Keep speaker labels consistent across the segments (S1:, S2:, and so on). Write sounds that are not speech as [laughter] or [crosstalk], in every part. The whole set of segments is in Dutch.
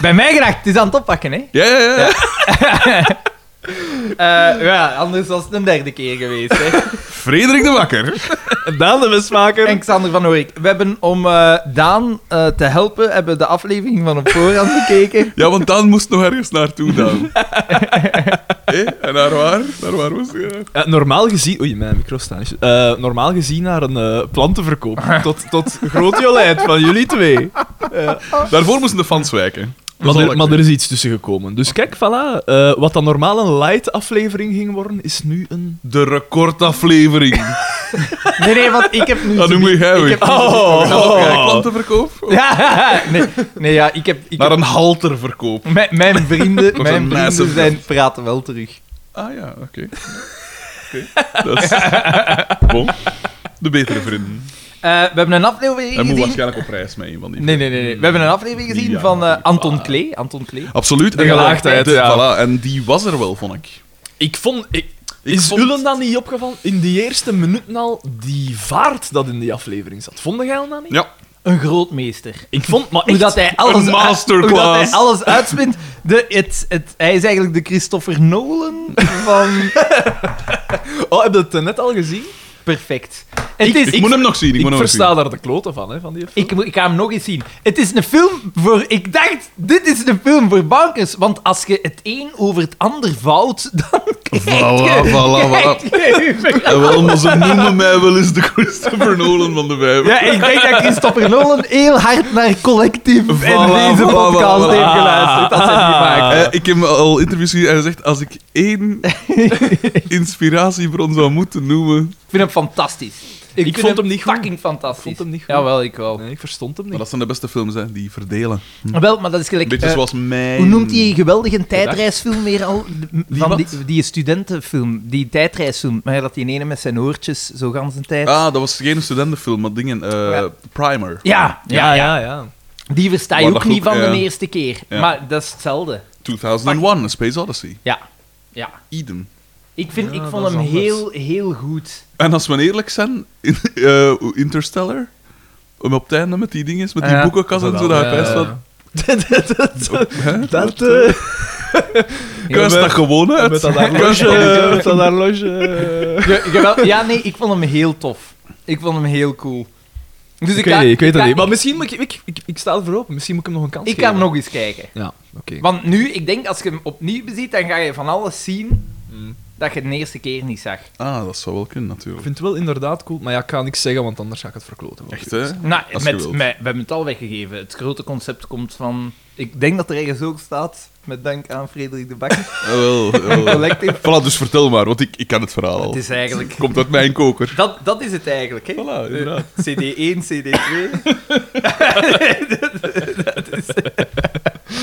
S1: Bij mij geraakt. Het is aan het oppakken, hè.
S2: Ja, ja, ja.
S1: Eh, ja, anders was het een derde keer geweest, hè.
S2: Frederik de Wakker.
S3: Daan de Westmaker.
S1: [laughs] En Xander van Hoorik. We hebben om eh, Daan eh, te helpen, hebben we de aflevering van op voorhand [laughs] bekeken.
S2: Ja, want Daan moest nog ergens naartoe dan. Hé, en naar waar? Naar waar was hij?
S3: Eh, normaal gezien... Oei, mijn micro staat niet. Eh, normaal gezien naar een eh, plantenverkoop. tot, tot groot jolijt van jullie twee.
S2: Daarvoor moesten de fans wijken. Dat
S3: Maar,
S2: is al
S3: er,
S2: ik
S3: maar er
S2: weet.
S3: is iets tussen gekomen. Dus kijk, voilà. eh, wat dan normaal een light aflevering ging worden, is nu een...
S2: De recordaflevering.
S1: Nee, nee, want ik heb nu...
S2: Dat noem je jij
S1: ik
S2: weer.
S1: heb-
S2: Oh,
S3: oh.
S2: Klantenverkoop?
S1: Ja, [laughs] nee, nee, ja, ik heb... Ik
S2: Naar
S1: heb
S2: een halterverkoop.
S1: mijn, mijn
S2: [laughs]
S1: vrienden,
S2: een
S1: mijn vrienden
S2: massive-
S1: zijn, praten wel terug.
S2: Ah ja, oké. Oké, Dat is... Bon. De betere vrienden.
S1: Eh, we hebben een aflevering
S2: Hij moet
S1: gezien...
S2: waarschijnlijk op reis met een van die
S1: Nee, nee, nee, nee. We hebben een aflevering gezien
S2: Ja,
S1: van eh,
S2: natuurlijk.
S1: Anton Klee. Anton Klee.
S2: Absoluut.
S3: De
S2: en-
S3: gelaagdheid,
S2: de-
S3: ja.
S2: Voilà, en die was er wel, vond ik.
S3: Ik vond... Ik,
S2: Ik
S3: is
S2: vond-
S3: Ulen dan niet opgevallen? In die eerste minuten al, die vaart dat in die aflevering zat. Vond jij hem dan niet?
S2: Ja.
S1: Een grootmeester.
S3: Ik vond... Maar
S1: Hoe
S3: echt-
S1: dat hij alles,
S2: een
S1: uit- hoe dat hij
S2: masterclass.
S1: alles uitspint. De, het, het, hij is eigenlijk de Christopher Nolan van...
S3: Oh, heb je het eh, net al gezien?
S1: Perfect. Het is,
S2: Ik, moet hem nog zien. Ik,
S3: Ik,
S2: moet hem nog zien.
S3: versta daar de kloten van, hè, van die film.
S1: Ik, moet- ik ga hem nog eens zien. Het is een film voor... Ik dacht, dit is een film voor bankers. Want als je het een over het ander vouwt, dan
S2: Voilà, voilà,
S1: krijg
S2: voilà.
S1: je...
S2: En wel, maar ze noemen mij wel eens de Christopher Nolan van de vijf.
S1: Ja, ik denk dat Christopher Nolan heel hard naar collectief en
S2: Voilà,
S1: deze
S2: voilà,
S1: podcast
S2: voilà.
S1: heeft geluisterd. Dat zijn die maken.
S2: Eh, ik heb al interviews gezien en hij zegt, als ik één inspiratiebron zou moeten noemen...
S1: Ik vind hem fantastisch. Ik,
S3: vond hem niet goed.
S1: fucking fantastisch.
S3: vond hem niet goed.
S1: Jawel, ik wel.
S3: Nee, ik verstond hem
S2: Maar
S3: niet.
S2: dat zijn de beste films, hè, die verdelen.
S1: Wel, maar dat is gelijk...
S2: Een beetje
S1: eh,
S2: zoals mijn...
S1: Hoe noemt die geweldige tijdreisfilm weer al? De- Van
S2: wat?
S1: die, die studentenfilm, die tijdreisfilm. Maar dat die ene met zijn oortjes zo gans de tijd.
S2: Ah, dat was geen studentenfilm, maar dingen... eh,
S1: Ja.
S2: Primer.
S1: Ja, ja, ja. die versta je
S2: Waar
S1: ook
S2: dat
S1: niet
S2: ook,
S1: van
S2: ja.
S1: de eerste keer.
S2: Ja.
S1: Maar dat is hetzelfde.
S2: 2001, A Space Odyssey.
S1: Ja, ja.
S2: Eden.
S1: Ik, vind,
S3: Ja,
S1: ik
S3: dat
S1: vond
S3: is
S1: hem
S3: anders.
S1: heel, heel goed.
S2: En als we eerlijk zijn, in- eh, Interstellar... Om op het einde met die dingen, met die
S1: Ja.
S2: boekenkast en zo, dat
S3: eh,
S2: hij best wel...
S3: Dat, eh,
S2: Kruis dat gewoon uit. eh.
S3: met dat horloge, met dat horloge.
S1: Ge- gewel- [laughs] ja, nee, ik vond hem heel tof. Ik vond hem heel cool. Dus ik,
S3: Ik weet
S1: ga-
S3: niet, ik weet het
S1: ga-
S3: niet. Maar misschien moet ik... Ik, ik, ik sta ervoor open. Misschien moet ik hem nog een kans
S1: Ik
S3: geven.
S1: ga hem nog eens kijken.
S3: Ja, oké.
S1: Want nu, ik denk, als je hem opnieuw beziet, dan ga je van alles zien
S3: Mm.
S1: dat je de eerste keer niet zag.
S2: Ah, dat zou wel kunnen,
S3: Ik
S2: natuurlijk.
S3: vind het wel inderdaad cool, maar ja, ik ga niks zeggen, want anders ga ik het verkloten.
S2: Echt, hè? Ah,
S1: Nou, met,
S2: Als je
S1: met,
S2: wilt.
S1: we hebben het al weggegeven. Het grote concept komt van... Ik denk dat er ergens ook staat, met dank aan Frederik de
S2: [laughs]
S1: Bakker.
S2: Jawel,
S3: [laughs]
S2: jawel.
S1: Collective.
S2: Voilà, dus vertel maar, want ik, ik ken het verhaal al.
S1: Het is eigenlijk...
S2: Komt uit mijn koker.
S1: Dat, dat is het eigenlijk, hè?
S3: Eh,
S2: Voilà, inderdaad.
S1: CD1, CD2.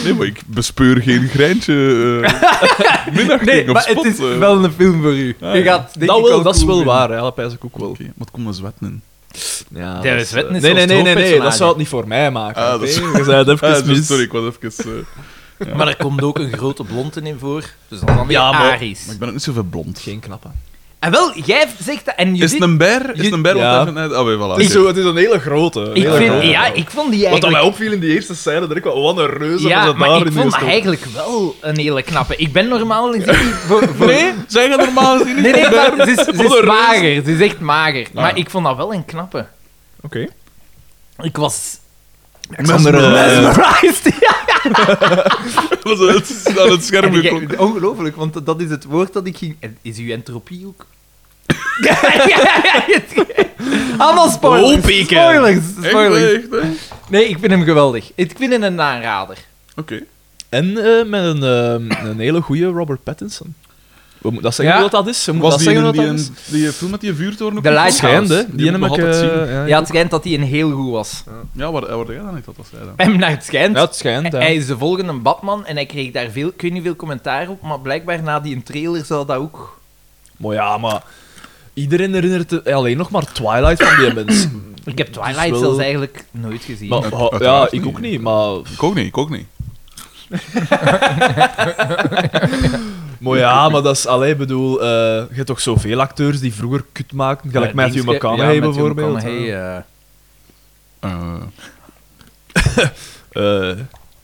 S2: Nee, maar ik bespeur geen grijntje
S3: [laughs]
S2: eh
S1: Nee,
S2: middagding op
S1: maar
S2: spot.
S1: het is
S2: eh.
S1: wel een film voor u.
S2: Ah,
S1: je
S2: ja.
S1: gaat, denk
S3: dat
S1: ik,
S3: Nou wel,
S1: ook
S3: dat is
S1: cool
S3: wel
S1: vinden.
S3: waar, hè. dat pijs ik ook wel.
S2: Oké, wat komt met zwetten in?
S3: Ja,
S1: Dennis
S3: dat is,
S1: Wetten
S3: eh,
S1: is
S3: nee, nee,
S1: als
S3: nee, nee, nee, dat
S1: hoofdpersonage.
S3: zou het niet voor mij maken.
S2: Ah, dat is-
S3: oké? Je zei [laughs] het even
S2: Ah,
S3: mis.
S2: sorry, ik was even... eh,
S1: Maar er komt ook een grote blonde in voor. Dus dat is dan weer
S3: Ja, maar-
S1: Aries.
S2: maar ik ben ook niet zoveel blond.
S3: Geen knappe.
S1: En Ah, wel, jij zegt dat... En
S2: Is het
S1: Judith,
S2: een ber? Is het een ber?
S3: Ja.
S2: Want hij vindt- Ah, wel, voilà.
S3: Het is,
S2: oké.
S3: zo, het is een hele grote. een
S1: ik
S3: hele
S1: vind,
S3: grote.
S1: ja, ik vond die
S3: Wat dat mij
S1: eigenlijk...
S3: opviel in die eerste scène, dat ik wel, wat een reuze was
S1: Ja,
S3: dat
S1: maar
S3: daar
S1: ik
S3: in die
S1: vond haar
S3: stond.
S1: eigenlijk wel een hele knappe. Ik ben normaal gezien niet voor... voor...
S2: Nee,
S1: [laughs]
S2: zij gaat normaal gezien niet
S1: Nee, nee,
S2: een
S1: maar
S2: ber.
S3: [laughs]
S1: ze is, ze
S2: Wat een
S1: is
S2: reus.
S1: mager. Ze is echt mager. Maar
S2: Ah.
S1: ik vond dat wel een knappe.
S3: Oké.
S1: Ik was...
S3: Alexander,
S2: Mesmer-
S3: eh,
S1: Mesmerized, [laughs] ja.
S2: [laughs] Het is aan het
S3: [laughs]
S2: scherm
S1: En ik-
S2: gekomen.
S1: Ongelooflijk, want dat is het woord dat ik ging... en Is uw entropie [laughs] ook... Ja, ja, ja, ja. Allemaal Ah, spoilers.
S3: Hooppieken.
S1: Spoilers.
S2: Echt,
S1: spoilers.
S2: echt, hè? Oké.
S1: Nee, ik vind hem geweldig. Ik vind hem een aanrader.
S3: En eh, met een, eh, een hele goede Robert Pattinson. We moeten dat zeggen
S1: Ja.
S3: wat dat is. We moeten
S2: Was
S3: dat
S2: die,
S3: zeggen
S2: in
S3: wat
S2: die,
S3: dat is.
S2: een- die film met die vuurtoren ook
S1: The
S2: nog?
S1: Lighthouse.
S3: Schijnt, hè.
S2: Die
S3: Die heb
S2: moet
S3: ik...
S2: ik altijd
S3: eh,
S2: zien.
S1: Ja, het schijnt dat hij een heel goed was.
S2: Ja, waar, waar jij dan niet dat was hij dan?
S1: Hem naar het schijnt.
S3: Ja, het schijnt, ja.
S1: Hij is de volgende Batman en hij kreeg daar veel, ik weet niet veel commentaar op, maar blijkbaar na die trailer zou dat ook...
S3: Maar ja, maar... Iedereen herinnert het- alleen nog maar Twilight van die mens.
S2: [clears throat]
S1: Ik heb Twilight
S3: Dus wel-
S1: zelfs eigenlijk nooit gezien.
S3: Maar,
S2: Uit-
S3: ha- ja,
S2: uiteraard
S3: ik
S2: niet.
S3: ook niet, maar...
S2: Ik ook niet, ik ook niet.
S3: Maar ja, maar dat is... Allee, ik bedoel, eh, je hebt toch zoveel acteurs die vroeger kut maakten, gelijk
S1: Ja,
S3: Matthew
S1: Dingske-
S3: McConaughey
S1: Eh, ja, Matthew eh,
S3: bijvoorbeeld.
S1: McConaughey, eh.
S2: Eh,
S3: Eh,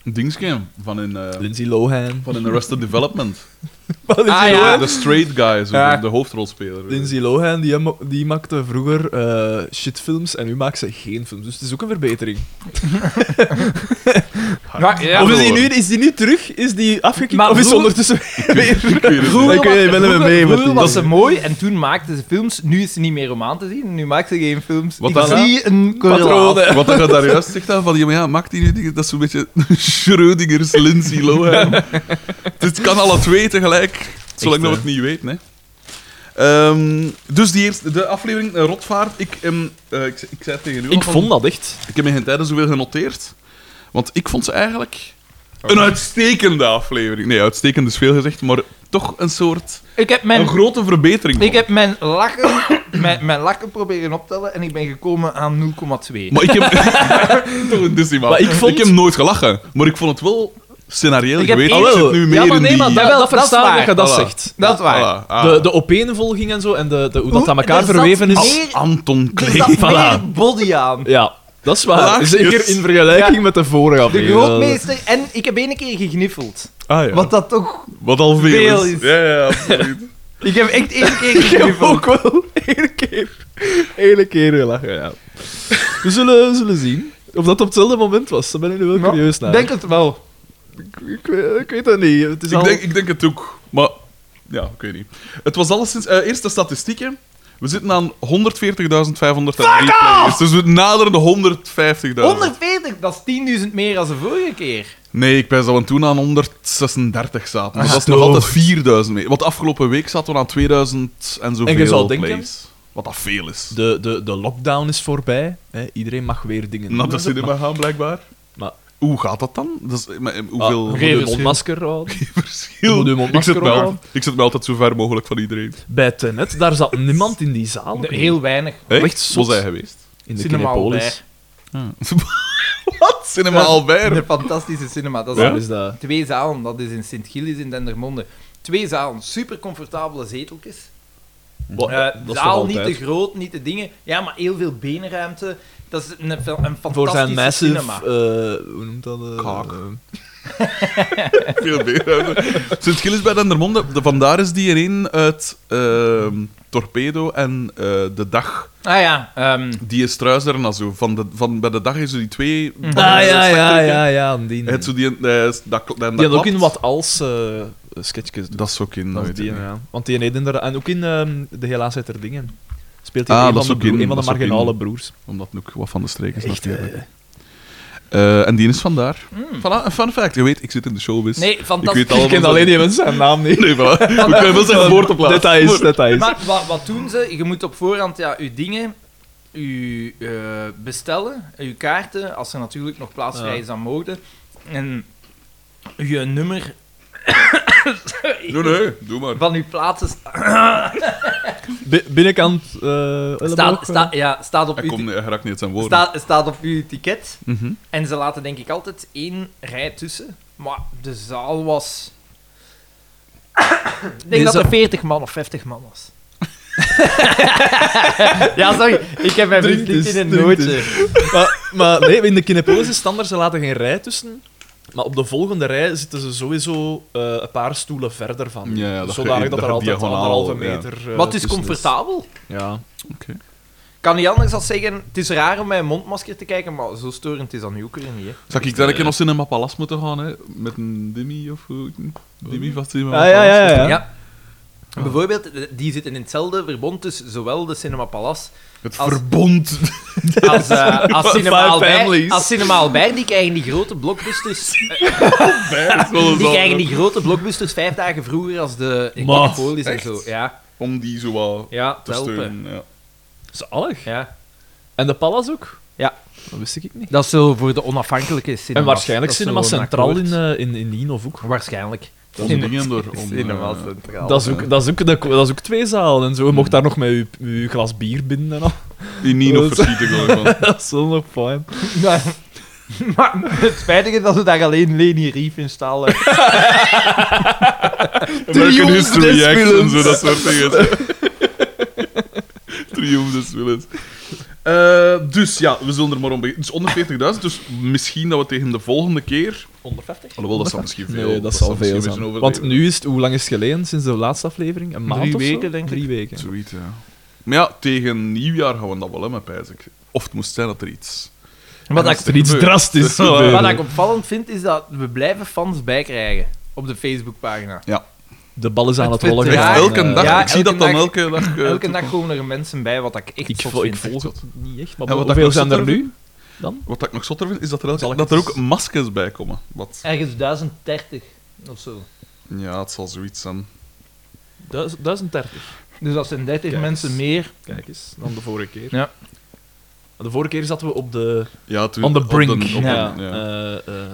S2: dingetje van in, eh,
S3: Lindsay Lohan. [laughs]
S2: van in Arrested Development.
S1: Ah, ja.
S2: De straight guy, zo,
S1: Ja.
S2: de hoofdrolspeler.
S3: Lindsay Lohan, die, ma- die maakte vroeger eh, shitfilms en nu maakt ze geen films. Dus het is ook een verbetering.
S1: Ja, ja.
S3: of is die, nu, is die nu terug? Is die afgekikt?
S1: Maar
S3: of is ze
S1: vroeger-
S3: ondertussen weer...
S2: Ik weet het
S1: Vroeger
S3: Ik weet niet, ik ben
S1: was-
S3: er mee met
S1: vroeger
S3: die.
S1: was ze mooi en toen maakte ze films. Nu is ze niet meer om aan te zien. Nu maakt ze geen films.
S2: Wat
S1: ik
S2: dan?
S1: zie een correlatie.
S3: Patronen.
S2: Wat je daar juist zegt aan, van ja, maar ja, maakt die nu dingen? Dat is zo'n beetje [laughs] Schrödinger's Lindsay Lohan. Dit kan alle twee tegelijk, zolang dat we het niet weten. Hè. Ehm, dus die eerste, de aflevering eh, Rotvaart, ik, ehm, eh, ik, ik zei het tegen u al
S3: Ik
S2: van-
S3: vond dat echt.
S2: ik heb in geen tijden zoveel genoteerd. Want ik vond ze eigenlijk een uitstekende aflevering. Nee, uitstekend is veel gezegd, maar toch een soort...
S1: Ik heb
S2: Een
S1: mijn,
S2: grote verbetering.
S1: ik
S2: vond
S1: heb mijn, lakken, [coughs] mijn, mijn lakken proberen optellen en ik ben gekomen aan 0,2.
S2: Maar
S1: [laughs]
S2: ik heb... toch een decimaal.
S3: Maar ik vond-
S2: heb nooit gelachen. Maar ik vond het wel scenario.
S1: Ik
S2: Ik
S1: heb
S2: weet
S1: één-
S2: het
S3: Jawel.
S2: nu meer
S1: Ja, maar
S2: in
S1: nee,
S2: die...
S1: maar
S3: Dat,
S1: wel,
S3: dat
S1: dat is
S3: verstaan
S1: waar.
S3: dat je dat
S2: Voilà.
S3: zegt.
S1: dat is waar.
S2: Voilà, ah.
S3: De, de opeenvolging en zo, en de, de, hoe dat
S1: Hoe-
S3: aan elkaar
S1: er zat
S3: verweven is... Ah,
S1: meer-
S2: Anton
S1: Er
S2: Klee.
S1: zat
S3: Voilà.
S1: meer body aan.
S3: Ja, dat is waar.
S2: Laagjes.
S3: Zeker in vergelijking met de vorige
S1: De
S3: aflevering.
S1: grootmeester en ik heb één keer gegniffeld.
S2: Ah, ja.
S1: Wat dat toch...
S2: Wat al veel
S1: Veel
S2: is.
S1: is.
S2: Ja, ja, absoluut.
S1: Ik heb echt één keer
S3: [laughs] Ik heb
S1: gegniffeld.
S3: ook wel één keer, één keer gelachen, ja. We zullen, we zullen zien of dat op hetzelfde moment was. Daar ben ik nu wel
S1: Maar
S3: curieus naar.
S1: Ik denk het wel.
S3: ik, ik weet- ik weet dat niet. Het is
S2: ik,
S3: al...
S2: denk, ik denk het ook. Maar ja, ik weet niet. Het was alleszins... eh eerst de statistieken. We zitten aan 140.503 players. Dus we naderen de 150.000.
S1: 140, dat is 10.000 meer dan de vorige keer.
S2: Nee, ik ben dat we toen aan 136 zaten. Dus
S3: Ah,
S2: dat is nog
S3: toch.
S2: altijd 4000 mee. Want afgelopen week zaten we aan 2000 en zoveel
S3: En je zou denken-
S2: plays. Wat dat veel is.
S3: De, de, de lockdown is voorbij. Hè. Iedereen mag weer dingen
S2: Naar
S3: doen.
S2: de cinema gaan, blijkbaar.
S3: Maar-
S2: Hoe gaat dat dan? Dat is, maar, eh,
S3: Ah,
S2: hoeveel
S3: je moet
S1: Geen
S3: je
S1: verschil.
S3: mondmasker houden. Je
S2: verschil?
S3: moet je
S2: ik,
S3: mondmasker
S2: zet me al-
S3: houden.
S2: ik zet me altijd zo ver mogelijk van iedereen.
S3: Bij Tenet, daar zat niemand in die zaal.
S1: Heel weinig.
S2: Echt?
S3: Echt
S2: Zo
S3: zot.
S2: zijn geweest. [laughs]
S3: in de
S1: Cinema
S3: Kinepolis.
S2: Wat? Cinema
S1: Dat is
S2: Albert?
S1: Een fantastische cinema. Dat is dus
S2: Ja?
S3: Waar is dat?
S1: Twee zalen, dat is in Sint-Gilles en Dendermonde. Twee zalen, super comfortabele zeteltjes.
S3: Wat-
S1: Eh,
S3: Oh, dat is toch
S1: zaal niet
S3: altijd?
S1: te groot, niet te dingen. Ja, maar heel veel benenruimte. Dat is een, fel- een fantastische
S3: Voor zijn massive...
S1: cinema.
S3: eh, hoe noemt dat? eh,
S2: Kaak.
S3: eh,
S2: Veel beter. Sint Gilles bij Dendermonde. De- Vandaar is die erin uit ehm, Torpedo en eh, De Dag.
S1: Ah ja,
S3: eh,
S1: ehm,
S2: Die is trouwens daarna zo. Van de, van, bij de dag is zo die twee.
S1: Mhm.
S3: Ah, ja, ja,
S2: slagtrekken.
S3: ja, ja. Die,
S2: Het zo die, eh, dat, dat, dat
S3: die had ook
S2: klapt.
S3: in wat als eh, sketchjes doen.
S2: Dat is ook in.
S3: Dat is
S2: weet
S3: die,
S2: ik niet.
S3: ja. Want die heeft inderdaad... En ook in ehm, De Helaas uit er dingen. Speelt hij
S2: Ah, dat
S3: een, van
S2: is
S3: de
S2: ook in,
S3: broer- een van de
S2: dat is ook
S3: marginale
S2: in. [laughs]
S3: broers.
S2: Omdat het ook wat van de streek is.
S3: Echt, Mm.
S2: natuurlijk. Eh, en die is vandaar. Voilà, een fun fact. Je weet, ik zit in de showbiz.
S1: nee,
S2: ik
S1: fantastisch.
S2: weet allemaal.
S3: Ik ken alleen die mensen zijn
S2: [laughs]
S3: naam niet.
S2: Nee,
S3: [laughs]
S2: voilà. We kunnen wel zijn woord op laten.
S3: Details, details.
S1: Maar wat, wat doen ze? Je moet op voorhand ja, je dingen je, eh, bestellen, je kaarten, als er natuurlijk nog plaatsvrij
S3: Ja.
S1: is aan mode. En je nummer
S2: Nee, nee, doe maar.
S1: van je plaatsen sta-
S3: Bi- binnenkant... eh
S1: staat
S3: elleboog,
S1: sta, ja, staat op
S2: Hij,
S1: uw
S2: komt, hij raakt niet uit zijn woorden.
S1: Staat, staat op uw ticket.
S2: Mhm.
S1: En ze laten denk ik altijd één rij tussen. Maar de zaal was... ik denk
S3: Is
S1: dat
S3: dat-
S1: er 40 man of 50 man was. [laughs] ja, sorry. Ik heb mijn
S3: Drink
S1: vriend niet
S3: dus,
S1: in een
S3: drink
S1: nootje.
S3: eh. Maar, maar nee, in de Kinepolis is standaard, ze laten geen rij tussen. Maar op de volgende rij zitten ze sowieso eh, een paar stoelen verder van.
S2: Ja, ja, dat ge-
S3: Zodanig dat
S2: dat
S3: er altijd
S2: diagonaal,
S3: anderhalve
S2: ja.
S3: meter... eh,
S1: Wat is
S3: tussen
S1: comfortabel?
S3: Ja.
S1: Kan niet anders dan zeggen, het is raar om met een mondmasker te kijken, maar zo storend is dat nu ook weer niet. Hè.
S2: Zou ik daar een keer nog Cinema Palace moeten gaan, hè? Met een Dimmy of hoe? Dimmy van Cinema
S3: Ah, ja, ja, ja,
S2: Palace.
S3: ja.
S1: Ja. Bijvoorbeeld, die zitten in hetzelfde verbond tussen zowel de Cinema Palace
S3: [laughs]
S2: Het
S1: Als-
S2: verbond. [laughs]
S1: Als, eh als, cinema
S3: Five
S1: Albert,
S3: families.
S1: als Cinema Albert, die krijgen die grote
S3: [laughs]
S1: blockbusters. Die krijgen die grote blockbusters vijf dagen vroeger als de
S3: Maar,
S1: Kinepolis en
S2: echt?
S1: zo. Ja,
S2: Om die zo wat
S1: ja
S2: te
S1: te helpen.
S2: steunen. Ja.
S3: Zalig.
S1: Ja.
S3: En de Pallas ook?
S1: Ja.
S3: Dat wist ik niet.
S1: Dat is zo voor de onafhankelijke cinema.
S3: en waarschijnlijk Cinema Centraal in, eh, in, in Lien ook.
S1: Waarschijnlijk.
S2: Onze
S1: [laughs]
S2: dingen door. Om,
S1: Cinema
S2: eh,
S1: Centraal.
S3: Dat is ook, dat, is ook, dat, dat is ook twee zalen en zo. Je mocht daar nog met je, je glas bier binden en al. [laughs]
S2: in Nino
S3: Dat is-
S2: verschieten gewoon van.
S3: [laughs] Dat is zo nog fijn.
S1: Maar, [laughs] maar het spijtige is dat we daar alleen Leni Rief in staan. hè.
S2: American
S3: Triumph
S2: History
S3: des
S2: X en zo,
S3: [laughs] Willens.
S2: dat soort dingen. Triumph des Willens. Eh, dus ja, we zullen er maar om beginnen. Dus 140.000, dus misschien dat we tegen de volgende keer...
S3: 150?
S2: Alhoewel, dat zal misschien veel...
S3: Nee, dat zal veel
S2: misschien
S3: zijn.
S2: een
S3: Want
S2: overdrijving.
S3: nu is het, hoe lang is het geleden sinds de laatste aflevering? Een maand
S1: Drie
S3: of zo?
S1: weken, denk ik.
S3: Drie weken.
S2: Zoiets, ja. Maar ja, tegen nieuwjaar gaan we dat wel hebben, pijs ik. Of het moest zijn dat er iets...
S1: [laughs] Wat
S2: dat
S1: ik,
S2: is
S3: Als er iets
S2: Gebeurt. [laughs]
S3: drastisch
S2: Voilà.
S3: gebeurt.
S1: wat ik opvallend vind, is dat we blijven fans bijkrijgen op de Facebookpagina.
S3: De bal is aan het
S1: Het
S3: rollen.
S1: werd
S2: Echt,
S1: Ja,
S3: gegaan,
S2: elke
S3: eh,
S2: dag.
S1: ja,
S2: ik zie
S1: elke
S2: dat dan
S1: dag- [laughs]
S2: elke dag... eh,
S1: Elke dag komen er mensen bij, wat ik echt
S3: Ik,
S1: zot
S3: vo- ik
S1: vind.
S3: volg het niet echt, maar
S2: En wat
S3: hoeveel
S2: ik
S3: zijn er
S2: nog
S3: nu?
S2: Wat ik nog zotter vind, is dat er, elke-
S3: Zal ik
S2: dat er
S3: eens-
S2: ook maskers bij komen. Wat...
S1: Ergens 1030 of zo.
S2: Ja, het zal zoiets zijn.
S3: 1030.
S1: Dus dat zijn 30
S3: Kijk
S1: mensen
S3: eens.
S1: meer.
S3: Kijk eens, dan de vorige keer.
S1: Ja.
S3: De vorige keer zaten we op de...
S2: Ja, toen,
S3: On the
S2: op de-
S3: brink.
S2: op de-
S3: ja.
S2: ja.
S3: Eh, eh,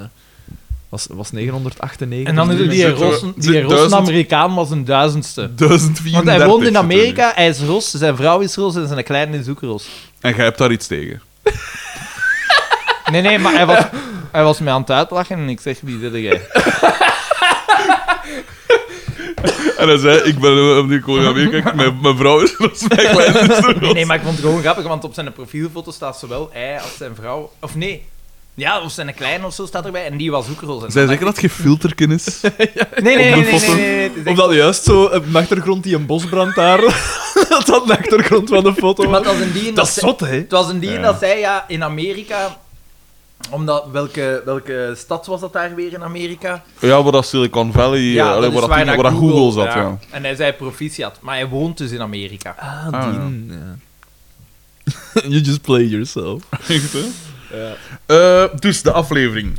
S3: was, was Dus 998.
S1: En dan is Dus er die
S2: Zitten we-
S1: Rossen, die
S2: zit-
S1: Rossen
S2: duizend-
S1: Amerikaan was een duizendste.
S2: 1034.
S1: Want hij woont in
S2: zitten we nu.
S1: Amerika, hij is Ros, zijn vrouw is Ros en zijn kleine is ook Ros.
S2: En jij hebt daar iets tegen.
S1: Nee, nee, maar hij was, [laughs] hij was mij aan het uitlachen en ik zeg, wie zit jij?
S2: En hij zei, ik ben eh, nu koning van Amerika, ik- mijn, mijn vrouw is Ros, mijn kleine is Ros.
S1: Nee, nee, maar ik vond het gewoon grappig, want op zijn profielfoto staat zowel hij als zijn vrouw... Of nee, ja, of zijn kleine of zo staat erbij en die was ook Ros. En
S2: Zij
S1: dan
S2: zeggen dat je filterken is.
S1: dacht ik, Nee, nee,
S2: op
S1: nee,
S2: de
S1: nee, nee,
S2: foto-
S1: nee, nee, het is
S3: Of
S1: echt-
S3: dat juist zo op de achtergrond die een bosbrand daar... [laughs] dat dat de achtergrond van de foto
S1: Maar
S3: was.
S1: het was een die en
S3: Dat is
S1: zij-
S3: zot, hè?
S1: Het was een die
S2: Ja.
S1: dat zij ja, in Amerika... Omdat, welke, welke stad was dat daar weer in Amerika?
S2: Ja, waar dat Silicon Valley, eh, allee, waar, dat, ding- waar dat Google, zat. Ja.
S1: En hij zei proficiat, maar hij woont dus in Amerika.
S3: Ah,
S2: Ah,
S3: die... ja. [laughs] you just play yourself.
S2: Echt, hè? Eh, dus de aflevering.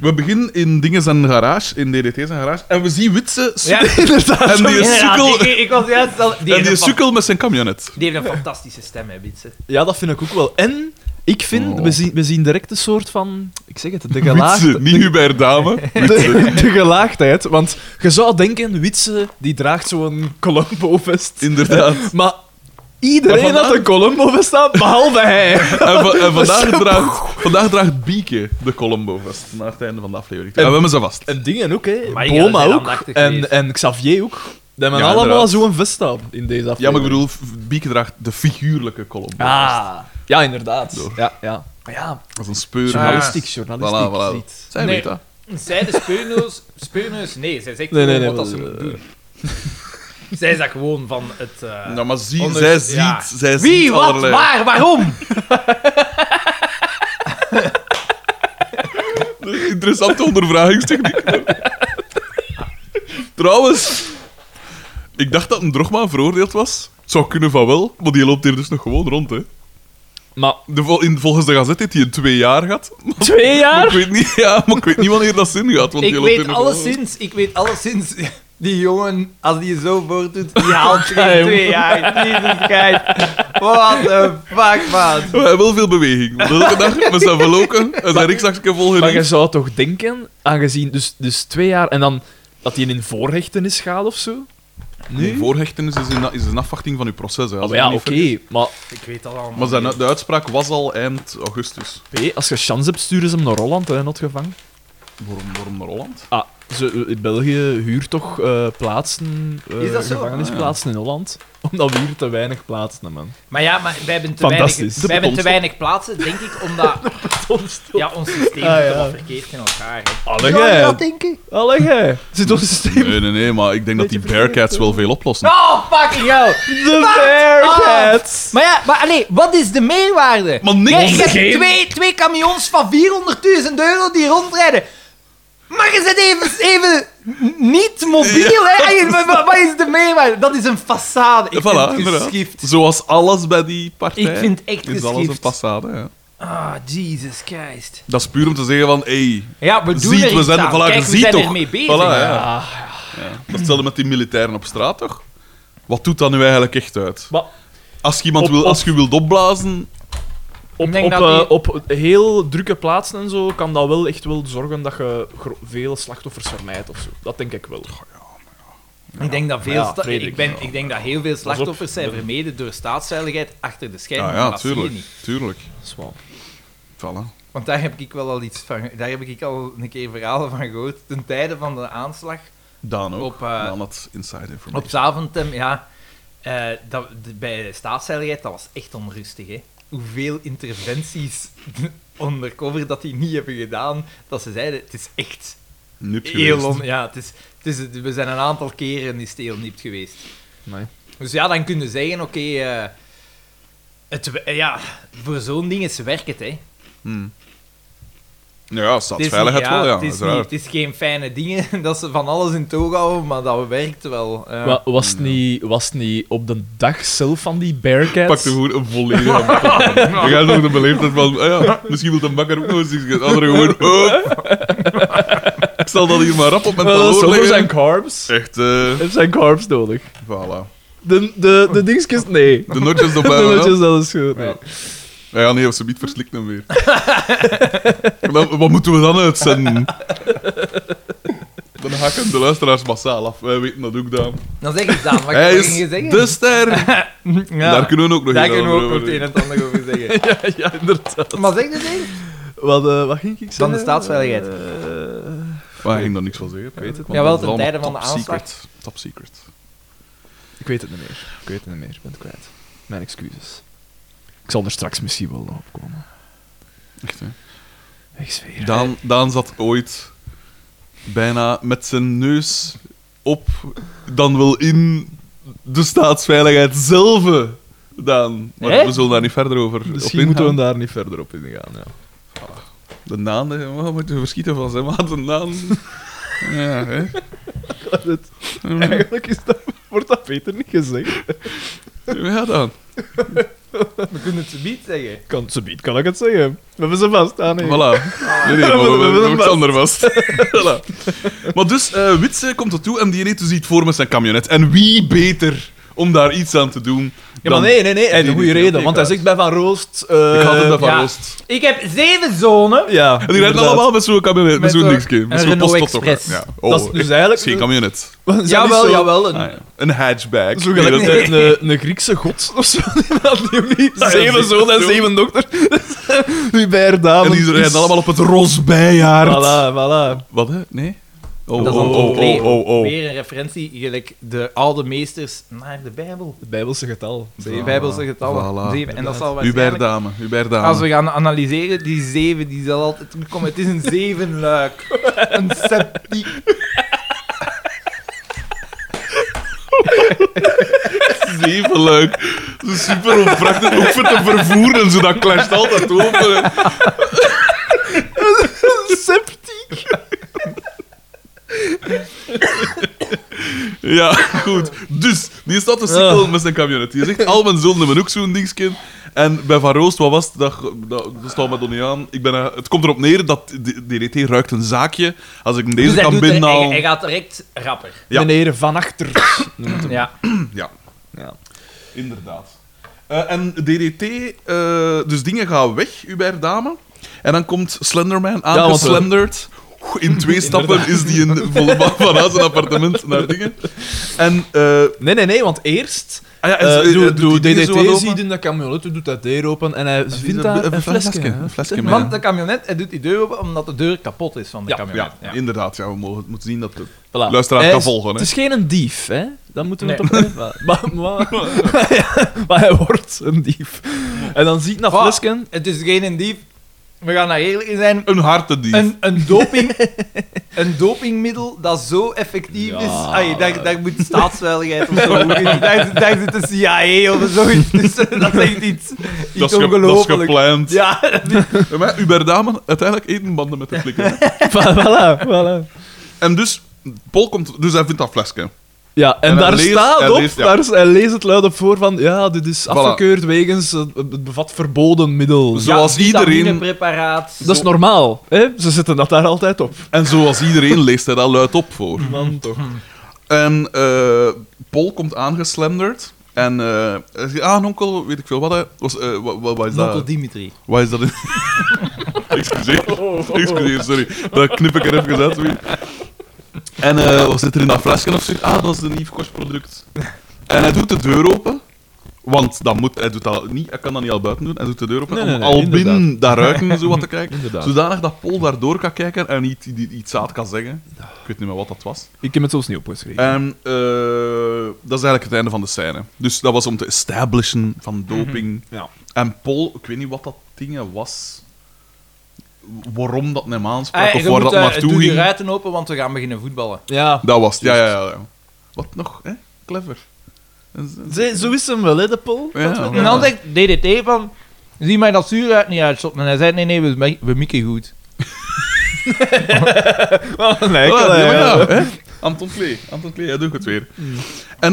S2: We beginnen in dingen zijn garage, in DDT zijn garage, en we zien Witse
S1: Ja,
S3: [laughs] Inderdaad.
S2: en die
S1: inderdaad,
S2: sukkel,
S1: ik, ik was juist al... Die,
S2: en
S1: heeft
S2: die
S1: een fan-
S2: sukkel met zijn camionet.
S1: die heeft een fantastische stem, hè, Bitsen.
S3: Ja, dat vind ik ook wel. En ik vind,
S2: Oh.
S3: we, zien, we zien direct een soort van... Ik zeg het, de
S2: [laughs] Witse,
S3: gelaagde...
S2: niet Hubert Dame.
S3: De, de gelaagdheid, want je zou denken, Witse die draagt zo'n Columbo-vest.
S2: Inderdaad.
S3: Maar iedereen
S2: Maar vandaag-
S3: had een Columbo-vest aan, behalve hij.
S2: En, va- en vandaag, draagt, vandaag draagt Bieke de Colombo vast, naar het einde van de aflevering. En we hebben ze vast.
S3: En dingen ook, hè.
S1: Maar jullie
S3: Boma
S1: zijn
S3: ook.
S1: aandachtig
S3: En,
S1: geweest.
S3: en Xavier ook. Die hebben
S2: Ja,
S3: allemaal
S2: inderdaad.
S3: zo'n vest aan in deze aflevering.
S2: Ja, maar ik bedoel, f- Bieke draagt de figuurlijke Colombo vast.
S3: Ah. Ja, inderdaad.
S2: Door.
S3: Ja,
S1: [laughs]
S3: ja. Maar ja,
S2: Dat is een speur.
S3: journalistiek,
S1: Ah.
S3: journalistiek.
S2: Voilà, voilà.
S3: zoiets.
S2: Zij
S1: Nee.
S2: weet dat.
S1: Zij de speurneus... Speurneus, nee, zij zegt
S3: Nee, nee,
S1: gewoon
S3: nee,
S1: wat dat ze
S3: maar- eh,
S1: moet doen. zij is dat gewoon van het... eh,
S2: Ja, maar zie,
S1: Anders-
S2: zij ziet,
S1: ja.
S2: zij
S1: Wie,
S2: ziet
S1: wat,
S2: allerlei...
S1: waar, waarom?
S2: Interessante ondervragingstechniek. Trouwens, ik dacht dat een drogma veroordeeld was. Het zou kunnen van wel, maar die loopt hier dus nog gewoon rond, hè.
S3: Maar
S2: De, vol- in, volgens de gazette heeft hij een twee jaar gehad.
S3: twee
S2: Maar
S3: jaar?
S2: ik weet niet, ja, maar ik weet niet wanneer dat zin gaat. Want
S1: Ik
S2: die loopt hier
S1: weet
S2: nog gewoon rond.
S1: alleszins, ik weet alleszins... [laughs] Die jongen, als die zo voortdoet,
S3: [laughs]
S1: die haalt
S3: Ja,
S1: geen twee jaar. Jesus Christ. What the fuck, man.
S2: We hebben wel veel beweging. Want elke dag met zijn verloken en zijn rikzakje vol
S3: Maar je
S2: gereden.
S3: zou toch denken, aangezien dus, dus twee jaar en dan dat hij in voorhechtenis gaat of zo?
S2: Nee, Voorhechtenis is een, is een afwachting van uw proces. Hè, als
S3: Oh,
S2: ik
S3: ja,
S2: me
S3: oké,
S2: niet vergis.
S3: maar
S1: Ik weet dat allemaal.
S2: Maar zijn, de uitspraak was al eind augustus.
S3: hé, als je chance hebt, sturen ze hem naar Holland, hè, not gevangen.
S2: Waarom, waarom naar Holland?
S3: Ah, ze, in België huurt toch eh, plaatsen, eh,
S1: Is dat zo?
S3: gevangenisplaatsen in Holland? [laughs] Omdat we hier te weinig plaatsen hebben, man.
S1: Maar ja, maar wij hebben te,
S3: Fantastisch.
S1: weinig,
S3: De
S1: wij hebben te
S2: betonstop.
S1: weinig plaatsen, denk ik,
S3: [laughs]
S1: omdat ja, ons systeem
S3: Ah,
S1: zit
S3: ja.
S1: wel verkeerd in elkaar. hè.
S3: Allee, jij.
S1: denk ik.
S3: Allee, jij. Zit [laughs] ons systeem...
S2: Nee, nee, nee, maar ik denk dat die Bearcats wel veel oplossen.
S1: Oh, fucking hell.
S3: De Bearcats!
S1: Maar ja, maar allee, wat is de meerwaarde?
S2: Maar niks.
S1: Jij- je hebt
S3: Geen-
S1: twee, twee camions van 400.000 euro die rondrijden. Maar je zit even, even niet mobiel, hè? En je- wa- wa- Wat is de meerwaarde? Dat is een façade. Ik
S2: Voilà,
S1: vind het
S2: inderdaad.
S1: geschift.
S2: Zoals alles bij die partij.
S1: Ik vind het echt
S2: Is alles een
S1: geschift.
S2: passade, hè.
S1: Ah, Jesus Christ.
S2: Dat is puur om te zeggen van, hey,
S1: Ja, we doen
S2: ziet,
S1: er
S2: we
S1: iets
S2: zijn,
S1: aan.
S2: voilà,
S1: Kijk,
S2: je
S1: we
S2: ziet
S1: zijn
S2: toch.
S1: ermee bezig.
S2: Voilà, ja.
S3: Ah,
S2: Dat is hetzelfde met die militairen op straat, toch? Wat doet dat nu eigenlijk echt uit?
S3: maar
S2: Als je iemand
S3: Op-
S2: wil,
S3: op-
S2: als je wilt opblazen,
S3: Op,
S1: Ik denk
S3: op,
S1: dat die-
S3: eh, op heel drukke plaatsen en zo kan dat wel echt wel zorgen dat je gro- veel slachtoffers vermijdt of zo. Dat denk ik wel.
S1: Ik denk dat, veel
S3: Ja,
S1: sta-
S3: Frederik,
S1: ik ben,
S3: ja.
S1: ik denk dat heel veel slachtoffers zijn vermeden door staatsveiligheid achter de schermen.
S2: Ah, ja, ja,
S1: Dat zie je
S2: tuurlijk,
S1: niet.
S2: tuurlijk.
S3: Zwaar.
S2: Voilà.
S1: Want daar heb ik wel al iets van, daar heb ik al een keer verhalen van gehoord. Ten tijde van de aanslag
S2: Daan ook.
S1: Op, eh,
S2: Daan had inside information.
S1: op Zaventem, ja. eh, dat, de- bij de staatsveiligheid, dat was echt onrustig, hè. Hoeveel interventies [laughs] undercover dat die niet hebben gedaan, dat ze zeiden, het is echt
S2: Nip
S1: heel
S2: geweest.
S1: on... Ja, het is, het is, we zijn een aantal keren is het heel nipt geweest.
S3: Nee.
S1: Dus ja, dan kun je zeggen, oké, eh, het we- eh, ja, voor zo'n ding is werk het, hè.
S2: Hmm. Ja,
S1: Het is
S2: staatsveiligheid
S1: niet-
S2: wel, ja.
S1: Het is, niet,
S2: uiteraard.
S1: het is geen fijne dingen [laughs] dat ze van alles in toog houden, maar dat werkt wel. Eh, ja.
S3: Wa- Was het niet, was het niet op de dag zelf van die Bearcats?
S2: Pak er gewoon een volledige
S3: [laughs]
S2: aan. We gaan nog de beleefdheid van. ah ja, misschien wil de bakker ook nog eens iets. Anderen gewoon. Op. "Oh." Ik zal dat hier maar rap op mijn
S3: Wel,
S2: taloor
S3: Zonder
S2: leggen.
S3: Eh, zijn carbs.
S2: Echt, eh.
S3: Heeft zijn carbs nodig.
S2: voilà.
S3: De, de, de dingetjes, nee.
S2: De notjes
S3: [laughs] De
S2: erbij. wel.
S3: notjes, dat is goed. nee.
S2: Ja. Ja, ja, nee, of ze niet verslikt hem weer. [laughs] Dan- wat moeten we dan uitzenden? Dan hakken de luisteraars massaal af. Wij weten dat ook, Daan.
S1: Dan zeg ik dan, wat
S2: Hij
S1: kan je
S2: is
S1: zeggen?
S2: de ster.
S1: Ja,
S2: Daar kunnen we ook nog
S1: daar
S2: iets
S1: kunnen we
S2: over
S1: ook nog het een
S2: hebben.
S1: en het ander over
S2: [laughs]
S1: zeggen.
S3: [laughs] Ja, ja, inderdaad.
S1: Maar zeg dat eens.
S3: Wat, eh, wat ging ik zeggen?
S1: de staatsveiligheid.
S3: Eh,
S2: Maar hij ging daar niks van zeggen, ik weet het. want
S1: Jawel,
S2: dat is
S1: ten tijde
S2: allemaal
S1: van de
S2: top
S1: aanslag.
S2: secret. Top secret.
S3: ik weet het niet meer. Ik weet het niet meer. Ik ben het kwijt. Mijn excuses. Ik zal er straks misschien wel nog op komen.
S2: Echt, hè.
S3: Ik zweer.
S2: Daan, Daan zat ooit bijna met zijn neus op, dan wel in de staatsveiligheid zelf. Daan. Maar
S1: Hè?
S2: we zullen daar niet verder over
S3: Misschien
S2: op
S3: moeten we
S2: ingaan.
S3: daar niet verder op ingaan. Ja.
S2: De Naan, de, wat moeten we verschieten van zijn maat? De Naan. ja, hè?
S3: Het- [laughs] Eigenlijk is dat, wordt dat beter niet gezegd.
S2: Ja, dan.
S1: We kunnen het niet zeggen.
S3: Kan, zo biedt kan ik het zeggen. We hebben ze vast aan. hè.
S2: Voilà. Nee, nee, maar
S3: We
S2: we
S3: hebben
S2: hebben
S3: hem
S2: het ander vast. [laughs] voilà. Maar dus, eh Witse komt ertoe en die reed dus iets voor met zijn camionet. En wie beter om daar iets aan te doen
S3: Ja, maar
S2: dan-
S3: nee, nee, nee. Hij heeft
S2: Die
S3: een goede
S2: die
S3: reden.
S2: die
S3: Want hij
S2: kaart.
S3: zegt bij Van Roost... eh,
S2: Ik had het daarvan
S1: ja.
S2: Oost.
S1: Ik heb zeven zonen.
S3: Ja,
S2: En die rijden
S3: inderdaad.
S2: allemaal met zo'n camionet, met
S1: Met
S2: zo'n
S1: zo'n-
S2: dingetje. Met
S1: een
S2: zo'n
S1: Renault
S2: postkantoor.
S1: Express.
S2: Ja.
S3: Dat is
S2: Oh,
S3: dus
S2: echt
S3: eigenlijk-
S2: geen camionet.
S3: Zijn die
S1: Jawel,
S3: zo-
S1: jawel. Een,
S2: Ah, ja. Een hatchback.
S3: Zo
S2: Nee,
S3: gelijk
S2: dat is-
S3: een, [laughs] een, een Griekse god of zo. [laughs] Die had ook niet
S2: Ja,
S3: zeven
S2: zeven
S3: zoon en
S2: zoon.
S3: zeven [laughs] dochter. Wie bij haar dame.
S2: En die rijden
S3: is.
S2: allemaal op het Rosbeijaard.
S3: Voilà, voilà.
S2: Wat, hè? Nee? Oh,
S1: dat
S2: oh,
S1: is dan
S2: oh,
S1: weer-
S2: oh, oh, oh.
S1: weer een referentie, gelijk de oude meesters naar de Bijbel.
S3: Het Bijbelse getal.
S1: De Bijbelse getallen.
S2: voilà.
S1: Zeven. En dat zal waarschijnlijk...
S2: Hubertdame,
S1: Als
S2: Hubertdame.
S1: we gaan analyseren, die zeven die zal altijd terugkomen. Het is een
S2: [laughs]
S1: zevenluik. Een septiek.
S2: Zeven leuk. Zo super om praktisch ook voor te vervoeren en zo, dat clasht altijd
S1: [laughs]
S2: open.
S3: Septiek.
S2: Ja, goed. Dus, die staat te sikkel
S1: Ah.
S2: met zijn camionet. Die zegt, al mijn zonden hebben ook zo'n dingetje. En bij Van Roost, wat was het? Dat, dat, dat staat me toch niet aan. Ik ben, eh, het komt erop neer dat die, die RT ruikt een zaakje. Als ik deze
S1: Dus hij
S2: kan
S1: doet er- hij, hij
S2: binnenhalen...
S1: gaat direct rapper.
S2: Ja.
S3: Meneer Van Achter. noemt hem.
S1: Ja.
S2: Ja,
S3: Ja.
S2: inderdaad. Eh, en DDT, eh, dus dingen gaan weg, Hubert Dame. En dan komt Slenderman
S3: want, eh,
S2: aangeslenderd. In
S3: [laughs]
S2: twee stappen is die in volle baan vanuit zijn appartement naar dingen. En eh,
S3: [coughs] Nee, nee, nee, want eerst...
S2: Ah ja, en
S3: eh
S2: ze-
S3: doe,
S2: doet
S3: doe
S2: die dingen zo wat
S3: DDT
S2: open?
S3: ziet in de camionet, doet dat deur open en hij
S2: is
S3: vindt
S2: een-
S3: daar
S2: een
S3: een
S2: flesje,
S3: flesje.
S2: een flesje,
S3: hè.
S2: man.
S1: Want de camionet, hij doet die deur open omdat de deur kapot is van de
S3: Ja,
S1: camionet.
S2: ja, inderdaad. Ja, we mogen- moeten zien dat de
S3: Voilà.
S2: Luisteraar
S3: Hij
S2: kan
S3: is-
S2: volgen, hè.
S3: Het is geen een dief, hè? Dan moeten we
S1: Nee.
S3: het op. Maar,
S2: [laughs]
S3: maar, [laughs] maar- Ja, maar hij wordt een dief. En dan ziet naar
S1: Ah.
S3: flesken.
S1: Het is geen dief. We gaan daar eerlijk in zijn.
S2: Een hartendief.
S1: Een, een, doping, een dopingmiddel dat zo effectief
S3: Ja.
S1: is. Ai, daar, daar moet staatsveiligheid of
S2: [laughs]
S1: zo. in. Daar, daar zit de CIA of [laughs] zoiets tussen. eh, Dat is echt iets, iets
S2: Dat is, ge- dat is
S1: ongelooflijk.
S2: gepland.
S1: Ja, dat is-
S2: [laughs] Ja, maar Hubert Damen, uiteindelijk eten banden met de flikker. hè.
S3: [laughs] voilà, voilà.
S2: en dus, Paul komt... Dus hij vindt dat flesje.
S3: Ja, en,
S2: En hij
S3: daar
S2: leest-
S3: staat
S2: hij
S3: op,
S2: leest, ja.
S3: daar, is- hij leest het luid op voor van, ja, dit is afgekeurd wegens, eh, het bevat verboden middel.
S2: Zo. Zoals
S1: ja,
S2: iedereen-
S1: vitaminepreparaat.
S3: Dat is normaal, hè? Ze zetten dat daar altijd op.
S2: En zoals iedereen leest hij dat luid op voor.
S3: Man, toch.
S2: En eh Paul komt aangeslenderd. En eh, hij zegt, ah, een onkel, weet ik veel wat. Hè. Was, eh, wa- wa- wat is
S1: Onkel
S2: dat?
S1: Dimitri.
S2: Wat is dat? in- [laughs] Excuseer. Excuseer, sorry. Dat knip ik er even uit. weer. En eh, wat zit er in dat flesje of zoiets? Ah, dat is een nieuw kostproduct. En hij doet de deur open. Want dat moet, hij doet dat niet, hij kan dat niet al buiten doen, hij doet de deur open
S3: Nee, nee,
S2: om
S3: nee,
S2: al
S3: inderdaad.
S2: binnen daar ruiken zo wat te kijken.
S3: [laughs] Inderdaad.
S2: Zodanig dat Paul daardoor kan kijken en iets, iets, iets zaad kan zeggen. Ik weet niet meer wat dat was.
S4: Ik heb het zelfs niet opgeschreven.
S2: En eh, dat is eigenlijk het einde van de scène. Dus dat was om te establishen van
S1: Mhm.
S2: doping.
S3: Ja.
S2: En Paul, ik weet niet wat dat ding was. Waarom dat hem aansprak
S1: Ah,
S2: of
S1: je
S2: waar
S1: moet,
S2: dat
S1: eh,
S2: naartoe
S1: Doe je
S2: ging.
S1: ruiten open, want we gaan beginnen voetballen.
S3: Ja.
S2: Dat was het, ja, ja, ja, ja. Wat nog, hè? Clever. En ze-
S3: Ze- Zo is hem wel, hè, de Paul.
S2: Ja.
S3: Dat we-
S1: En dan zegt DDT van... Zie mij dat zuur uit niet uitstoppen. En hij zei, nee, nee, we, mi- we mikken goed.
S3: Wat een
S2: Ah,
S3: eikel,
S2: ja,
S3: hè,
S2: maar
S3: Oh, ja.
S2: ja, hè? Anton Klee, Anton Klee, hij doet het weer.
S1: Mm.
S2: En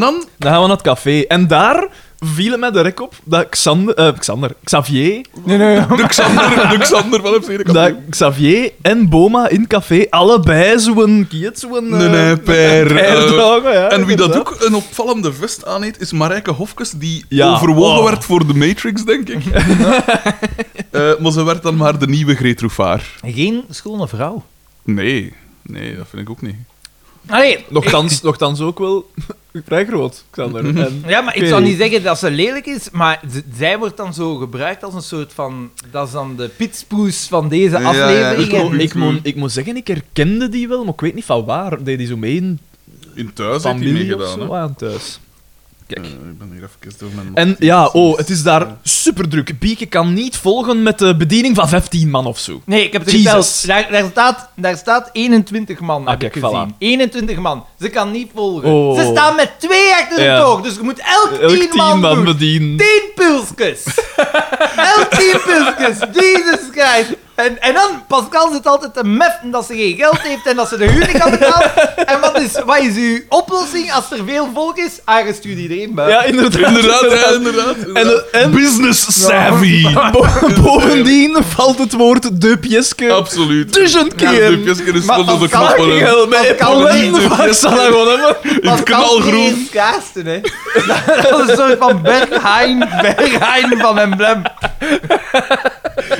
S1: [laughs]
S2: dan,
S3: Dan gaan we naar het café. En daar viel mij de rek op dat Xander, eh, Xander, Xavier,
S1: Nee, nee,
S2: de Xander, de Xander van FC de
S3: dat
S2: kampioen.
S3: Xavier en Boma in het café allebei zo'n kiet, zo'n... eh,
S2: Nee, nee, per.
S3: pijl
S2: eh,
S3: dragen, ja,
S2: En wie dat
S3: inderdaad.
S2: ook een opvallende vest aanheet, is Marijke Hofkes, die
S3: Ja,
S2: overwogen
S3: oh.
S2: werd voor de Matrix, denk
S3: [laughs]
S2: ik. Eh, maar ze werd dan maar de nieuwe Greet Roefaar.
S1: Geen schone vrouw.
S2: Nee, nee, dat vind ik ook niet.
S1: Allee,
S3: Nochtans, nochtans ook wel [laughs] vrij groot,
S2: Mhm.
S3: Xander. En,
S1: ja, maar ik
S3: weet
S1: zou
S3: niet.
S1: niet zeggen dat ze lelijk is, maar z- zij wordt dan zo gebruikt als een soort van... Dat is dan de pitspoes van deze
S2: Ja, ja,
S1: aflevering.
S2: ik
S1: En-
S2: ook.
S3: ik, moet, ik moet zeggen, ik herkende die wel, maar ik weet niet van waar. Deed die zo mee in
S2: In thuis heeft hij
S3: familie of
S2: meegedaan.
S3: zo
S2: hè.
S3: aan thuis. Kijk.
S2: Eh, ik ben hier even door mijn...
S3: En ja, oh, het is daar super druk. Bieke kan niet volgen met de bediening van 15 man of zo.
S1: Nee, ik heb het
S3: Jesus.
S1: geteld. Daar, daar, staat, daar staat 21 man,
S3: Ah,
S1: heb
S3: kijk,
S1: ik gezien.
S3: voilà.
S1: 21 man. Ze kan niet volgen.
S3: Oh.
S1: Ze staan met twee achter de
S3: Ja.
S1: toog, dus je moet elk,
S3: Elk
S1: 10 man, doen.
S3: bedienen.
S1: 10 pulskes. elk 10 pulskes. Jesus Christ. En, en dan, Pascal zit altijd te meffen dat ze geen geld heeft en dat ze de huur niet kan betalen. En wat is, wat is uw oplossing als er veel volk is? Ah, je stuurt iedereen buiten.
S3: Ja, inderdaad.
S2: [laughs] Inderdaad, ja, inderdaad.
S3: En,
S2: inderdaad.
S3: eh, en
S2: Business savvy.
S3: [laughs] bo- bovendien valt het woord de pieske
S2: Absoluut.
S3: duizend
S2: Ja,
S3: keer.
S2: de pjesker is
S1: Maar
S2: stond op de
S1: Pascal
S2: knop.
S1: ging
S2: eh,
S3: Heel
S1: Dat
S3: mee,
S1: kan
S3: Paulien,
S1: niet.
S3: waar zal hij gewoon hebben?
S2: In het knalgroen.
S1: is kaarsen, hè. Dat is een soort van Berghain, Berghain van Emblem.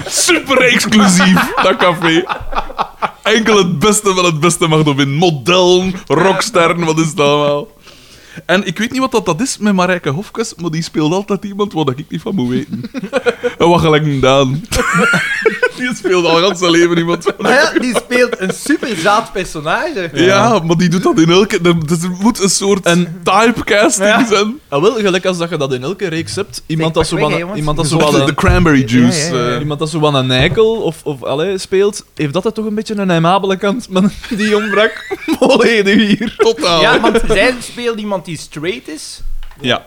S2: Super exclusief, dat café. Enkel het beste van het beste mag op in. Modellen, rocksterren, wat is dat allemaal? En ik weet niet wat dat, dat is met Marijke Hofkes, maar die speelt altijd iemand waar dat ik niet van moet weten. En wat gelijk een Daan. Die speelt al gans zijn leven iemand van.
S1: Maar ja, die speelt een super zaad personage.
S2: Ja, maar die doet dat in elke... er- Dus er moet een soort
S3: Een-
S2: typecasting
S1: Ja.
S2: zijn.
S3: Ah, wel, gelijk als dat je dat in elke reeks hebt. Iemand dat
S1: pak
S3: zo
S1: weg,
S3: van-
S1: hè, jongens.
S3: iemand dat zo
S2: Zoals
S3: van
S2: de
S3: een-
S2: cranberry juice.
S1: Ja, ja, ja.
S2: eh.
S3: iemand dat zo van een eikel of, of allee, speelt, heeft dat er toch een beetje een heimabele kant. [laughs] Maar die ontbrak volledig hier.
S2: Totaal.
S1: Ja, want zij speelt iemand die straight is.
S2: Ja.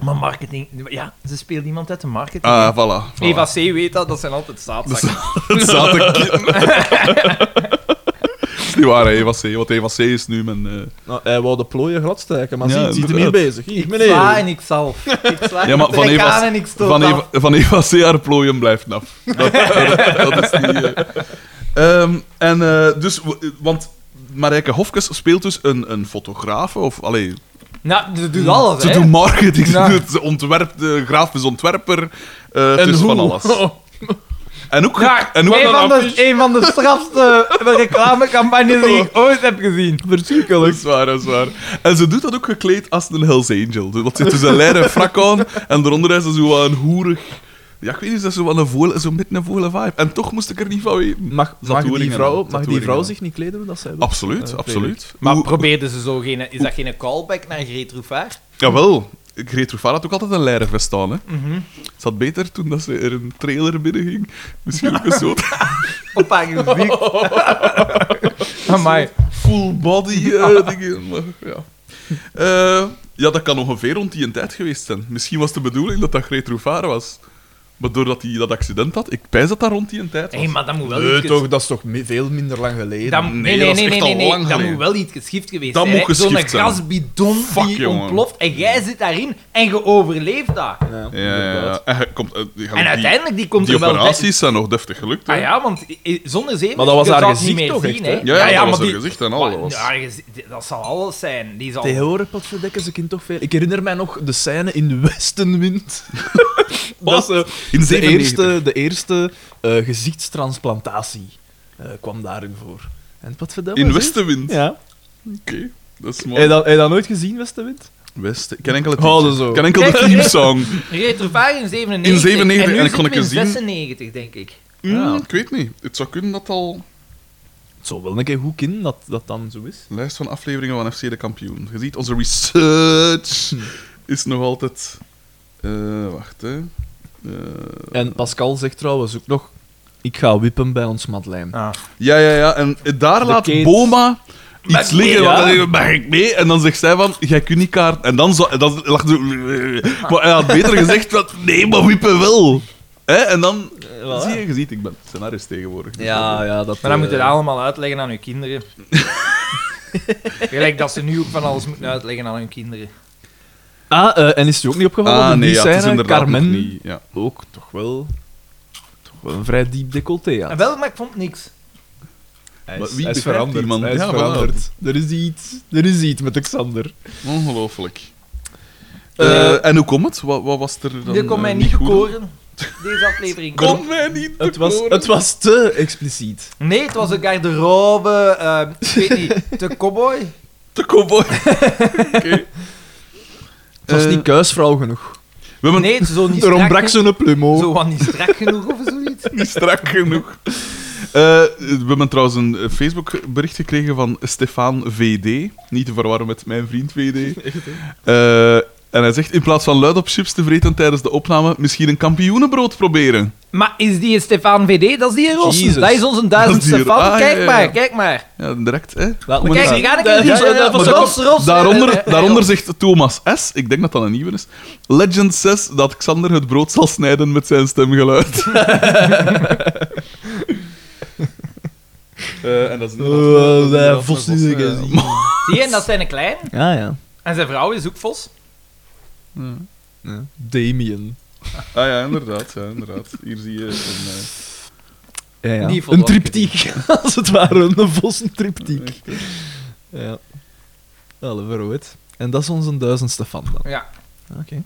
S1: Maar marketing... Ja, ze speelt iemand uit de marketing.
S2: Ah, voilà. voilà.
S1: Eva C. weet dat, dat zijn altijd zaadzakken.
S2: Het zaten kinderen.
S1: [laughs]
S2: is niet waar, hè, Eva C. Want Eva C. is nu mijn... eh,
S3: Nou, hij wou de plooien gladsteken, maar
S2: Ja,
S3: ziet, ziet hem hier
S2: inderdaad.
S3: bezig. Hier,
S1: Ik sla en
S3: meneer.
S1: ik zal. Ik sla
S2: Ja, maar
S1: ik
S2: van
S1: trek
S2: Eva-
S1: aan en ik stoot
S2: van,
S1: af.
S2: Eva, van Eva C. haar plooien blijft af. Dat, dat is die... eh. Ehm, en eh, dus... w- Want Marijke Hofkes speelt dus een, een fotograaf, of... Allee,
S1: Nou, ze doet alles,
S2: ze
S1: hè.
S2: doet marketing,
S1: Ja.
S2: ze, doet, [laughs] ze ontwerpt, de grafisch ontwerper, eh het is van alles.
S3: Oh,
S2: En ook...
S1: Ja,
S2: en ook
S1: een, van de, een van de strafste reclamecampagnes die ik ooit heb gezien.
S2: Dat is waar, dat is waar. En ze doet dat ook gekleed als een Hells Angel. Dus, want ze heeft dus een leren frak aan en daaronder is ze zo wat een hoerig... Ja, ik weet niet, is dat zo wat een voile, zo met een voile vibe. En toch moest ik er niet van weten.
S3: Mag, mag die
S2: Zatoeringen,
S3: vrouw, mag die
S2: zatoeringen.
S3: vrouw zich niet kleden hoe dat zij wil?
S2: Absoluut,
S3: Eh,
S2: absoluut.
S1: Maar
S2: Hoe-
S1: probeerden ze zo geen... Is dat geen callback naar Greet Rouvaar?
S2: Jawel. Greet Roefaar had ook altijd een leren vest aan, hè. Het zat beter toen dat ze er een trailer binnen ging. Misschien ook een soort
S1: Op haar gezicht. [laughs] Amai.
S2: full
S3: [laughs]
S2: body eh, dingen. Maar, ja. Eh, ja, dat kan ongeveer rond die een tijd geweest zijn. Misschien was de bedoeling dat dat Greet Roefaar was. Maar doordat hij dat accident had, ik pijs dat dat rond die een tijd
S1: Hé,
S2: was.
S1: hey, maar dat moet wel
S3: Nee,
S1: iets...
S3: eh, toch, dat is toch mi- veel minder lang geleden.
S1: Dat,
S2: nee,
S1: nee, nee,
S2: dat
S1: nee,
S2: is
S1: nee,
S2: echt
S1: nee,
S2: al
S1: nee,
S2: lang
S1: Dat
S2: geleden.
S1: moet wel iets geschift geweest
S2: Dat
S1: zijn.
S2: moet
S1: hè. Zo'n
S2: geschift zijn.
S1: gasbidon
S2: Fuck,
S1: die
S2: jongen.
S1: ontploft en jij zit daarin en je overleeft dat.
S2: Ja, ja, ja. En, hij komt, eh, die-
S1: en uiteindelijk, die komt
S2: die,
S1: er wel
S2: operaties zijn nog deftig gelukt. hè.
S1: bij. Ah ja, want i- i- zonder zeven
S3: Maar dat was
S1: je
S3: haar
S1: zou het niet
S3: gezicht
S1: meer
S3: toch echt,
S1: zien,
S3: hè?
S1: hè?
S3: Ja,
S2: ja, dat was
S1: maar
S2: haar
S1: die-
S2: gezicht en alles.
S1: Maar- ja, haar gezicht- dat zal alles zijn. Die zal...
S3: Tegenwoordig, wat verdekken ze kind toch veel. Ik herinner mij nog de scène in de [laughs] Westenwind. dat ze
S2: In
S3: de
S2: 97.
S3: eerste, de eerste eh, gezichtstransplantatie eh, kwam daarin voor. En wat verdekken
S2: In Westenwind.
S3: Ja.
S2: Oké, dat is mooi.
S3: Heb je dat, heb je dat nooit gezien, Westenwind?
S2: West. Ik ken enkel het
S3: Houden zo.
S2: Ik ken enkel de theme
S3: [laughs]
S2: song.
S1: Retrovaar in 97.
S2: In 97,
S1: en nu
S2: en ik
S1: zitten
S2: kon
S1: we in
S2: ik eens zien.
S1: 96, denk ik.
S2: Hmm,
S3: Ja.
S2: Ik weet niet. Het zou kunnen dat al
S3: Het zou wel een keer goed kunnen dat dat dan zo is.
S2: lijst van afleveringen van FC de kampioen. Je ziet, onze
S3: [laughs]
S2: research is nog altijd. eh, wacht, hè. Eh,
S3: En Pascal zegt trouwens ook nog: Ik ga wippen bij ons Madeleine.
S1: Ah.
S2: ja, ja, ja. En daar
S3: De
S2: laat
S3: Kate.
S2: Boma iets
S3: Mag mee,
S2: liggen.
S3: ja.
S2: want dan zegt hij, Mag ik mee? En dan zegt zij van, jij kunt niet kaart. En dan, zo, en dan lag de, [laughs] Maar hij had beter gezegd, van, nee, maar wiepen wel. Hè? En dan
S3: Eh, voilà.
S2: zie je, je ziet, ik ben scenarist tegenwoordig.
S3: Ja, ja, dat.
S2: Dus,
S1: Maar dan moet je
S3: eh,
S1: dat allemaal uitleggen aan hun
S2: [laughs]
S1: kinderen. Gelijk dat ze nu ook van alles moeten uitleggen aan hun kinderen.
S3: Ah, eh, en is het je ook niet opgevallen?
S2: Ah,
S3: In
S2: nee,
S3: die
S2: ja, het is
S3: scène,
S2: inderdaad nog
S3: Carmen
S2: niet. Ja.
S3: ook toch wel, toch wel een vrij diep decolleté. Ja.
S1: En wel, maar ik vond niks.
S3: Hij
S2: Maar
S3: is,
S2: wie
S3: hij is
S2: begrijpt die
S3: veranderd.
S2: man?
S3: Hij is
S2: Ja, voilà.
S3: veranderd. Er is iets. Er is iets met Xander.
S2: Ongelooflijk.
S3: Eh,
S2: Eh, en hoe komt het? Wat, wat was er dan
S1: Dit kon mij
S2: eh,
S1: niet
S2: goed?
S1: bekoren, deze aflevering.
S2: Kon mij niet
S3: Het was,
S2: bekoren.
S3: het was te expliciet.
S1: Nee, het was een garderobe, ehm ik weet niet, de
S2: [laughs]
S1: cowboy.
S2: De cowboy. Oké.
S3: Het was
S2: Eh,
S3: niet kuisvrouw [laughs] genoeg.
S2: We hebben
S1: Nee, het is zo niet
S3: Er
S1: strak
S3: ontbrak
S1: genoeg.
S3: zo'n plumo.
S1: Zo wat niet strak genoeg of zoiets.
S2: niet strak genoeg. Eh, we hebben trouwens een eh, Facebook-bericht gekregen van Stefan VD. Niet te verwarren met mijn vriend VD. [laughs] Eh, en hij zegt, in plaats van luid op chips te vreten tijdens de opname, misschien een kampioenenbrood proberen.
S1: Maar is die Stefan VD? Dat is die Rossen.
S3: Jezus.
S1: Dat is onze duizendste
S2: Dat is die-
S1: fan.
S2: ah, ja,
S1: kijk
S2: ja, ja.
S1: maar, kijk maar.
S2: Ja, direct, hè.
S1: Maar
S3: Laat me
S1: kijk,
S3: gaan.
S1: die gaat ik
S3: Ja,
S1: niet
S3: ja,
S1: zo-
S3: ja,
S1: dat
S3: maar
S1: was
S3: dat-
S1: Ros, Ros. Eh,
S2: Daaronder,
S1: eh,
S2: daaronder zegt Thomas S., ik denk dat dat een nieuwe is, Legend 6 dat Xander het brood zal snijden met zijn
S3: [laughs]
S2: stemgeluid. Eh, en dat is
S3: Oh,
S2: inderdaad-
S3: eh, Vos is
S2: eh,
S3: er gezien.
S2: maar-
S1: Zie je, en dat zijn een klein.
S3: Ja, ja.
S1: En zijn vrouw is ook Vos.
S3: Damien.
S2: Ah ja, inderdaad, ja, inderdaad. Hier zie je een... eh,
S3: Ja, ja.
S1: Die
S3: Een
S1: volwassen.
S3: triptiek, [laughs] als het ware. Een vossen triptiek.
S2: echt, eh,
S3: Ja. Alle verroet. En dat is onze duizendste fan dan.
S1: Ja.
S3: Oké.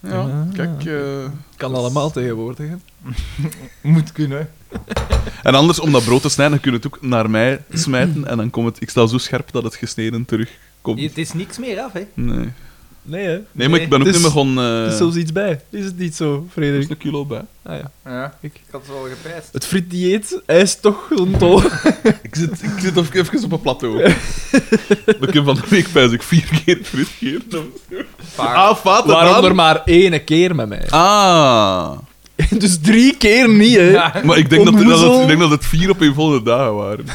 S2: ja,
S3: Ah,
S2: kijk... eh,
S3: Kan allemaal tegenwoordig. hè.
S1: Moet kunnen.
S2: En anders, om dat brood te snijden, kun je het ook naar mij smijten en dan komt het... Ik sta zo scherp dat het gesneden terugkomt.
S1: Het is niks meer af, hè.
S2: Nee,
S3: Nee, hè?
S2: nee maar ik ben ook
S3: Het is-
S2: niet meer gewoon... eh,
S3: Er is zelfs iets bij. Is het niet zo,
S2: er
S3: Frederik?
S2: is een kilo bij.
S3: Ah, ja.
S1: Ja,
S3: Ik.
S1: ik had het wel geprijsd.
S3: Het frietdieet, hij is toch een tol.
S2: Ik zit, ik zit of- even op een plateau. ik heb van de week pijs ik vier keer frituur.
S1: Vaak.
S2: Ah, vaten
S3: Waaronder maar één keer met mij.
S2: Ah.
S3: [laughs] Dus drie keer niet, hè?
S1: Ja.
S2: Maar ik denk, dat, dat,
S3: Onnoezel.
S2: het, ik denk dat het vier op een volgende dagen waren.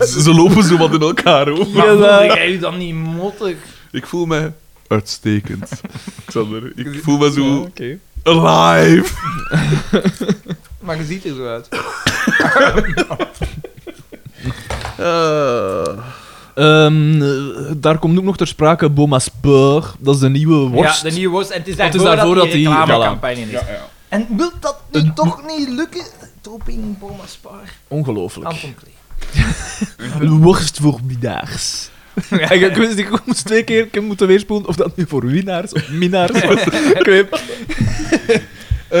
S2: Ze, ze lopen zo wat in elkaar over.
S1: Maar
S3: Ja,
S1: voelde
S3: dat-
S1: jij u dan niet mottig? Ik
S2: Ik voel mij uitstekend. Xander, ik voel me
S3: Ja,
S2: zo
S3: Ah, oké.
S2: alive.
S1: Maar je ziet er zo uit.
S3: Eh, Ehm, eh, daar komt ook nog ter sprake Boma's Peur. Dat is de nieuwe worst.
S1: Ja, de nieuwe worst. En het is
S3: Het
S1: daarvoor,
S3: is daarvoor
S1: dat die
S3: dat die-
S1: reclamecampagne is.
S2: ja.
S1: En wil dat nu toch niet lukken? Toping, Boma Spaar,
S3: Ongelooflijk.
S1: Anton Klee.
S3: Een worst voor minnaars. [laughs] Ja, ik, ik wist, ik moest twee keer ik heb moeten weerspoelen of dat nu voor winnaars of minnaars was. Ik weet-
S2: Eh,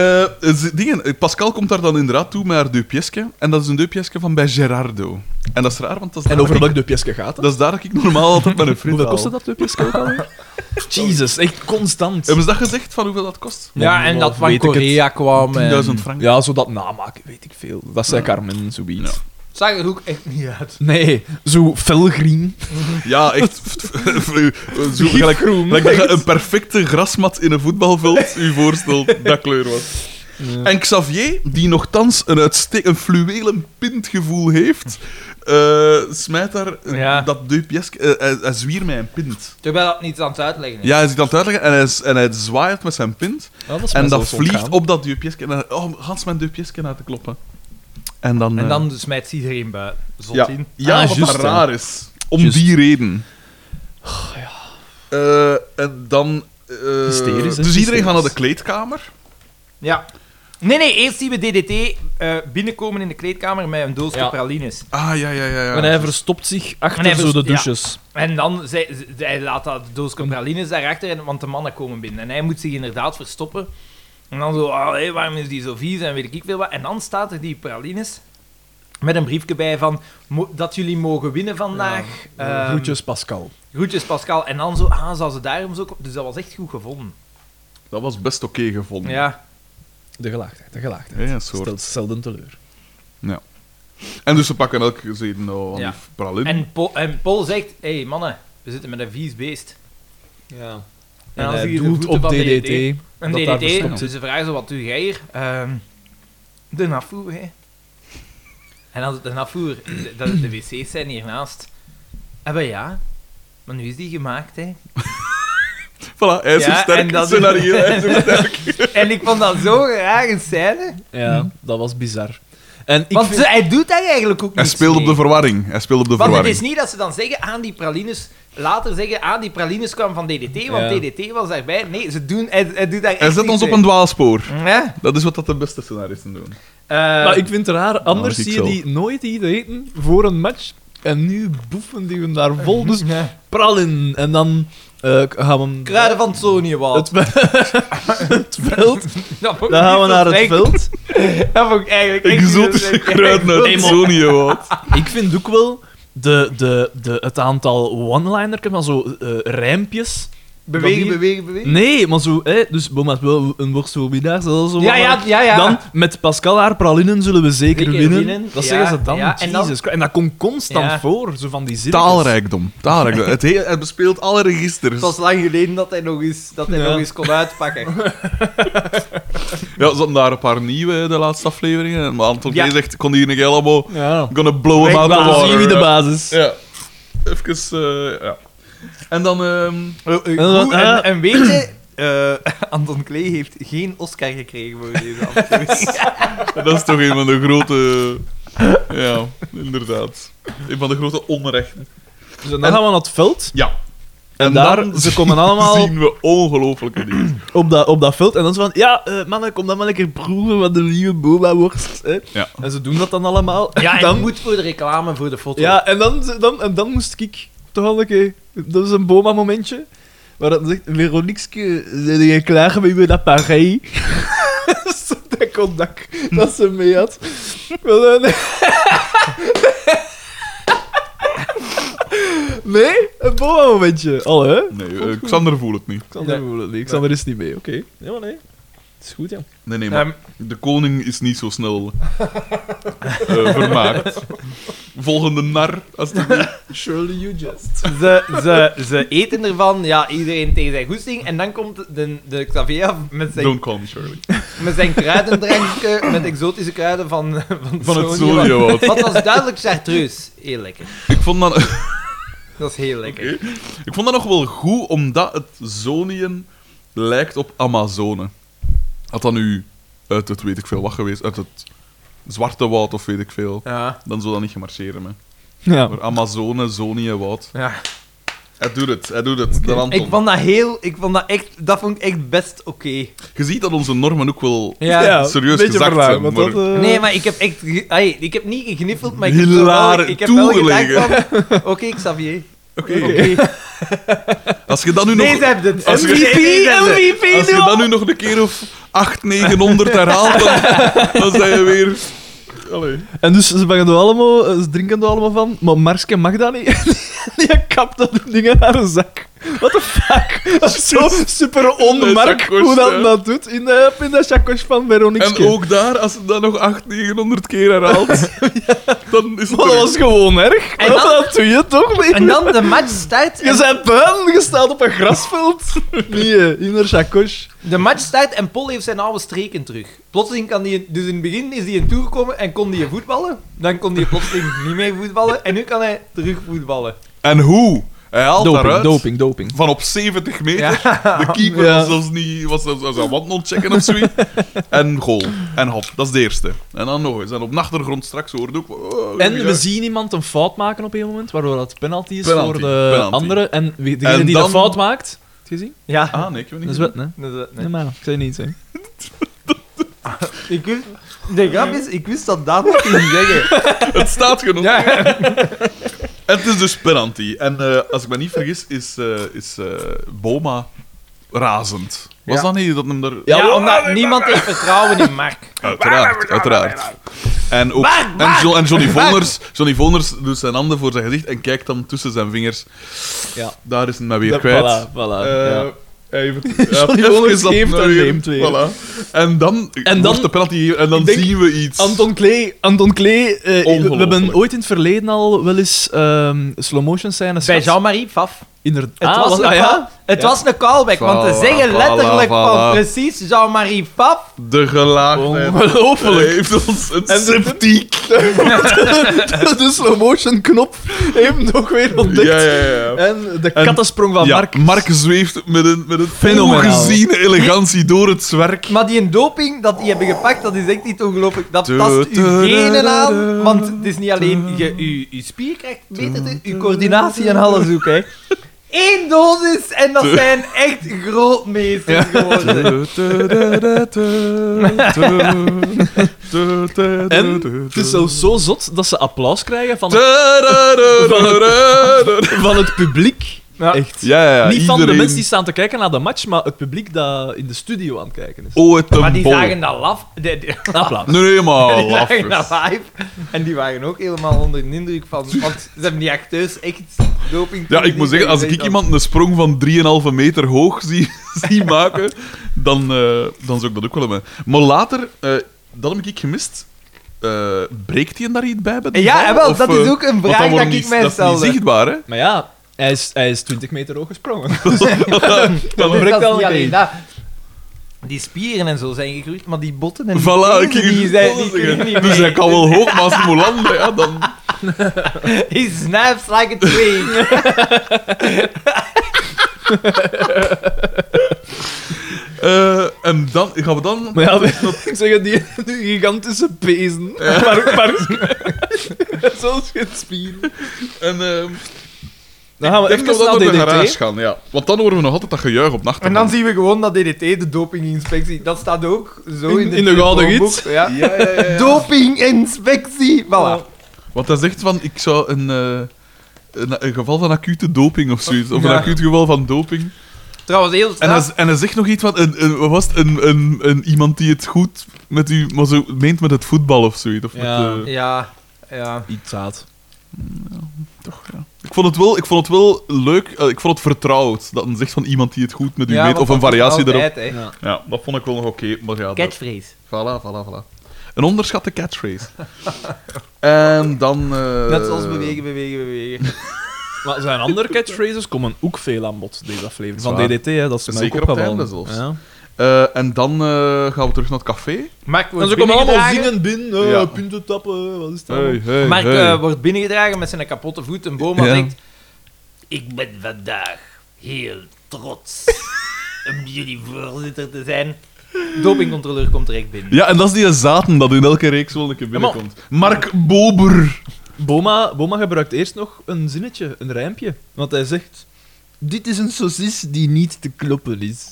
S2: ze- dingen, eh, Pascal komt daar dan inderdaad toe met haar deupjeske. En dat is een deupjeske van bij Gerardo. En dat is raar, want dat is
S3: En
S2: daar
S3: over
S2: dat ik-
S3: welk dupjeske gaat dat?
S2: Dat is daar dat ik normaal altijd met een frit
S3: [laughs] Hoeveel
S2: haal.
S3: kostte dat dupjeske ook alweer? Jezus, echt constant.
S2: Hebben ze dat gezegd, van hoeveel dat kost?
S1: Ja, en dat van
S3: Weet ik het.
S1: Korea kwam.
S2: 10.000
S1: en-
S2: frank.
S3: Ja, zo dat namaken, weet ik veel. Dat zei Carmen, zoiets.
S2: Ja.
S1: Zag er ook echt niet uit.
S3: Nee, zo felgreen.
S2: Ja, echt. [laughs] eh, Zo,
S3: [laughs]
S2: gelijk,
S3: Gifgroen.
S2: gelijk dat je een perfecte grasmat in een voetbalveld u voorstelt dat kleur was. En Xavier, die nogthans een, uitste- een fluwelen pintgevoel heeft, eh, smijt daar eh,
S1: Ja.
S2: dat deupjesk... eh, hij, hij zwier mij een pint.
S1: Terwijl dat niets aan het uitleggen is.
S2: Ja, hij zit aan het uitleggen en hij, s- en hij zwaait met zijn pint. en dat vliegt op dat deupjesk. En dan, oh, gans mijn deupjesk naar te kloppen. En dan...
S1: En
S2: eh,
S1: dan smijt ze iedereen bij. Zot
S2: Ja,
S1: in.
S2: ja
S3: Ah,
S2: wat
S3: juist,
S2: dat
S3: hè.
S2: raar is. Om
S3: Juist.
S2: die reden. Eh, en dan... eh,
S3: Hysterisch, hè?
S2: dus iedereen gaat naar de
S3: Hysterisch.
S2: kleedkamer.
S1: Ja. Nee, nee, eerst zien we DDT eh, binnenkomen in de kleedkamer met een doosje
S3: Ja.
S1: pralines.
S2: Ah, ja, ja, ja. ja.
S3: En hij verstopt zich
S1: En hij
S3: achter zo
S1: verst-
S3: de
S1: ja.
S3: douches.
S1: En dan zij, zij- hij laat dat doosje pralines daarachter, en- want de mannen komen binnen. En hij moet zich inderdaad verstoppen. En dan zo, ah, hé, waarom is die zo vies en weet ik veel wat. En dan staat er die pralines Met een briefje bij van mo- dat jullie mogen winnen vandaag.
S2: eh,
S1: Ehm,
S3: Groetjes Pascal.
S1: groetjes, Pascal. En dan zo, ah, zou ze daarom zo... Dus dat was echt goed gevonden.
S2: Dat was best oké gevonden.
S1: Ja.
S3: De gelaagdheid, de
S2: Ja,
S3: gelaagdheid.
S2: ja,
S3: Stelt
S2: soort.
S3: zelden teleur.
S2: En dus ze pakken elk gezeten nou, aan
S1: Ja.
S2: die pralin.
S1: En, Po- en Paul zegt, hé hey, mannen, we zitten met een vies beest.
S3: Ja.
S1: En
S3: En,
S1: dan
S3: hij
S1: zie je de
S3: doelt
S1: voeten
S3: op
S1: van
S3: DDT.
S1: DDT. Een
S3: Dat daar
S1: DDT,
S3: verstopt
S1: dus ze vragen zo, wat doe jij hier? Ehm, de nafoer, hè. En als het een nafoer, [clears throat] de, de- de wc's zijn hiernaast. Eh, ben ja, maar nu is die gemaakt,
S2: [laughs]
S1: hè.
S2: Voilà, hij is
S1: Ja,
S2: zo
S1: en
S2: sterk.
S1: dat- [laughs]
S2: Scenario, hij is zo sterk.
S1: En ik vond dat zo raar een scène.
S3: Ja, dat was bizar. En ik
S1: Want
S3: vind-
S1: ze- hij doet daar eigenlijk ook
S2: Hij
S1: niets
S2: speelt op
S1: mee.
S2: de verwarring. Hij speelt op de
S1: Want het
S2: verwarring.
S1: is niet dat ze dan zeggen aan die pralines, later zeggen aan die pralines kwam van DDT, want
S3: Ja.
S1: DDT was daarbij. Nee, ze doen, hij, hij doet daar echt
S2: Hij zet
S1: niets
S2: ons op
S1: mee.
S2: een dwaalspoor.
S1: Ja?
S2: Dat is wat dat de beste scenaristen doen.
S1: Eh,
S3: Maar ik vind het raar, anders
S2: dat zie
S3: zie
S2: Nou, ik
S3: je die nooit die eten voor een match. En nu boeven die hem daar vol, dus
S1: ja.
S3: pral in. En dan eh, gaan we hem...
S1: Kruiden van Sony
S3: het,
S1: wat.
S3: [laughs] het veld. Dan gaan we naar het
S1: [laughs]
S3: veld.
S1: Dat vond ik dus- eigenlijk echt
S2: Exotische
S1: niet zo
S2: kruiden uit
S3: Nee, maar-
S2: Sonië, wat.
S3: Ik vind ook wel de, de, de, het aantal one-liner, maar zo eh, rijmpjes.
S1: Bewegen,
S3: Dat die-
S1: bewegen, bewegen.
S3: Nee, maar zo, hè, dus Boma wel een worstelbiedaar, dat is zo.
S1: Ja, ja, ja, ja.
S3: Dan met Pascal haar pralinnen zullen we zeker
S1: Zeker
S3: winnen.
S1: winnen,
S3: Dat
S1: ja,
S3: zeggen ze dan.
S1: ja, en dan-
S3: Jezus Christus. en dat komt constant
S1: Ja.
S3: voor, zo van die zinnen.
S2: Taalrijkdom. [laughs] Taalrijkdom. Het, he- het bespeelt alle registers.
S1: Het was lang geleden dat hij nog eens, dat hij
S3: Ja.
S1: nog eens kon [laughs] uitpakken. Eh,
S2: Ja, ze hadden daar een paar nieuwe de laatste afleveringen. Maar Anton
S1: Ja.
S2: G. zegt, kon hier een helemaal...
S3: Ja.
S2: Gonna blow him
S3: Weg,
S2: out the
S3: dan
S2: water.
S3: zie je wie de basis.
S2: Ja. Even, eh, ja. En dan... ehm,
S1: Eh, eh,
S3: dan-
S1: goed, en,
S3: eh.
S1: en weet je, eh, [laughs] Anton Klee heeft geen Oscar gekregen voor deze aflevering.
S2: dat is toch een van de grote... Ja, inderdaad. Een van de grote onrechten.
S3: Dus dan gaan we naar het veld.
S2: Ja.
S3: En, daar, ze komen allemaal
S2: [laughs] zien we ongelofelijke dingen.
S3: op dat, op dat veld. En dan is van, ja, eh, mannen, kom dan maar lekker proeven wat de nieuwe Boma-worst. hè.
S2: Ja.
S3: En ze doen dat dan allemaal.
S1: [laughs] Ja, en
S3: dan
S1: dan moet voor de reclame, voor de foto.
S3: Ja, en dan, dan, en dan moest ik toch al een keer... Dat is een Boma-momentje. Waar dan zegt, Veronique, zijn je klaar met je appareil? [laughs] Zo dat contact dat ze mee had. eh, Maar dan- [laughs] nee, een Boma-momentje. Al, hè?
S2: Nee, eh, Xander voelt het niet.
S3: Xander,
S1: Nee.
S3: voelt het niet. Xander is niet mee, oké. Ja, maar nee. Het is goed, ja.
S2: Nee, nee, maar
S1: Ehm,
S2: de koning is niet zo snel eh,
S3: [laughs]
S2: vermaakt. Volgende nar, als die
S3: Surely you just.
S1: ze, ze, ze eten ervan, ja, iedereen tegen zijn goesting. En dan komt de, de Xavier met zijn,
S2: Don't call me Shirley.
S1: met zijn kruidendrankje, met exotische kruiden van, van,
S2: Van het
S1: Sony.
S2: Soliowoud.
S1: Wat was duidelijk chartreuse. Heel lekker.
S2: Ik vond dat...
S1: Dat is heel lekker.
S2: Oké. Ik vond dat nog wel goed, omdat het Zonien lijkt op Amazone. Had dat nu uit het weet ik veel wat geweest, uit het Zwarte Woud of weet ik veel,
S1: Ja.
S2: dan zou dat niet gemarcheerd hebben.
S3: Ja.
S2: Maar Amazone, Zonië, Woud.
S1: Ja.
S2: Hij doet het, hij doet het. Dan Anton.
S1: Ik vond dat heel, ik vond dat echt, dat vond ik echt best oké.
S2: Je ziet dat onze normen ook wel
S1: Ja.
S2: serieus
S3: een beetje
S2: gezakt
S3: verlaagd,
S2: zijn,
S3: want
S2: maar-
S3: dat, eh,
S1: Nee, maar ik heb echt, ge- ai, ik heb niet gegniffeld, maar ik heb
S2: Hilaar
S1: wel, ik heb wel gedacht
S2: toegelegen.
S1: van, oké Xavier.
S2: Oké.
S1: Oké.
S2: Als je dat nu nog...
S1: Nee, ze hebben het.
S2: Als je-
S1: MVP, MVP.
S2: Als je dat nu nog een keer of 8, 900 herhaalt,
S1: [laughs]
S2: dan, dan zijn je weer. Allee.
S3: En dus ze, vangen er allemaal, eh, ze drinken er allemaal van, maar Marske mag dat niet. [laughs] Die kapt dat ding in haar zak. What the fuck? Dat is zo super onmark
S2: chakos,
S3: hoe
S2: hè?
S3: dat dat doet in de, in de chakos van Veronique.
S2: En ook daar, als ze dat nog 8, 900 keer
S1: [laughs]
S2: herhaalt, dan is het.
S3: Maar dat
S2: er.
S3: was gewoon erg.
S1: En
S3: En
S1: dan-
S3: dat doe je toch niet?
S1: En dan de match start.
S3: Je bent buiten, je staat op een grasveld. [laughs] Nee, eh, in haar chakos.
S1: De match start en Paul heeft zijn oude streken terug. Plotseling kan die, dus in het begin is hij in tour gekomen en kon hij voetballen. Dan kon hij plotseling [laughs] niet meer voetballen en nu kan hij terug voetballen.
S2: En hoe? Hij haalt daaruit
S3: doping.
S2: van op 70 meter.
S1: Ja.
S2: De keeper
S3: Ja.
S2: was zelfs niet. was zelfs was aan wand ontchecken of zoiets. en goal. En hop, dat is de eerste. En dan nog eens. En op de achtergrond straks hoorde ook. oh,
S3: En
S2: ja.
S3: we zien iemand een fout maken op een moment, waardoor dat penalty is
S2: Penalty,
S3: voor de
S2: penalty.
S3: andere. En wie- degene
S2: En
S3: die
S2: dan-
S3: de fout maakt... Heb je gezien?
S1: Ja.
S2: Ah, nee, ik weet
S3: Dat
S2: niet.
S3: is wet, hè?
S1: Dat is het,
S3: Nee,
S1: nee.
S3: maar ik zei niet, hè.
S1: Ik wist, de grap is, ik wist dat Daan dat ging zeggen.
S2: Het staat genoeg.
S1: Ja.
S2: En [laughs] het is dus penalty. En eh, als ik me niet vergis, is, eh, is eh, Boma razend. Was
S1: Ja.
S2: dat niet dat hem daar...
S1: Ja, omdat niemand heeft vertrouwen in Mark.
S3: nou?
S2: Uiteraard, uiteraard. En, ook,
S1: Mark, Mark!
S2: en, Jo- en Johnny
S1: Mark!
S2: Voners, Johnny Voners doet zijn handen voor zijn gezicht en kijkt dan tussen zijn vingers.
S3: Ja.
S2: Daar is hij maar weer
S3: Dat-
S2: kwijt.
S3: Voilà, voilà.
S2: Eh,
S3: ja.
S2: hij heeft-
S3: [laughs]
S2: hij heeft
S3: Johnny
S2: even
S3: Voners
S2: dat
S3: geeft en
S2: nou weer-
S3: neemt weer.
S2: Voilà. En dan,
S3: dan-
S2: en de penalty gegeven en dan
S3: Ik denk-
S2: zien we iets.
S3: Anton Klee, Anton Klee eh, we- we
S2: Ongelooflijk.
S3: hebben ooit in het verleden al wel eens ehm slow motion scènes
S1: Bij
S3: gehad.
S1: Jean-Marie Pfaff.
S3: Inderdaad.
S1: Het,
S3: Ah,
S1: was, een
S3: ah,
S1: call- het
S3: Ja.
S1: was een callback, want
S2: Voilà,
S1: ze zeggen letterlijk
S2: voilà,
S1: van
S2: voilà.
S1: precies Jean-Marie Pfaff.
S2: De gelaagdheid. [laughs]
S3: Ongelooflijk.
S2: Hij heeft ons een
S3: En de-
S2: septiek.
S3: de, de slow motion knop heeft hem nog weer
S2: Ja,
S3: ontdekt.
S2: ja, ja.
S3: En de
S2: En-
S3: kattensprong Eh, van
S2: Ja,
S3: Mark.
S2: Mark zweeft met een, met een
S3: Fenomenaal.
S2: ongeziene elegantie door het
S3: [laughs]
S2: zwerk.
S1: Maar die doping dat die hebben gepakt, dat is echt niet ongelooflijk. Dat
S2: Du-
S1: tast
S2: du-
S1: uw genen
S2: du-
S1: aan,
S2: du-
S1: want het is niet alleen je uw- uw spier krijgt beter, te- uw coördinatie en alles ook, hè. Eén dosis en dat
S2: Du-
S1: zijn echt grootmeesters geworden.
S3: En
S2: En
S3: [laughs] het is zelfs zo zot dat ze applaus krijgen van, van het publiek.
S1: Ja.
S3: Echt.
S2: Ja, ja, ja.
S3: Niet van de
S2: Eh, iedereen-
S3: mensen die staan te kijken naar de match, maar het publiek dat in de studio aan het kijken is.
S2: Oh, het
S1: Maar
S2: een
S1: die
S2: bol.
S1: zagen dat laf. de- de- [laughs]
S3: Applaus.
S2: Nee, nee, maar
S1: die zagen dat
S2: laf.
S1: live. En die waren ook helemaal onder de indruk van... Want ze hebben die acteurs echt doping...
S2: Ja, ik moet zeggen, als ik iemand een sprong van 3,5 meter hoog zie, zie maken, dan, eh, dan zou ik dat ook wel hebben. Maar later, eh, dat heb ik gemist. Eh, breekt hij daar iets bij? bij de
S1: Ja,
S2: val?
S1: en wel,
S2: Of,
S1: dat
S2: eh,
S1: is ook een
S2: want
S1: vraag
S2: wordt
S1: dat
S2: niet-
S1: ik mij
S2: Dat is niet
S1: stelde.
S2: zichtbaar, hè?
S3: Maar ja, hij is, hij is 20 meter hoog
S2: [laughs]
S3: gesprongen.
S2: Dat
S1: Dus
S3: breekt
S1: dat is
S3: wel
S1: niet
S3: een
S1: alleen
S3: beetje.
S1: dat. Die spieren en zo zijn gegroeid, maar die botten en die
S2: Voilà, ik
S1: tenen,
S2: [laughs]
S1: die, zijn, die kunnen niet
S2: Dus
S1: meer.
S2: hij kan wel hoog, maar als hij moet landen, ja, dan...
S1: He snaps like a twig.
S2: Eh, en dan, gaan we dan...
S3: Maar ja, ik zeg het, die, die gigantische bezen. [laughs] Maar, maar, [laughs] zoals geen spier.
S2: En, ehm,
S3: Dan gaan we
S2: ik denk
S3: even
S2: dat we dan naar
S3: naar
S2: de
S3: DDT.
S2: garage gaan, ja. Want dan horen we nog altijd dat gejuich op
S1: [laughs]
S2: nacht.
S1: En dan zien we gewoon dat DDT, de dopinginspectie, dat staat ook zo in,
S3: In-
S1: de
S3: in de gouden
S1: telefoonboek,
S3: gids.
S1: Ja.
S2: Ja, ja, ja, ja.
S1: Dopinginspectie! Voilà.
S2: Want hij zegt van, ik zou een, eh, een, een geval van acute doping of zoiets. Of
S1: Ja.
S2: een acuut geval van doping.
S1: Trouwens, heel
S2: En,
S1: snel.
S2: hij, en hij zegt nog iets van, een, een, wat was het? Een, een, een, iemand die het goed met u, maar zo meent met het voetbal of zoiets. Of
S3: Ja.
S2: met, eh,
S1: Ja, ja.
S3: Iets zaad.
S2: toch, ja. Ik vond het wel, ik vond het wel leuk, eh, ik vond het vertrouwd. Dat hij zegt van iemand die het goed met u
S1: ja
S2: meent. Of een variatie daarop.
S1: daarop.
S3: Ja.
S2: Ja, dat vond ik wel nog oké. maar ja, dat-
S1: Catchphrase.
S2: Voilà, voilà, voilà. Een onderschatte catchphrase. [laughs] en dan... eh,
S1: Net zoals bewegen, bewegen, bewegen.
S3: Maar zijn andere catchphrases komen ook veel aan bod, deze aflevering. Van
S2: Zwaar.
S3: DDT, hè, dat is mij
S2: Zeker
S3: ook
S2: op het
S3: opgevallen.
S2: einde zelfs.
S3: Ja.
S2: eh, en dan eh, gaan we terug naar het café.
S1: Mark
S3: En
S1: wordt
S3: ze komen allemaal
S1: binnengedragen.
S3: zingen binnen, eh,
S2: Ja.
S3: punten tappen, wat is dat?
S2: hey,
S1: Mark eh, wordt binnengedragen met zijn kapotte voet en Boma
S2: Ja.
S1: denkt... Ik ben vandaag heel trots om jullie voorzitter te zijn. Dopingcontroleur komt direct binnen.
S2: Ja, en dat is die zaten dat in elke reeks wel een keer binnenkomt. Mark Bober. [laughs]
S3: Boma, Boma gebruikt eerst nog een zinnetje, een rijmpje. Want hij zegt... Dit is een saucis die niet te kloppen is.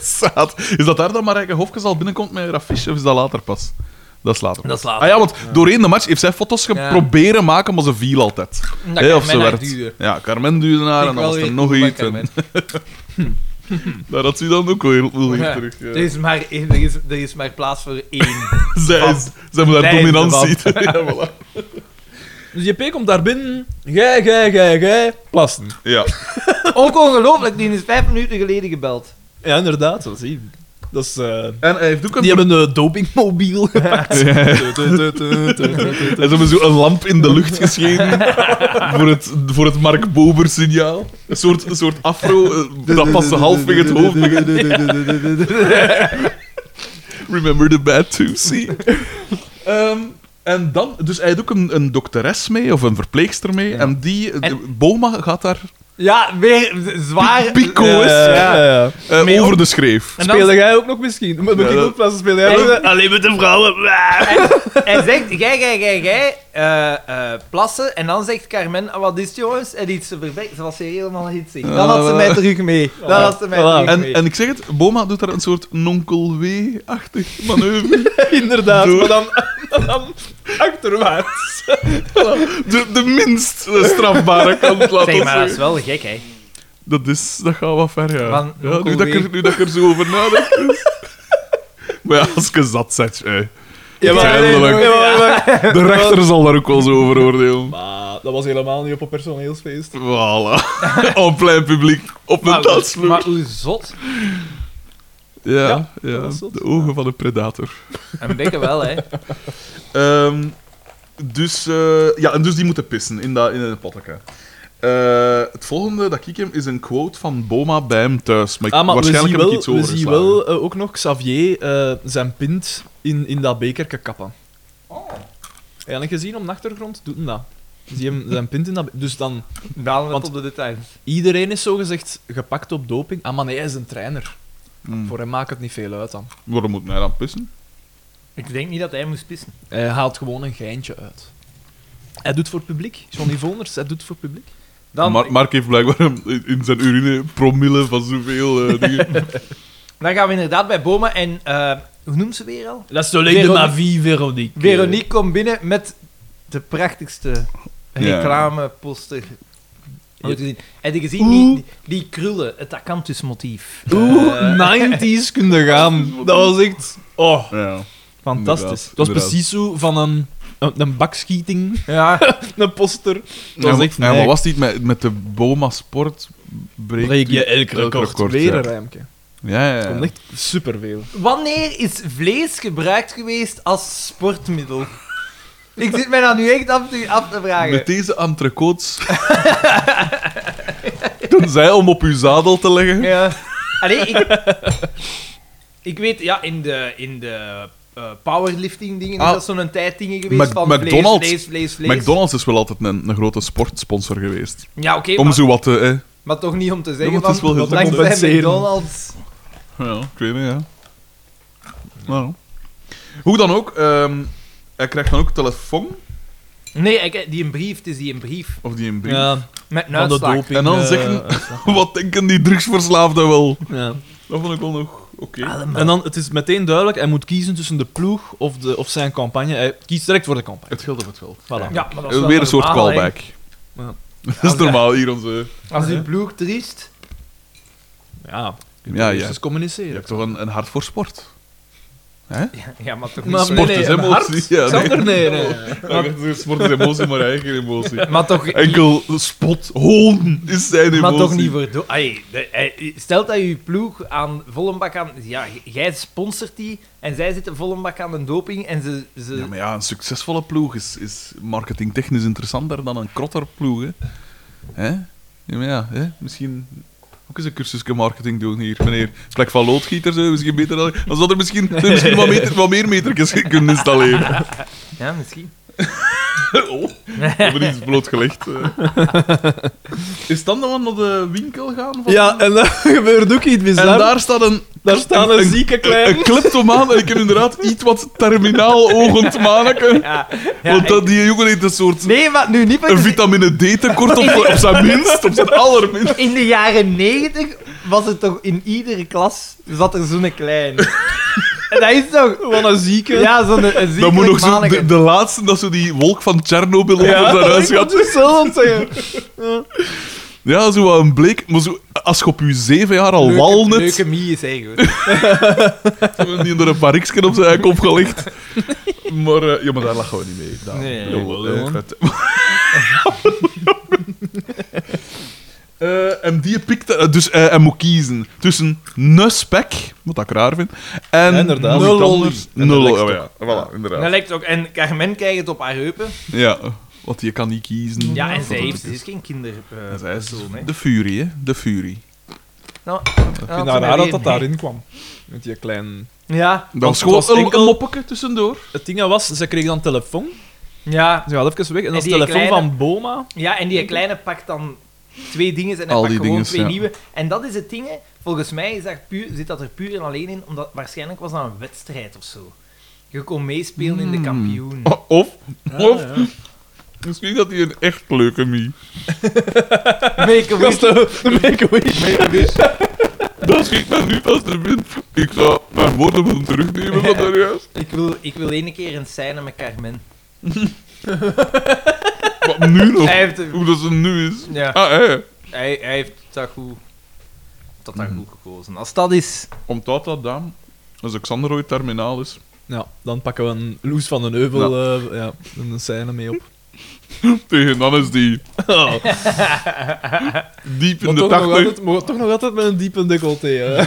S2: Zaad. Is dat daar dat Marijke Hofkes al binnenkomt met haar affiche, of is dat later pas? Dat is later.
S1: Dat is later.
S2: Ah ja, want doorheen de match heeft zij foto's
S1: Ja.
S2: geproberen maken, maar ze viel altijd.
S1: Omdat
S2: Hè,
S1: ik
S2: of ze
S1: mijn
S2: werd.
S1: duurde.
S2: Ja, Carmen duurde naar en dan was er nog iets. en- Daar had ze dan ook wel heel
S1: [laughs]
S2: veel
S1: Ja.
S2: terug. ja.
S1: Er is, maar, er, is, er is maar plaats voor één.
S2: [laughs] Zij, is, zij moet haar
S1: Zij is de
S2: dominantie. [laughs]
S1: [laughs]
S2: ja, voilà.
S3: Dus JP komt daar binnen, gij, gij, gij, gij, plassen.
S2: ja.
S1: Ook [laughs] ongelooflijk, die is vijf minuten geleden gebeld.
S3: Ja, inderdaad, dat zie je. Dat is... eh,
S2: En hij heeft ook een...
S3: Die hebben een
S2: [laughs]
S3: dopingmobiel gepakt.
S2: Ja.
S1: [laughs]
S3: Ja.
S2: En ze hebben zo een lamp in de lucht geschenen
S1: [laughs]
S2: voor het, voor het Mark Bober signaal. Een soort, een soort afro, eh, dat [laughs] past halfweg het hoofd. Remember the bad Tootsie. Ehm, en dan, dus hij had ook een, een dokteres mee, of een verpleegster mee, en die, eh,
S1: En-
S2: Boma gaat daar
S1: Ja, weer z- [laughs] zwaar.
S2: Pico
S1: Eh,
S2: is.
S1: ja.
S3: ja.
S2: eh,
S1: Mee
S2: over de schreef.
S1: En dan-
S3: Speel jij ook nog misschien? Moet ik
S2: Ja, dat-
S3: ook plassen spelen? Jij
S1: Nee.
S3: ook? Alleen met de vrouwen. Ah,
S1: Hij zegt, gij, gij, gij, gij, eh, eh, plassen. En dan zegt Carmen, "Ah, wat is het jongens? En iets te verbekken. Ze was hier helemaal hitsig. Dan had ze mij
S2: [laughs]
S1: terug mee. Dan had ze mij
S3: Voilà.
S1: terug mee.
S2: En, en ik zeg het, Boma doet daar een soort nonkel W-achtig manoeuvre.
S3: [laughs] Inderdaad,
S2: Doe.
S3: maar dan, [laughs] dan achterwaarts.
S2: De, de minst eh, strafbare kant, laat
S1: Zeg
S2: ons
S1: maar, dat
S2: zeggen.
S1: is wel gek,
S2: [laughs]
S1: hè.
S2: Dat, is, dat gaat wat ver, ja.
S1: Van
S2: Ja,
S1: Onkel
S2: nu, dat ik
S1: Wee.
S2: er, nu dat ik er zo over nadenk. dus. maar ja, als je zat zet, hè.
S3: Ja, maar-
S2: Uiteindelijk.
S3: ja, maar- maar-
S2: De rechter zal daar ook wel zo over oordelen.
S3: Maar Ah, dat was helemaal niet op een personeelsfeest.
S2: Voilà. [laughs] Op plein publiek. Op een dansvloer.
S1: maar hoe zot.
S2: ja, ja,
S3: dat was zot.
S2: de ogen van een predator.
S1: Een beetje wel, [laughs] hè.
S2: Ehm, dus, eh, ja, en dus die moeten pissen in dat in een pottenka. Eh, het volgende dat ik hem is een quote van Boma bij hem thuis. Maar ik,
S3: Ah, maar
S2: waarschijnlijk
S3: we zien
S2: heb
S3: wel,
S2: ik iets over.
S3: we zien wel eh, ook nog Xavier eh, zijn pint in, in dat bekerke kappen. Oh. En gezien op de achtergrond doet hij dat. Zie hem zijn pint in dat... be- Dus dan,
S1: Dalen
S3: Want-
S1: het op de details.
S3: iedereen is zogezegd gepakt op doping. Ah, maar nee, hij is een trainer.
S2: Hmm.
S3: Voor hem maakt het niet veel uit dan.
S2: Waarom moet hij dan pissen?
S1: Ik denk niet dat hij moest pissen.
S3: Hij haalt gewoon een geintje uit. Hij doet voor publiek. Johnny Voners, hij doet voor publiek.
S1: Dan,
S2: Mar- Mark heeft blijkbaar een- in in zijn urine promille van zoveel
S3: [laughs]
S2: eh, dingen.
S1: dan gaan we inderdaad bij Boma en... eh, hoe noemt ze weer al?
S3: Dat is
S1: Veronique.
S3: ma vie, Veronique. eh,
S1: Veronique komt binnen met de prachtigste reclameposter ooit gezien. Heb je gezien die, die, die krullen, het Eh, acanthusmotief?
S3: Oeh,
S2: Eh, [laughs]
S3: 90s kunnen gaan. Dat was echt... Oh,
S2: Ja.
S3: fantastisch.
S2: Inderdaad,
S3: dat was
S2: inderdaad.
S3: precies zo van een, een, een bakschieting,
S1: Ja,
S3: [laughs] een poster.
S2: Ja,
S3: Dat was
S2: maar-
S3: echt
S2: ja, maar
S3: nee.
S2: was het niet met, met de Boma Sport? Breekt
S3: breek je
S2: u-
S3: elk record.
S2: record,
S3: Weer
S2: ja.
S3: een rijmpje.
S2: Ja, ja,
S3: Dat
S2: ja.
S3: komt echt superveel.
S1: Wanneer is vlees gebruikt geweest als sportmiddel? Ik zit mij dan nu echt af te, af te vragen.
S2: Met deze entrecotes. [laughs] Tenzij om op uw zadel te leggen.
S1: Ja. Allee, ik, ik weet, ja, in de, in de eh, powerlifting dingen
S2: Ah.
S1: is dat zo'n tijddingen geweest van
S2: Mac- McDonald's.
S1: vlees, vlees, vlees, vlees.
S2: McDonald's is wel altijd een, een grote sportsponsor geweest.
S1: Ja, oké,
S2: Om
S1: maar,
S2: zo wat te... hè.
S1: maar toch niet om te zeggen
S2: maar het
S1: van,
S2: is wel heel
S1: dankzij
S3: compenseren.
S1: McDonald's...
S2: Ja, ik weet niet, ja. Nou. Hoe dan ook, ehm, hij krijgt dan ook telefoon,
S1: Nee, ik, eh, die een brief, het is die een brief.
S2: of die een brief.
S3: Ja,
S1: Met een
S3: van de
S1: uitslag.
S3: doping.
S2: En dan
S3: eh,
S2: zeggen- [laughs]
S3: uitslag.
S2: Wat denken die drugsverslaafden wel?
S3: [laughs] Ja.
S2: Dat vond ik wel nog oké.
S3: En dan, het is meteen duidelijk, hij moet kiezen tussen de ploeg of, de, of zijn campagne. Hij kiest direct voor de campagne.
S2: Het geld of het geld.
S3: Voilà.
S1: Ja, maar dat is
S2: Eh, Weer
S1: wel
S2: een soort
S1: normaal, hè.
S2: callback.
S3: Ja.
S2: [laughs] Dat is normaal hier onze...
S1: Als die ploeg triest...
S3: Ja,
S2: Ja, ja.
S3: Dus
S2: Je
S3: communiceren.
S2: hebt toch een, een hart voor sport?
S1: Ja, ja, maar toch
S3: Maar
S1: niet...
S2: Sport
S3: nee,
S2: is
S3: nee, een
S2: emotie. [laughs]
S3: hart?
S2: Ja, nee.
S3: Xander,
S2: [laughs]
S3: nee, nee.
S2: Ja, Sport is emotie, maar eigen
S3: [laughs]
S2: emotie.
S1: Maar toch...
S2: [laughs] Enkel spot, hoon is zijn emotie.
S1: Maar toch niet voor... do- Allee, de- eh, stelt dat je ploeg aan volle bak aan... Ja, j- jij sponsort die en zij zitten volle bak aan de doping en ze... ze...
S2: Ja, maar ja, een succesvolle ploeg is, is marketingtechnisch interessanter dan een krotterploeg. Hè? Hè? Ja, maar ja, hè? misschien ook eens een cursusje marketing doen hier, meneer. Plek van loodgieters, hè? misschien beter dan... Dan zou er misschien, zou er misschien wat, meter, wat meer metertjes kunnen installeren.
S1: Ja, misschien.
S2: Oh, hebben iets blootgelegd. eh. Is dan dan naar de winkel gaan? Van...
S3: Ja, en
S2: [laughs]
S3: dan gebeurt ook iets
S2: En
S3: bizar.
S2: daar, staat een...
S3: Daar staan een zieke klein.
S2: Een kleptomaan, en ik heb inderdaad iets wat terminaal-oogend manneke.
S1: Ja, ja,
S2: Want dat, die jongen heeft een soort
S1: Nee, maar nu niet...
S2: Een vitamine D tekort op, op zijn minst, op zijn allerminst.
S1: In de jaren negentig was het toch in iedere klas zat er zo'n klein. En dat is toch...
S3: Wat een zieke.
S1: Ja, zo'n een ziekelijk
S2: Dan moet nog zo
S1: manneke.
S2: de, de laatste dat zo die wolk van Tsjernobyl onder
S3: Ja,
S2: zijn huis
S3: ik had
S2: gaat.
S3: het zelf aan het zeggen.
S2: Ja, zo wat een bleek. Maar zo, als je op je zeven jaar al
S1: Leuke-
S2: walnet,
S1: Leukemie is eigenlijk.
S2: [laughs] hebben die onder een pariksken op zijn kop gelegd. Maar, eh, ja, maar daar lachen we niet mee. Daar.
S1: Nee, nee,
S2: Jawel,
S3: nee,
S2: eh,
S3: man.
S2: vet. [laughs] Eh, en die pikte, eh, dus eh, hij moet kiezen tussen een spek, wat ik raar vind, en
S3: Ja, inderdaad.
S2: nul
S3: Nul
S2: anders.
S3: olie.
S2: Nul,
S3: En
S2: oh
S3: de
S2: ja, voilà, inderdaad.
S1: Dat lijkt ook. En Carmen krijgt het op haar heupen.
S2: Ja, want je kan niet kiezen.
S1: Ja, en
S2: Wat
S1: zij
S2: het
S1: heeft,
S2: ook
S1: ze is geen
S2: En zij is
S1: kinderpersoon. hè.
S2: de fury, hè. De fury.
S1: Nou,
S3: Ik vind het raar dat dat daarin kwam. Met die klein...
S1: Ja,
S2: Dat
S3: Want
S2: was gewoon
S3: het was
S2: een,
S3: enkel-
S2: een moppeke tussendoor.
S3: Het ding dat was, ze kreeg dan telefoon.
S1: ja,
S3: Ze gaat even weg. En dat is
S1: die
S3: telefoon
S1: kleine-
S3: van Boma.
S1: ja, en die kleine pakt dan twee dingen en hij
S2: Al
S1: pakt
S2: die
S1: gewoon
S2: dinges,
S1: twee
S2: ja.
S1: nieuwe. En dat is het ding, hè. volgens mij is dat puur, zit dat er puur en alleen in, omdat waarschijnlijk was dat een wedstrijd of zo. Je kon meespelen
S2: Hmm.
S1: in de kampioen. [laughs]
S2: Of, [laughs] of misschien dat hij een echt leukemie.
S1: Make a wish.
S2: Dat schiet me nu als de wind. Ik zou mijn woorden willen terugnemen van daarjuist.
S1: Ik wil, ik wil één keer een scène met Carmen.
S2: Wat nu nog?
S1: Hij heeft,
S2: Hoe dat ze nu is.
S1: ja,
S2: Ah, hè.
S1: hij, hij heeft dat goed,
S2: Hmm.
S1: dat daar goed gekozen. Als dat is...
S2: Omdat dat dan, als Xander ooit terminaal is, [laughs]
S3: [laughs] Ja, dan pakken we een Loes van den Heuvel eh, ja, een scène mee op. [laughs]
S2: Tegen Hannes die
S3: Oh,
S2: diep in de
S3: maar toch, nog
S2: tachtig...
S3: altijd, maar toch nog altijd met een diepe decolleté. hè.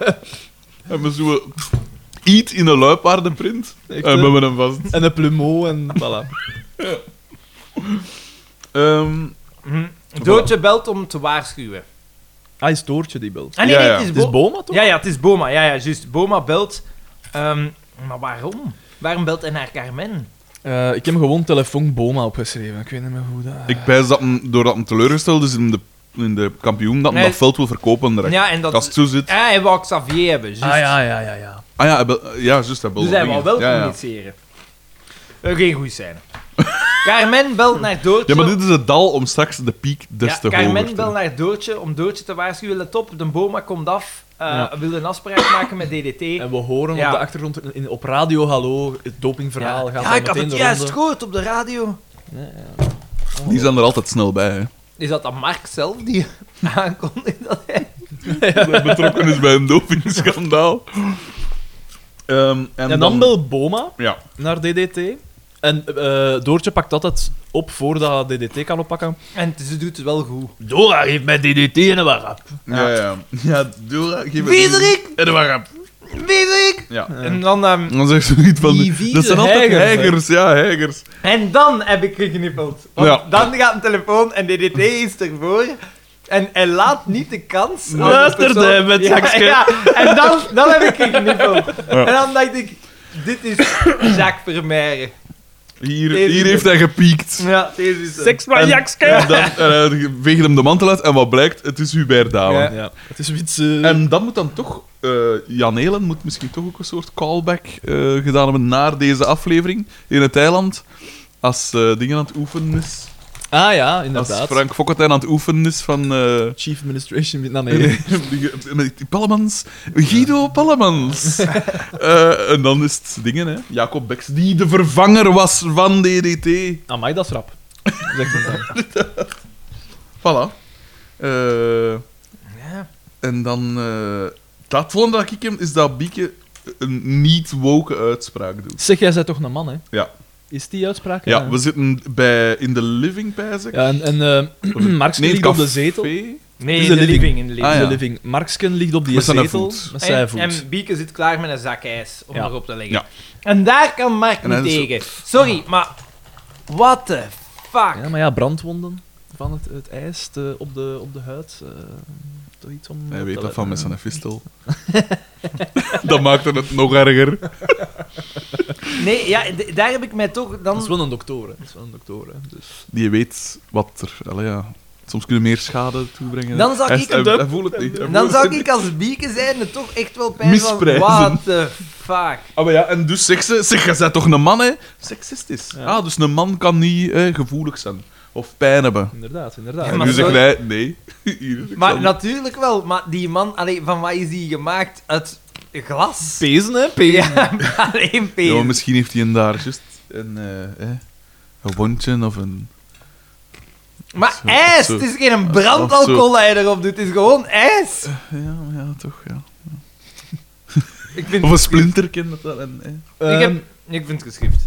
S2: [laughs] En we zo... Eat in een luipaardenprint.
S3: Echt,
S2: en
S3: hè.
S2: we hebben hem vast.
S3: En een plumeau en voilà.
S2: Ehm,
S1: Mhm. Doodje belt om te waarschuwen.
S3: Ah, is Toortje die belt.
S1: Ah nee,
S2: Ja,
S1: nee,
S2: ja.
S1: het is,
S3: Het
S1: Bo-
S3: is Boma, toch?
S1: Ja, ja, het is Boma. Ja, ja, juist. Boma belt. Ehm, maar waarom? Waarom belt hij naar Carmen?
S3: Eh, ik heb gewoon telefoon Boma opgeschreven. Ik weet niet meer hoe dat...
S2: ik pijs dat hem, doordat hem teleurgesteld is in de, in de kampioen, dat hem
S1: Nee.
S2: dat veld wil verkopen direct.
S1: Ja, en dat...
S2: Als het zo zit...
S1: Ah, hij wou Xavier hebben, juist.
S3: Ah ja, ja, ja, ja.
S2: Ah ja, hij bel- ja juist, hij belde.
S1: Dus hij wou wel
S2: ja, ja.
S1: communiceren. Eh, geen goeie scène. [laughs] Carmen belt naar Doortje...
S2: ja, maar dit is het dal om straks de piek des
S1: Ja,
S2: te hoger
S1: Carmen
S2: te-
S1: belt naar Doortje om Doortje te waarschuwen. Let op, de Boma komt af. eh,
S3: Ja.
S1: Wil een afspraak maken met [laughs] DDT.
S3: En we horen
S1: Ja.
S3: op de achtergrond in, op radio, hallo, het dopingverhaal
S1: ja,
S3: gaat
S1: ja
S3: daar
S1: ik had
S3: meteen
S1: het
S3: de
S1: juist
S3: ronde.
S1: gehoord op de radio.
S2: Die zijn er altijd snel bij,
S1: [laughs]
S2: hè.
S1: Is dat dan Mark zelf die [laughs] aankondigt dat hij...
S2: Dat hij betrokken is bij een dopingschandaal. Ehm, en,
S3: En dan belt Boma
S2: Ja.
S3: naar DDT. En eh, Doortje pakt altijd op voordat DDT kan oppakken.
S1: En ze doet het wel goed.
S3: Dora geeft mij DDT en een warap.
S2: Ja, ja. Ja, Dora, geef het
S1: Viesrik!
S2: En de warap.
S1: Weet ik!
S2: Ja.
S1: En dan, ehm,
S2: En dan zegt ze iets van...
S3: Die vieze
S2: dat zijn altijd
S3: heigers, hè.
S2: heigers, ja, heigers.
S1: en dan heb ik gegnippeld. Want
S2: Ja.
S1: dan gaat een telefoon en DDT is ervoor. En hij laat niet de kans. aan de
S3: Luisterde
S1: persoon-
S3: hij met Jakske.
S1: En dan, dan heb ik gegnippeld. En dan dacht ik, dit is Jacques Vermeijeren.
S2: Hier,
S1: Deze
S2: hier
S1: is
S2: heeft hij gepiekt.
S1: Ja, deze is hem.
S3: van Jakske!
S2: En dan en hij veegt hem de mantel uit en wat blijkt? Het is Hubert Douwe.
S1: Ja.
S3: Ja, het is iets... eh,
S2: En dat moet dan toch... eh, Jan Helen moet misschien toch ook een soort callback eh, gedaan hebben naar deze aflevering in het eiland. Als eh, dingen aan het oefenen is.
S3: Ah ja,
S2: Als
S3: inderdaad.
S2: Frank Fokkentijn aan het oefenen is van... eh,
S3: Chief Administration... met- Nou, nee.
S2: [laughs] Die- Met die Pallemans. Guido Pallemans. Eh, en dan is het dingen, hè. Jacob Beks, die de vervanger was van DDT.
S3: [laughs] Amai, dat is rap. Zegt hij
S2: [laughs]
S3: dan.
S2: Voilà. Eh,
S1: Ja.
S2: en dan... eh, dat volgende dat ik hem is dat Bieke een niet-woke uitspraak doet.
S3: Zeg, jij bent toch een man, hè?
S2: Ja.
S3: Is die uitspraak?
S1: eh,
S3: eh?
S2: Ja, we zitten bij, in de living, pijs ik.
S3: Ja, en, en eh,
S1: [clears throat]
S3: Marx
S2: Nee, het
S3: ligt op de
S2: café.
S3: zetel.
S1: Nee,
S3: Het is
S1: in de
S3: een living.
S1: living. In de living.
S2: Ah,
S3: In
S2: ja.
S3: de living. Marxken ligt op die
S2: Met zijn
S3: zetel
S2: voet.
S3: met zijn voet.
S1: en, en Bieke zit klaar met een zak ijs om
S3: Ja.
S1: erop te leggen.
S2: Ja.
S1: En daar kan Mark
S2: En
S1: niet
S2: hij is zo-
S1: tegen. Sorry, maar... What the fuck?
S3: Ja, maar ja, brandwonden van het, het ijs eh, op, de, op de huid. eh, toch iets om
S2: Hij
S3: op
S2: weet
S3: te
S2: dat van met zijn
S3: letten.
S1: [laughs]
S2: fistel. dat maakt het nog erger.
S1: Nee, ja, d- daar heb ik mij toch dan...
S3: Dat is wel een dokter, hè. Dat is wel een dokter, hè. Dus...
S2: die weet wat er. Allee, ja. Soms kunnen meer schade toebrengen.
S1: Dan zou
S2: Hij-
S1: ik
S2: hij-
S1: hem-
S2: hij voelt het niet. Hij
S1: En dan
S2: voelt
S1: zou
S2: het
S1: ik
S2: niet.
S1: als bieken zijn er toch echt wel pijn van...
S2: Misprijzen.
S1: What the fuck?
S2: Ah, maar ja, en dus zegt ze: zeg, jij bent toch een man, hè? Seksistisch.
S3: Ja.
S2: Ah, dus een man kan niet eh, gevoelig zijn of pijn hebben.
S3: Inderdaad, inderdaad.
S1: Ja,
S2: en
S1: maar
S2: nu
S1: zo-
S2: zegt hij: nee. [laughs] Hier is ik
S1: Maar
S2: van.
S1: natuurlijk wel, maar die man... Allee, van wat is die gemaakt? Uit glas?
S3: Pezen, hè?
S1: Ja, [laughs] alleen
S2: Ja, maar
S1: pezen.
S2: misschien heeft hij een daar juist een, eh, eh, een wondje of een.
S1: maar
S2: zo-
S1: ijs!
S2: zo-
S1: Het is geen brandalcohol dat hij erop doet, het is gewoon ijs!
S2: Ja, maar ja, toch, ja.
S1: Ik vind,
S2: Of een splinterkin. Dat dat, en, eh.
S1: ik,
S3: Ehm,
S1: heb, ik vind het geschift.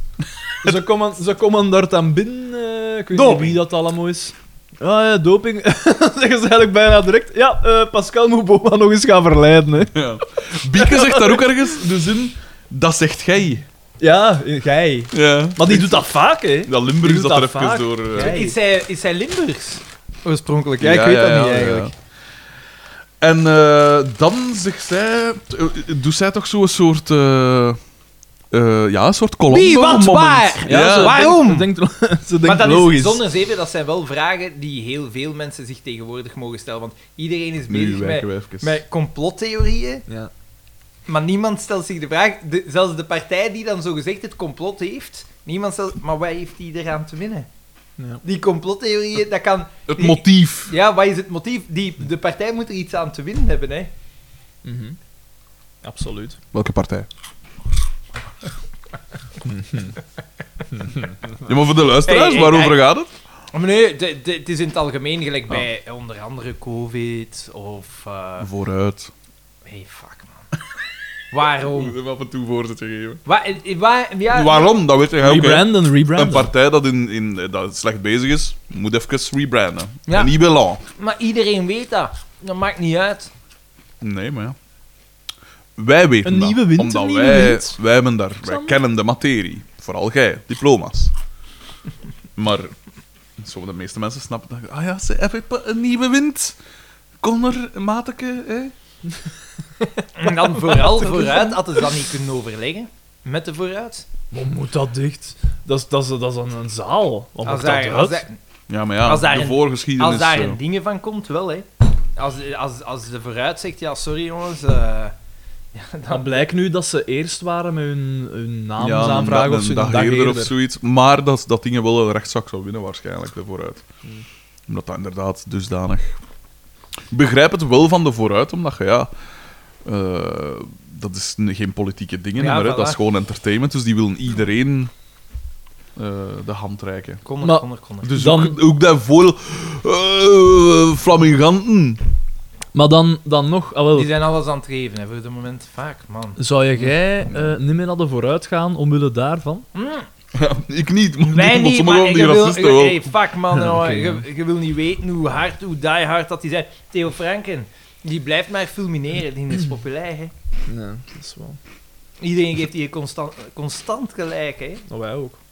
S3: ze, komen, ze komen daar dan binnen. eh, ik weet
S1: Doping.
S3: niet wie dat allemaal is. Ah ja, doping. [laughs] Zeggen ze eigenlijk bijna direct. Ja, eh, Pascal moet Boma nog eens gaan verleiden, hè.
S2: Ja. Bieke zegt daar ook ergens de zin: dat zegt jij.
S3: Ja, eh, gij.
S2: Ja.
S3: Maar die doet dat vaak, hè.
S2: Dat
S3: Die
S2: Limburg
S3: doet
S2: dat er
S3: dat
S2: even
S3: vaak.
S2: door. eh,
S3: Ja. Hey.
S1: Is, hij, is hij Limburgs?
S3: Oorspronkelijk, ja, ik weet dat niet eigenlijk.
S2: En eh, dan zegt zij, eh, doet zij toch zo'n soort, eh, eh, ja, een soort kolom.
S1: Wie, wat, waar?
S2: Ja,
S3: ze
S1: Waarom?
S3: denkt- [laughs] ze denkt, ze denkt
S1: Ah, maar dat
S3: logisch.
S1: is zonder zeven, dat zijn wel vragen die heel veel mensen zich tegenwoordig mogen stellen. Want iedereen is
S2: Nu
S1: bezig met,
S2: wijken we even.
S1: met complottheorieën,
S3: Ja.
S1: maar niemand stelt zich de vraag. de- zelfs de partij die dan zogezegd het complot heeft, niemand stelt. Maar wat heeft die eraan te winnen?
S3: Ja.
S1: Die complottheorieën, dat kan.
S2: Het motief.
S1: Ja, wat is het motief? Die, de partij moet er iets aan te winnen hebben, hè?
S3: Mhm. Absoluut.
S2: Welke partij? ja, maar voor de luisteraars,
S1: Hey, hey,
S2: waarover
S1: hey.
S2: gaat het?
S1: Maar nee, de- de- het is in het algemeen gelijk bij eh, onder andere COVID of. eh,
S2: Vooruit.
S1: Hey, fuck man.
S2: Om
S1: Waarom?
S2: hem af en toe voor te geven.
S1: Waar, eh, waar, ja,
S2: Waarom? Dat weet je ook. hè.
S3: Rebranden,
S2: Een
S3: rebranden.
S2: partij dat, in, in, dat slecht bezig is, moet even rebranden.
S1: Ja.
S2: Een nieuw elan.
S1: Maar iedereen weet dat. Dat maakt niet uit.
S2: Nee, maar ja. Wij weten
S3: Een
S2: dat,
S3: nieuwe wind,
S2: omdat
S3: een nieuwe
S2: wij,
S3: wind.
S2: wij, hebben daar, wij
S3: Xander?
S2: kennen de materie. Vooral jij, diploma's. maar zo, de meeste mensen snappen dat. Ah ja, ze hebben pa- een nieuwe wind. Connor, Mateke, hè?
S1: En dan vooral vooruit hadden ze dat niet kunnen overleggen. Met de vooruit.
S3: Wat moet dat dicht? Dat is, dat is, dat is een, een zaal. Wat
S1: Als
S3: moet dat
S1: daar, als,
S3: uit?
S1: daar,
S2: Ja, maar ja,
S1: Als daar
S2: de
S1: een-
S2: voorgeschiedenis.
S1: als daar
S2: eh,
S1: een dingen van komt, wel hè. Als, als, als de vooruit zegt, ja sorry jongens, eh, ja,
S3: Dan
S1: dan,
S3: blijkt nu dat ze eerst waren met hun, hun
S2: ja, een
S3: naamsaanvraag
S2: da-
S3: of zo.
S2: een
S3: een
S2: dag, eerder of zoiets. Maar dat, dat dingen wel een rechtszaak zou winnen, waarschijnlijk, de vooruit.
S3: Hmm.
S2: Omdat dat inderdaad dusdanig... Ik begrijp het wel van de vooruit, omdat je, ja... eh, dat is n- geen politieke dingen,
S1: Ja,
S2: meer, hè.
S1: voilà.
S2: dat is gewoon entertainment. Dus die willen iedereen eh, de hand reiken.
S1: Connor,
S3: Maar-
S1: Connor, Connor.
S2: Dus
S3: Dan-
S2: ook, ook daarvoor... eh flaminganten.
S3: Maar dan, dan nog, ah, wel,
S1: Die zijn alles aan het geven hè, voor de moment vaak, man.
S3: zou jij eh, niet meer naar de vooruit gaan omwille daarvan?
S1: Mm,
S2: Ja, ik niet, maar,
S1: wij
S2: maar
S1: niet,
S2: sommigen
S1: maar
S2: van
S1: ik
S2: die
S1: wil-
S2: racisten
S1: ik-
S2: wel.
S1: hey, fuck man,
S3: [laughs] Ja,
S1: oh,
S3: oké,
S1: je, je wil niet weten hoe hard, hoe die hard dat die zijn. Theo Franken, die blijft maar fulmineren, die is populair hè.
S3: Nee, dat is wel.
S1: Iedereen geeft hier constant, constant gelijk hè.
S3: Nou, wij ook.
S2: [laughs]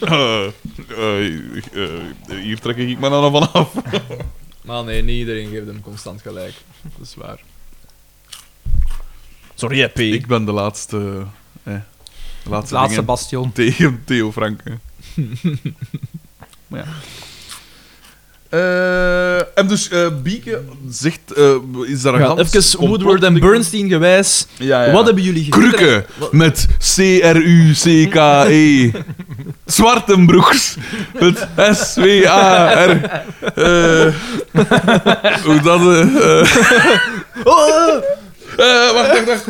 S2: Eh, eh, eh, hier trek ik me dan vanaf.
S3: Maar nee, niet iedereen geeft hem constant gelijk. Dat is waar. Sorry, P.
S2: Ik ben de laatste. Eh, de laatste, dingen
S1: bastion.
S2: [laughs] tegen Theo
S3: [laughs]
S2: Franken. maar ja. Eh, en dus eh Bieke zegt. eh, is daar een
S3: Ja,
S2: gans
S3: even
S2: complot-
S3: Woodward en Bernstein gewijs.
S2: Ja, ja.
S3: Wat hebben jullie gezien?
S2: Krukken
S3: Wat-
S2: met
S3: [laughs]
S2: C-R-U-C-K-E. Zwartenbroeks E. met S-W-A-R. Eh, hoe dat. eh, eh,
S3: [laughs] Oh!
S2: eh, wacht, wacht, wacht.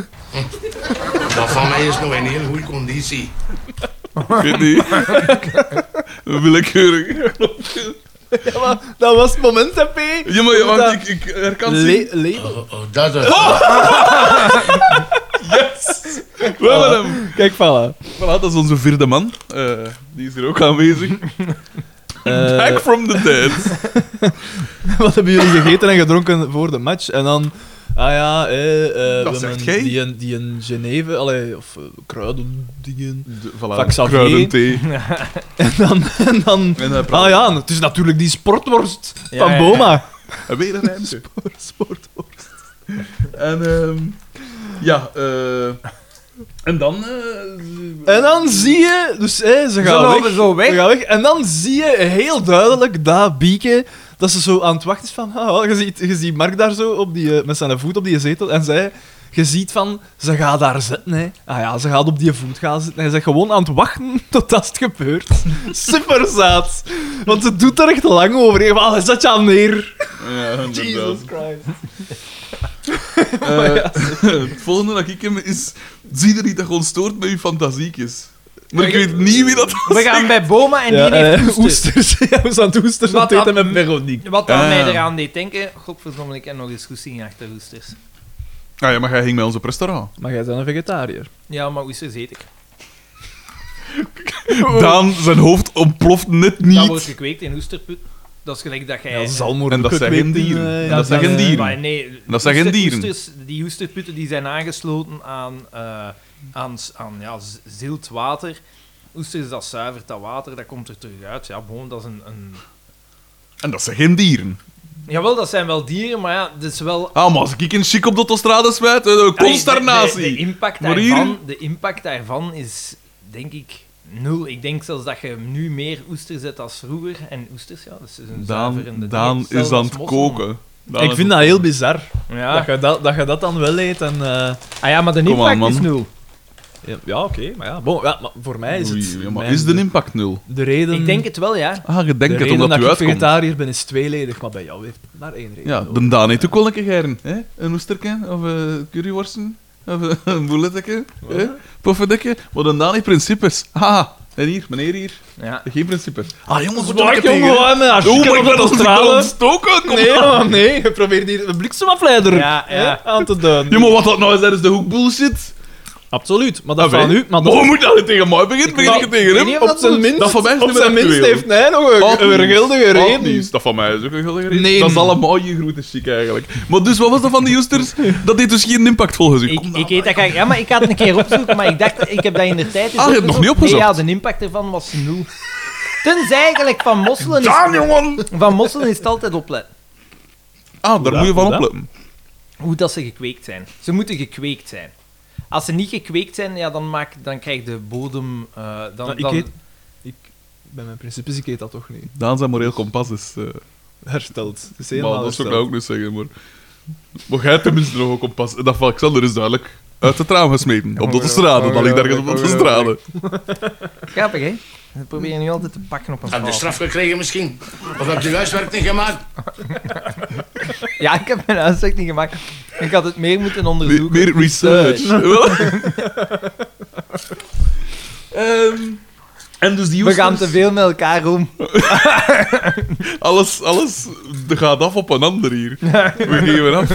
S4: Dat van mij is nog in heel goede conditie.
S2: Ik weet niet. [laughs] Willekeurig.
S3: Ja, maar dat was het moment, hè, P.
S2: Ja, maar ja,
S3: Hoe
S2: want
S3: dat-
S2: ik, ik er kan zien.
S3: Le- label.
S4: Oh, oh, dat is...
S2: We hebben hem.
S3: Kijk, voilà. [laughs]
S2: Voilà, dat is onze vierde man. Eh, die is hier ook aanwezig.
S3: Eh,
S2: Back from the dead.
S3: [laughs] wat hebben jullie gegeten en gedronken voor de match? En dan, ah ja, eh, eh, we
S2: Dat
S3: hebben
S2: zegt gij.
S3: die, in, die in Geneve, allee, of eh, kruidendingen. [laughs]
S2: De,
S3: Van
S2: voilà,
S3: Xavier.
S2: [laughs] kruidenthee.
S3: En dan, en dan
S2: En dan
S3: ah ja, het is natuurlijk die sportworst
S1: Ja,
S3: van
S1: ja, ja.
S3: Boma.
S2: En Weer een rijmpje. Sportworst. En ehm ja, eh en dan. eh
S3: En dan zie je, dus eh, ze
S1: Ze
S3: gaan
S1: lopen
S3: weg.
S1: zo weg.
S3: Ze gaan weg. En dan zie je heel duidelijk dat Bieke, dat ze zo aan het wachten is van, ah, je, ziet, je ziet Mark daar zo op die, eh, met zijn voet op die zetel en zij, je ziet van, ze gaat daar zitten. Hè. Ah ja, ze gaat op die voet gaan zitten. En ze is gewoon aan het wachten [laughs] totdat het gebeurt. [laughs] Super zaad. Want ze doet er echt lang over. Je zat je aan neer.
S2: ja, inderdaad.
S3: Jesus Christ.
S2: Eh, het volgende dat ik hem is. Zie je niet dat gewoon stoort met je fantasiekjes? Maar ik weet niet wie dat
S1: We gaan bij Boma en
S3: ja,
S1: die
S3: eh,
S1: heeft oesters.
S3: oesters. [laughs] Ja, we zijn aan het oesters aan
S1: Wat
S3: het eten
S1: dat-
S3: met Veronique.
S1: Wat dan
S2: Ah.
S1: mij eraan deed denken, godverdomme, ik heb nog eens goed zien achter oesters.
S2: Ah ja, maar jij ging bij ons op restaurant.
S3: Maar jij bent een vegetariër.
S1: Ja, maar oesters eet ik.
S2: Daan, zijn hoofd ontploft net
S1: Dat wordt
S2: niet.
S1: gekweekt in oesterput. Dat is gelijk dat jij...
S3: Ja, zalmoer.
S2: En dat zijn geen dieren. En dat zijn
S1: Eh,
S2: geen dieren.
S1: maar nee,
S2: Dat zijn geen
S1: oester-
S2: dieren.
S1: oesters- die oesterputten die zijn aangesloten aan, eh, aan, s- aan ja, z- zilt water. Oesters, dat zuivert dat water, dat komt er terug uit. Ja, gewoon, dat is een... een...
S2: En dat zijn geen dieren.
S1: Jawel, dat zijn wel dieren, maar ja, dat is wel
S2: Ah, maar als ik een chic op de autostrade smijt, eh, de
S1: Allee, Ah, De, de, de
S2: consternatie.
S1: impact
S2: Maar
S1: daarvan,
S2: hier-
S1: de impact daarvan is, denk ik, nul. Ik denk zelfs dat je nu meer oesters zet als vroeger. En oesters, ja, dat is dus een
S2: Daan,
S1: zuiverende
S2: Daan
S1: ding. Hetzelfde
S2: is aan
S1: als
S2: het
S1: mosselen.
S2: koken. Daan
S3: Ik
S2: is
S3: vind
S2: aan-
S3: dat heel bizar.
S1: Ja.
S3: Dat, je dat, dat je dat dan wel eet en... eh,
S1: Ah ja, maar de
S2: Kom aan,
S1: impact
S2: man.
S1: is nul.
S3: ja, ja, oké, maar ja. Ah, Bon, ja maar voor mij is het...
S2: Oei, ja, maar
S3: mijn-
S2: is de impact nul?
S3: de reden...
S1: Ik denk het wel, ja.
S2: Ah, je
S3: de
S2: denkt het,
S3: reden
S2: omdat
S3: dat
S2: u
S3: ik
S2: uitkomt.
S3: vegetariër ben is tweeledig, maar bij jou heeft het maar één reden.
S2: Ja, de Daan heeft ook wel een keer geiren, hè? Een oesterken, of een eh, [laughs] curryworsten, of eh, een bouletteke, hè? poffendekje. Maar de Daan heeft principes. Haha, En hier, meneer hier.
S1: Ja.
S2: Geen principe.
S3: Ah, jongens,
S2: wat doe ik tegen, hè?
S3: jongen, met
S2: Oh, maar ik ben
S3: dat
S2: als ik ontstoken. Kom
S3: Nee,
S2: aan.
S3: man, nee, je probeert hier een bliksemafleider
S1: Ja,
S3: hè,
S1: ja.
S3: aan te duiden.
S2: Ja, maar wat dat nou is, dat is de hoek bullshit.
S3: Absoluut, maar dat
S2: Ah,
S3: van
S2: nee.
S3: u. Maar
S2: Maar
S3: dat,
S2: hoe moet dat tegen mij beginnen? Begin ik het tegen
S1: weet
S2: hem?
S1: niet of
S3: op
S1: dat
S3: zijn
S1: doet.
S3: minst,
S2: Dat van mij is
S3: op
S2: niet
S3: zijn
S2: meer
S3: minst
S2: actueel.
S3: heeft hij nog een,
S2: Oud
S3: een
S2: nieuws,
S3: gildige
S2: oud
S3: reden.
S2: nieuws. Dat van mij is ook een gildige reden.
S3: Nee.
S2: Dat is allemaal je grote chic eigenlijk. Maar dus, wat was dat van die Joesters? Dat deed dus geen impact volgens u.
S1: Ik,
S2: Kom
S1: ik weet dat ik... Ja, maar ik had het een keer opzoeken, maar ik dacht... Ik heb dat in de tijd... eens
S2: Ah, je hebt het nog niet opgezocht?
S1: Nee, ja, de impact ervan was nul. Tenzij eigenlijk van Mosselen is...
S2: Daan, jongen!
S1: Van Mosselen is het altijd opletten.
S2: Ah, daar
S3: Ja,
S2: moet je van
S3: hoe dat?
S2: opletten.
S1: Hoe dat ze gekweekt zijn. Ze moeten gekweekt zijn. Als ze niet gekweekt zijn, ja, dan, maak, dan krijg je de bodem... eh, dan,
S2: Nou,
S3: Maar ik
S1: dan,
S3: eet- Ik, bij mijn principes, ik eet dat toch niet.
S2: Daan zijn moreel kompas is... eh,
S3: Hersteld. Het is
S2: maar
S3: helemaal
S2: dat zou ik nou
S3: hersteld.
S2: ook niet zeggen, maar... Maar jij hebt tenminste nog een kompas. En dat van Xander is duidelijk uit de traan gesmeten. Op de straten. Dat ligt ergens op de straten.
S1: Grappig, hè? Dat probeer je nu altijd te pakken op een
S4: Heb je
S1: verhaal.
S4: straf gekregen misschien? Of heb je huiswerk niet gemaakt?
S1: Ja, ik heb mijn huiswerk niet gemaakt. Ik had het meer moeten
S2: Me-
S1: onderzoeken.
S2: Meer research. [laughs] Ehm, en dus die
S1: We gaan te
S2: Oesters-
S1: veel met elkaar om.
S2: Alles, alles gaat af op een
S1: [laughs]
S2: ander hier. We geven af.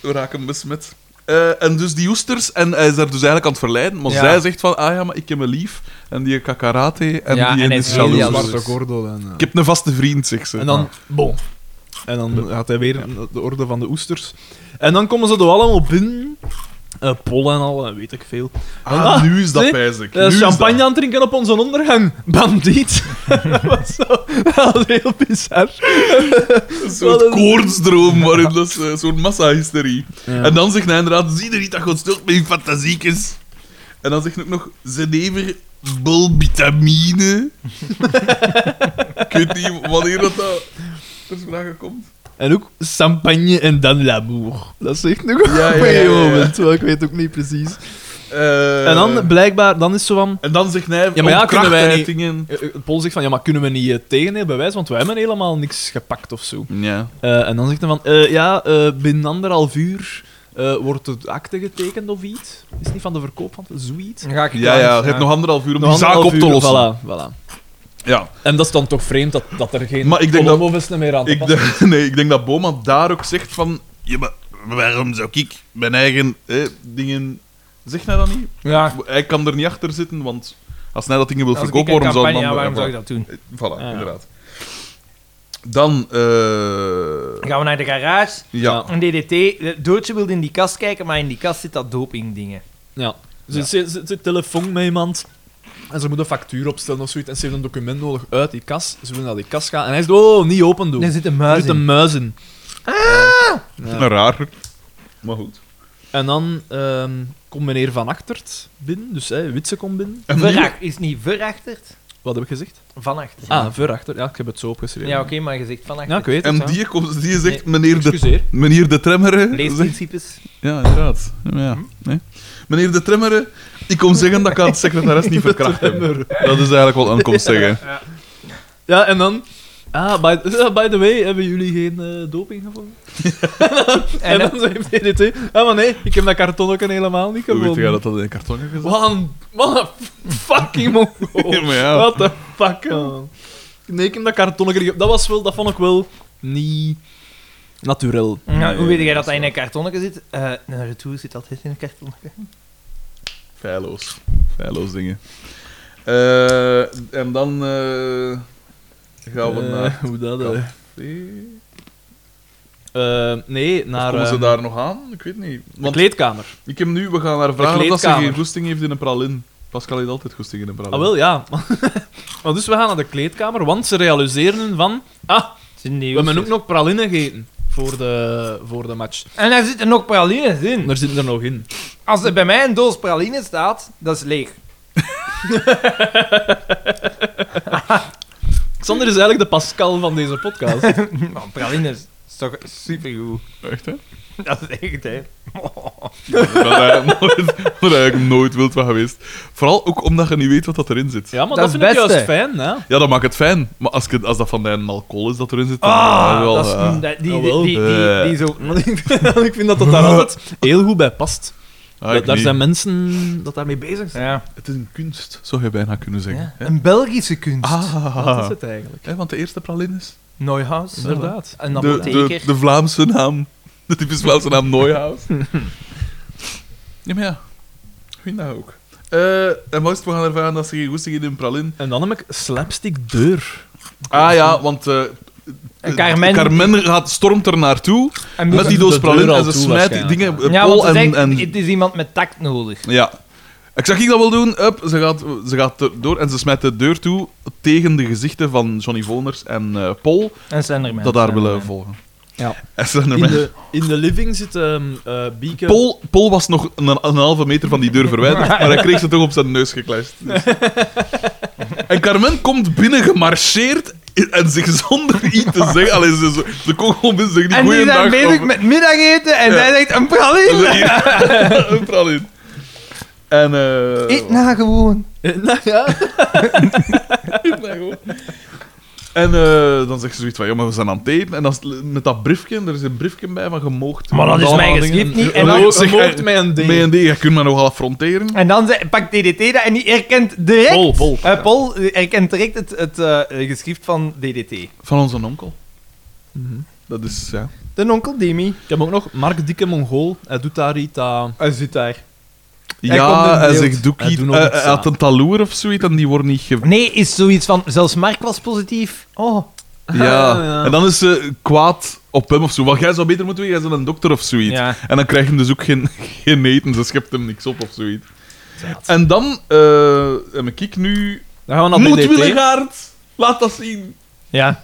S2: We raken besmet. Eh, en dus die oesters, en hij is daar dus eigenlijk aan het verleiden, maar
S1: Ja.
S2: zij zegt van, ah ja, maar ik heb een lief, en die kakarate, en
S1: Ja,
S2: die
S1: en hij
S2: is
S1: is heel
S2: jaloers.
S1: jaloers.
S2: Ik
S1: Zwarte
S3: gordel en... eh,
S2: heb een vaste vriend, zegt ze.
S3: En dan, bon. En dan had hij weer de orde van de oesters. En dan komen ze er allemaal binnen. Eh, pollen en al, en weet ik veel.
S2: Ah,
S3: Ah,
S2: nu is dat
S3: zie,
S2: pijzig.
S3: Eh,
S2: Nu is
S3: champagne
S2: dat.
S3: aan het drinken op onze ondergang. Bandiet. [laughs] dat was zo... Dat was heel bizar.
S2: Een soort
S3: [laughs]
S2: koortsdroom, waarin dat is, eh, zo'n massahysterie. En
S3: En
S2: dan zegt hij inderdaad, zie je niet dat God stelt met die fantasiekes? En dan zegt hij ook nog, Zenever bulbitamine. ik weet niet wanneer dat nou ter sprake komt.
S3: En ook champagne en dan l'amour. Dat is echt nog
S2: ja,
S3: op een
S2: ja, ja.
S3: moment, wel, ik weet ook niet precies.
S2: Eh,
S3: En dan blijkbaar, dan is zo van...
S2: en dan zegt hij,
S3: Ja, maar ja, kunnen wij niet-
S2: ontkrachtuitingen.
S3: eh, eh, Paul zegt van, ja, maar kunnen we niet eh, tegen het bewijs, want wij hebben helemaal niks gepakt of zo.
S2: Ja.
S3: Eh, en dan zegt hij van, eh, ja, eh, binnen anderhalf uur eh, wordt de akte getekend of iets. Is het niet van de verkoop van de zoiets?
S1: Dan ga ik
S2: Ja, ja, je hebt nog anderhalf uur om
S3: Nog
S2: die zaak op
S3: anderhalf
S2: te
S3: uur,
S2: lossen.
S3: Voilà, voilà.
S2: Ja,
S3: En dat is dan toch vreemd dat, dat er geen
S2: Maar ik denk dat-
S3: kolombovesten meer aan te
S2: ik,
S3: passen.
S2: denk- [laughs] nee, ik denk dat Boma daar ook zegt van... Ja, maar waarom zou ik mijn eigen eh, dingen... Zegt hij dat niet?
S1: Ja,
S2: Hij kan er niet achter zitten, want als hij dat dingen wil
S1: als ik
S2: verkopen,
S1: een
S2: waarom zou hij
S1: campagne- ja, waarom
S2: dan... eh,
S1: zou ik dat doen?
S2: Voilà,
S3: ja.
S2: inderdaad. Dan, eh
S1: Dan gaan we naar de garage.
S2: ja.
S1: Een DDT. Eh, Doodje wilde in die kast kijken, maar in die kast zit dat dopingdingen.
S3: Ja. Ze ze- ze- ze telefoon met iemand. En ze moet een factuur opstellen of zoiets. En ze heeft een document nodig uit die kas. Ze wil naar die kas gaan. En hij zegt, oh, niet open doen.
S1: Er zit een
S3: Er
S1: muis
S3: zit een
S1: in.
S3: muis in. Ja.
S2: raar. Maar goed.
S3: En dan ehm, komt meneer Van Achtert binnen. Dus hè, Witse komt binnen.
S1: Verach- Is niet verachterd?
S3: Wat heb ik gezegd?
S1: Van achter. Nou,
S3: Ah, Ver Achtert. Ja, ik heb het zo opgeschreven.
S1: Ja, oké, maar je zegt van achter.
S3: Ja, ik weet het.
S2: En
S3: ja.
S2: die, komt, die zegt,
S3: Nee,
S2: meneer, de,
S3: Excuseer.
S2: meneer de Tremmer... zegt- [laughs]
S1: Leesprincipes.
S2: Ja, inderdaad. Ja, maar ja,
S1: Hm?
S2: nee. Meneer de Tremmer, ik kom zeggen dat ik aan het secretaris niet verkracht heb. Dat is eigenlijk wat
S1: [laughs]
S2: aan komt zeggen.
S3: Ja, en dan... Ah, by, [laughs] ah, by the way, hebben jullie geen eh, doping gevonden? En,
S1: En, eh,
S3: dan zegt DDT, ah, maar nee, ik heb dat karton ook helemaal niet
S2: Hoe weet
S3: gevonden.
S2: jij dat dat in een karton heeft gezet?
S3: Wat een, wat een fucking
S1: Oh.
S3: mongool.
S2: [laughs] Ja, maar ja.
S3: What the fuck, man. Nee, ik heb dat kartonnen gekregen. Dat was wel, dat vond ik wel niet naturel.
S1: eh, nou, hoe
S2: Nee,
S1: weet jij dat
S2: dat
S1: dat
S2: is
S1: in een kartonnetje zit? Eh een retour zit altijd in een kartonnetje.
S2: Feilloos. Feilloos dingen. Eh, en dan eh, gaan we
S3: Eh,
S2: naar...
S3: hoe dat, eh.
S2: Café.
S3: Eh, nee, naar
S2: Komen ze
S3: eh,
S2: daar nog aan? Ik weet niet.
S3: de
S2: Want
S3: kleedkamer.
S2: ik heb nu, we gaan haar vragen of ze
S3: kleedkamer.
S2: geen goesting heeft in een pralin. Pascal heeft altijd goesting in een pralin.
S3: Ah, wel, ja. [laughs] maar dus we gaan naar de kleedkamer, want ze realiseren van... Ah, we hebben ook nog pralinnen gegeten voor de, voor de match.
S1: En daar zitten nog pralines in.
S3: En er zitten er nog in.
S1: Als er bij mij een doos praline staat, dat is leeg. [laughs]
S3: Sander is eigenlijk de Pascal van deze podcast.
S1: Maar praline is toch supergoed. [laughs]
S2: Echt, hè?
S1: Dat is echt, hè.
S2: Dat hij [laughs] nooit, dat hij eigenlijk nooit wild was geweest. Vooral ook omdat je niet weet wat dat erin zit. Ja,
S3: Ja, maar dat,
S1: Dat is
S3: vind
S1: best,
S3: ik juist
S1: hè.
S3: fijn, hè.
S2: dat maakt het fijn. Maar als, ik- als dat van een alcohol is dat erin zit, dan
S1: Ah,
S2: wel, eh,
S1: dat is,
S2: ja.
S1: dat- die, die,
S3: Jawel.
S1: [laughs] die, die, die,
S2: Eh.
S1: zo...
S2: [laughs]
S1: Ah.
S3: ik vind dat dat daar altijd heel goed bij past.
S2: Ah, ik
S3: Dat, daar
S2: niet.
S3: zijn mensen dat daarmee bezig zijn.
S1: Ja.
S2: Het is een kunst, zou je bijna kunnen zeggen.
S1: Ja,
S2: hè?
S1: Een Belgische kunst.
S2: Ah,
S3: Dat is het eigenlijk.
S2: hè, want de eerste pralines.
S1: Neuhaus.
S3: Inderdaad.
S1: Een
S2: De, de,
S1: apotheker.
S2: de Vlaamse naam. De typisch Vlaamse naam
S3: [laughs]
S2: Neuhaus. ja, maar ja. Ik vind dat ook. Eh, en moest we gaan ervaren dat ze geen goesting in hun pralin.
S3: En dan heb ik slapstick deur.
S2: Ah ja, want... eh,
S1: En Carmen-
S2: Carmen gaat, stormt er naartoe
S1: En
S2: met die
S3: de
S2: doos
S3: deur
S2: pralin
S3: al
S2: en ze
S3: toe
S2: smijt die
S3: waarschijnlijk,
S2: dingen eh,
S1: ja, want
S2: pol
S1: ze
S2: en,
S1: zegt,
S2: en...
S1: het is iemand met tact nodig.
S2: Ja. Ik zag ik dat wel doen. Up, ze, gaat, ze gaat er door en ze smijt de deur toe tegen de gezichten van Johnny Voners en eh Paul
S1: En zijn er mensen.
S2: dat daar willen volgen.
S1: Ja.
S2: [laughs] En ze zijn er
S3: In
S2: mensen.
S3: de, in de living zit ehm eh Bieke.
S2: Paul, Paul was nog een, een halve meter van die deur
S1: [laughs]
S2: verwijderd, maar hij kreeg ze toch op zijn neus geklasht. Dus. En Carmen komt binnen gemarcheerd en zich zonder iets te zeggen. Allee, ze, ze, ze kon gewoon binnen zeggen:
S1: En die zijn
S2: Goeiedag.
S1: bezig
S2: of-
S1: met middageten en
S2: Ja.
S1: hij zegt een praline.
S2: Ze- [laughs] hier. Een praline. En eh,
S1: Ik na gewoon.
S3: nou [laughs] ja.
S2: En eh, dan zegt ze zoiets van, ja, maar we zijn aan het eten. En dan is het met dat briefje, er is een briefje bij van gemoogd.
S1: Maar dat is
S2: Allemaal
S1: mijn
S2: dingen.
S1: geschrift niet.
S2: En
S1: En
S2: dan-
S1: dan,
S2: zeg,
S3: moord
S2: eh,
S3: mij een ding.
S2: B&D, je kunt me nogal affronteren.
S1: en dan ze- pakt DDT dat en die herkent direct...
S2: Pol, Pol.
S1: Eh, Pol herkent direct het, het eh, geschrift van DDT.
S2: Van onze onkel.
S3: Mhm.
S2: Dat is, ja.
S1: De onkel Demi.
S3: Ik heb ook nog Mark Dikke Mongool. Hij doet daar iets aan.
S1: Hij zit daar. Hij komt in
S2: Ja, hij
S1: beeld.
S2: zegt
S3: Hij
S2: Doekie.
S3: doet nog
S2: Hij
S3: iets
S2: hij had
S3: aan.
S2: een taloer of zoiets en die wordt niet
S1: [laughs]
S2: ge...
S1: Nee, is zoiets van... Zelfs Mark was positief. Oh.
S2: Ja.
S3: ja.
S2: En dan is ze kwaad op hem of zo. Want jij zou beter moeten weten, jij bent een dokter of zoiets.
S1: Ja.
S2: En dan krijg je hem dus ook geen, [laughs] geen eten, ze schept hem niks op of zoiets. En dan eh heb ik nu...
S3: Dan gaan we naar
S2: Moet
S3: DDT.
S2: Willegaard! Laat dat zien!
S1: Ja,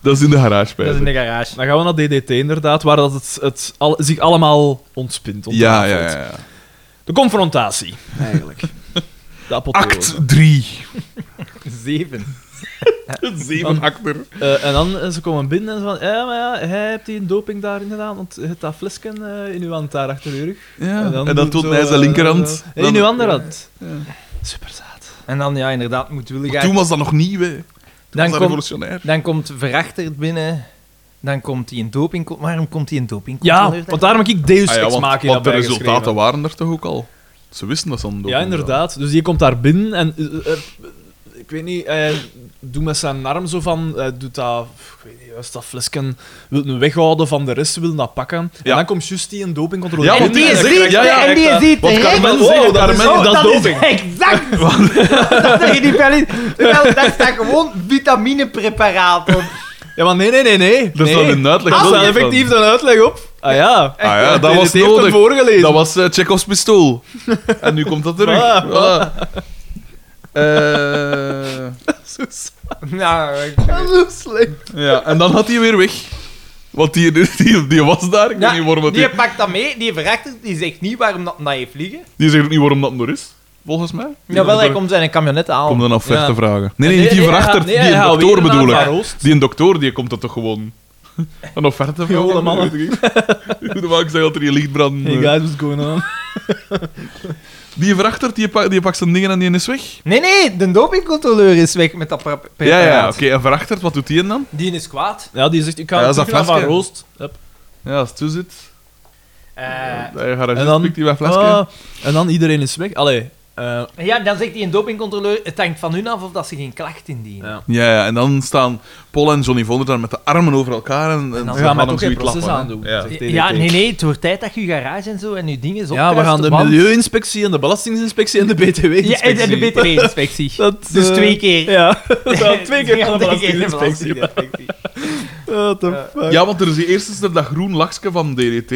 S2: Dat is in de garage, bij
S1: dat is in de garage.
S3: Dan gaan we naar DDT inderdaad, waar dat het, het al- zich allemaal ontspint.
S2: Ja,
S3: ontrafelt.
S2: ja, ja. ja.
S3: De confrontatie, eigenlijk. [laughs] De apotheose.
S2: Act 3.
S1: Zeven.
S2: [laughs] Zeven acter.
S3: Eh, en dan eh, ze komen binnen en ze van, ja, maar ja, hij hebt die doping daarin gedaan, want je hebt dat flesje eh, in uw hand daar achter je rug.
S2: Ja. En dan,
S3: doet
S2: toont
S3: zo,
S2: hij zijn
S3: eh,
S2: linkerhand.
S3: zo. En in uw andere
S2: Ja.
S3: hand.
S2: Ja.
S3: Super zaad.
S1: En dan, ja, inderdaad, moedwilligheid.
S2: Toen was dat nog nieuw, hè. Toen was
S1: dan,
S2: dat
S1: komt,
S2: revolutionair.
S1: dan komt Verachter binnen. Dan komt hij in doping. Waarom komt hij in doping?
S3: Ja, want daarom heb ik Deus
S2: Ah ja,
S3: Ex
S2: want,
S3: Machina
S2: want de
S3: bijgeschreven.
S2: resultaten waren er toch ook al. Ze wisten dat ze aan het doen
S3: Ja,
S2: waren.
S3: inderdaad. Dus die komt daar binnen en... eh, eh, ik weet niet, hij doet met zijn arm zo van... Hij doet dat... Ik weet niet, was dat flesken... Wil hem weghouden van de rest, wil dat pakken. En
S2: Ja.
S3: dan komt juist die een dopingcontrole.
S2: Ja,
S1: en
S2: want
S1: die
S2: hij
S1: is
S2: zegt-
S1: ziet,
S2: ja, ja, eh,
S1: en die
S3: echt,
S1: ziet
S2: Want
S1: direct-
S2: Carmen
S3: Wow,
S2: zegt,
S3: dat is-
S2: Carmen,
S3: oh,
S2: dat,
S1: dat
S2: is
S1: is
S2: doping.
S1: exact
S2: [laughs]
S1: [laughs] dat tegen die Berlin. Wel, daar staat gewoon vitaminepreparaat
S2: [laughs]
S1: op.
S3: Ja, maar nee, nee, nee, nee.
S2: Dat is
S3: nee.
S2: wel een uitleg.
S3: Ah,
S2: dat
S3: staat
S2: is
S3: effectief
S2: van-
S3: een uitleg op. Ah ja.
S2: Ah ja, dat
S3: Dit
S2: was
S3: heeft hem
S2: nodig.
S3: voorgelezen.
S2: Dat was eh, Chekhov's
S3: [laughs]
S2: pistool. En nu komt dat terug.
S3: Voilà.
S2: Voilà. Eh,
S3: Zo s-
S1: Nou, ik-
S3: zo slecht.
S2: ja, en dan had hij weer weg. Want die, die, die was daar. Ik weet niet waarom dat
S1: die
S2: die,
S1: pakt dat mee, die Verachter, die zegt niet waarom dat naar je vliegen.
S2: die zegt ook niet waarom dat er is, volgens mij.
S1: Jawel, hij komt zijn camionet aan.
S2: Komt dan afweg
S3: Oh. Ja.
S2: te vragen. Nee, nee, niet
S3: Nee,
S2: die
S3: nee,
S2: verachter.
S3: hij- nee,
S2: die
S3: hij
S2: een
S3: gaat
S2: dokter
S3: weer naar
S2: bedoel
S3: Van
S2: ik.
S3: Roost.
S2: Die een dokter, die komt dat toch gewoon... Een offerte vragen?
S3: Jonge mannen.
S2: Weet ik niet. Goede man, ik zeg altijd, je lichtbrand.
S3: Hey guys, what's going on?
S2: Die verachter, die, pak, die pakt zijn dingen en die is weg.
S1: Nee, nee, de dopingcontroleur is weg met dat pre- preparaat.
S2: Ja, ja, oké. En verachter, wat doet die dan?
S1: Die is kwaad.
S3: Ja, die zegt, ik
S2: Ja,
S3: ga
S2: dat is
S3: terug
S2: een
S3: naar Van
S2: flesje.
S3: Roost. Hup.
S2: Ja, als het toe zit,
S1: Eh,
S2: hij gaat en
S3: En dan-
S2: dan, die bij flesje.
S3: Ah, en dan iedereen is weg. Allee. eh,
S1: ja, dan zegt die een dopingcontroleur, het hangt van hun af of dat ze geen klacht indienen.
S3: Ja.
S2: Ja, ja, en dan staan Paul en Johnny Vonder daar met de armen over elkaar en, en,
S1: dan
S2: ze
S3: we gaan
S2: gaan
S3: maar
S2: hem
S3: toch geen
S2: zoiets
S3: proces
S2: lappen. hè.
S3: aandoen.
S2: Ja.
S3: zegt
S1: Ja,
S3: DDT.
S1: nee, nee, het wordt tijd dat je garage en zo en je dingen is
S3: Ja, we
S1: opkruist,
S3: gaan de
S1: want-
S3: milieuinspectie en de belastinginspectie en de
S1: Ja,
S3: btw-inspectie.
S1: en en de [laughs] BTW-inspectie.
S3: [laughs] Dat,
S1: dus
S3: eh,
S1: twee keer.
S3: Ja, dat twee keer
S1: [laughs] Ja,
S3: aan de
S1: twee keer
S3: belastinginspectie.
S1: belastinginspectie.
S3: What the fuck?
S2: Ja, want er is eerst is er dat groen laksje van DDT,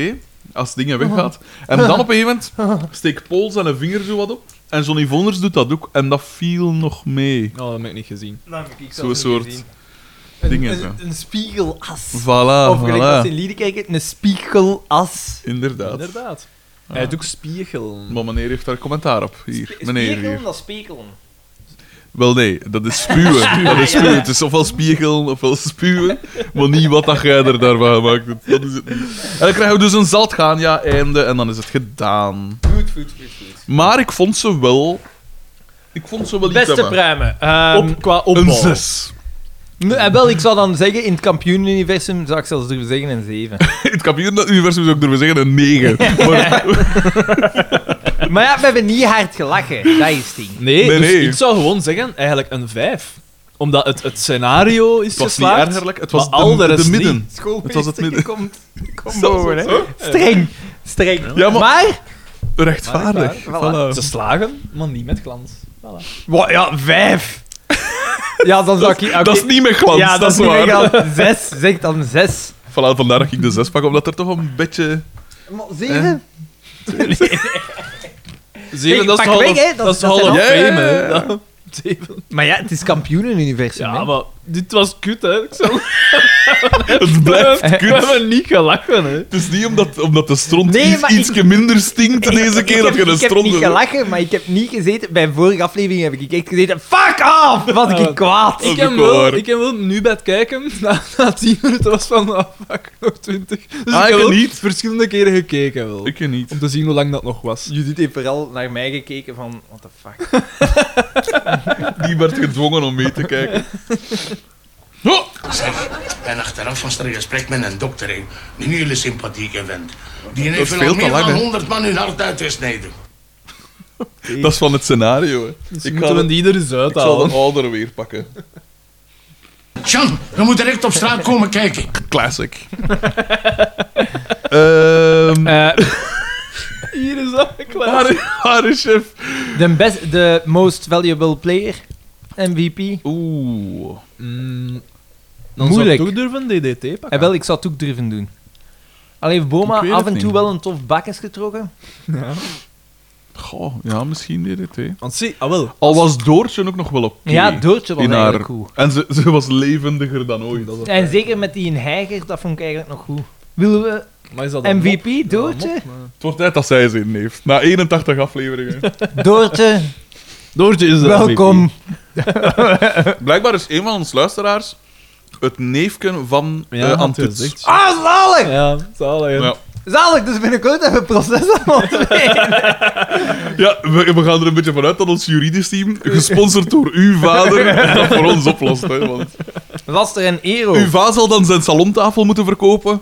S2: als dingen
S3: [laughs]
S2: weggaat. En dan op een gegeven moment steekt Paul zijn vinger zo wat op. En Johnny Vonders doet dat ook. En dat viel nog mee.
S3: Oh, dat heb ik niet gezien.
S1: Nou, heb ik zelfs
S2: Zo'n
S1: niet
S2: soort
S1: gezien.
S2: dingen,
S1: Een,
S2: ja.
S1: een, een spiegelas.
S2: Voilà,
S1: of gelijk als
S2: voilà.
S1: in Liedekerk, een spiegelas.
S2: Inderdaad.
S3: Inderdaad. Hij doet ook spiegel.
S2: Maar meneer heeft daar commentaar op. Hier,
S1: Sp-
S2: meneer
S1: spiegelen,
S2: hier.
S1: dat is spiegelen.
S2: Wel nee, dat
S1: [laughs]
S2: is spuwen. Dat is spuwen. Het is ofwel spiegel, ofwel spuwen. Maar niet wat dat jij er daarvan maakt. Dat is het niet. En dan krijgen we dus een zalt gaan, ja, einde. En dan is het gedaan.
S1: Goed, goed, goed, goed.
S2: Maar ik vond ze wel... Ik vond ze wel iets
S1: Beste
S2: hebben.
S1: pruimen. Ehm
S3: Op, qua opbouw.
S2: Een zes. [laughs]
S1: nu- eh, wel, ik zou dan zeggen, in het kampioenuniversum zou ik zelfs [laughs] durven zeggen een 7.
S2: In het kampioenuniversum zou ik durven zeggen een 9. Maar,
S1: Maar ja, we hebben niet hard gelachen. Dat is het ding.
S3: Nee,
S2: Nee,
S3: dus
S2: nee.
S3: ik zou gewoon zeggen, eigenlijk een 5. Omdat het, het scenario is
S2: Het was niet
S3: geslaagd.
S2: ergerlijk, het was
S3: maar al de
S2: de, de,
S3: rest niet.
S2: midden.
S1: Schoolmeester,
S2: Het was het midden.
S1: je komt, je komt boven, hè. Streng. Streng.
S2: Ja, maar-
S1: maar
S2: Rechtvaardig.
S1: Maar waar?
S2: Voilà.
S3: Ze slagen, maar niet met glans. Voilà.
S1: Wa- ja, [laughs] vijf. Ja, dan zou ik... oké.
S2: Dat is niet mijn glans,
S1: ja,
S2: dat is waar.
S1: dan [laughs] Zes, zeg dan zes.
S2: Voilà, vandaar dat ik de zes pak, omdat er toch een beetje...
S1: Maar zeven?
S3: Zeven,
S1: Nee,
S3: dat is
S1: pak
S3: Hall
S1: weg,
S3: of-
S1: hè. Dat-
S3: Dat is
S1: dat
S3: Hall
S1: zijn
S3: of
S2: al-
S3: Fame,
S2: Ja,
S3: hè.
S2: ja, ja.
S3: Dat- Zeven.
S1: Eh, Maar ja, het is kampioenenuniversum,
S3: Ja,
S1: hè.
S3: maar dit was kut, hè. Ik zou...
S2: Het blijft
S3: [laughs] We
S2: kut.
S3: hebben niet gelachen, hè.
S2: Het is niet omdat, omdat de stront
S1: Nee,
S2: iets,
S1: maar
S2: ietsje minder stinkt deze keer dat je een
S1: [laughs] ik heb
S2: stront
S1: niet
S2: hebt.
S1: gelachen, maar ik heb niet gezeten... Bij een vorige aflevering heb ik echt gezeten... Fuck off! Was ik kwaad.
S2: Oh,
S3: Ik
S2: ook
S3: heb,
S2: wel
S3: wel,
S2: waar.
S3: ik heb wel nu bij het kijken, [laughs] na, na 10 minuten was van, ah, fuck, nog 20. Dus
S2: Ah,
S3: ik
S2: ik
S3: heb wel
S2: niet.
S3: verschillende keren gekeken wel.
S2: Ik niet.
S3: Om te zien hoe lang dat nog was.
S1: Judith heeft vooral naar mij gekeken van... What the fuck?
S2: Die werd gedwongen om mee te kijken. Oh,
S4: Zeg, en achteraf was er een gesprek met een dokter, hè. een hele sympathieke vent. Die heeft
S2: is
S4: wel
S2: veel
S4: al
S2: te
S4: meer
S2: lang,
S4: dan
S2: hè.
S4: 100 man hun hart uitgesneden.
S2: dat is van het scenario. Hè.
S3: Dus
S2: ik,
S3: moeten
S2: ga
S3: we
S2: de,
S3: die er eens
S2: ik zal
S3: uithalen.
S2: de ouder weer pakken.
S4: Jan, je moet direct op straat komen kijken.
S1: [laughs]
S2: Classic. Ehm
S3: Eh,
S2: [laughs]
S3: Hier is dat, klaar.
S2: haar, haar is chef.
S1: De best... De most valuable player. MVP.
S2: Oeh.
S3: Mm, dan
S1: Moeilijk.
S3: zou ik toch durven DDT pakken.
S1: En wel, ik zou het ook durven doen. Alleen heeft Boma
S2: Ik weet
S1: af
S2: het
S1: en toe
S2: niet.
S1: wel een tof bakjes getrokken.
S2: Goh, ja, misschien deed het. hè.
S3: Want zie, ah wel.
S2: Al was Doortje ook nog wel op.
S1: Ja, Doortje was eigenlijk goed.
S2: En ze, [laughs] ze was levendiger dan ooit. Dat is-
S1: En zeker met die in Heiger, dat vond ik eigenlijk nog goed. Willen we
S3: Maar is dat een mop?
S1: MVP, Doortje?
S3: Ja, een mop, maar-
S2: Het wordt tijd dat zij zin heeft. Na 81 afleveringen.
S1: Doortje,
S3: Doortje is er.
S1: welkom.
S2: [laughs] Blijkbaar is een van ons luisteraars het neefken van eh
S3: Ja, dat
S2: Antuts.
S3: is echt zo.
S1: Ah, zalig!
S3: Ja, zalig. [laughs] hè.
S2: Ja.
S1: Zalig, dus binnenkort hebben we proces aan ons [laughs] been.
S2: Ja, we, we gaan er een beetje vanuit dat ons juridisch team, gesponsord door uw
S3: [laughs]
S2: vader, dat voor ons oplost. Hè, want
S1: Laster en Ero.
S3: Oh.
S2: uw va zal dan zijn salontafel moeten verkopen.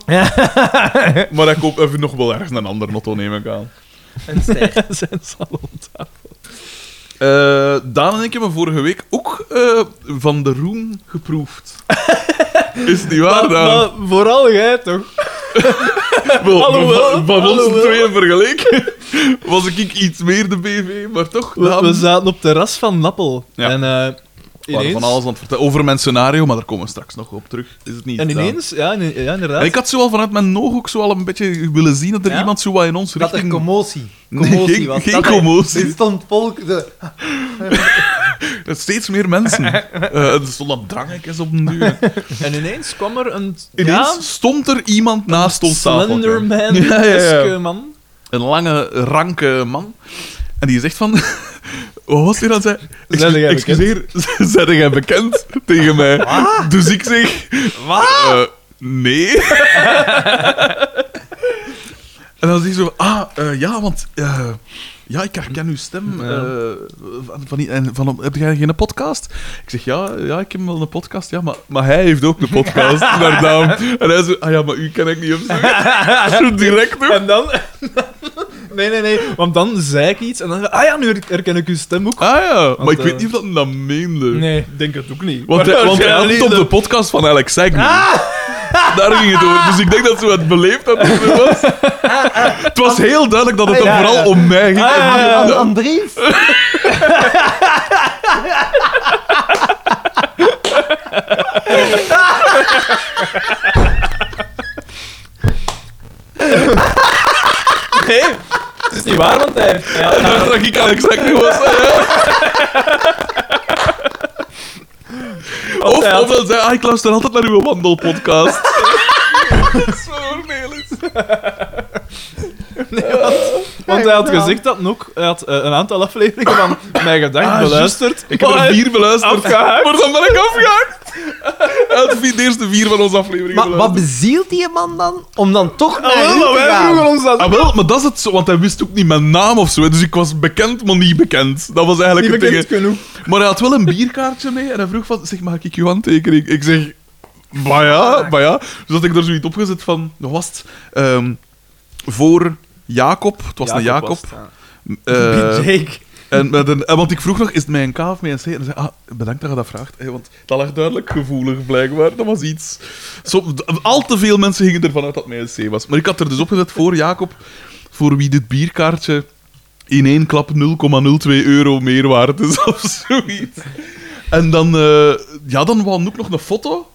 S2: [laughs] Maar hij koopt even nog wel ergens een ander notto, neem ik aan.
S1: Een ster. [laughs]
S3: Zijn salon.
S2: Eh, Daan en ik hebben vorige week ook eh, van de roem
S3: [laughs]
S2: geproefd. Is het niet waar, Daan?
S3: Maar vooral jij toch?
S2: Wel,
S3: alhoewel,
S2: van van ons
S3: alhoewel.
S2: tweeën vergeleken [laughs] was ik iets meer de BV, maar toch...
S3: We,
S2: Daan-
S3: we zaten op het terras van Nappel.
S2: Ja.
S3: En eh,
S2: We waren
S3: ineens...
S2: van alles aan het vertellen. Over mijn scenario, maar daar komen we straks nog op terug. Is het niet?
S3: En
S2: Daan?
S3: ineens, ja, in- ja inderdaad.
S2: En ik had zo al vanuit mijn nog ook zo al een beetje willen zien dat er
S3: Ja?
S2: iemand zo wat in ons
S1: Dat er
S2: richting...
S1: commotie.
S2: Nee,
S1: commotie
S2: geen-
S1: was.
S2: geen
S1: dat er-
S2: commotie.
S1: Er stond volk... De...
S2: Er Steeds meer mensen.
S3: [laughs]
S2: Eh, er stonden drangekjes op een duur.
S3: En ineens kwam er een
S2: Ineens
S3: ja,
S2: stond er iemand naast ons tafel.
S3: Slenderman
S2: [laughs] Ja, ja, ja.
S3: man.
S2: Een lange, ranke man. En die zegt van... [laughs] Wat was hij dan? Zei,
S3: Zijn jij bekend?
S2: excuseer, [laughs] zijn jij bekend tegen mij? Dus ik zeg... Eh, nee. [laughs] en dan zegt ze, ah, eh, ja, want... eh, ja, ik herken uw stem. eh, van, van, die- en van, heb jij geen podcast? Ik zeg, ja, ja, ik heb wel een podcast. Ja, maar, maar hij heeft ook een
S3: [laughs]
S2: podcast. naar naam. En hij zegt, ah ja, maar u ken ik niet opzoeken. [laughs] Zo direct ook.
S3: En dan... [laughs] nee, nee, nee. Want dan zei ik iets en dan... Ah ja, nu her- herken ik uw stem ook.
S2: Ah ja, maar ik
S3: eh,
S2: weet niet of dat hem dat meende.
S3: Nee, ik denk het ook niet.
S2: Want, hij, want hij had het op de
S3: Waarschijnlijk
S2: podcast van Alex Segman. Daar ging het over. Dus ik denk dat ze het beleefd dat het er was. Het was heel duidelijk dat het er
S1: Ja, Ah. ja.
S2: vooral om mij ging. en niet-
S1: An- An- Andries?
S3: dat- Nee, het is niet waar, want hij... hij had-
S2: Ik dacht dat ik Alex Segman was.
S3: hij
S2: Of,
S3: had-
S2: of dan zei ah, ik luister altijd naar uw wandelpodcast. Dat is wel oordeelend.
S3: Want hij had gezegd dat nog. Hij had eh, een aantal afleveringen
S2: [laughs]
S3: van Mijn Gedacht
S2: Ah,
S3: beluisterd.
S2: Ik heb er vier beluisterd.
S3: Afgehaakt.
S2: Maar dan ben ik afgehaakt. Hij had de eerste vier van onze afleveringen
S1: Maar wat
S2: beluisterd.
S1: bezielt die man dan om dan toch naar
S3: Ah, wel,
S1: u
S3: maar
S1: te
S3: wij
S1: gaan?
S3: vroegen ons dat.
S2: Ah, wel, maar dat is het zo, want hij wist ook niet mijn naam of zo. hè. Dus ik was bekend, maar niet bekend. Dat was eigenlijk
S3: Niet
S2: het
S3: bekend
S2: ding, hè.
S3: genoeg.
S2: Maar hij had wel een bierkaartje mee en hij vroeg van, zeg, mag ik je handtekening? Ik zeg, maar ja, maar ja. Dus had ik er zoiets opgezet van, nog was het, ehm, voor Jacob, het was een Jacob,
S3: was het, ja. [laughs]
S2: Eh,
S3: Jake.
S2: en met een, en want ik vroeg nog, is het mijn K of mijn C? En hij zei, ah, bedankt dat je dat vraagt. hè, want dat lag duidelijk gevoelig, blijkbaar. Dat was iets... Som- d- al te veel mensen gingen ervan uit dat het mijn C was. Maar ik had er dus opgezet voor Jacob, voor wie dit bierkaartje in één klap 0,02 euro meer waard is [laughs] of zoiets. En dan, eh, ja, dan wou Noek nog een foto.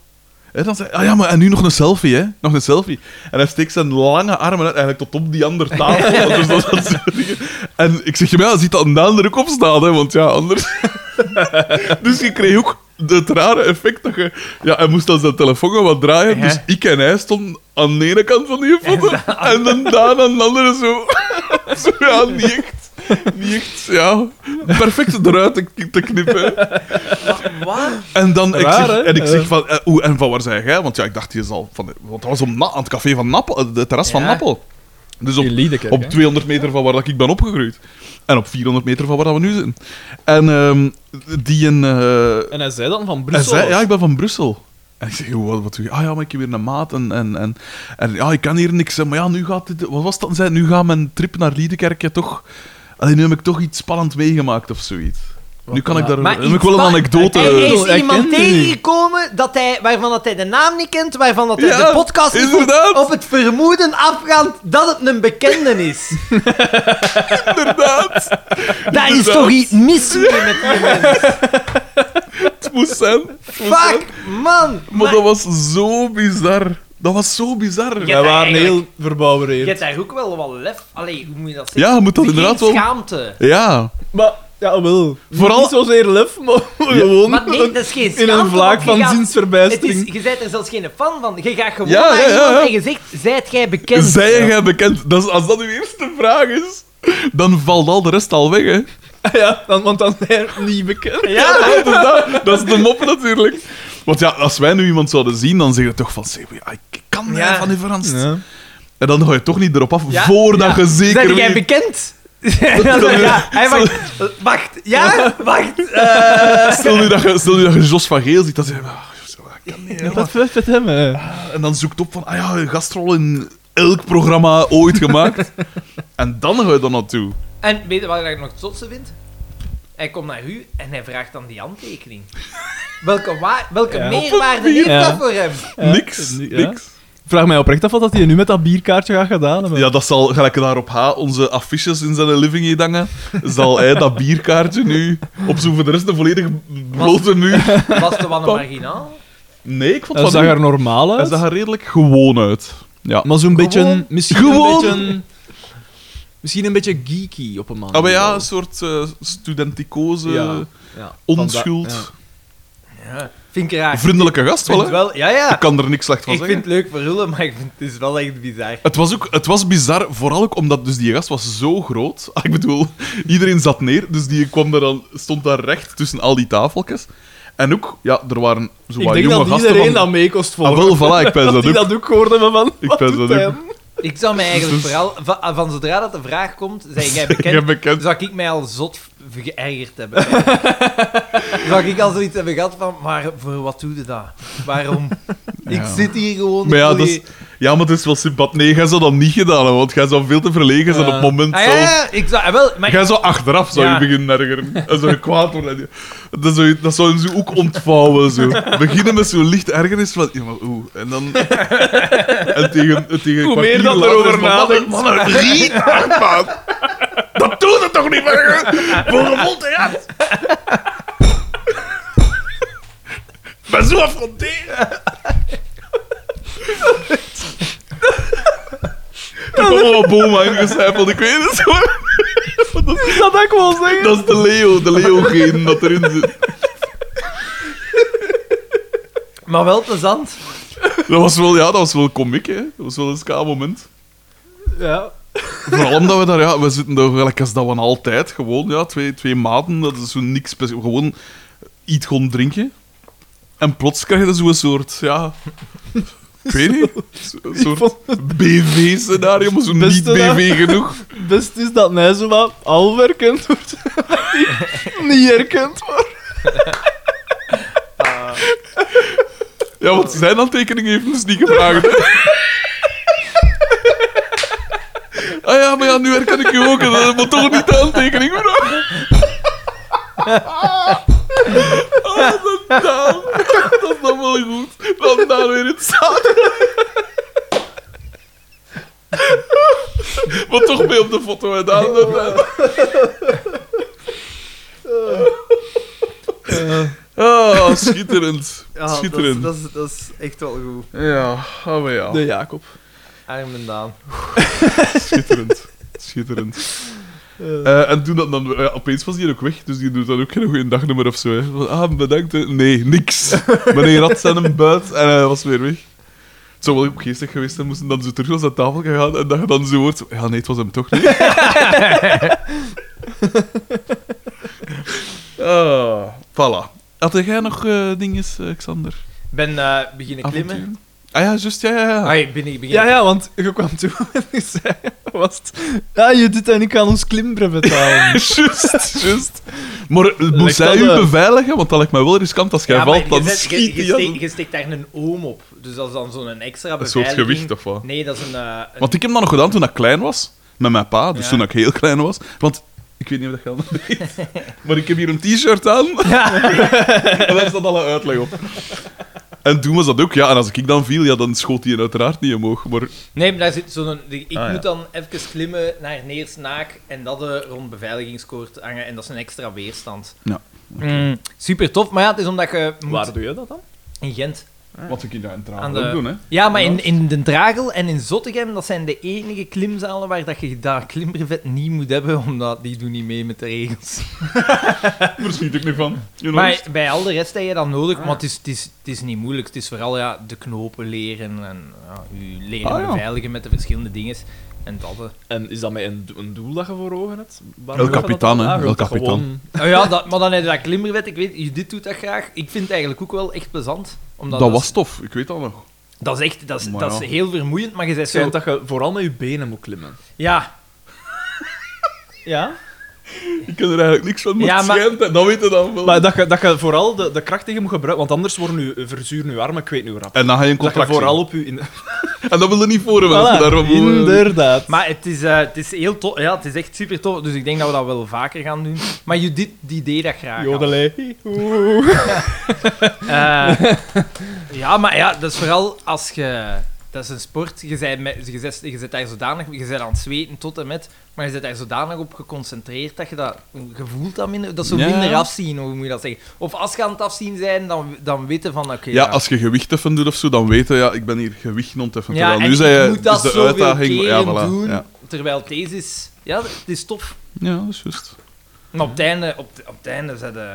S2: Hè, dan zei ah ja, maar en nu nog een selfie, hè? Nog een selfie. En hij steekt zijn lange armen uit, eigenlijk tot op die andere tafel. want dus dat, dat soort dingen. En ik zeg je, ja, ziet dat een daan er ook op staan, hè? Want ja, anders. [laughs] dus je kreeg ook het rare effect dat je. Ja, hij moest dan zijn telefoon gaan wat draaien.
S1: Ja.
S2: Dus ik en hij stonden aan de ene kant van die foto. En dan Daan aan de andere zo. [laughs] zo ja, niet echt. Niet echt, ja. Perfect eruit te, te knippen.
S1: Waar?
S2: En dan ik
S3: Raar,
S2: zeg,
S3: hè?
S2: en ik zeg
S3: Ja.
S2: van, eh, oeh, en van waar zijn jij? Want ja, ik dacht, je zal van, want dat was om na, aan het café van Nappel, eh, de terras van
S1: Ja.
S2: Nappel. Dus op,
S3: In Liedekerk,
S2: op
S3: hè?
S2: 200 meter van waar dat ik ben opgegroeid. En op 400 meter van waar dat we nu zijn. En ehm, die een... eh,
S3: En hij zei dan van
S2: hij
S3: Brussel.
S2: zei, ja, ik ben van Brussel. En ik zeg, joh, wat, wat doe je? Ah ja, maar ik heb weer een maat en, en, en, en ja, ik kan hier niks. hè. Maar ja, nu gaat dit... Wat was dat? Zei, nu gaat mijn trip naar Liedekerkje toch... Allee, nu heb ik toch iets spannend meegemaakt of zoiete. nu kan ik daar...
S1: Maar
S2: heb
S1: iets
S2: Ehm, ik wel een
S1: spa-
S2: anekdote...
S1: Er is
S3: hij
S1: iemand
S3: kent die niet.
S1: tegengekomen dat hij, waarvan dat hij de naam niet kent, waarvan dat hij
S2: Ja,
S1: de podcast niet vond,
S2: inderdaad.
S1: op het vermoeden afgaand dat het een bekende
S2: [laughs]
S1: is.
S2: Inderdaad,
S1: Daar is
S2: Inderdaad.
S1: toch iets mis mee met die mensen?
S2: het [laughs] moest zijn. Het moest zijn.
S1: Fuck, man.
S2: Maar dat was zo bizar. Dat was zo bizar.
S1: Ja.
S3: Wij waren heel
S1: Eigenlijk.
S3: verbouwereerd.
S1: Je hebt daar ook wel wat lef. Allee, hoe moet je dat zeggen?
S2: Ja, je moet dat
S1: Geen
S2: inderdaad wel...
S1: schaamte.
S2: Ja.
S3: Maar, ja, wel.
S2: Vooral-
S3: Vooral... Niet zozeer lef, maar [laughs] gewoon...
S1: Maar nee, dat is geen
S3: in
S1: schaamte.
S3: een vlak
S1: want je
S3: van
S1: gaat- Het is,
S3: zinsverbijstering.
S1: je bent er zelfs geen fan van. Je gaat gewoon
S2: Ja,
S1: naar
S2: ja, ja,
S1: iemand
S2: ja.
S1: en je zegt, zijt jij bekend?
S2: Zij jij bekend? Dat is, als dat uw eerste vraag is, dan valt al de rest al weg, hè.
S3: [laughs] Ja, dan, want dan zijn we niet bekend. [laughs]
S1: Ja,
S2: Ja, inderdaad. Dus dat is de mop natuurlijk. Want ja, als wij nu iemand zouden zien, dan zeggen we toch van... "Zeg, ja, Ik kan
S1: Ja.
S2: ja. van die Frans. En dan ga je toch niet erop af,
S1: Ja.
S2: voordat je zeker
S1: Zijn jij
S2: weet-
S1: bekend? [laughs] ja, hij wacht, wacht, ja, wacht. eh.
S2: Stel nu dat je, stel nu dat je Jos van Geel ziet, dan zeg je... "Ah, Jos, dat kan niet, hè,
S3: Dat is met hem, hè.
S2: En dan zoekt op van, ah ja, een gastrol in elk programma ooit
S3: [laughs]
S2: gemaakt. en dan ga je dan naartoe.
S1: en weet je wat ik nog het zotste vind? Hij komt naar u en hij vraagt dan die handtekening. Welke, wa- welke
S3: Ja.
S1: meerwaarde heeft
S3: Ja.
S1: dat voor hem?
S3: Ja.
S2: niks,
S3: Ja.
S2: niks.
S3: Vraag mij oprecht af wat hij nu met dat bierkaartje gaat gedaan hebben.
S2: Ja, dat zal, gelijk daarop H, onze affiches in zijn living hier hangen, zal hij dat bierkaartje nu op zo'n voor de rest een volledig blote muur...
S1: Was het wel een marginaal?
S2: Nee, ik vond
S3: Hij
S2: dat
S3: zag
S2: nu-
S3: er normaal
S2: Hij
S3: uit.
S2: zag er redelijk gewoon uit. Ja.
S3: Maar zo'n beetje...
S1: Gewoon-
S3: Misschien
S2: Gewoon-
S3: een beetje... Misschien een beetje geeky op een man.
S2: Ah, maar ja, een soort eh, studenticose, onschuld.
S1: Ja, vind ik raar.
S2: Vriendelijke gast
S1: Ik vind
S2: wel,
S1: het
S2: hè?
S1: wel, ja, ja.
S2: Ik kan er niks slecht van
S1: Ik
S2: zeggen.
S1: vind het leuk voor Hulle, maar ik vind het is wel echt bizar.
S2: Het was, ook, het was bizar, vooral ook omdat dus die gast was zo groot. [laughs] Ah, Ik bedoel, iedereen zat neer, dus die kwam daar dan, stond daar recht tussen al die tafeltjes. En ook, ja, er waren zo
S3: Ik
S2: wat
S3: denk
S2: jonge
S3: dat
S2: gasten
S3: iedereen
S2: van...
S3: dat mee kost
S2: Ah,
S3: volgen.
S2: wel, voilà, ik pens
S3: [laughs] dat
S2: dat
S3: die
S2: ook.
S3: dat ook hoorde van...
S2: Ik
S3: wat
S2: pens
S3: doet
S2: dat
S3: hij?
S2: ook.
S1: Ik zou mij eigenlijk vooral, va- ah, van, zodra dat de vraag komt, zeg jij bekend,
S2: Dus- Jij bekend.
S1: zou ik mij al zot v- geërgerd hebben. [laughs] zou ik al zoiets hebben gehad van, maar voor wat doe je dat? Waarom? Ik
S2: [laughs] Ja.
S1: zit hier gewoon...
S2: Maar ja,
S1: voor
S2: dat
S1: je-
S2: is, ja, maar het is wel sympathiek. Nee, jij zou dat niet gedaan hebben, want jij zou veel te verlegen zijn op het
S3: Ja.
S2: moment
S1: Ah, ja,
S2: zelf.
S1: ja, ik zou... ah, Wel, maar
S2: Jij zou achteraf zou je
S1: Ja.
S2: beginnen ergeren. En zou je kwaad worden. Dat zou, je- dat zou hem zo ook ontvouwen. Zo. Beginnen met zo'n licht ergernis van... Ja, maar oeh. En dan... En tegen, en tegen
S3: Hoe
S2: een
S3: meer
S2: kwartier
S3: dat
S2: later
S3: erover
S2: is van,
S3: nadenkt.
S2: Mannen, mannen, riet hard, man. Dat doet het toch niet meer? Voor een mond en hart. Ik ben zo afgerondeerd. Toen kwam al Boma ingecijpeld, ik weet het zo.
S3: Is [laughs] dat dat ik wil zeggen?
S2: Dat is de Leo, de Leo-gene dat erin zit.
S1: maar wel plezant.
S2: Dat was wel, ja, dat was wel komiek, hè. Dat was wel een ska moment.
S3: Ja.
S2: Vooral omdat we daar, ja, we zitten daar gelijk als dat we altijd gewoon, ja, twee, twee maten, dat is zo niks speciaal. Gewoon iets gewoon drinken. En plots krijg je dus zo'n soort, ja... Ik weet niet. Een
S3: Ik
S2: soort
S3: vond
S2: BV-scenario, maar zo
S3: Beste
S2: niet BV genoeg.
S3: het best is dat mij zo wat half herkend wordt. [laughs] niet herkend wordt.
S2: Ja, want zijn handtekening heeft ons niet gevraagd. hè. ah ja, maar ja, aan, nu herken ik u ook. En dat moet toch niet de handtekening doen. Oh, dat Daan. Dat is nog wel goed. Dan Daan weer in zaten. Maar toch mee op de foto, hè, Daan. Dat, dat. Oh, schitterend. schitterend.
S1: Eh. Dat, is, dat is echt wel goed.
S2: Ja, oh, maar ja.
S3: De Jacob.
S1: Armen Daan.
S2: Schitterend. Schitterend. Eh, en toen dat dan, ja, opeens was die ook weg, dus die doet dan ook geen goede dagnummer of zo. Hè. Van, Ah, bedankt. hè. Nee, niks. Meneer had zijn buit en hij was weer weg. Het zou wel ook geestig geweest zijn, moesten dan zo terug naar de tafel gegaan en dat je dan zo hoort... Ja, nee, het was hem toch niet. ah, voilà. Had jij nog eh dingen, eh, Xander?
S1: Ik ben eh, beginnen klimmen.
S2: Avonturen? Ah ja, juist, ja, ja, ja.
S1: Ah, ik ben niet
S3: Ja,
S1: beginnen.
S3: ja, want je kwam toe [laughs] en je zei... Was het, ja, je doet en ik aan ons klimbrevet [laughs] betalen.
S2: [laughs] Juist, juist. Maar eh, moest
S3: dat
S2: zij u
S3: uit.
S2: beveiligen? Want dat lijkt mij wel riskant als jij
S1: Ja, maar
S2: valt, dan
S1: je, zet- je,
S2: schiet
S1: je,
S2: die aan.
S1: steekt, je steekt daar een oom op. Dus dat is dan zo'n extra
S2: Een soort
S1: beveiliging.
S2: gewicht of wat?
S1: Nee, dat is een... eh, een-
S2: Want ik heb dat nog gedaan toen ik klein was, met mijn pa, dus
S1: Ja.
S2: toen ik heel klein was. Want ik weet niet of dat je dat weet,
S1: [laughs]
S2: maar ik heb hier een t-shirt aan. [laughs] en daar staat al een uitleg op. En toen was dat ook, ja. En als ik dan viel, ja, dan schoot hij uiteraard niet omhoog. Maar
S1: Nee, maar daar zit zo'n... die- Ik
S2: Ah, ja.
S1: moet dan even klimmen naar Neersnaak en dat eh, rond beveiligingskoord hangen. En dat is een extra weerstand.
S2: Ja.
S1: Mm, super tof, maar ja, het is omdat je moet...
S3: Waar doe je dat dan?
S1: In Gent.
S2: wat ik in een
S1: Aan
S2: traan
S1: de-
S2: ook doen, hè.
S1: Ja, maar in, in Den Dragel en in Zottegem, dat zijn de enige klimzalen waar dat je daar klimbrevet niet moet hebben, omdat die doen niet mee met de regels.
S2: Daar schiet ik niet van. You know.
S1: Maar bij al de rest heb je dat nodig, maar het is, het, is, het is niet moeilijk. Het is vooral ja, de knopen leren en ja, je leren
S2: Ah, ja.
S1: beveiligen met de verschillende dingen. En dat. eh.
S3: En is dat met een, een doel dat je voor ogen hebt?
S2: El Capitan,
S3: Ah,
S2: hè. El Capitan.
S1: Oh ja, dat, maar dan heb je dat klimmerwet. Ik weet, je dit doet dat graag. Ik vind het eigenlijk ook wel echt plezant. Omdat
S2: dat
S1: Is,
S2: was tof, ik weet dat nog.
S1: dat is echt dat is,
S2: Maar
S1: dat is
S2: ja.
S1: heel vermoeiend, maar je bent
S3: Het
S1: zo...
S3: schijnt dat je vooral met je benen moet klimmen.
S1: Ja. ja?
S2: Ik ken er eigenlijk niks van, maar,
S1: Ja,
S2: het
S1: maar-
S2: schijnt, hè. dat weet je dan wel.
S3: Maar dat je, dat je vooral de, de kracht tegen moet gebruiken, want anders worden je, eh, verzuren je armen, ik weet niet hoe rap.
S2: En dan ga je een
S3: Dat je
S2: contract
S3: vooral op je... In...
S2: En dat wil je niet voor hebben. als je
S3: [laughs] Voilà,
S2: daarvan
S1: Mm.
S2: moet-
S3: inderdaad.
S1: Maar het is, eh, het is heel tof. Ja, het is echt super tof. Dus ik denk dat we dat wel vaker gaan doen. Maar Judith, die deed dat
S3: Ah,
S1: graag. al.
S3: Jodelij.
S1: [laughs] Eh, ja, maar ja, dat is vooral als je... Dat is een sport. Je bent, met, je, zet, je zet daar zodanig... Je bent aan het zweten tot en met. Maar je zit daar zodanig op geconcentreerd dat je dat... Je voelt dat minder... Dat is zo
S2: Ja.
S1: minder afzien, hoe moet je dat zeggen? Of als je aan het afzien zijn, dan, dan weten van... Oké,
S2: Ja, als je gewicht even doet of zo, dan weten ja, ik ben hier gewicht aan het effen.
S1: Ja,
S2: Terwijl
S1: en
S2: nu zei
S1: ik
S2: je,
S1: moet
S2: het
S1: dat
S2: is de
S1: zoveel
S2: uitdaging. Ja,
S1: keren
S2: voilà.
S1: doen.
S2: Ja.
S1: Terwijl deze is... Ja, het is tof.
S2: ja, dat is juist.
S1: Maar op het einde... Op, het- op het einde zijn de...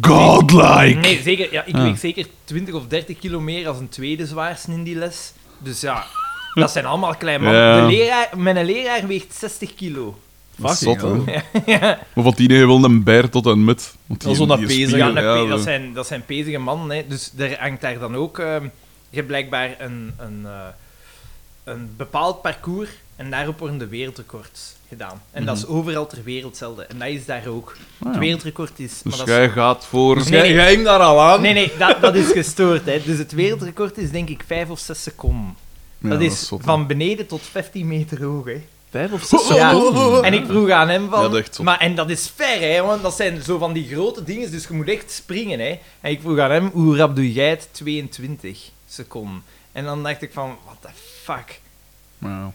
S2: Godlike!
S1: Nee, zeker. Ja, ik
S2: Ah.
S1: weeg zeker 20 of 30 kilo meer als een tweede zwaarste in die les. Dus ja, dat zijn allemaal klein mannen.
S2: Ja.
S1: De leraar, mijn leraar weegt 60 kilo.
S2: Dat is zot,
S3: Fucking
S2: hè. Maar van die wil een bijr tot een mut. Want die,
S3: Dat is
S2: die
S3: zo'n appezen.
S1: Ja,
S2: spier-
S1: dat,
S2: ja,
S1: dat, zijn, dat zijn pezige mannen. Hè. Dus er hangt daar dan ook... ehm, je hebt blijkbaar een, een, eh, een bepaald parcours en daarop worden de wereldrecords gedaan. En dat is overal ter wereld hetzelfde. En dat is daar ook.
S2: Mhm. Ah, ja.
S1: Het wereldrecord is...
S2: Dus
S1: dat is- Dus
S2: jij gaat voor...
S1: Nee, nee.
S3: ging daar al aan.
S1: Nee, nee, dat, dat is gestoord. Hè. Dus het wereldrecord is denk ik 5 of 6 seconden.
S2: Ja,
S1: dat is
S2: zot, hè.
S1: van beneden tot 15 meter hoog, hè.
S3: Vijf of zes
S1: Ja.
S3: seconden.
S1: En ik vroeg aan hem van...
S2: Ja, dat is echt zot.
S1: maar, en dat is ver, hè, want dat zijn zo van die grote dingen, dus je moet echt springen, hè. En ik vroeg aan hem, hoe rap doe jij het? 22 seconden. En dan dacht ik van, what the fuck.
S2: Ja.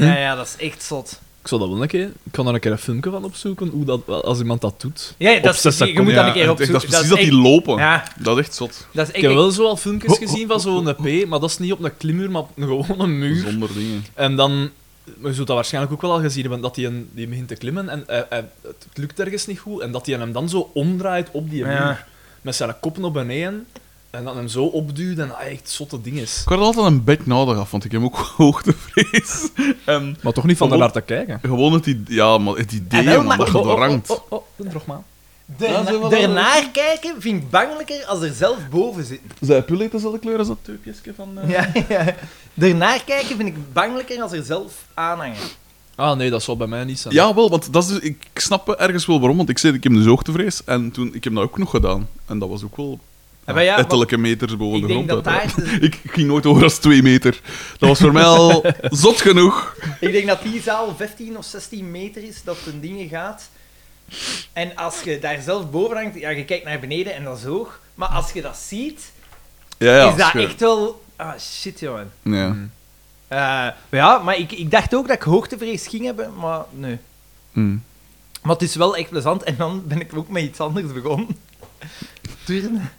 S1: Ja, ja, dat is echt zot.
S3: Ik zou dat wel een keer... Ik kan daar een keer een filmpje van opzoeken, hoe dat, als iemand dat doet.
S1: Ja,
S3: Op
S1: dat is,
S3: zes
S1: je- je,
S3: seconden,
S1: moet dat een
S2: Ja,
S1: keer opzoeken.
S2: Dat is precies dat
S1: echt-
S2: die lopen.
S1: Ja,
S2: Dat is echt zot.
S1: dat is
S3: Ik
S1: echt...
S3: heb wel zo al filmpjes
S2: Ho, ho,
S3: gezien van zo'n P, maar dat is niet op een klimmuur, maar op een gewone muur.
S2: Zonder dingen.
S3: En dan, je zult dat waarschijnlijk ook wel al gezien hebben, dat hij een- die begint te klimmen en hij- hij- het lukt ergens niet goed. En dat hij hem dan zo omdraait op die muur.
S1: Ja.
S3: Met zijn kop naar beneden. En dan hem zo opduwt en dat echt zotte ding is.
S2: Ik had altijd een bed nodig af, want ik heb ook [laughs] hoogtevrees. En
S3: Maar toch niet
S2: van daarnaar
S3: te kijken.
S2: gewoon het idee... Ja, maar het idee,
S1: Ah, wel,
S2: man,
S1: maar-
S2: dat je doorhangt.
S3: Oh, Oh, oh, oh, drog maar.
S1: Daarna-
S2: dat is wel-
S1: daarnaar kijken vind ik bangelijker als er zelf boven zitten.
S2: Zijn pullen heeft dezelfde kleur als dat tubjesje van... eh,
S1: Ja, ja. Daarnaar kijken vind ik bangelijker als er zelf aanhangen.
S3: Ah nee, dat zal bij mij niet zijn.
S2: Ja, wel, want dat is dus, ik snap ergens wel waarom, want ik zei, ik heb dus hoogtevrees en toen, ik heb dat ook nog gedaan. En dat was ook wel...
S1: maar ja, wat-
S2: ettelijke meters boven
S1: ik
S2: de
S1: denk
S2: grond.
S1: dat daar...
S2: [laughs] Ik ging nooit over als twee meter. Dat was voor mij
S1: [laughs]
S2: al zot genoeg.
S1: Ik denk dat die zaal 15 of 16 meter is dat ten dingen gaat. En als je daar zelf boven hangt, ja, je kijkt naar beneden en dat is hoog. Maar als je dat ziet,
S2: Ja, ja.
S1: is dat
S2: sure.
S1: echt wel... Ah, shit, jongen.
S2: Ja.
S1: Eh, maar ja, maar ik, ik dacht ook dat ik hoogtevrees ging hebben, maar nee.
S2: Mm.
S1: Maar het is wel echt plezant. En dan ben ik ook met iets anders begonnen. Turnen.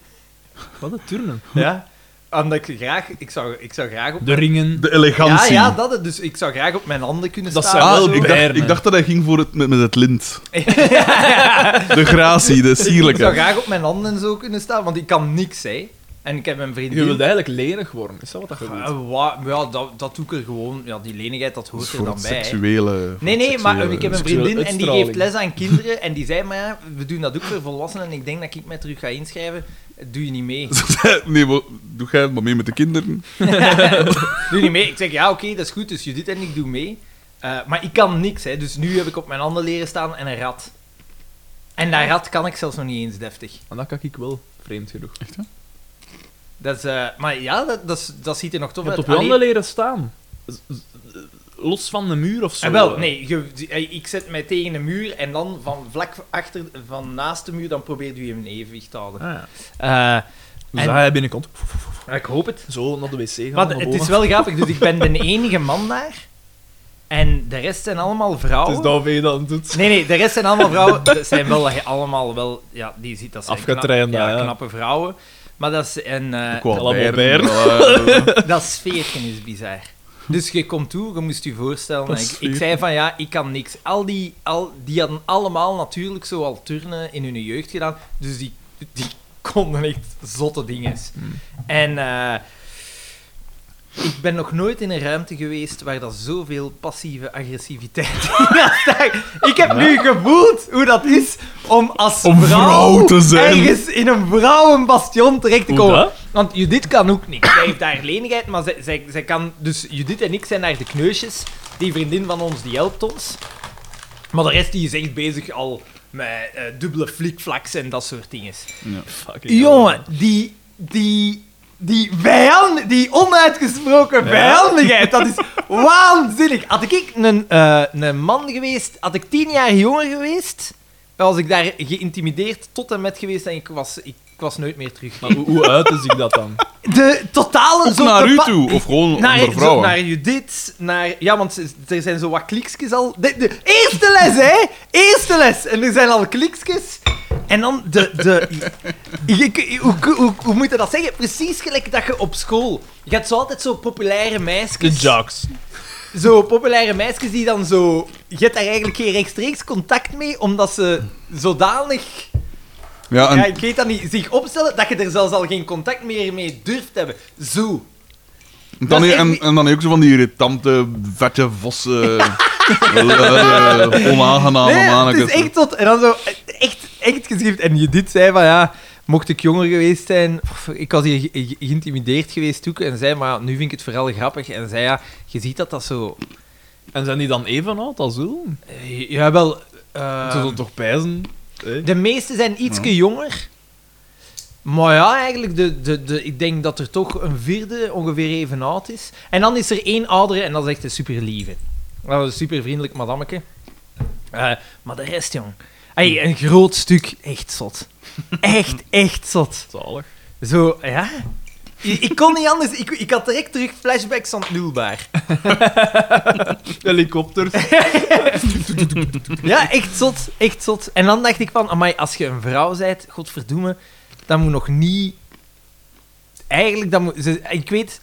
S3: Wat een turnen.
S1: Ja. Omdat ik graag... Ik zou, ik zou graag op...
S3: De ringen.
S2: De
S1: ja,
S2: elegantie.
S1: ja, dat het. Dus ik zou graag op mijn handen kunnen
S3: Dat
S1: staan.
S3: zou
S1: of
S2: Ah,
S1: zo.
S2: ik dacht,
S3: Bern, hè.
S2: ik dacht dat hij ging voor het, met, met het
S1: [laughs]
S2: lint. De gratie, de
S1: Ik zou
S2: sierlijke.
S1: graag op mijn handen en zo kunnen staan, want ik kan niks, hè. En ik heb een vriendin...
S3: Je wilt eigenlijk lenig worden, is dat wat dat je wilt?
S1: Eh, wa- maar ja, dat, dat doe ik er gewoon... Ja, die lenigheid, dat
S2: Dat is
S1: hoort er
S2: voor
S1: dan
S2: het
S1: bij. hè.
S2: seksuele...
S1: Nee, nee, maar ik heb een
S3: seksuele
S1: vriendin en die
S3: uitstraling.
S1: geeft les aan kinderen. En die zei, maar ja, we doen dat ook voor volwassenen. En ik denk dat ik mij terug ga inschrijven. Doe je niet
S3: [laughs]
S1: mee.
S2: [laughs] Nee, maar doe jij het maar mee met de kinderen.
S1: Doe je niet mee? Ik zeg, ja, oké, dat is goed. Dus Judith en ik doen mee. Eh, maar ik kan niks, hè. Dus nu heb ik op mijn handen leren staan en een rat. En dat rat kan ik zelfs nog niet eens deftig.
S3: En dat kan ik wel, vreemd genoeg. Je
S1: Dat is, eh, maar ja, dat, dat, is- dat ziet er nog tof
S3: hebt
S1: uit.
S3: op je
S1: Allee-
S3: handen leren staan. Z- z- Los van de muur of zo.
S1: Ah, wel, nee, je- die- eh, ik zet mij tegen een muur en dan van vlak achter, van naast de muur, dan probeert u hem in evenwicht te houden.
S3: Ah, ja.
S1: Eh,
S3: Dus
S1: En-
S3: dat hij binnenkomt,
S1: maar ik hoop het.
S3: zo naar de wc gaan.
S1: Maar
S3: naar
S1: het
S3: boven. [laughs]
S1: is wel grappig, dus ik ben de enige man daar. En de rest zijn allemaal vrouwen.
S3: Het is dat je dan doet.
S1: Nee, nee, de rest zijn allemaal vrouwen. [laughs] Dat zijn wel allemaal wel... Ja, die ziet dat zijn
S3: Afgetrainde,
S1: knap-
S3: ja.
S1: ja, knappe vrouwen. Maar dat is... En, eh,
S2: Ik wou
S3: allemaal
S2: Bern, [laughs]
S3: Bern.
S2: maar, eh,
S1: [laughs] dat sfeertje is bizar. Dus je komt toe, je moest je voorstellen.
S2: Dat
S1: Ik, ik
S2: sfeertje.
S1: zei van ja, ik kan niks. Al die, al, die hadden allemaal natuurlijk zo al turnen in hun jeugd gedaan. Dus die, die [laughs] konden echt zotte dingen.
S2: Hmm.
S1: En eh, ik ben nog nooit in een ruimte geweest waar dat zoveel passieve agressiviteit [laughs] in had. Ik heb nu gevoeld hoe dat is om als
S2: Om vrouw te zijn.
S1: ergens in een vrouwenbastion terecht te
S3: Hoe
S1: komen.
S3: dat?
S1: Want Judith kan ook niks. Zij heeft haar lenigheid, maar zij, zij, zij kan... Dus Judith en ik zijn daar de kneusjes. Die vriendin van ons, die helpt ons. Maar de rest die is echt bezig al met eh, dubbele flikflaks en dat soort dingen.
S3: [laughs] Fucking
S1: Jongen, die... Die... Die vijand, die onuitgesproken vijandigheid, dat is waanzinnig. Had ik een, eh, een man geweest, had ik tien jaar jonger geweest, dan was ik daar geïntimideerd tot en met geweest en ik was, ik, ik was nooit meer terug.
S3: Maar hoe, hoe uit is ik dat
S1: [laughs]
S3: dan?
S1: De totale...
S2: Ook
S1: zo
S2: naar
S1: de
S2: u
S1: pa-
S2: toe, of gewoon
S1: naar,
S2: onder
S1: zo,
S2: vrouwen.
S1: naar Judith, naar... Ja, want ze- er zijn zo wat kliksjes al... De, de eerste les, hè? Eerste les. En er zijn al kliksjes. En dan de... de [laughs] je- je- hoe, hoe, hoe moet je dat zeggen? Precies gelijk dat je op school... Je hebt zo altijd zo populaire
S3: De
S1: meisjes.
S3: jocks.
S1: Zo populaire meisjes die dan zo... Je hebt daar eigenlijk geen rechtstreeks contact mee, omdat ze zodanig...
S2: Ja,
S1: Ja,
S2: en
S1: ik weet dat niet. Zich opstellen dat je er zelfs al geen contact meer mee durft te hebben. Zo.
S2: dan,
S1: dat is
S2: en,
S1: echt-
S2: en dan heb je ook zo van die irritante, vette
S1: [laughs]
S2: vossen. luie, onaangename
S1: Nee, het
S2: mannetjes.
S1: is echt tot... En dan zo... Echt, echt geschrift. En Judith zei van, ja... Mocht ik jonger geweest zijn... pff, Ik was hier ge- ge- geïntimideerd geweest ook. En zei, maar ja, nu vind ik het vooral grappig. En zei, ja... Je ziet dat dat zo...
S3: En zijn die dan even oud als Willem?
S1: eh, Jawel...
S3: Ze
S1: eh,
S3: zullen toch pijzen? hè?
S1: de meeste zijn ietske jonger. Maar ja, eigenlijk, de, de, de, ik denk dat er toch een vierde ongeveer even oud is. En dan is er één oudere en dat is echt een super lieve. Dat was een super vriendelijk madammeke. Eh, maar de rest, jong. Ey, een groot stuk, echt zot. Echt, echt zot.
S3: Zalig.
S1: Zo, ja. Ik, ik kon niet anders, ik, ik had direct terug flashbacks van het nulbaar.
S3: Helikopters.
S1: [laughs] Ja, echt zot, echt zot. En dan dacht ik van, amai, als je een vrouw bent, godverdoeme, dan moet nog niet... Eigenlijk, dan moet... Ze, ik weet...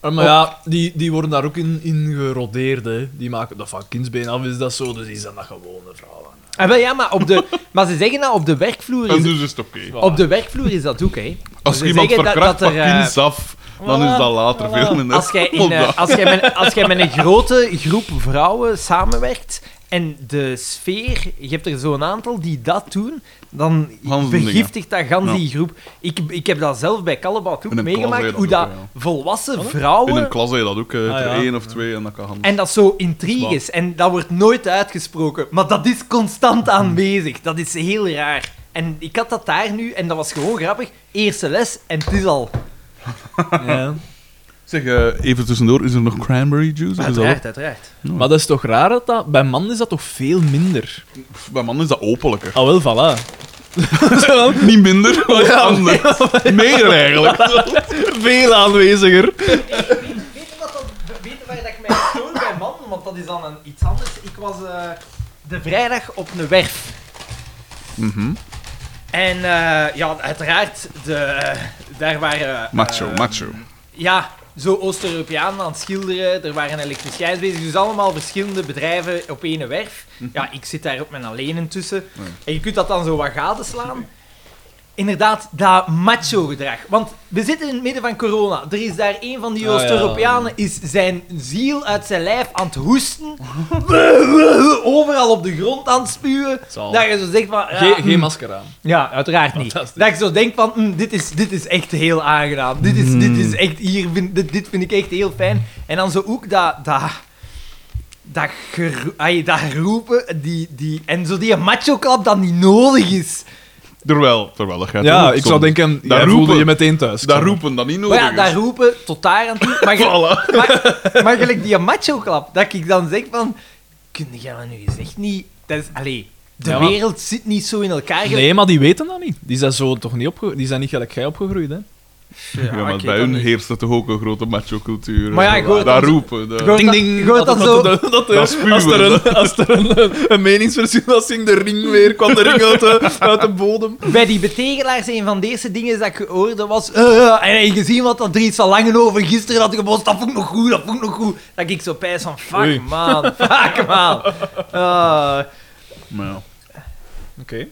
S3: Ah, maar ja, die, die worden daar ook in, in gerodeerd. Hè. Die maken dat van kindsbeen af, is dat zo. Dus die zijn dat gewone vrouwen.
S1: Ah, wel, ja, maar, op
S2: [laughs]
S1: de, maar ze zeggen dat op de werkvloer
S2: En
S1: is...
S2: dus is het oké.
S1: Op de werkvloer is dat ook, hè.
S2: Als
S1: Ze
S2: iemand
S1: zeggen dat-
S2: verkracht
S1: dat
S2: van
S1: er, eh,
S2: kinds af, dan is dat later veel minder.
S1: Als jij, in, eh,
S2: Omdat-
S1: als, jij met, als jij met
S2: [laughs]
S1: een grote groep vrouwen samenwerkt en de sfeer, je hebt er zo'n aantal die dat doen, dan
S2: Gans dingen.
S1: vergiftigt dat gans
S2: Ja.
S1: die groep. Ik, ik heb dat zelf bij Callabot
S2: In
S1: ook
S2: een klas heb
S1: meegemaakt,
S2: je dat
S1: hoe
S2: ook,
S1: dat
S2: ja.
S1: volwassen
S2: In een
S1: vrouwen...
S2: klas heb je dat ook, eh,
S3: Ah,
S2: er
S3: ja.
S2: één of twee, en dat kan gaan.
S1: En dat is zo intriges, en dat wordt nooit uitgesproken. Maar dat
S2: Mm.
S1: is constant aanwezig, dat is heel raar. En ik had dat daar nu, en dat was gewoon grappig. Eerste les en het is al.
S3: Ja.
S2: Zeg, eh, even tussendoor, is er nog cranberry juice? Of is dat
S1: Uiteraard, uiteraard.
S3: Maar dat is toch raar dat dat... Bij man is dat toch veel minder?
S2: ook- Pff, Bij mannen is dat openlijker.
S3: Ah, wel, voilà. Zo,
S2: Niet
S1: [laughs] Oh,
S2: minder, maar
S3: Ja,
S2: anders. Meer eigenlijk.
S3: [laughs] veel aanweziger.
S1: Weet je wat dat, weet je waar dat ik mij stoor bij man? Want dat is dan een, iets anders. Ik was eh, de vrijdag op een werf.
S2: Mhm.
S1: En eh, ja, uiteraard, de, eh, daar waren... eh,
S2: Macho, macho.
S1: Ja, zo Oost-Europeanen aan het schilderen. Er waren elektriciëns bezig. Dus allemaal verschillende bedrijven op één werf.
S3: Mhm.
S1: Ja, ik zit daar op mijn alleen tussen. En je kunt dat dan zo wat gadeslaan. Inderdaad, dat macho-gedrag. Want we zitten in het midden van corona. Er is daar een van die
S3: Ah, ja.
S1: Oost-Europeanen is zijn ziel uit zijn lijf aan het
S3: [laughs]
S1: hoesten. Overal op de grond aan het spuwen.
S3: Zalig.
S1: Dat je zo zegt van... ja,
S3: Geen,
S1: mm.
S3: geen masker aan.
S1: Ja, uiteraard niet.
S3: Fantastisch.
S1: Dat ik zo denk van, mm, dit, is, dit is echt heel aangenaam. Dit is, dit
S3: Hmm.
S1: is echt, hier vind, dit, dit vind ik echt heel fijn. En dan zo ook dat, dat, dat, gero- ai, dat roepen, die, die, en zo die macho-klap dat niet nodig is.
S2: Terwijl, terwijl dat gaat
S3: Ja,
S2: ook
S3: ik
S2: soms.
S3: zou denken,
S2: Daar
S3: daar voelde
S2: roepen-
S3: je meteen thuis.
S2: Dat roepen dan niet
S1: Maar
S2: nodig
S1: ja, dat
S2: is.
S1: roepen tot daar aan toe. Maar, ge-
S2: Voilà.
S1: [laughs] maar, maar gelijk die macho-klap, dat ik dan zeg van, kun jij dat nu eens echt niet... Dat is, allee, de
S3: Ja, maar-
S1: wereld zit niet zo in elkaar. ge-
S3: Nee, maar die weten dat niet. Die zijn zo toch niet opgegroeid. Die zijn niet gelijk jij opgegroeid, hè?
S2: Ja, maar
S1: oké,
S2: bij
S1: dan
S2: hun
S1: niet.
S2: heerst er toch ook een grote macho-cultuur.
S1: Maar ja, ik hoor het
S2: Daar
S1: dan-
S2: roepen.
S1: Ik
S2: Dat...
S1: hoor dat-
S3: ding.
S1: ik hoor dat zo...
S3: dat, dat, dat,
S2: Dat spuwen,
S3: als er,
S2: dat.
S3: een, als er een, een, een meningsverschil was in de ring weer, kwam de ring uit de, uit de bodem.
S1: Bij die betegelaars, een van de eerste dingen dat ik hoorde was... eh, eh, en heb je gezien wat dat er iets al lang over gisteren had gebost? Dat vond ik nog goed, dat vond ik nog goed. Dat ik zo pijs van, fuck
S3: Oei.
S1: man, fuck man. Eh,
S2: Maar [laughs] ja.
S3: Oké.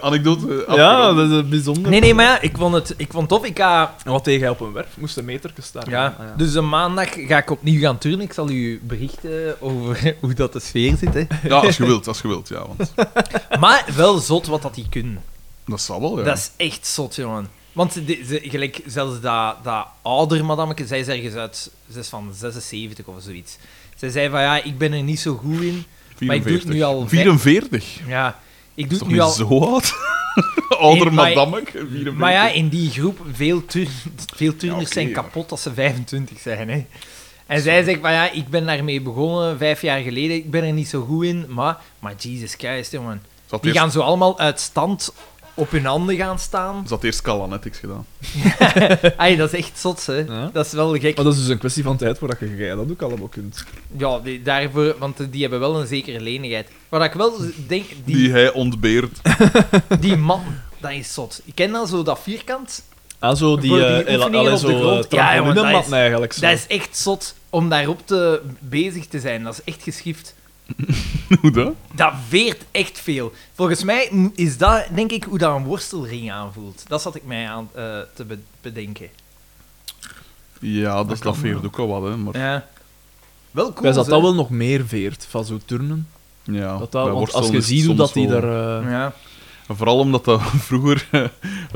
S2: Anekdote. eh,
S3: Ja,
S2: afgerond.
S3: dat is eh, bijzonder.
S1: nee, nee, maar ja, ik vond het, ik vond het tof. Ik ga,
S3: En Wat tegen jij op een werf? Moest een meterke staan.
S1: ja,
S3: Ah,
S1: dus een maandag ga ik opnieuw gaan turnen. Ik zal u berichten over [laughs] hoe dat de sfeer zit. Hè.
S2: Ja, als je wilt, als je wilt, ja. Want
S1: Maar wel zot wat dat die kunnen.
S2: dat zal wel, ja.
S1: Dat is echt zot, jongen. Want ze, ze- gelijk, zelfs dat, dat ouder madammeke, zij is ergens uit, ze is van 76 of zoiets. Zij zei van, ja, ik ben er niet zo goed in. Maar ik doe het nu al... vijf-
S2: 44?
S1: Ja, ik doe het
S2: Is toch
S1: nu
S2: niet
S1: al...
S2: zo oud? [laughs] Ouder
S1: Nee, maar-
S2: madammek, 44.
S1: Maar ja, in die groep, veel, tur- veel turners
S2: Ja, oké,
S1: zijn
S2: ja.
S1: kapot als ze 25 zijn. Hè. En zij zegt van ja, ik ben daarmee begonnen vijf jaar geleden, ik ben er niet zo goed in, maar, maar Jesus Christ, jongen.
S2: Zat
S1: Die
S2: eerst,
S1: gaan zo allemaal uit stand op hun handen gaan
S2: [laughs]
S1: staan.
S2: zat eerst Calanetics gedaan.
S1: Ai, dat is echt zot, hè.
S3: Ja.
S1: Dat is wel gek.
S3: Maar dat is dus een kwestie van tijd voordat je jij dat ook allemaal kunt.
S1: Ja, die, daarvoor, want die hebben wel een zekere lenigheid. Wat ik wel z- denk,
S2: Die,
S1: die,
S2: hij ontbeert.
S1: [laughs]
S2: [laughs]
S1: die man, dat is zot. Ik ken dan zo dat vierkant.
S3: Ah, zo die...
S1: Voor die
S3: eh,
S1: oefeningen
S3: allee,
S1: op de
S3: zo,
S1: grond.
S3: eh,
S1: Ja, jongen, dat is-
S3: trampolinemat eigenlijk. Zo.
S1: Dat is echt zot om daarop te, bezig te zijn. Dat is echt geschift.
S2: Hoe dat?
S1: Dat veert echt veel. Volgens mij m- is dat, denk ik, hoe dat een worstelring aanvoelt. Dat zat ik mij aan eh, te be- bedenken.
S2: Ja, dat, dat, veert ook al wat, hè. Maar
S1: Ja. Wel cool,
S3: Wij zat
S1: hè?
S3: dat wel nog meer veert, van zo turnen.
S2: ja, Oh, bij
S3: Dat dat, want
S2: worstelen
S3: als je
S2: is
S3: ziet hoe
S2: soms
S3: dat die
S2: wel-
S3: er... eh,
S1: Ja.
S2: En Vooral omdat dat [laughs] vroeger... eh,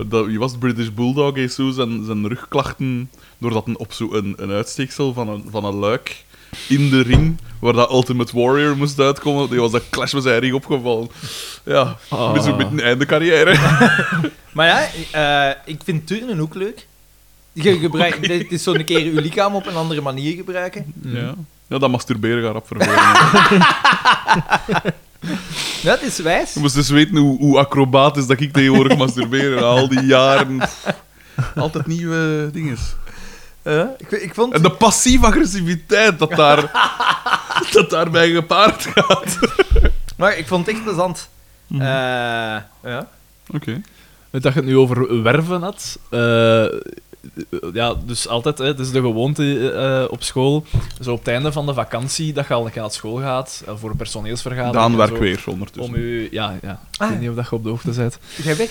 S2: dat, wie was het? British Bulldog heeft zo zijn, zijn rugklachten... Doordat een, op zo een, een uitsteeksel van een, van een luik in de ring, waar dat Ultimate Warrior moest uitkomen, die was dat clash met zijn ring opgevallen. Ja,
S3: Ah.
S2: we zijn met een einde carrière.
S1: Maar ja, eh, ik vind turnen ook leuk. Je gebruikt, Het is zo'n keer je lichaam op een andere manier gebruiken.
S2: [laughs] Ja. ja, dat masturberen gaat rap [laughs] vervelen.
S1: Dat is wijs.
S2: Je moest dus weten hoe, hoe acrobaat is dat ik tegenwoordig masturbeer. na Al die jaren. Altijd nieuwe dingen.
S1: Eh, ik, ik vond...
S2: En de passieve agressiviteit dat, daar, dat daarbij gepaard gaat.
S1: Maar ik vond het echt plezant. Eh, ja.
S2: Oké.
S3: Dat je het nu over werven had. eh, ja, dus altijd, hè, het is de gewoonte eh, op school. Zo op het einde van de vakantie, dat je al een keer naar school gaat eh, voor een personeelsvergadering.
S2: Daan
S3: en
S2: werk
S3: zo,
S2: weer dus-
S3: Om
S2: ondertussen.
S3: u, ja, ja. Ik
S1: Ah.
S3: weet niet of dat je op de hoogte bent.
S1: Jij weg?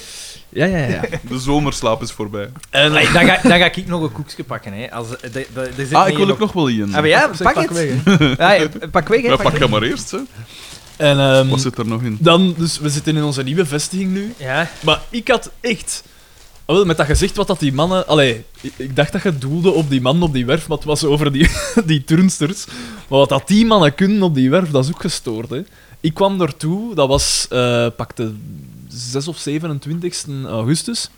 S3: Ja, ja, ja.
S2: De zomerslaap is voorbij.
S1: Eh, Dan ga, dan ga ik nog een koekje pakken. Hè. Als, eh, de- de- er zit
S2: Ah,
S1: hier
S2: ik wil ook nog wel in.
S1: Ah, maar ja, pak, het. [laughs] Ja, ja, pak weg, hè.
S2: Ja,
S1: pak
S2: pak
S1: weg.
S2: hem maar eerst. Hè.
S3: en ehm,
S2: Wat zit er nog in?
S3: dan, dus we zitten in onze nieuwe vestiging nu.
S1: Ja.
S3: Maar ik had echt... Ah, wel, met dat gezicht wat dat die mannen... Allee, ik, ik dacht dat je doelde op die mannen op die werf, maar het was over die, [laughs] die turnsters. Maar wat dat die mannen kunnen op die werf, dat is ook gestoord, hè. Ik kwam daartoe, dat was... eh pakte 6 of 27 augustus.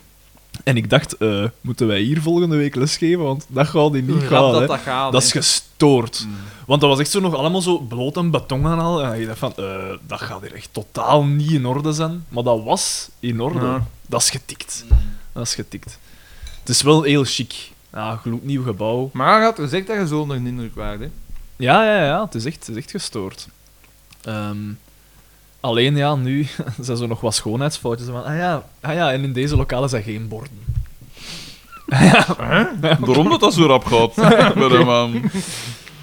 S3: En ik dacht, eh, moeten wij hier volgende week lesgeven? Want dat gaat die niet gaan.
S1: dat
S3: hè.
S1: dat gaat.
S3: Dat is
S1: hè.
S3: gestoord.
S1: Mm.
S3: Want dat was echt zo nog allemaal zo bloot en beton en al. En je dacht van, eh, dat gaat hier echt totaal niet in orde zijn. Maar dat was in orde.
S1: Ja. Mm.
S3: Dat is getikt. Dat is getikt. Het is wel heel chic. Ja, gloednieuw gebouw.
S1: Maar had gezegd dat je zo nog een indruk waard, hè?
S3: Ja, ja, ja. Het is echt, het is echt gestoord. Ehm, alleen ja, nu [laughs] zijn er nog wat schoonheidsfoutjes. Van, ah, ja, ah ja, en in deze lokalen zijn geen borden.
S2: Daarom dat dat zo rap gaat. Met hem aan.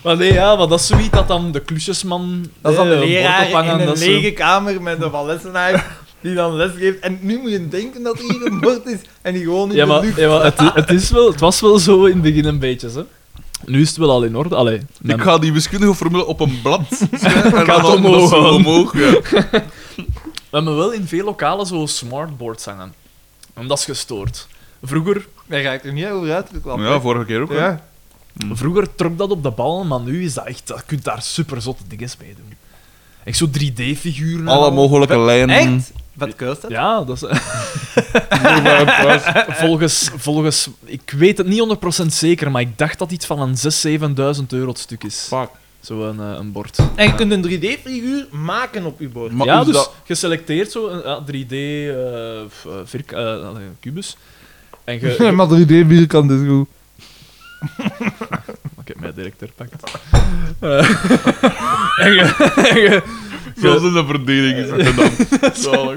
S3: Maar nee, ja, maar dat is zoiets dat dan de klusjesman...
S1: Dat is
S3: eh,
S1: dan de
S3: een bord
S1: leraar
S3: ophangen,
S1: in een
S3: dat is zo-
S1: lege kamer met een valessenaar die dan les geeft. En nu moet je denken dat er hier een bord is en die gewoon in
S3: Ja,
S1: de
S3: maar,
S1: lucht.
S3: ja, maar het, het, is wel, het was wel zo in het begin een beetje, hè. Nu is het wel al in orde. Allee, mijn-
S2: Ik ga die wiskundige formule op een blad schrijven en
S3: Gaat
S2: dan
S3: omhoog.
S2: omhoog. omhoog ja.
S3: We hebben wel in veel lokalen zo smartboards hangen. En dat is gestoord. Vroeger,
S1: Daar ga ik er niet over uitgeklapt.
S2: ja, vorige keer ook. hè.
S1: Ja.
S3: vroeger trok dat op de bal, maar nu is dat echt... Je kunt daar super zotte dingen mee doen. Echt zo 3D-figuren.
S2: Alle mogelijke lijnen.
S1: Echt? Wat keust dat?
S3: Ja, dat is... [laughs]
S2: Doe maar een plaats.
S3: volgens, volgens... Ik weet het niet 100% zeker, maar ik dacht dat iets van een 6.000, 7.000 euro het stuk is.
S2: Fuck.
S3: Zo'n eh, een bord.
S1: En je kunt een 3D-figuur maken op je [laughs] bord.
S2: Maar
S3: ja,
S2: is
S3: dus
S2: dat-
S3: geselecteerd zo, een ja, 3D eh, f- eh, virk- eh, allee, kubus.
S2: [laughs]
S3: En ge...
S1: maar 3D-vierkant is dus goed.
S3: ik heb mij direct herpakt. Eh, [laughs] en ge... en ge-
S2: Zelfs in de verdediging is het gedaan. Zalig.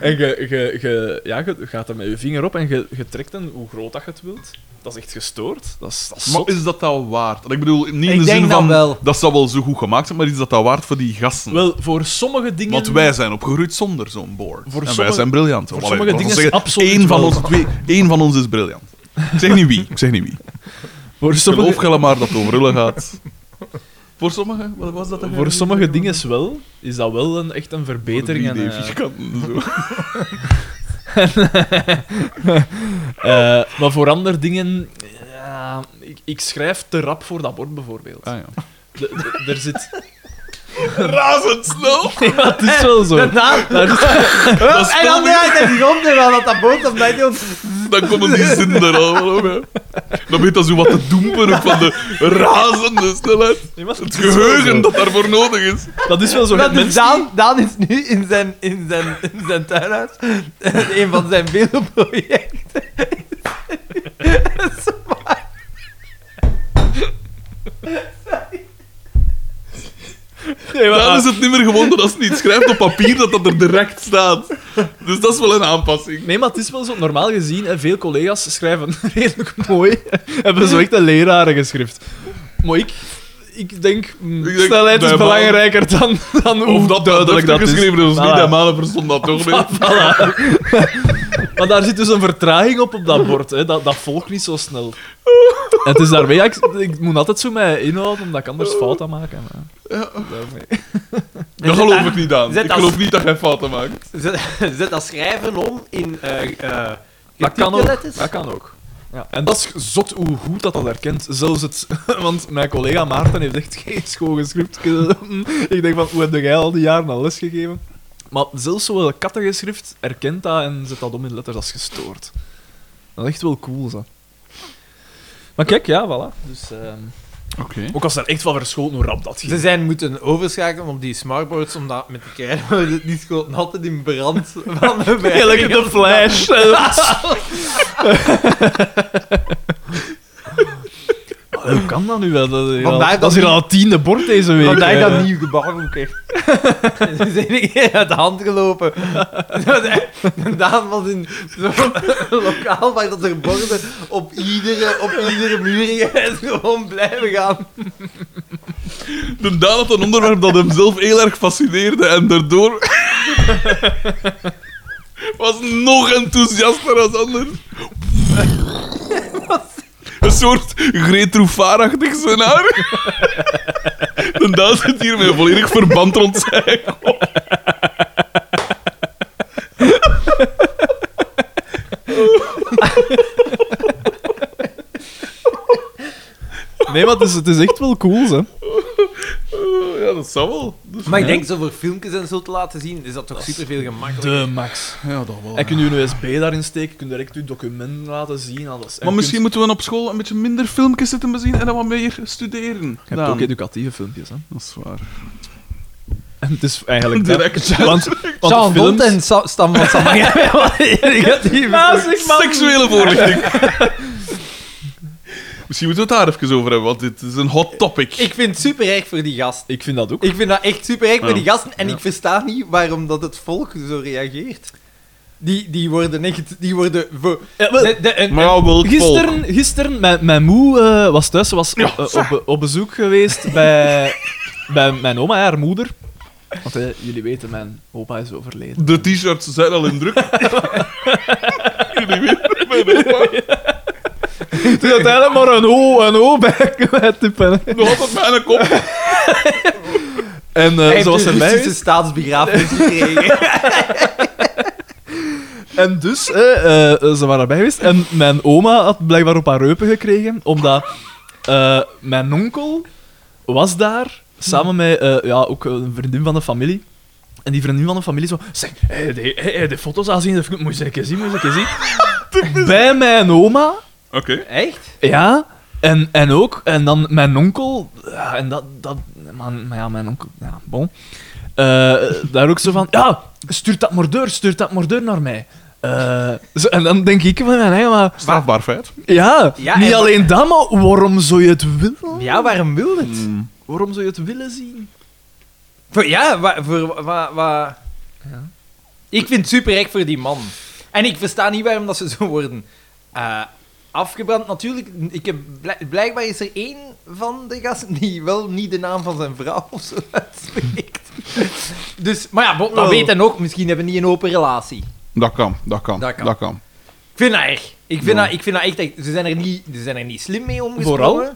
S3: en ge- ge- ge- ja, ge gaat er met je vinger op en je je trekt hem hoe groot dat je het wilt. Dat is echt gestoord. Dat is, dat is
S2: Maar
S3: zot.
S2: is dat dat waard? Want Ik bedoel, niet in
S1: Ik
S2: de
S1: denk
S2: zin
S1: dat
S2: van
S1: wel.
S2: dat zou wel zo goed gemaakt zijn, maar is dat dat waard voor die gasten?
S3: Wel, voor sommige dingen...
S2: Want wij zijn opgegroeid zonder zo'n board. en
S3: Voor
S2: wij
S3: sommige-
S2: zijn briljant.
S3: voor
S2: Allee,
S3: sommige
S2: laten we
S3: dingen
S2: zeggen,
S3: is absoluut
S2: één van,
S3: wel.
S2: ons twee, één van ons is briljant. Ik zeg niet wie. Ik zeg niet wie.
S3: Voor sommige,
S2: Geloof je maar dat het over rullen gaat. Voor sommigen? Wat was dat? dan?
S3: voor sommige dingen is wel, is dat wel een, echt een verbetering. en, eh,
S2: 3D-vierkanten, zo.
S3: [laughs] Eh, maar voor andere dingen... ja, ik, ik schrijf te rap voor dat bord, bijvoorbeeld.
S2: Ah, ja.
S3: De- de- er zit...
S2: Razendsnel!
S3: Ja, het is wel zo.
S1: De naam. [laughs]
S2: Dat is
S1: en dan
S2: wel-
S1: draait hij zich om terwijl dat dat boord op mij doet.
S2: Dan komen die zinnen er allemaal op, hè. Dan weet dat zo wat te doempen ook van de razende snelheid.
S3: Nee, maar
S2: Het geheugen dat daarvoor nodig is.
S3: Dat is wel zo.
S1: Dat is
S3: Mensen-
S1: Daan, Daan is nu in zijn, in zijn, in zijn tuinhuis. [laughs] een van zijn vele projecten.
S3: Nee, maar-
S2: Dan is het niet meer gewoon dat als het niet schrijft op papier, dat dat er direct staat. Dus dat is wel een aanpassing.
S3: Nee, maar het is wel zo. Normaal gezien, hè, veel collega's schrijven [laughs] redelijk mooi. Hebben zo echt een lerarengeschrift. Maar ik, ik denk, mm,
S2: Ik denk,
S3: snelheid is
S2: bij maal-
S3: belangrijker dan, dan
S2: Of
S3: hoe
S2: dat
S3: duidelijk dat is.
S2: geschreven is, of niet,
S3: Voilà.
S2: en Malen verstond dat toch niet.
S3: Maar daar zit dus een vertraging op op dat bord. Hè. Dat, dat volgt niet
S2: [laughs]
S3: zo snel. En het is daarmee, ja, ik, ik moet altijd zo mij inhouden, omdat ik anders fouten maak. hè, maar- Daarmee.
S2: Dat geloof ik niet aan.
S1: zet
S2: Ik
S1: dat-
S2: geloof niet dat jij fouten maakt.
S1: Zet, zet dat schrijven om in eh eh
S3: Dat kan
S1: getypte
S3: ook.
S1: letters.
S3: Dat kan ook. Ja. En dat is zot hoe goed dat dat herkent. Zelfs het... [laughs] Want mijn collega Maarten heeft echt geen schoon geschrift. Ik denk van, hoe heb jij al die jaren al lesgegeven? Maar zelfs zo'n kattengeschrift herkent dat en zet dat om in letters als gestoord. Dat is echt wel cool, zo. Maar kijk, ja, voilà. Dus, ehm,
S2: Oké.
S3: Ook als er echt wel verschoten hoe rap dat
S1: Ze
S3: ging.
S1: zijn moeten overschakelen op die smartboards, omdat met de [laughs] kernwoorden die schoten altijd in brand [laughs] van de
S3: Heerlijk de flash. Maar Hoe kan dat nu wel? Dat is hier al,
S1: Vandaar
S3: dat
S1: dat
S3: is hier
S1: niet-
S3: al het tiende bord deze week.
S1: Omdat ik
S3: eh.
S1: dat nieuw gebouw ook echt. [laughs] Ze zijn een Dus keer uit de hand gelopen. [laughs] En Daan was in zo'n [laughs] lokaal waar dat er borden op iedere, op iedere muur [laughs] gingen en gewoon blijven gaan.
S2: De Daan had een onderwerp dat hem zelf heel erg fascineerde en daardoor... was nog enthousiaster als anders. Een soort Gretroefaar-achtig scenario. De Daan zit hier met een volledig verband rond zijn kop.
S3: Nee, maar het is, het is echt wel cool, hè.
S2: Ja, dat zou wel. Dat
S1: Maar ik denk, zo voor filmpjes en zo te laten zien, is dat toch superveel gemakkelijker.
S3: De max.
S2: Ja, dat wel.
S3: En kun je een USB daarin steken, kun je direct je documenten laten zien, alles. En
S2: Maar
S3: kun-
S2: misschien moeten we op school een beetje minder filmpjes zitten bezien en dan wat meer studeren.
S3: Je hebt
S2: Daan.
S3: ook educatieve filmpjes, hè.
S2: Dat is waar.
S3: En het is eigenlijk...
S2: Direct.
S3: Want, want
S1: Jean
S3: de films...
S1: Bond en Sa- Stan van [laughs] Samanga.
S3: Ah, zeg maar.
S2: Seksuele
S3: [laughs]
S2: voorlichting. Misschien moeten we het daar even over hebben, want dit is een hot topic.
S1: Ik vind het super erg voor die gast.
S3: Ik vind dat ook.
S1: Ik vind dat echt super erg voor
S2: Ja.
S1: die gasten. En
S3: Ja.
S1: ik versta niet waarom dat het volk zo reageert. Die, die worden echt... Die worden... Voor,
S3: Ja, wel,
S1: de- de- een-
S2: Maar ja, wil het volgen.
S3: Gisteren, gisteren mijn, mijn moe eh, was thuis, ze was op- eh, op, op bezoek geweest bij, bij mijn oma, haar moeder. Want eh, jullie weten, mijn opa is overleden.
S2: De t-shirts zijn al in druk. Jullie weten mijn opa.
S3: Toen had hij maar een O, een O bij het tippen.
S2: Nog altijd mijn kop.
S3: En eh,
S1: hij
S3: ze was
S1: heeft een
S3: erbij.
S1: Russische staatsbegrafenis
S3: [laughs]
S1: gekregen.
S3: En dus, eh, eh, ze waren erbij geweest. En mijn oma had blijkbaar op haar heupen gekregen, omdat eh, mijn onkel was daar samen met eh, ja, ook een vriendin van de familie. En die vriendin van de familie zo, zeg, hey, die, hey, hey, die foto's aanzien, dat vind ik- moet je eens een keer zien, moet je eens een keer zien. Bij mijn oma,
S2: Oké.
S1: Echt?
S3: ja, en, en ook, en dan mijn onkel, ja, en dat, dat maar, maar ja, mijn onkel, ja, bon. Eh, daar ook zo van, ja, stuurt dat maar door, stuurt dat maar door naar mij. Eh, zo, en dan denk ik van, nee, maar
S2: Strafbaar feit.
S3: ja,
S1: Ja,
S3: niet
S1: en-
S3: alleen dat, maar waarom zou je het willen?
S1: Ja, waarom wil het?
S3: Waarom zou je het willen zien?
S1: Voor, ja, wa- voor wa- wa- wa- Ik vind het super erg voor die man. En ik versta niet waarom dat ze zo worden eh, afgebrand. Natuurlijk, ik heb, bl- blijkbaar is er één van de gasten die wel niet de naam van zijn vrouw of zo uitspreekt. Dus, maar ja, Bob, dat
S3: Oh.
S1: weet en ook. Misschien hebben we niet een open relatie.
S2: Dat kan, dat kan,
S1: Dat kan.
S2: dat kan.
S1: Ik vind dat erg. Ik vind,
S2: Ja.
S1: dat, ik vind dat echt... erg. Ze zijn er niet, ze zijn er niet slim mee omgesprongen.
S3: Vooral?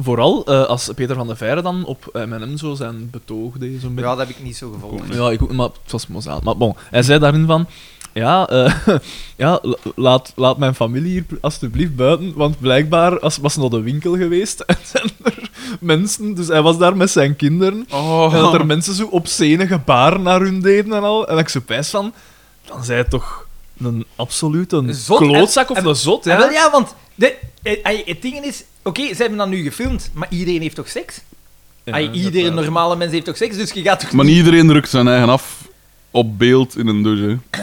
S3: Vooral eh, als Peter van der Veire dan op M&M zo zijn betoog deed, zo'n beetje.
S1: Ja, dat heb ik niet zo gevolgd.
S3: Ja, ik ook, maar het was mozaat. Maar bon, hij zei daarin van... Ja, eh, [laughs] ja la- laat, laat mijn familie hier alsjeblieft buiten, want blijkbaar als, was nog de winkel geweest [laughs] en zijn er mensen... Dus hij was daar met zijn kinderen.
S2: Oh,
S3: En dat er mensen zo obscene gebaren naar hun deden en al. En dat ik zo pijs van... Dan zei hij toch een absolute
S1: Zot,
S3: klootzak
S1: en-
S3: of
S1: en-
S3: een zot,
S1: Ja, Ah, wel,
S3: ja?
S1: ja want de, eh, eh, het ding is... Oké, ze hebben dat nu gefilmd, maar iedereen heeft toch seks? Ai,
S3: Ja,
S1: iedere
S3: dat-
S1: normale mens heeft toch seks, dus je gaat toch...
S2: Maar niet iedereen drukt zijn eigen af op beeld in een douche. hè.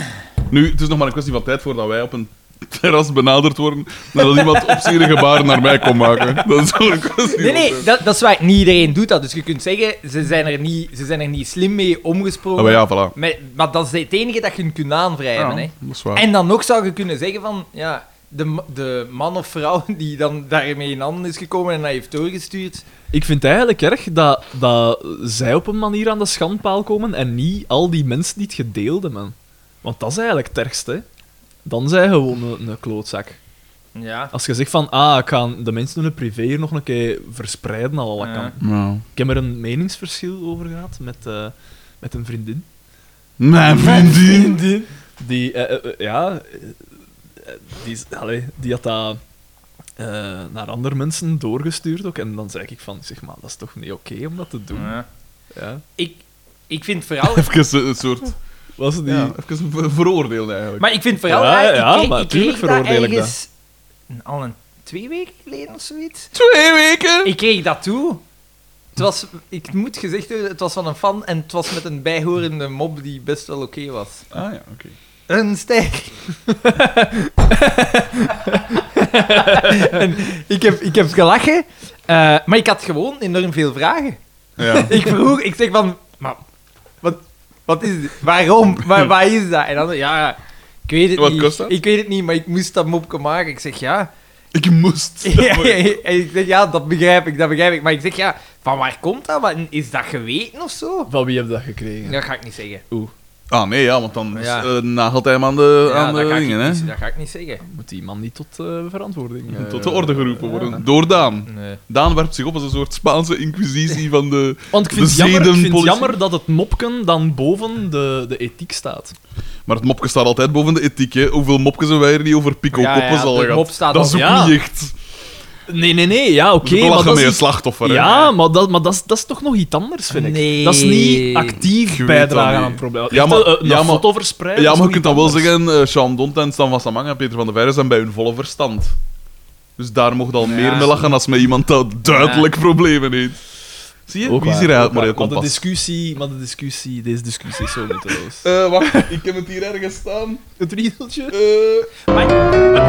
S2: Nu, het is nog maar een kwestie van tijd voordat wij op een terras benaderd worden
S1: [laughs]
S2: nadat iemand opzierige gebaren naar mij komt maken. Dat is wel een kwestie
S1: Nee,
S2: van
S1: nee,
S2: tijd.
S1: dat, dat is waar. Niet iedereen doet dat. Dus je kunt zeggen, ze zijn er niet, ze zijn er niet slim mee omgesprongen.
S2: Ah, maar ja, voilà.
S1: Met- maar dat is het enige dat je kunt aanwrijven.
S2: Ja,
S1: hè.
S2: dat is waar.
S1: En dan nog zou je kunnen zeggen van... Ja, de, ma- de man of vrouw [laughs] die dan daarmee in handen is gekomen en dat heeft doorgestuurd...
S3: Ik vind het eigenlijk erg dat, dat zij op een manier aan de schandpaal komen en niet al die mensen die het gedeelden, man. Want dat is eigenlijk het ergste. hè. Dan zijn gewoon een, een klootzak.
S1: Ja.
S3: Als je zegt van, ah, ik ga de mensen hun privé hier nog een keer verspreiden al wat
S1: Ja.
S3: kan.
S2: Nou.
S3: Ik heb er een meningsverschil over gehad met, eh, met een vriendin.
S2: Mijn vriendin!
S3: Die, eh, eh, eh, ja, eh, eh, die, is- allee, die had dat eh, naar andere mensen doorgestuurd ook. En dan zei ik van, zeg maar, dat is toch niet oké om dat te doen. Ja.
S1: Ik, ik vind vooral...
S2: Even een- een soort...
S3: Was die...
S2: Ja, even ver- veroordeeld eigenlijk.
S1: Maar ik vind vooral
S3: Ja,
S1: raar, ik
S3: ja,
S1: kreeg-
S3: maar
S1: ik
S3: tuurlijk
S1: kreeg
S3: veroordeel ik dat.
S1: ergens een- Al een twee weken geleden of zoiets.
S2: Twee weken!
S1: Ik kreeg dat toe. Het was, ik moet gezegd worden, het was van een fan en het was met een bijhorende mop die best wel oké was.
S2: Ah ja, oké.
S1: Een sterk. [laughs] en ik, heb, ik heb gelachen, eh, maar ik had gewoon enorm veel vragen.
S2: Ja.
S1: [laughs] Ik vroeg, ik zeg van, maar wat, wat is dit? Waarom?
S2: [laughs]
S1: Waar, waar is dat? En dan, ja, ja, ik weet het
S2: Wat
S1: niet.
S2: kost dat?
S1: Ik weet het niet, maar ik moest dat mopje maken. Ik zeg,
S2: [laughs]
S1: ja.
S2: Ik moest.
S1: [laughs] en ik zeg, ja, dat begrijp ik, dat begrijp ik. Maar ik zeg, ja, van waar komt dat? Wat- Is dat geweten of zo?
S3: Van wie heb je dat gekregen?
S1: Dat ga ik niet zeggen.
S2: Ah nee, ja, want dan is,
S1: Ja.
S2: eh, nagelt hij hem aan de,
S1: Ja,
S2: aan
S1: dat,
S2: de
S1: ga ik
S2: dingen,
S1: niet,
S2: hè.
S1: dat ga ik niet zeggen.
S3: Moet die man niet tot eh, verantwoording... eh,
S2: Tot de orde geroepen
S3: ja.
S2: worden. Door Daan.
S1: Nee.
S2: Daan werpt zich op als een soort Spaanse inquisitie van de...
S3: Want ik vind, het
S2: De
S3: jammer, ik vind het
S2: zedenpolitie.
S3: jammer dat het mopken dan boven de, de ethiek staat.
S2: Maar het mopje staat altijd boven de ethiek, hè. Hoeveel mopjes hebben wij er niet over pikkelkoppen
S1: Ja, ja,
S2: zal
S1: de
S2: gaan?
S1: mop staat
S2: Dat is
S1: al-
S2: ook
S3: ja.
S2: niet echt.
S3: Nee, nee, nee, ja, oké.
S2: Ze
S3: maar
S2: belachen
S3: dat
S2: met
S3: is
S2: een
S3: iets-
S2: slachtoffer. hè.
S3: Ja, maar, dat, maar dat, is, dat is toch nog iets anders, vind ik.
S1: Nee.
S3: Dat is niet
S2: Ik
S3: actief
S2: weet dat
S3: bijdragen
S2: niet.
S3: aan het probleem.
S2: Ja,
S3: Echt,
S2: maar-
S3: eh, een
S2: ja, maar-
S3: foto verspreiden
S2: Ja,
S3: is
S2: maar je
S3: nog
S2: kunt
S3: iets
S2: dan wel
S3: anders.
S2: zeggen, eh, Sean Dont en Stan van Samang en Peter van der Veijden zijn bij hun volle verstand. Dus daar mocht al meer mee lachen als met iemand dat duidelijk problemen heeft. Zie je?
S3: Ook
S2: Wie is
S3: waar,
S2: hier eigenlijk
S3: ook
S2: maar heel
S3: waar. maar de
S2: kompas?
S3: discussie, maar de discussie, deze discussie is zo nutteloos.
S2: Eh, wacht, ik heb het hier ergens staan.
S3: [laughs] Het riedeltje?
S2: Eh,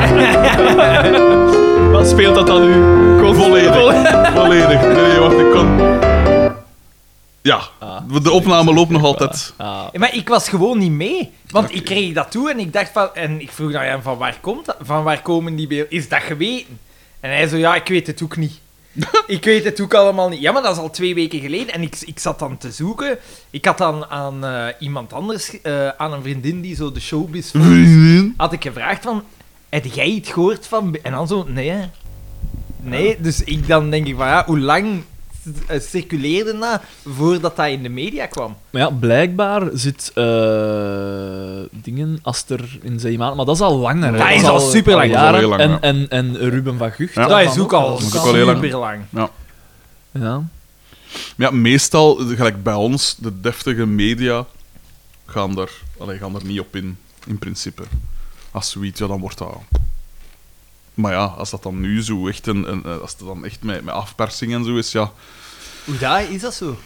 S3: Wat speelt dat dan nu?
S2: volledig.
S1: [laughs]
S2: volledig. Nee, nee, wacht, ik kan... Ja,
S1: Ah.
S2: de opname loopt nog altijd.
S3: Ah,
S1: Maar ik was gewoon niet mee. Want ik kreeg dat toe en ik dacht van... En ik vroeg naar hem van waar komt dat? Van waar komen die beelden? Is dat geweten? En hij zo, ja, ik weet het ook niet. ik weet het ook allemaal niet. Ja, maar dat is al twee weken geleden. En ik, ik zat dan te zoeken. Ik had dan aan eh, iemand anders, eh, aan een vriendin die zo de showbiz... had ik gevraagd van... Heb jij iets gehoord van... En dan zo, nee hè. Nee, dus ik dan denk ik van ja, hoe lang eh, circuleerde dat voordat dat in de media kwam?
S3: Maar ja, blijkbaar zit eh, dingen Aster in zijn maand, maar dat is al langer. hè.
S1: Dat is al superlang.
S2: Dat is al heel
S3: jaren.
S2: lang,
S3: En, en, en Ruben van Gucht.
S2: Ja.
S3: daarvan
S1: dat is ook al
S2: is ook al heel lang.
S1: super lang.
S3: Ja.
S2: Ja, meestal, eh, gelijk bij ons, de deftige media gaan er, allee, gaan er niet op in, in principe. Als zoiets, ja, dan wordt dat... Maar ja, als dat dan nu zo echt, een, een- eh, als het dan echt met, met afpersing en zo is, ja...
S1: Hoe dat, is dat zo?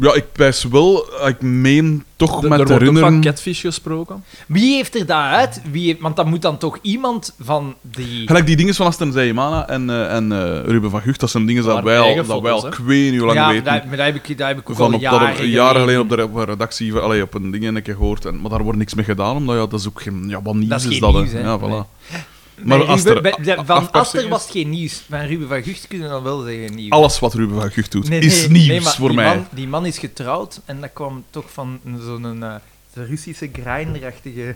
S2: Ja, ik pijs wel, eh, ik meen toch
S3: Er-
S2: met
S3: er
S2: te
S3: wordt ook van
S2: herinneren...
S3: Catfish gesproken.
S1: Wie heeft er daaruit? Wie heeft- want dat moet dan toch iemand van die...
S2: Gelijk die dingen van Aston Zeymana en, eh, en eh, Ruben van Gucht, dat zijn dingen dat
S3: waren
S2: wij al,
S3: eigen
S2: dat wij al
S3: foto's,
S2: ik weet niet hoe lang
S1: ja, maar
S2: weten.
S1: daar, maar daar heb ik, daar heb ik ook
S2: van
S1: al
S2: op dat
S1: jaren,
S2: op, jaren geleden op de re- op een redactie, allee, op een ding en een keer gehoord. En, maar daar wordt niks mee gedaan, omdat ja, dat is ook geen. Ja, wat nieuws
S1: Dat is
S2: is,
S1: geen
S2: dat? hè.
S1: nieuws, hè?
S2: ja, voilà.
S1: Nee.
S2: Maar
S1: Bij
S2: Aster,
S1: Ruben- bij-
S2: a- a-
S1: van
S2: afpersing
S1: Aster
S2: is-
S1: was het geen nieuws. Van Ruben van Gucht kunnen dan wel zeggen nieuws.
S2: Alles wat Ruben van Gucht doet
S1: Nee,
S2: is
S1: nee,
S2: nieuws
S1: nee, maar
S2: voor
S1: die
S2: mij.
S1: Man, die man is getrouwd en dat kwam toch van zo'n eh, zo'n Russische grinderachtige...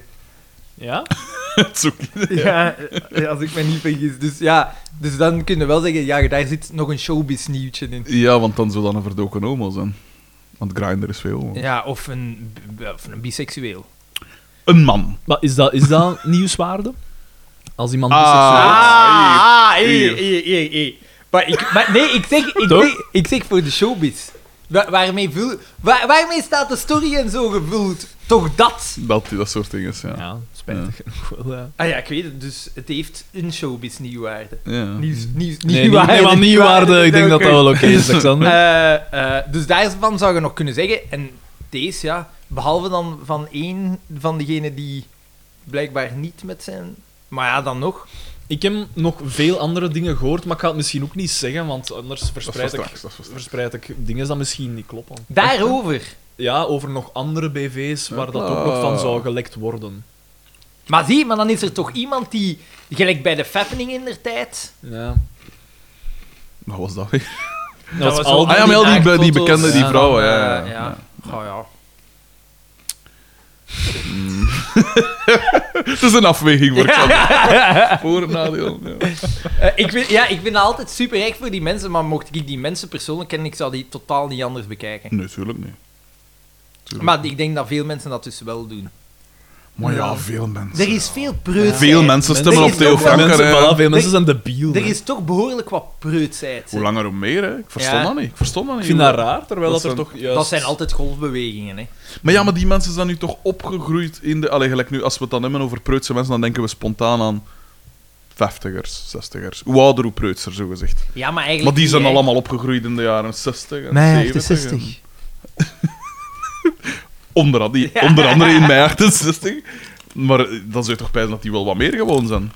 S3: Ja?
S2: [laughs] Het is ook-
S1: Ja, eh, als ik me niet vergis. Dus ja, dus dan kunnen we wel zeggen, ja, daar zit nog een showbiz nieuwtje in.
S2: ja, want dan zou dan een verdoken homo zijn. Want Grindr is veel. homo.
S1: Ja, of een, b- of een biseksueel.
S2: Een man.
S3: Maar is dat, is dat [laughs] nieuwswaarde? Als iemand
S2: Ah.
S3: biseksueel is?
S1: Ah,
S2: hier,
S1: hier, hier,
S2: hier.
S1: hier, hier. Maar, ik, maar nee, ik zeg, ik,
S3: Toch?
S1: zeg, ik zeg voor de showbiz. Wa- waarmee, vul, waar- waarmee staat de story en zo gevuld? Toch dat?
S2: Dat, dat soort dingen. Ja. Ja.
S3: Ja, spijtig genoeg [laughs] wel, ja.
S1: Ah ja, ik weet het, dus het heeft een showbiz nieuwwaarde.
S2: Ja.
S1: Nieuws, nieuws,
S3: Nee, niet, nee, maar nieuwwaarde, ik denk dat dat wel oké
S1: [laughs]
S3: is, Alexander.
S1: Eh, eh, dus daarvan zou je nog kunnen zeggen, en deze ja, behalve dan van één van degenen die blijkbaar niet met zijn. Maar ja, dan nog.
S3: Ik heb nog veel andere dingen gehoord, maar ik ga het misschien ook niet zeggen, want anders
S2: Dat is voor
S3: verspreid ik,
S2: straks. Dat is voor straks.
S3: verspreid ik dingen die misschien niet kloppen.
S1: Daarover.
S3: Ja, over nog andere BV's waar dat ook nog van zou gelekt worden.
S1: Maar zie, maar dan is er toch iemand die, gelijk bij de Fappening in der tijd.
S3: Ja.
S2: Wat was dat weer?
S3: Dat,
S1: was wel-
S2: Ah ja, maar al die, be- die
S1: naaktfoto's
S2: bekende, die
S3: en
S2: vrouwen.
S1: eh,
S2: Ja, ja, ja.
S1: ja. Oh, ja.
S2: [laughs] Het is een afweging voor Xander. Voor en nadeel. Ja.
S1: [laughs] Eh, ik, vind, ja, ik vind dat altijd super erg voor die mensen, maar mocht ik die mensen persoonlijk kennen, ik zou die totaal niet anders bekijken.
S2: Nee, tuurlijk niet. Tuurlijk.
S1: Maar ik denk dat veel mensen dat dus wel doen.
S2: Maar ja, veel mensen.
S1: Er is veel preut.
S2: Veel mensen
S3: Ah,
S2: stemmen
S1: Er
S2: op
S1: is nog
S2: Theo
S1: wel
S3: Veel
S2: Franken.
S3: mensen,
S2: hè.
S3: voilà, veel mensen zijn debiel.
S1: Er
S3: hè.
S1: is toch behoorlijk wat preutsheid.
S2: Hoe langer, hoe meer. Hè. Ik verstond
S1: eh, Ja.
S2: dat niet. Ik verstond dat niet.
S3: Ik vind dat raar, terwijl
S2: Dat
S3: dat, er
S2: zijn-
S3: toch juist...
S1: Dat zijn altijd golfbewegingen, hè.
S2: Maar ja, maar die mensen zijn nu toch opgegroeid in de... Allee, gelijk nu, als we het dan hebben over preutse mensen, dan denken we spontaan aan vijftigers, zestigers. Hoe ouder, hoe preutser, zo gezegd.
S1: Ja, maar eigenlijk...
S2: Maar die zijn
S1: niet, hè.
S2: allemaal opgegroeid in de jaren 60 en 70. en- Onder, an- die, onder andere
S1: [laughs]
S2: in mei 68. Maar eh, dan zou je toch pijzen dat die wel wat meer gewoon zijn.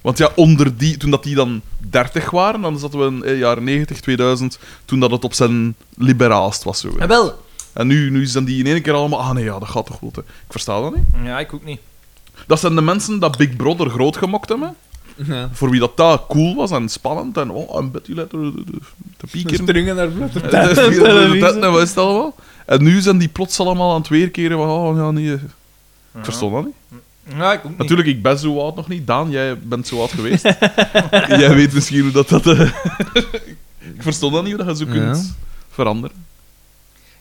S2: Want ja, onder die, toen dat die dan 30 waren, dan zaten we in de jaren 90, 2000, toen dat het op zijn liberaalst was. Zo. gezegd.
S1: Ah, wel.
S2: En nu, nu zijn die in één keer allemaal... Ah nee, ja, dat gaat toch goed, hè. Ik versta dat niet.
S1: Ja, ik ook niet.
S2: Dat zijn de mensen dat Big Brother groot gemokt hebben.
S3: Ja.
S2: Voor wie dat daar cool was en spannend en... Oh, een Betty letter te pieken.
S3: Springen naar bloed.
S2: Dat is hier over [laughs] de tijd, nou, wat is het allemaal? En nu zijn die plots allemaal aan het weerkeren van... Oh, ja, nee... eh. Ik verstond dat niet.
S1: Ja, ik ook niet.
S2: Natuurlijk, ik ben zo oud nog niet. Daan, jij bent zo oud geweest. jij weet misschien [laughs] hoe dat... dat eh, ik verstond dat niet, hoe dat je zo kunt veranderen.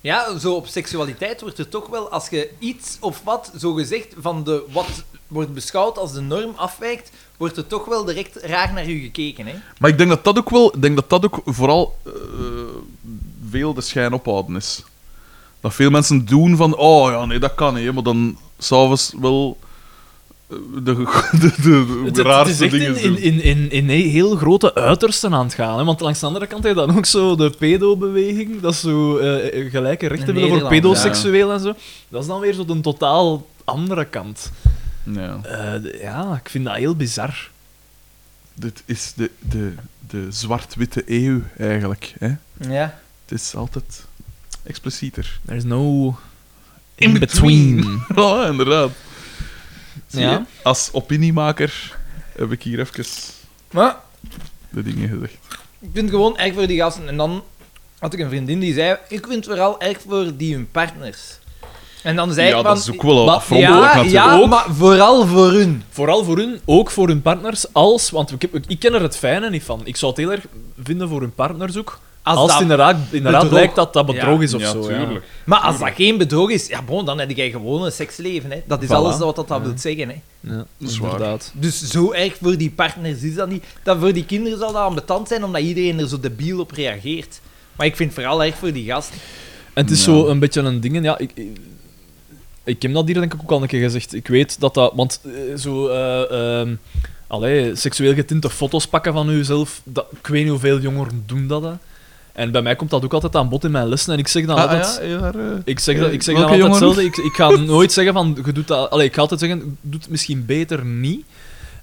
S1: Ja, zo op seksualiteit wordt er toch wel, als je iets of wat, zo gezegd, van de, wat wordt beschouwd als de norm afwijkt, wordt er toch wel direct raar naar u gekeken, hè?
S2: Maar ik denk dat dat ook wel, ik denk dat dat ook vooral eh, veel de schijn ophouden is. Dat veel mensen doen van, oh ja, nee, dat kan niet, hè, maar dan s'avonds wel eh, de, [laughs] de, de, de
S3: Het, het- het
S2: raarste
S3: is echt
S2: dingen
S3: in, in,
S2: doen.
S3: in, in, in he- heel grote uitersten aan het gaan. Hè? Want langs de andere kant heb je dan ook zo de pedo-beweging. Dat is zo eh, eh, gelijke rechten
S1: In
S3: willen voor
S1: Nederland,
S3: pedoseksueel en zo. Dat is dan weer zo een totaal andere kant.
S2: Ja.
S3: Eh, d- ja, ik vind dat heel bizar.
S2: Dit is de, de, de zwart-witte eeuw eigenlijk. Hè?
S1: Ja.
S2: Het is altijd explicieter.
S3: There's no
S2: In
S3: in-between.
S2: [laughs] ja, inderdaad. Zie je?
S3: Ja.
S2: Als opiniemaker heb ik hier even
S1: Maar
S2: de dingen gezegd.
S1: ik vind het gewoon erg voor die gasten. En dan had ik een vriendin die zei, ik vind het vooral erg voor die hun partners. En dan zei
S2: Ja,
S1: ik
S2: dat
S1: van...
S2: is ook wel een
S3: maar-
S2: afrond,
S3: ja,
S2: ook
S1: ja,
S2: natuurlijk.
S1: ja,
S3: ook.
S1: maar vooral voor hun.
S3: Vooral voor hun, ook voor hun partners, als... Want ik, heb, ik, ik ken er het fijne niet van. Ik zou het heel erg vinden voor hun partners ook. Als,
S1: dat-
S3: het inderdaad, inderdaad
S1: bedrog.
S3: blijkt dat dat bedrog
S1: Ja.
S3: is of
S2: Ja,
S3: zo.
S2: tuurlijk.
S1: Maar als dat geen bedrog is, ja, bon, dan heb jij gewoon een seksleven. Hè. Dat is
S3: Voilà.
S1: alles wat dat, dat wil zeggen. Hè.
S3: Ja,
S2: Dat is waar.
S3: inderdaad.
S1: Dus zo erg voor die partners is dat niet. Dat voor die kinderen zal dat ambetant zijn, omdat iedereen er zo debiel op reageert. Maar ik vind het vooral erg voor die gast.
S3: En het is
S2: Ja.
S3: zo een beetje een ding. en Ja, ik, ik, ik heb dat hier denk ik ook al een keer gezegd. Ik weet dat dat. Want eh, zo. eh, ehm, allee, seksueel getinte foto's pakken van uzelf. Dat, ik weet niet hoeveel jongeren doen dat. hè. En bij mij komt dat ook altijd aan bod in mijn lessen. En ik zeg dan
S2: Ah,
S3: altijd.
S2: ja, ja, daar, eh,
S3: Ik zeg, dat, ik zeg dan
S2: Welke
S3: altijd
S2: jongeren?
S3: hetzelfde. Ik, ik ga [laughs] nooit zeggen van. Je doet dat, allee, ik ga altijd zeggen. Doe het misschien beter niet.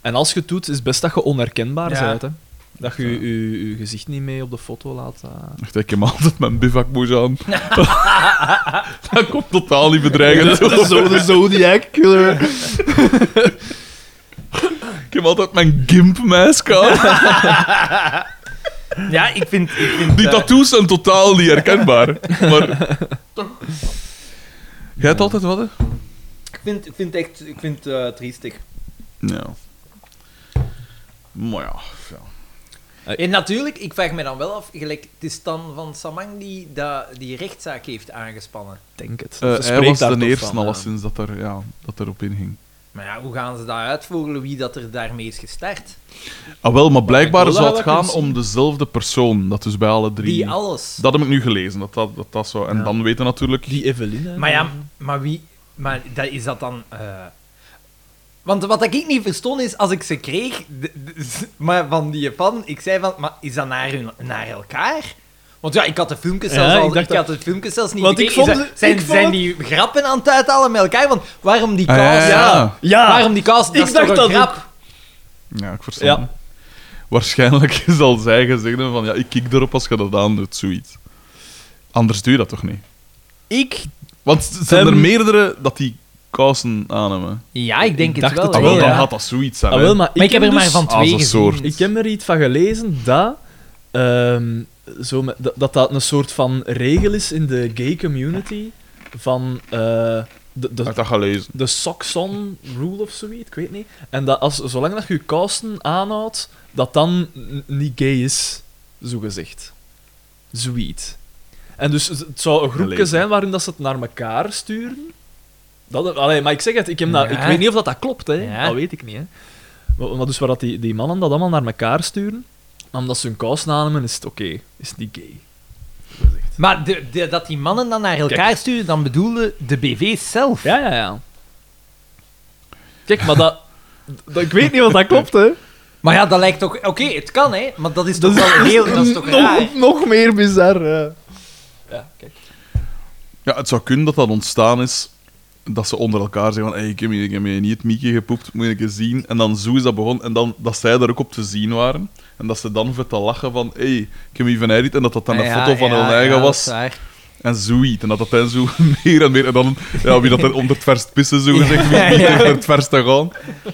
S3: En als je het doet, is het best dat je onherkenbaar
S1: Ja.
S3: bent. Hè. Dat je je, je- je gezicht niet mee op de foto laat. eh.
S2: Echt, ik heb altijd mijn bivakmoes aan. dat komt totaal niet bedreigend.
S3: [laughs] zo de Zodiac killer.
S2: Ik heb altijd mijn gimp-mask aan.
S1: Ja, ik vind... Ik vind
S2: Die
S1: eh,
S2: tattoos zijn totaal niet herkenbaar. Maar toch. Jij hebt altijd wat, hè?
S1: ik vind, ik vind echt... Ik vind het triestig.
S2: Ja. Maar ja, ja.
S1: En natuurlijk, ik vraag me dan wel af, gelijk, het is Stan van Samang die dat- die rechtszaak heeft aangespannen.
S3: denk het.
S2: Eh,
S3: Ze
S2: hij
S3: spreekt
S2: was
S3: daar
S2: de
S3: toch
S2: eerste
S3: van, eh. ja.
S2: alleszins dat, er, ja, dat erop inging.
S1: Maar ja, hoe gaan ze dat uitvoeren, wie dat er daarmee is gestart?
S2: Ah wel, maar blijkbaar
S3: wel
S2: zou het
S3: dat kunnen
S2: gaan om dezelfde persoon. Dat dus bij alle drie.
S1: Die alles.
S2: Dat heb ik nu gelezen, dat dat, dat, dat zo... En
S3: Ja.
S2: dan weten natuurlijk...
S3: Die Eveline.
S1: Maar ja, maar wie... Maar dat, is dat dan... eh, Want wat ik niet verstond is, als ik ze kreeg, de- de- [laughs] z- maar van die Japan, ik zei van, maar is dat naar, hun, naar elkaar? Want ja, ik had de filmpjes
S3: Ja,
S1: zelfs, al,
S3: ik
S1: ik had
S3: dacht
S1: de filmpjes zelfs niet
S3: Want ik
S1: bekeken.
S3: vond
S1: Zijn-
S3: het-
S1: zijn,
S3: ik vond
S1: zijn
S3: het-
S1: die grappen aan het uithalen met elkaar? Want waarom die
S2: Ah,
S1: kous?
S2: ja, ja.
S3: Ja.
S1: Waarom die kous? Dat
S3: Ik
S1: is toch
S3: dacht
S1: een
S3: dat
S1: grap?
S3: ook.
S2: Ja, ik verstand. hem. Waarschijnlijk [laughs] zal zij gezegd hebben van ja, ik kik erop als je dat aan doet, zoiets. Anders doe je dat toch niet?
S3: Ik
S2: Want z- zijn er
S3: Ehm.
S2: meerdere dat die kousen aan hebben?
S1: Ja, ik denk het
S3: dacht
S1: wel.
S3: het
S2: Ah,
S1: hè,
S2: wel,
S1: ja.
S2: dan
S1: maar,
S2: gaat dat zoiets zijn.
S3: ah,
S2: hè.
S3: wel, maar,
S1: ik heb er
S3: dus-
S1: maar van
S2: ah,
S1: twee
S2: zo'n
S1: gezien.
S2: soort.
S3: Ik heb er iets van gelezen dat, ehm, zo met- dat, dat dat een soort van regel is in de gay community van eh, de,
S2: Ik
S3: de,
S2: heb dat gelezen.
S3: de socks on rule of zoiets, ik weet niet. En dat als, zolang dat je je kousen aanhoudt, dat dan n- niet gay is, zogezegd. Zoiets. En dus z- het zou een groepje
S2: Gelezen.
S3: zijn waarin dat ze het naar elkaar sturen. Dat, allee, maar ik zeg het, ik, heb dat,
S1: Ja.
S3: ik weet niet of dat, dat klopt, hè.
S1: Ja.
S3: dat weet ik niet. Hè. Maar, maar dus waar dat die, die mannen dat allemaal naar elkaar sturen, omdat ze hun kousen aannemen, is het oké, is het niet gay. Zogezegd.
S1: de- de- dat die mannen dan naar elkaar sturen, dan bedoelde de BV zelf.
S3: Ja, ja, ja. Kijk, maar dat... [laughs] dat- ik weet niet of dat klopt, hè.
S1: Maar ja, dat lijkt toch... Oké, het kan, hè. Maar dat is toch wel [laughs] heel... Dat is toch raar, hè?
S3: nog meer bizar. Ja, kijk.
S2: Ja, het zou kunnen dat dat ontstaan is dat ze onder elkaar zeggen van hey, ik heb hier- ik heb hier niet het miekje gepoept, moet je een keer zien. En dan zo is dat begonnen. En dan dat zij daar ook op te zien waren. En dat ze dan vet te lachen van hey, ik heb hier van Eirit. En dat dat dan een
S1: Ja,
S2: foto van
S1: ja,
S2: hun
S1: ja, dat
S2: eigen
S1: is
S2: was.
S1: waar.
S2: En zoiets. En dat dat dan zo [laughs] meer en meer. En dan, ja, wie dat dan onder het verst pissen, zo gezegd, wie, wie onder het verst te gaan.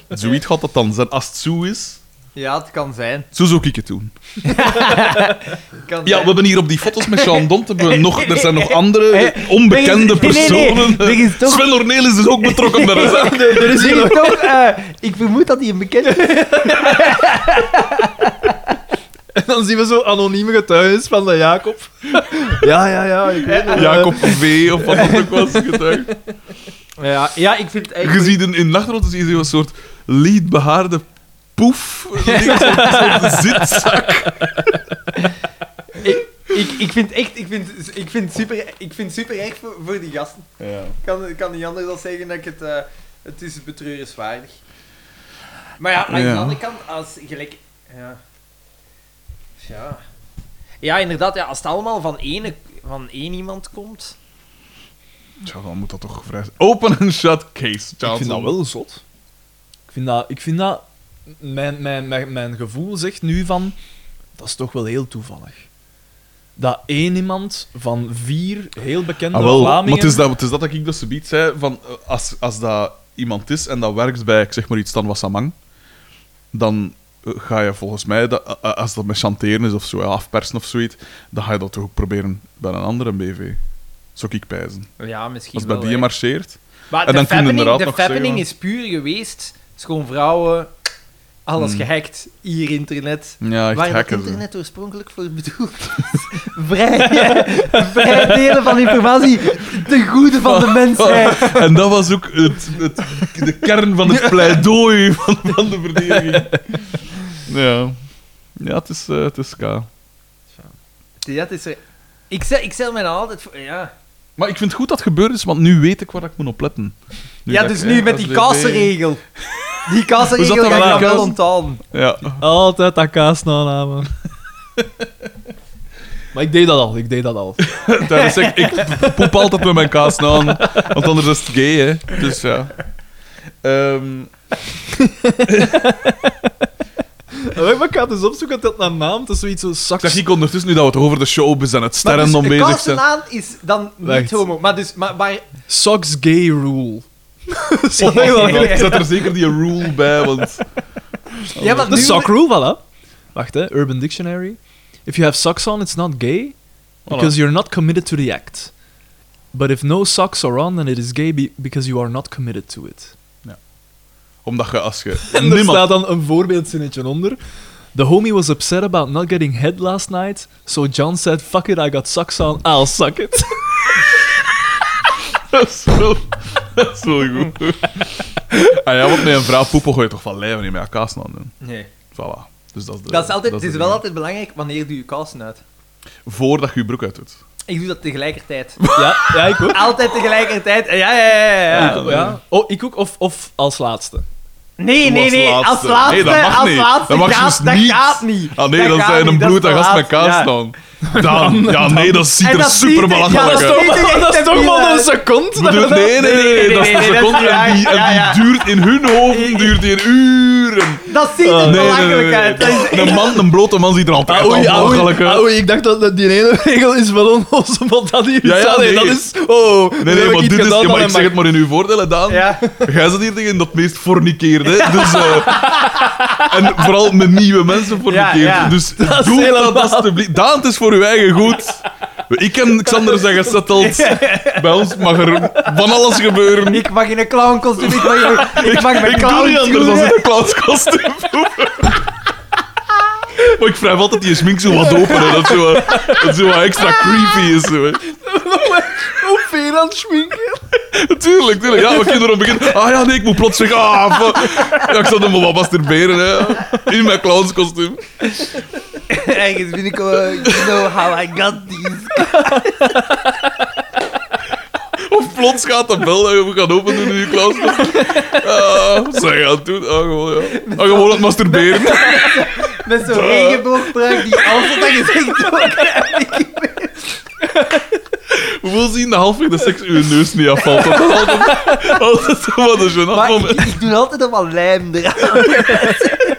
S2: Zoiets gaat dat dan zijn. Als het zo is,
S1: Ja, het kan zijn.
S2: zo zou ik het doen.
S1: Het kan
S2: Ja,
S1: zijn.
S2: we hebben hier op die foto's met Sean Dont nog, er zijn nog andere onbekende
S1: Nee, nee, nee.
S2: personen.
S1: Er is toch-
S2: Sven Ornelis is ook betrokken bij de zaak.
S1: Er is hier toch... eh, ik vermoed dat hij een bekende...
S3: dan zien we zo anonieme getuigenis van de Jacob. [laughs] ja, ja, ja. Ik weet het.
S2: Jacob V. of wat dan ook was getuigd.
S1: [laughs] Ja, ja, ik vind het
S2: Je
S1: eigenlijk...
S2: ziet een, in Nachtrot zie je zo'n soort liedbehaarde poef. links op Zo'n zitzak.
S1: Ik, ik, ik vind echt... Ik vind, ik vind super, ik vind super erg voor, voor die gasten. Ik kan, ik kan niet anders dan zeggen dat ik het... eh, het is betreurenswaardig. Maar ja, aan
S2: Ja.
S1: de andere kant, als gelijk... Ja. Ja. Ja, inderdaad. Ja, als het allemaal van één, van één iemand komt...
S2: Tja, dan moet dat toch vrij zijn. Open and shut case, Johnson.
S3: Ik vind dat wel zot. Ik vind dat... Ik vind dat mijn, mijn, mijn, mijn gevoel zegt nu van... Dat is toch wel heel toevallig. Dat één iemand van vier heel bekende
S2: Ah, wel,
S3: Vlamingen...
S2: maar het is, dat, het is dat dat ik dat zoiets zei, van eh, als, als dat iemand is en dat werkt bij, ik zeg maar iets, dan Wassamang, dan eh, ga je volgens mij, dat, eh, eh, als dat met chanteren is of zo, ja, afpersen of zoiets, dan ga je dat toch ook proberen bij een andere BV. Zou ik pijzen.
S1: Ja, misschien
S2: Als het bij
S1: wel,
S2: die
S1: hè.
S2: marcheert.
S1: Maar
S2: En
S1: de
S2: dan kun je
S1: fappening,
S2: inderdaad
S1: de
S2: nog
S1: fappening
S2: zeggen-
S1: is puur geweest. Schoonvrouwen, alles gehackt, hier internet.
S2: Ja, Hmm. echt
S1: Waar dat
S2: hacken. ze.
S1: internet oorspronkelijk voor bedoeld is. [laughs] Vrij, eh, vrij delen van informatie ten goede van
S2: [laughs]
S1: de mensheid.
S2: En dat was ook het, het, de
S1: [laughs]
S2: kern van het pleidooi van, van de verdediging. Ja, ja het, is, eh, het is K.
S1: Dat is er... Ik stel, ik stel mij dan altijd voor... Ja,
S2: Maar ik vind het goed dat het gebeurd is, want nu weet ik waar ik moet op letten.
S1: ja
S2: dat
S1: dus
S2: ik,
S1: nu
S2: eh,
S1: met die
S2: SBB
S1: kassenregel. Die kassenregel
S2: dat
S1: ga
S2: dan
S1: ik dan
S2: wel?
S1: wel onthouden.
S2: Ja. [laughs]
S3: Altijd dat kaasnaam. maar ik deed dat al, ik deed dat al.
S2: Tijdens ik, ik poep altijd met mijn kaas aan, want anders is het gay, hè. Dus ja. Ehm,
S3: Wacht, maar ik ga het eens opzoeken dat naar naam. Het is zoiets zo
S2: ik zeg,
S3: sax.
S2: ik ondertussen, nu dat we toch over de showbiz en het
S1: Maar
S2: sterren
S1: dus,
S2: bezig Oh, zijn...
S1: aan is dan niet
S3: Wacht.
S1: homo. Maar dus, maar, maar
S3: Sox gay rule. [laughs]
S2: Oh, [laughs]
S3: Nee, wel,
S2: ik zet er zeker die rule bij, want...
S1: ja, maar
S3: De
S1: nu-
S3: sock rule, voilà. Wacht, hè. Urban Dictionary. If you have socks on, it's not gay. Because you're not committed to the act. But if no socks are on, then it is gay be- because you are not committed to it.
S2: Omdat je als je...
S3: En er
S2: Niemand...
S3: staat dan een voorbeeldzinnetje onder. The homie was upset about not getting head last night, so John said, fuck it, I got socks on, I'll suck it. [laughs]
S2: Dat is wel... Dat is wel goed. Ah ja, want met een vrouw poepen gooi je toch van lijven niet met je kaas aan doen.
S1: Nee.
S2: Voilà. Dus dat is de...
S1: Dat is altijd, het is
S2: de
S1: wel
S2: ding.
S1: altijd belangrijk wanneer doe je kousen uit.
S2: Voordat je je broek uit doet.
S1: Ik doe dat tegelijkertijd. [laughs]
S3: ja, ja, ik ook.
S1: Altijd tegelijkertijd. Ja, ja, ja, ja. ja.
S3: Ja. Oh, ik ook, of, of als laatste.
S1: Nee, nee,
S2: als
S1: nee.
S2: laatste.
S1: Als laatste,
S2: Nee, dat mag
S1: als
S2: niet.
S1: laatste
S2: Dat mag
S1: gaat,
S2: dus
S1: dat
S2: niet.
S1: gaat niet.
S2: Ah nee,
S1: dat
S2: dan
S1: gaat
S2: zijn een
S1: niet, dat is
S2: bloed, dat
S1: te
S2: gast
S1: laat.
S2: met kaas
S1: Ja.
S2: dan.
S1: [laughs]
S2: Dan, ja, nee, dat ziet
S1: En
S2: er
S1: dat
S2: super
S1: ziet
S2: belachelijk
S1: er-
S2: uit.
S1: ja,
S3: Dat is toch, [laughs] dat is toch maar een seconde?
S2: Ik bedoel, nee, nee, nee,
S1: Nee, nee, nee,
S2: dat is de
S1: nee, nee, dat
S2: seconde
S1: is-
S2: en die, en
S1: ja,
S2: die
S1: ja.
S2: duurt in hun hoofd, duurt die in uren.
S1: Dat ziet er
S2: Ah, Nee, nee, nee,
S1: belachelijk
S2: nee,
S1: uit. Dat is-
S2: Een man, een blote man ziet er altijd
S1: Ah,
S2: al
S3: Oei,
S2: belachelijk
S3: oei,
S2: uit.
S3: oei, ik dacht dat, dat die ene [laughs] regel is wel onnozel, want dat hier
S2: Ja, ja,
S3: staat. nee,
S2: nee.
S3: dat is... Oh,
S2: Nee, nee, maar dit is... Ja, maar ik zeg het
S3: maar.
S2: maar in uw voordeel, hè, Daan.
S1: Ja.
S2: Jij zit hier tegen dat meest forniceerde. Dus, eh, en vooral met nieuwe mensen forniceerd.
S1: Ja, ja.
S2: Dus
S3: is
S2: doe dat
S3: helemaal-
S2: alstublieft. Daan, het is voor uw eigen goed. Ik ken Xander zijn gesetteld. Bij ons mag er van alles gebeuren. Ik, [laughs]
S1: Ik mag in een clown kostuum. Ik mag, in- ik mag mijn
S2: ik doe
S1: clown
S2: niet anders dan een clownskostuum. Maar ik vraag altijd die smink zo wat open, hè, dat zo, eh, dat zo wat extra creepy is. Zo, hè.
S3: Hoe ver aan het schminken?
S2: Tuurlijk, tuurlijk. Ja, we kinderen beginnen. Ah ja, nee, ik moet plots zeggen. Ah, fuck. Ja, ik zat helemaal wat masturberen, hè. In mijn clownskostuum.
S1: [laughs] Ergens vind ik... eh, you know how I got these.
S2: Of plots gaat de bel en we gaan open doen in je clownskostuum. Ah, wat zijn je aan het doen? Ah, gewoon, ja. Ah, gewoon aan het masturberen.
S1: Met zo'n regenboogpruik die altijd aan je gezicht
S2: [laughs]
S1: wordt.
S2: We willen zien de halfweg de seks uw neus niet afvalt. Dat is altijd, altijd zo wat een gênant
S1: Maar
S2: moment.
S1: ik, ik doe altijd nog wel lijm eraan.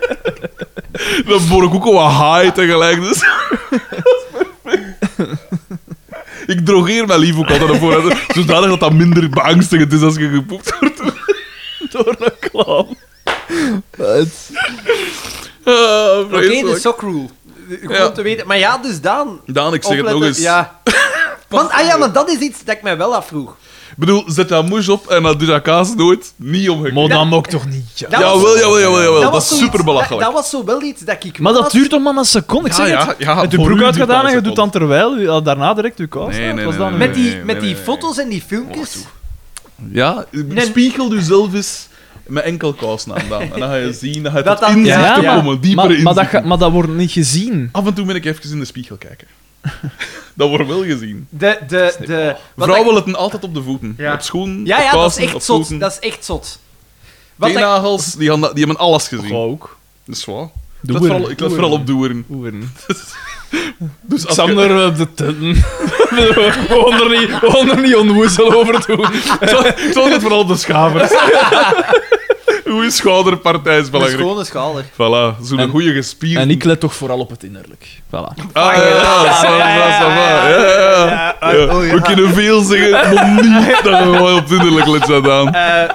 S2: [laughs] Dan word ik ook al wat high tegelijk, dus... Dat is perfect. Ik drogeer mijn lief ook altijd naar voren. Zodanig dat dat minder beangstigend is als je gepoept wordt.
S3: Door een klam. Het...
S2: [laughs] Ah,
S1: Oké, dus de
S2: vreselijk.
S1: sock rule. Goed
S2: Ja.
S1: om te weten. Maar ja, dus Daan.
S2: Daan, ik zeg het nog [laughs]
S1: opletten.
S2: eens. Oh,
S1: Ja. Want, ah ja, maar dat is iets dat ik mij wel afvroeg.
S2: bedoel, zet dat moes op en dat doet dat kaas nooit niet omgekeerd.
S3: Maar
S1: dat
S3: dat mag toch niet, ja.
S1: dat was-
S2: Jawel, jawel, jawel, jawel. Dat,
S1: was
S2: is
S1: zoiets-
S2: super belachelijk.
S1: Dat, dat was zo wel iets dat ik...
S3: Maar dat
S1: was-
S3: duurt toch maar een seconde. Ik
S2: Ja,
S3: zeg
S2: ja,
S3: het.
S2: ja,
S3: je hebt je
S2: voor
S3: broek
S2: u
S3: uitgedaan
S2: duurt
S3: en
S2: maar
S3: je
S2: een
S3: doet dan terwijl, ja, daarna direct je kous.
S2: Nee,
S3: uit.
S2: nee,
S3: Dat was
S2: nee,
S3: dan-
S2: nee,
S1: Met die,
S2: nee,
S1: met die
S2: nee,
S1: foto's en die filmpjes...
S2: Ja, spiegel jezelf eens met enkel kousen aan dan. En dan ga je zien, dan gaat
S1: Dat
S2: het
S1: dan-
S2: inzicht
S1: Ja,
S2: ja,
S1: maar-
S2: komen, diepere
S3: maar, maar, dat,
S2: inzichten.
S3: ga- maar dat wordt niet gezien.
S2: Af en toe ben ik even in de spiegel kijken. [laughs] dat wordt wel gezien.
S1: De, de,
S2: niet
S1: de, wat
S2: Vrouwen
S1: ik-
S2: letten altijd op de voeten.
S1: Ja.
S2: Op schoenen,
S1: Ja, ja,
S2: op
S1: dat
S2: kousen,
S1: is echt
S2: op
S1: zot.
S2: voeten.
S1: Dat is echt zot. Wat ik-
S2: Teennagels, die, gaan dat- die hebben alles gezien.
S3: ook.
S2: Dat is waar. Ik
S3: Doe
S2: let vooral, ik let vooral op doeren.
S3: doen. [laughs]
S2: Dus als je-
S3: Sander op eh, de tenten. [laughs] we gaan er niet, we gaan er niet onwoezel over doen.
S2: Ik zal- Ik zal het vooral op de schavers. [laughs] Hoe is schouderpartij is
S1: Een
S2: belangrijk.
S1: schone schouder.
S2: Voilà, zo'n
S3: En-
S2: goede gespierd.
S3: En ik let toch vooral op het innerlijk. Voilà.
S2: Ah, ja, ja, ça va, ça va. Ja, ja, ja. Oh, Ja, We kunnen veel zeggen, maar niet dat we wel op het innerlijk let zijn aan.
S1: Eh,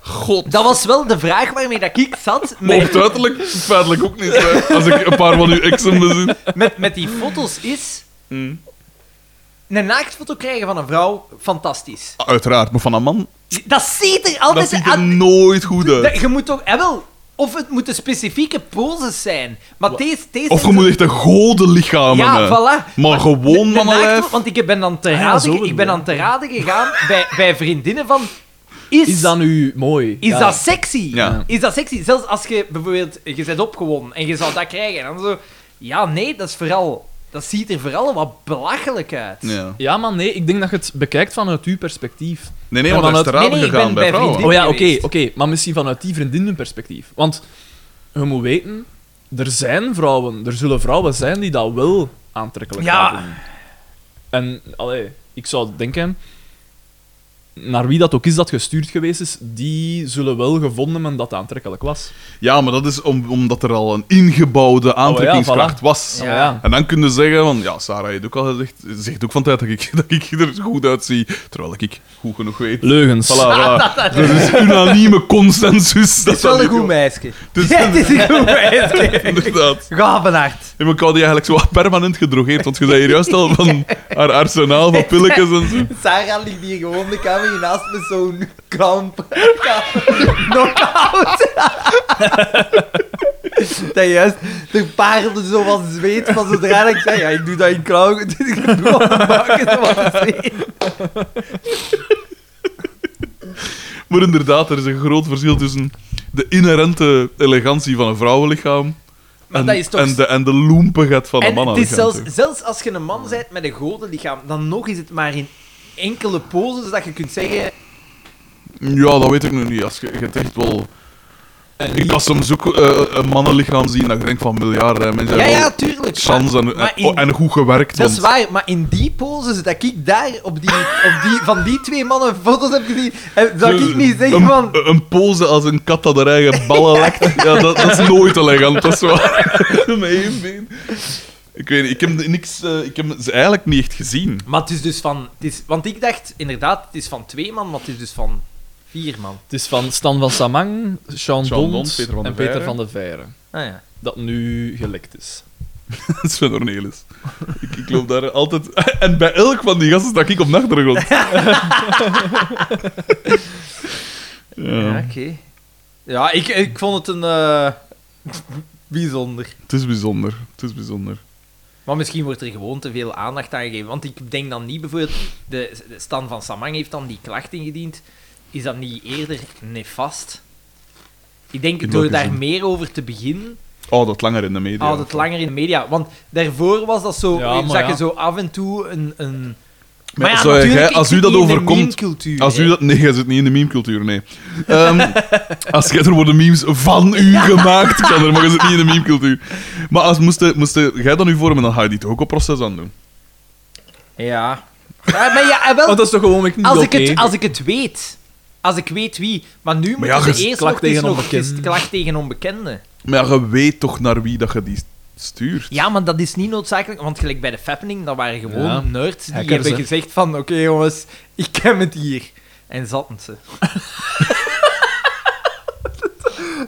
S2: God.
S1: dat was wel de vraag waarmee dat ik
S2: [laughs]
S1: zat.
S2: Maar op
S1: Met,
S2: het uiterlijk, feitelijk ook niet. Hè. Als ik een paar van uw exen bezien.
S1: met, met die foto's is...
S2: Mm.
S1: Een naaktfoto krijgen van een vrouw, fantastisch.
S2: Ah, Uiteraard, maar van een man,
S1: Dat ziet er
S2: Oh, dat
S1: altijd...
S2: ziet er
S1: aan-
S2: nooit goed
S1: dat-
S2: uit.
S1: je moet toch... eh, wel, of het moeten specifieke poses zijn. Maar deze... deze
S2: Of je moet echt een gode lichaam
S1: Ja,
S2: hebben.
S1: voilà.
S2: Maar gewoon
S1: De
S2: mannenlijf.
S1: naaktfoto- Want ik ben dan te
S3: Ah ja,
S1: raden,
S3: zo bedoel
S1: ik ben
S3: je.
S1: dan te raden gegaan [laughs] bij, bij vriendinnen van... Is,
S3: Is dat nu mooi?
S1: Is
S3: Ja.
S1: dat sexy?
S2: Ja.
S1: Is dat sexy? Zelfs als je bijvoorbeeld, je bent opgewonden en je zou dat krijgen. En dan zo, ja, nee, dat is vooral, dat ziet er vooral wat belachelijk uit.
S2: Ja.
S3: Ja, maar nee, ik denk dat je het bekijkt vanuit uw perspectief.
S2: Nee, nee,
S3: Ja,
S2: want
S3: maar
S2: hij is
S3: dat-
S2: te raden
S1: nee, nee, ik
S2: gegaan
S1: ben
S2: bij
S1: bij
S2: vrouwen.
S1: vriendinnen.
S3: Oh ja, oké,
S1: geweest.
S3: oké. Maar misschien vanuit die vriendinnenperspectief. Want je moet weten, er zijn vrouwen, er zullen vrouwen zijn die dat wel aantrekkelijk
S1: Ja.
S3: vinden. En, allee, ik zou denken, naar wie dat ook is dat gestuurd geweest is, die zullen wel gevonden hebben dat het aantrekkelijk was.
S2: Ja, maar dat is om, omdat er al een ingebouwde aantrekkingskracht was.
S1: Ja.
S3: Maar ja.
S2: En dan kun je zeggen van, ja, Sarah heeft ook al gezegd, ze zegt ook van tijd dat ik, [laughs] dat ik er goed uitzie, terwijl ik goed genoeg weet. Voilà,
S3: Leugens.
S2: voilà. Dat is unanieme consensus.
S1: Het is wel een goed meisje. [laughs]
S2: Dus-
S1: Ja, Het is een goed meisje.
S3: [laughs]
S2: Inderdaad.
S1: Gavenhard.
S2: En ik had die eigenlijk zo wat permanent gedrogeerd, want je zei hier juist al
S1: [laughs]
S2: van haar arsenaal van pilletjes en zo.
S1: Sarah ligt hier gewoon de kamer naast me zo'n kamp. Knockout. Dat juist, de paarden zo wat zweet van zodra ik zei, ja, ik doe dat in klauwen, [laughs] dus ik doe op de bakken zo wat zweet.
S2: Maar inderdaad, er is een groot verschil tussen de inherente elegantie van een vrouwenlichaam
S1: Maar
S2: en,
S1: dat is toch-
S2: en, de, en de loempigheid van een
S1: En het
S2: mannenlichaam.
S1: is zelfs,
S2: toch?
S1: zelfs als je een man bent met een godenlichaam, dan nog is het maar in enkele poses dat je kunt zeggen...
S2: Ja, dat weet ik nog niet. Als je, je hebt echt wel... Ik kan soms ook eh, een mannenlichaam zien dat ik denk van miljarden mensen
S1: Ja,
S2: hebben
S1: ja,
S2: wel
S1: tuurlijk.
S2: chance en,
S1: maar- maar
S2: en, oh,
S1: in-
S2: en goed gewerkt.
S1: Dat is
S2: want-
S1: waar, maar in die poses dat ik daar op die, op die, van die twee mannen foto's heb gezien, eh, zou ik niet zeggen
S2: een,
S1: van...
S2: Een pose als een kat dat haar eigen ballen lekt, ja, dat, dat is nooit elegant, dat is waar. [laughs] Met één been. Ik weet niet, ik heb, niks, eh, ik heb ze eigenlijk niet echt gezien. [laughs]
S1: Maar het is dus van... Het is, want ik dacht, inderdaad, het is van twee man, maar het is dus van vier man.
S3: Het is van Stan van Samang, Sean,
S2: Sean
S3: Bond,
S2: Bond, Peter van de
S3: en Peter
S2: Veire.
S3: van de Veire.
S1: Ah ja.
S3: Dat nu gelekt is.
S2: Sven Ornelis. Ik, ik loop daar altijd... [laughs] En bij elk van die gasten sta ik op
S1: [laughs]
S2: de achtergrond.
S1: Ja,
S2: ja,
S1: oké. Ja, ik, ik vond het een... eh, [laughs] bijzonder.
S2: het is bijzonder. Het is bijzonder.
S1: Maar misschien wordt er gewoon te veel aandacht aan gegeven. Want ik denk dan niet bijvoorbeeld. De, de Stan van Samang heeft dan die klacht ingediend. Is dat niet eerder nefast? Ik denk
S2: In
S1: door
S2: welke
S1: daar
S2: zin?
S1: meer over te beginnen,
S2: Oh, dat langer in de media.
S1: houdt het langer in de media. Want daarvoor was dat zo. eh,
S3: Ja, maar
S1: zag je
S3: ja.
S1: zo af en toe een. een...
S2: Maar zou jij- als
S1: ik
S2: u
S1: zit
S2: dat
S1: niet in de
S2: overkomt-
S1: meme-cultuur,
S2: Als u
S1: hè.
S2: dat... Nee, jij zit niet in de meme-cultuur, nee. Ehm, als jij er worden memes van u gemaakt, kan er, maar je zit niet in de meme-cultuur. Maar als moest, moest jij dat nu vormen, dan ga je die toch ook een proces aan doen.
S1: Ja. Ja, maar ja, eh, wel,
S3: Want dat is toch gewoon ik niet
S1: als, ik
S3: oké?
S1: het, als ik het weet. Als ik weet wie. Maar nu moet
S2: ja,
S1: je
S2: je is
S1: eerst
S3: klacht
S1: nog, het is
S3: tegen
S1: nog het is
S3: onbekenden.
S1: klacht tegen onbekenden.
S2: Maar ja, je weet toch naar wie dat je die stuurt. [laughs]
S1: Ja, maar dat is niet noodzakelijk, want gelijk bij de Fappening, dat waren gewoon
S3: Ja.
S1: nerds die
S3: Hackers,
S1: hebben
S3: hè.
S1: gezegd van, oké jongens, ik ken het hier. En zaten ze.
S3: [laughs]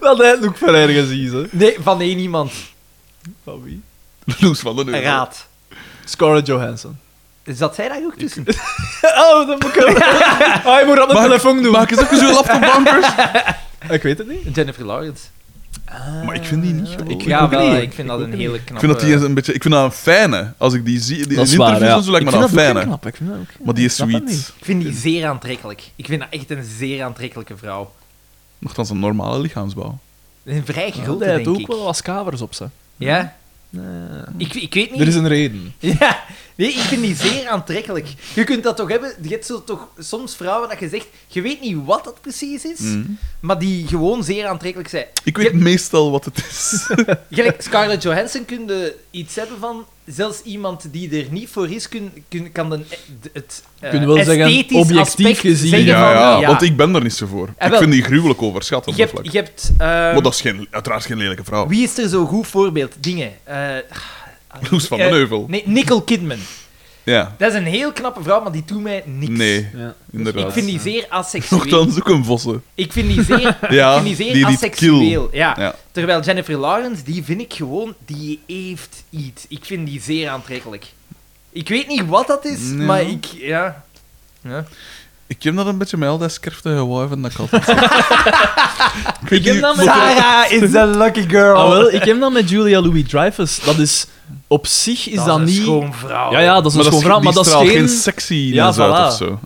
S3: Dat heb ik ook van ergens gezien, hè.
S1: Nee, van één iemand.
S3: Van wie?
S2: Loes van den Heuvel.
S1: Raad.
S3: Scarlett Johansson.
S1: Zat zij daar ook tussen?
S3: Oh, dat moet [laughs] ik wel. Ah, je moet dat op de
S2: Maak-
S3: telefoon doen.
S2: Maak eens ook eens uw laptop bankers.
S3: Ik weet het niet.
S1: [laughs] Jennifer Lawrence.
S2: [laughs] Maar ik vind die niet. gewoon.
S1: Ik,
S2: Ik,
S1: ja,
S3: ook
S1: wel,
S3: niet.
S1: ik vind dat een hele knappe...
S2: vind dat die een beetje. Ik vind dat een fijne. Als ik die zie, die
S3: Dat is
S2: die
S3: waar,
S2: interviews
S3: ja.
S2: en zo lijkt me
S3: Ik
S2: dat
S3: vind dat ook
S2: fijne.
S3: knap, ik vind dat ook knap.
S2: Maar die is
S3: Ik snap dat
S2: sweet.
S1: Ik vind die zeer aantrekkelijk. Ik vind dat echt een zeer aantrekkelijke vrouw.
S2: Nogthans een normale lichaamsbouw.
S1: Een vrij grote,
S3: hij
S1: denk
S3: doet
S1: ik.
S3: ook wel wat kavers op ze.
S1: Ja? Ik, ik weet niet.
S3: Er is een reden.
S1: [laughs] Ja, nee, ik vind die zeer aantrekkelijk. Je kunt dat toch hebben, je hebt zo toch soms vrouwen dat je zegt, je weet niet wat dat precies is,
S2: Mhm.
S1: maar die gewoon zeer aantrekkelijk zijn.
S2: Ik weet meestal wat het is.
S1: Gelijk Scarlett Johansson kun je iets hebben van, zelfs iemand die er niet voor is, kun, kun, kan de, de- het eh,
S3: Kun je wel zeggen,
S1: esthetisch
S3: objectief
S1: aspect
S3: gezien.
S1: zeggen
S2: ja,
S1: van,
S2: ja, want ik ben er niet zo voor.
S1: Ah,
S2: ik
S1: wel.
S2: vind die gruwelijk overschat op
S1: Je hebt,
S2: dat vlak.
S1: je hebt ehm,
S2: Maar dat is geen, uiteraard geen lelijke vrouw.
S1: wie is er zo'n goed voorbeeld? Dingen. eh,
S2: [laughs] Loes van den
S1: eh,
S2: Heuvel.
S1: Nee, Nicole Kidman.
S2: Ja,
S1: Dat is een heel knappe vrouw, maar die doet mij niks.
S2: nee,
S3: Ja.
S2: inderdaad.
S1: Ik vind die zeer asexueel.
S2: Nochtans ook een vossen.
S1: Ik vind die zeer,
S2: Ja,
S1: ik vind die zeer
S2: die niet
S1: asexueel. Ja.
S2: Ja.
S1: Terwijl Jennifer Lawrence, die vind ik gewoon, die heeft iets. Ik vind die zeer aantrekkelijk. Ik weet niet wat dat is,
S2: Ja.
S1: maar ik, ja. ja.
S2: Ik heb dat een beetje met al dat scherftige wijf en dat kat. ik weet niet-
S3: dat met-
S2: maar-
S1: Sarah is the lucky girl.
S3: Ah, wel, ik heb dat met Julia Louis-Dreyfus. Dat is... Op zich is dat,
S1: een
S3: niet...
S1: schoonvrouw.
S3: Ja, ja, dat is een
S2: maar
S3: schoon vrouw,
S2: die
S3: maar dat is
S2: straalt geen
S3: [laughs] geen...
S2: sexy
S3: Ja,
S2: ja, uit
S3: voilà.
S2: of zo.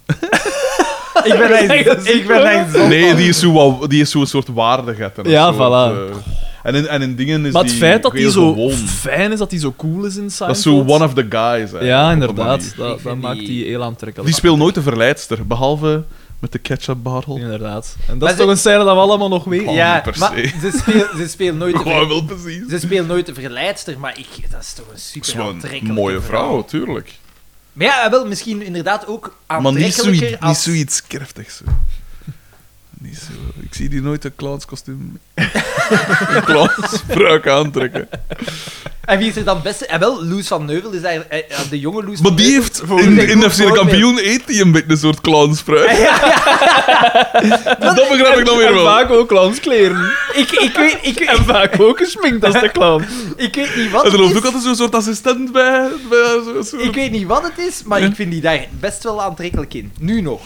S1: Ik
S3: [laughs]
S1: [laughs] ben echt, ik ben echt zo.
S2: Nee, die is zo wat- die is zo'n soort waardigheid. en
S3: Ja,
S2: zo,
S3: voilà.
S2: eh, en, in, en in dingen is
S3: Maar het
S2: die
S3: feit dat die
S2: heel
S3: zo
S2: gewoon.
S3: fijn is, dat die zo cool is in Seinfeld...
S2: Dat is zo one of the guys. hè, op
S3: Ja,
S2: een
S3: inderdaad.
S2: manier.
S1: Ik
S3: Dat, dat
S1: vind
S3: maakt
S1: die-
S3: die heel
S2: Die
S3: aantrekkelijk.
S2: speelt nooit de verleidster, behalve met de ketchup bottle. [laughs]
S3: Inderdaad. En dat
S1: Maar
S3: is toch
S1: ze-
S3: een scène dat we allemaal nog weten.
S1: Ja,
S2: Oh, niet per
S1: maar
S2: se.
S1: ze speelt ze speelt nooit de
S2: [laughs] Gewoon
S1: ver-
S2: wel precies.
S1: ze speelt nooit de verleidster, maar ik, dat is toch een
S2: Het is
S1: super
S2: wel een
S1: aantrekkelijke
S2: mooie vrouw, tuurlijk.
S1: Maar ja, wel, misschien inderdaad ook
S2: Maar niet
S1: aantrekkelijker
S2: zoiets, niet
S1: als...
S2: zoiets krachtigs. Zo. Niet zo. Ik zie die nooit een clownskostuum. [laughs] een clownsbruik aantrekken.
S1: En wie is er dan beste? En wel, Loes van Neuvel is eigenlijk eh, eh, de jonge Loes
S2: Maar
S1: van
S2: die
S1: Neuvel.
S2: heeft, in, in FC de kampioen eet die een beetje een soort clownsbruik. [laughs] Dat begrijp ik dan weer
S3: En
S2: wel.
S3: vaak ook clownskleren.
S1: Ik, ik, weet, ik, weet-
S3: En vaak ook gesminkt als de clown.
S1: ik weet niet wat
S2: En er
S1: het
S2: loopt
S1: is.
S2: ook altijd zo'n soort assistent bij. bij haar, zo'n soort-
S1: Ik weet niet wat het is, maar ik vind die daar best wel aantrekkelijk in. Nu nog.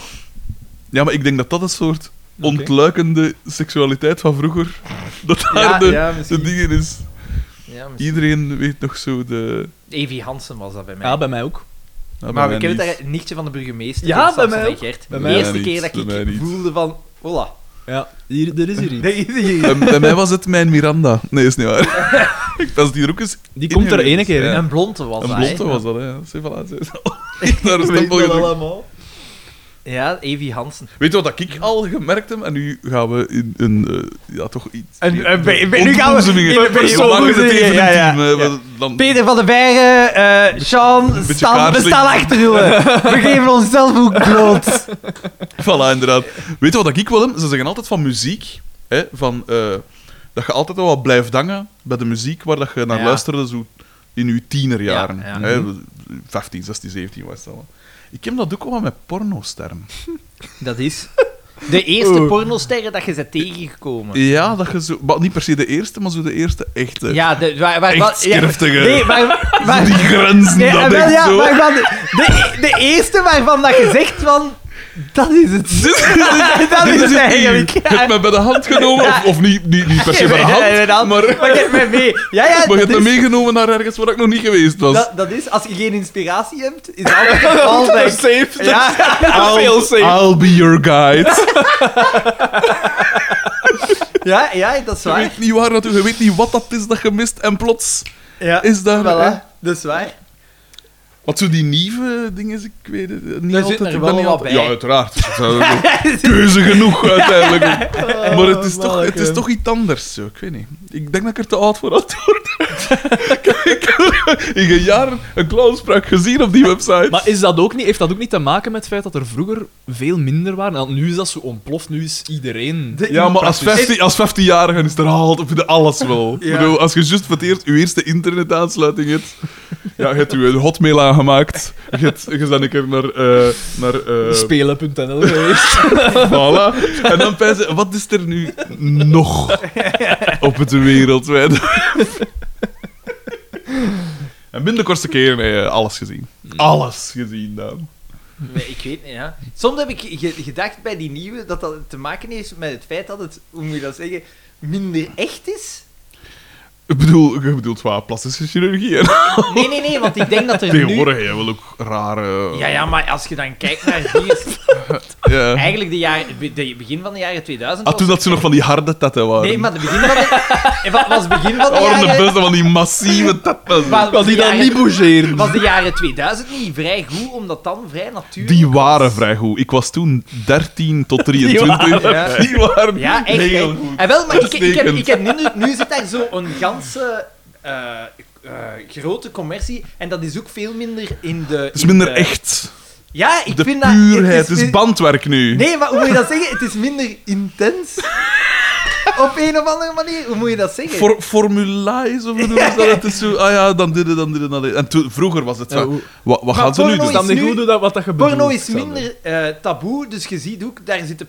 S2: Ja, maar ik denk dat dat een soort ontluikende seksualiteit van vroeger. Dat daar
S1: Ja,
S2: de,
S1: ja,
S2: de
S1: misschien.
S2: dingen is.
S1: Ja, misschien.
S2: Iedereen weet nog zo de.
S1: Evie Hansen was dat bij mij.
S3: Ja, bij mij ook.
S2: Nou, bij
S1: maar
S2: mij
S1: ik heb het
S2: niet.
S1: daar nichtje van de burgemeester.
S3: Ja,
S1: van Samson
S3: bij mij
S1: en
S3: ook.
S1: Gert.
S3: Bij
S1: de
S3: mij
S1: eerste
S2: niet,
S1: keer dat
S2: bij
S1: ik
S2: mij niet.
S1: voelde van... Voilà.
S3: Ja, hier, er is hier iets.
S2: Bij, bij mij was het mijn Miranda. Nee, is niet waar.
S1: [laughs]
S2: ik was die ook eens.
S3: Die komt er ene keer in.
S2: Ja.
S1: Een blonde was
S2: Een
S1: dat,
S2: blonde
S1: hè.
S2: was dat, hè? Zie, voilà, ze is
S1: [laughs]
S2: al- daar is het al
S3: allemaal.
S1: Ja, Evie Hansen.
S2: Weet je wat ik al gemerkt heb? En nu gaan we in een. eh, ja, toch iets.
S1: En-
S2: meer
S1: en bij- bij- nu gaan we
S2: ontboezemingen.
S1: in de
S2: We maken het
S1: ontboezemingen,
S2: even
S1: ja, ja,
S2: intiem, hè, we- Dan,
S1: Peter van den Bergen, eh Sean,
S2: beetje
S1: staan, we
S2: kaarslicht.
S1: staan achter u.
S2: [laughs]
S1: We geven onszelf ook bloot.
S2: Voilà, inderdaad. Weet je wat ik wil? Ze zeggen altijd van muziek, hè, van, eh, dat je altijd wel wat blijft hangen bij de muziek waar dat je naar
S1: Ja.
S2: luisterde zo in je tienerjaren.
S1: Ja, Mhm. ja.
S2: Hè, 15, 16, 17 was dat wel. Ik heb dat ook wel met pornosterren.
S1: Dat is de eerste
S3: Oeh.
S1: pornosterren dat je ze tegengekomen.
S2: Ja, dat je zo... Maar niet per se de eerste, maar zo de eerste echte.
S1: Ja, de, waar, waar,
S2: Echt
S1: waar- ja,
S2: scherftige.
S1: Nee, maar...
S2: [laughs]
S1: waar-
S2: Die grenzen,
S1: nee,
S2: dat
S1: en wel,
S2: ik
S1: ja,
S2: zo... [laughs]
S1: maar [laughs] van de, de, de eerste waarvan dat je zegt van... Dat is het.
S2: Dit, dit- dit-
S1: Dat is
S2: dit is
S1: het
S2: het
S1: eigenlijk.
S2: hier. Je hebt me bij de hand genomen, of, of niet, niet, niet per se bij de hand,
S1: Ja, inderdaad.
S2: maar,
S1: Maar je hebt mij mee. Ja, ja,
S2: [laughs] maar je
S1: dat,
S2: hebt me
S1: is,
S2: meegenomen naar ergens waar ik nog niet geweest was.
S1: dat, dat is... Als je geen inspiratie hebt, is
S2: [laughs]
S1: altijd het geval dat ik-
S3: safe.
S1: Ja,
S3: Veel safe.
S2: I'll be your guide.
S1: [laughs] ja, ja, dat is
S2: Je
S1: waar.
S2: weet niet waar naartoe, je weet niet wat dat is dat je mist en plots
S1: Ja,
S2: is daar... eh,
S1: voilà. Dat is waar.
S2: Wat zo die nieuwe dingen is, ik weet het eh, niet
S1: Daar
S2: altijd.
S1: zit er
S2: ik
S1: wel
S2: ben niet
S1: wat
S2: altijd-
S1: bij.
S2: Ja, uiteraard. Dat is
S1: [laughs]
S2: wel Keuze genoeg uiteindelijk.
S1: Oh,
S2: maar het is, toch, het is toch iets anders. Zo. Ik weet niet. Ik denk dat ik er te oud voor had worden. [laughs] ik heb in een jaar een clownspraak gezien op die website.
S3: Maar is dat ook niet, heeft dat ook niet te maken met het feit dat er vroeger veel minder waren? Want nu is dat zo ontploft, nu is
S1: [laughs]
S3: iedereen...
S1: De-
S2: ja, maar als
S1: Praktisch.
S2: 15 als 15-jarige is er altijd vind je alles
S1: [laughs]
S2: wel.
S1: Ja.
S2: Ik bedoel, als je juist voor het eerst je eerste internetaansluiting hebt, ja, je hebt je hotmail aangemaakt, je, hebt, je bent een keer naar... eh naar eh, [laughs]
S3: Spelen.nl geweest.
S2: Voilà. [laughs] En dan pijzen, wat is er nu nog op het [laughs] wereldwijde? web? en binnen de kortste keer eh, alles gezien.
S1: Hmm.
S3: alles gezien dan.
S1: Nee, ik weet niet, ja. Soms heb ik ge- gedacht bij die nieuwe dat dat te maken heeft met het feit dat het, hoe moet je dat zeggen, minder echt
S2: [laughs]
S1: is.
S2: Ik bedoel, je bedoelt wat plastische chirurgie. hè?
S1: Nee, nee, nee, want ik denk dat er nu...
S2: Tegenwoordig hebben we ook rare.
S1: Ja, ja, maar als je dan kijkt naar
S2: [laughs]
S1: hier,
S2: Ja.
S1: eigenlijk de, jaren, de begin van de jaren 2000...
S2: Ah, toen
S1: was-
S2: dat ze nog van die harde tatten waren.
S1: Nee, maar het begin van de...
S2: [laughs]
S1: eh, Wat was het begin van de
S2: Dat waren de
S1: jaren...
S2: beste van die massieve tatten.
S1: was-
S3: Kan
S1: was
S3: die
S1: de
S3: dan
S1: jaren-
S3: niet bougeren?
S1: Was de jaren 2000 niet vrij goed, omdat dan vrij natuurlijk...
S2: Die
S1: was?
S2: waren vrij goed. Ik was toen 13 tot
S3: Die
S2: 23.
S1: waren vrij.
S2: Die
S1: [laughs]
S2: waren
S1: Ja, echt.
S2: heel
S1: echt.
S2: goed.
S1: En wel, maar ik, ik, heb,
S2: Uitstekend.
S1: ik heb nu, nu zit daar zo'n ganse eh, eh, grote commercie en dat is ook veel minder in de.
S2: Het is
S1: in
S2: minder
S1: de-
S2: echt.
S1: Ja, ik
S2: De
S1: vind dat.
S2: puurheid. Het is
S1: mi-
S2: bandwerk nu.
S1: Nee, maar hoe moet je dat zeggen? Het is minder intens. Op een of andere manier. Hoe moet je dat zeggen?
S2: For, formula is of hoe noemen ze dat? Het is zo, ah ja, dan dit, dan dit, dan dit. En toen, vroeger was het
S3: Ja,
S2: zo.
S3: hoe-
S2: Wat, wat
S1: Maar
S2: gaan ze nu
S1: porno
S2: doen?
S1: is-
S3: Stel niet
S1: nu-
S3: goed hoe dat wat dat gebeurt.
S1: Porno is minder eh, taboe, dus je ziet ook, daar zitten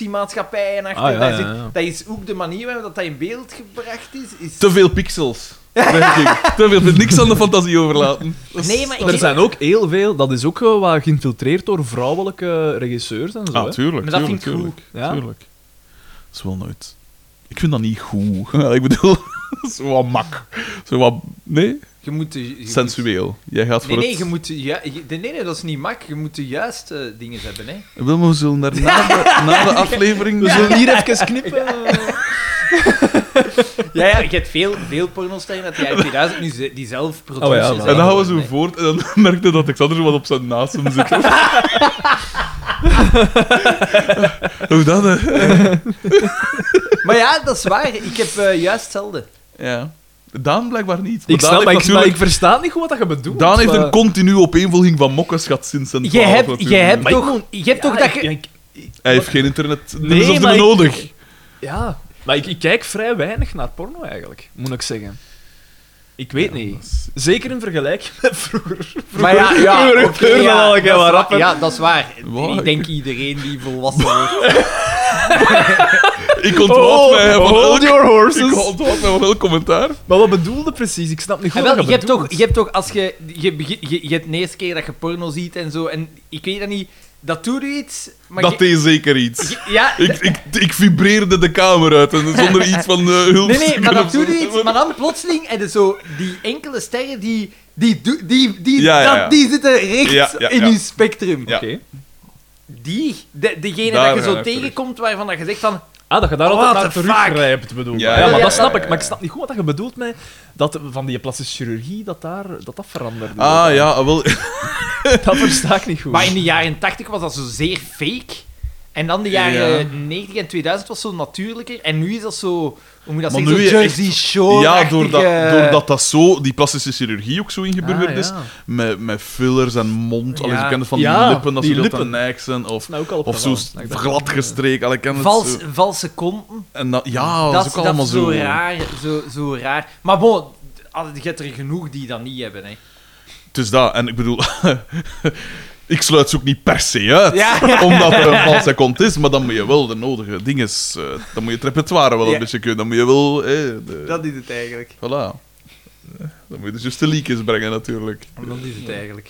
S1: productiemaatschappijen achter.
S3: Ah, ja,
S1: daar
S3: ja,
S1: zit,
S3: ja.
S1: Dat is ook de manier waarop dat, dat in beeld gebracht is. is...
S2: Te veel pixels. Denk ik. Te veel. Niks aan de fantasie overlaten. Dat is-
S1: Nee, maar ik
S3: Er zijn ook heel veel, dat is ook eh, wat geïnfiltreerd door vrouwelijke regisseurs en zo.
S2: Ah,
S3: hè.
S2: tuurlijk.
S1: Maar dat
S2: tuurlijk,
S1: vind ik
S2: tuurlijk,
S3: goed. Ja.
S2: tuurlijk. Dat is wel nooit... Ik vind dat niet goed. [laughs] Ja, ik bedoel, dat is wat mak. Zo wat... Nee?
S1: Je moet, de- je moet-
S2: Sensueel. Jij gaat voor
S1: Nee, nee,
S2: het...
S1: je moet, ja, je- nee, nee, dat is niet mak. Je moet de juiste eh, dingen hebben.
S3: [laughs]
S1: Hè.
S2: Wil, maar we zullen daar
S1: [laughs]
S2: na de, na de aflevering...
S3: We
S2: dus
S3: zullen hier even knippen.
S1: Ja, ja, je hebt veel, veel pornosterren uit de
S3: [laughs]
S1: jaren 2000 nu ze- die zelf producties
S3: Oh ja, maar-
S1: zijn.
S2: En dan gaan we zo
S1: Nee.
S2: voort en dan [laughs] merkte dat Alexander zo wat op zijn naast hem
S1: [laughs]
S2: zit. Hoe dat, hè?
S1: Maar ja, dat is waar. Ik heb eh, juist hetzelfde.
S2: Ja. Daan blijkbaar niet.
S3: Ik,
S2: Daan
S3: snap, maar ik,
S2: heeft
S3: maar ik
S2: natuurlijk...
S3: versta niet goed wat dat je bedoelt.
S2: Daan heeft
S3: maar-
S2: een continue opeenvolging van mokkes gehad sinds zijn
S1: Je
S2: 12
S1: hebt, je
S2: natuurlijk.
S1: hebt
S3: Maar
S1: toch, je hebt toch
S3: Ja,
S1: dat
S3: ik-
S1: je...
S3: ik-
S2: Hij heeft geen internet dus
S3: Nee,
S2: nee,
S3: maar ik-
S2: nodig.
S3: Ja, maar ik, ik kijk vrij weinig naar porno eigenlijk, moet ik zeggen. Ik weet
S2: dat
S3: niet.
S2: is-
S3: Zeker in vergelijking [laughs] met vroeger.
S1: Maar ja, ja,
S3: vroeger
S1: oké,
S3: gebeurde dat al
S1: ja,
S3: een keer wat
S1: dat is
S3: rapper.
S1: waar, ja, dat is waar.
S2: Wow.
S1: Ik denk iedereen die volwassen wordt.
S2: [laughs] Ik
S1: Oh,
S2: onthoud mij van elk...
S3: hold your
S2: [laughs] Ik
S3: horses.
S2: onthoud mij van elk commentaar.
S3: Maar wat bedoelde precies? Ik snap niet
S1: En
S3: goed
S1: Ah, wel,
S3: wat
S1: je, hebt
S3: bedoelt.
S1: toch, je hebt toch, als je... Je, begin- je, je hebt de eerste keer dat je porno ziet en zo, en ik weet dat niet... Dat doet u iets, maar...
S2: dat
S1: je-
S2: deed zeker iets.
S1: je- ja,
S2: Ik, ik, ik vibreerde de kamer uit en zonder
S1: [laughs]
S2: iets van eh, hulp.
S1: Nee, nee, maar dat doet
S2: niet. [laughs]
S1: iets. Maar dan plotseling, en dus zo, die enkele sterren, die, die, do- die, die,
S2: Ja, ja,
S1: dat-
S2: ja.
S1: die zitten recht
S2: Ja, ja,
S1: in
S2: ja.
S1: uw spectrum.
S2: Ja.
S3: Oké.
S1: Die, de, degene dat
S2: Daar
S1: je
S2: gaan
S1: zo
S2: we terug.
S1: tegenkomt waarvan dat je zegt van...
S3: Ah, dat je daar
S1: Oh,
S3: altijd
S1: what
S3: naar
S1: the fuck?
S3: teruggrijpt, bedoel ik. Ah,
S2: Ja,
S3: Ja,
S2: ja,
S3: maar
S1: ja,
S3: dat snap
S2: ja,
S3: ik. Maar ik
S2: ja.
S3: snap niet goed wat dat je bedoelt met dat van die plastische chirurgie, dat daar, dat, dat veranderde.
S2: Ah ja, ah, wel.
S3: [laughs] Dat versta ik niet goed.
S1: Maar in de jaren 80 was dat zo zeer fake. En dan de jaren 90 en 2000 was zo natuurlijker. En nu is dat zo... Hoe moet je dat
S2: Maar
S1: zeggen?
S2: nu
S1: Zo
S2: je echt-
S1: Jersey Shore
S2: Ja,
S1: eh,
S2: doordat, doordat dat zo, die plastische chirurgie ook zo ingeburgerd
S3: Ah,
S2: is.
S3: ja.
S2: Met, met fillers en mond. Allee,
S1: Ja.
S2: je kent het van die
S3: Ja,
S2: lippen, dat
S3: die
S2: ze heel te
S3: lippen.
S2: nijk zijn. Of,
S3: Nou, ook al
S2: of zo
S3: opgevallen. Dat ik dat-
S2: glad gestreken. Allee, ik ken het
S1: Vals,
S2: zo.
S1: valse konten.
S2: En dat, ja, dat,
S1: dat,
S2: is ook allemaal
S1: dat is zo
S2: zo.
S1: raar, zo, zo raar. Maar bon, ah, je hebt er genoeg die dat niet hebben, hè.
S2: Het is dat. En ik bedoel... [laughs] ik sluit ze ook niet per se uit.
S1: Ja.
S2: [laughs] Omdat er een valse kont is. Maar dan moet je wel de nodige dingen... eh, dan moet je het repertoire wel
S1: Ja.
S2: een beetje kunnen. Dan moet je wel... eh, de-
S1: Dat is het eigenlijk.
S2: Voilà. Dan moet je dus juist de leakjes brengen, natuurlijk.
S1: Dat is het eigenlijk.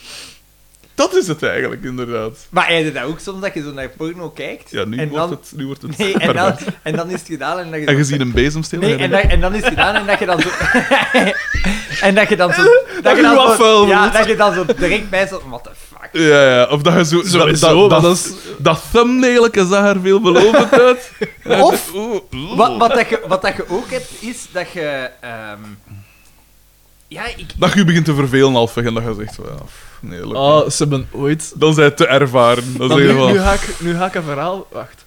S2: Dat is het eigenlijk, inderdaad.
S1: Maar heb je dat ook soms dat je zo naar porno kijkt?
S2: Ja, nu,
S1: en
S2: wordt,
S1: dan,
S2: het, nu wordt
S1: [laughs]
S2: het...
S1: Nee, en
S2: perfect.
S1: dan, en dan is het gedaan en dat je...
S2: En
S1: zo-
S2: je ziet een bezemsteel.
S1: Nee, en, dat, en dan is het gedaan en dat je dan zo... [laughs] en dat je dan zo... Dat,
S3: je
S1: dan
S3: wat
S1: zo-
S3: vuil
S1: Ja,
S3: wilt.
S1: dat je dan zo direct bij zat. What the fuck?
S2: [laughs] Ja, ja, of dat je zo...
S3: Sowieso,
S2: dat, dat,
S3: maar
S2: dat,
S3: dat is-
S2: dat thumbnailke zag er
S3: [laughs]
S2: veelbelovend uit.
S1: Of,
S2: Oeh, oeh.
S1: wat, wat, dat je, wat dat je ook hebt, is dat je... ehm, ja, ik...
S2: Dat je je begint te vervelen, halfweg, en dat je zegt... "Wel, pff, Nee, leuk.
S3: Ah, ze hebben ooit
S2: Dan zijn het te ervaren. Dan
S3: Dan
S2: zeg
S3: nu,
S2: je wel...
S3: nu, ga ik, nu ga ik een verhaal... Wacht.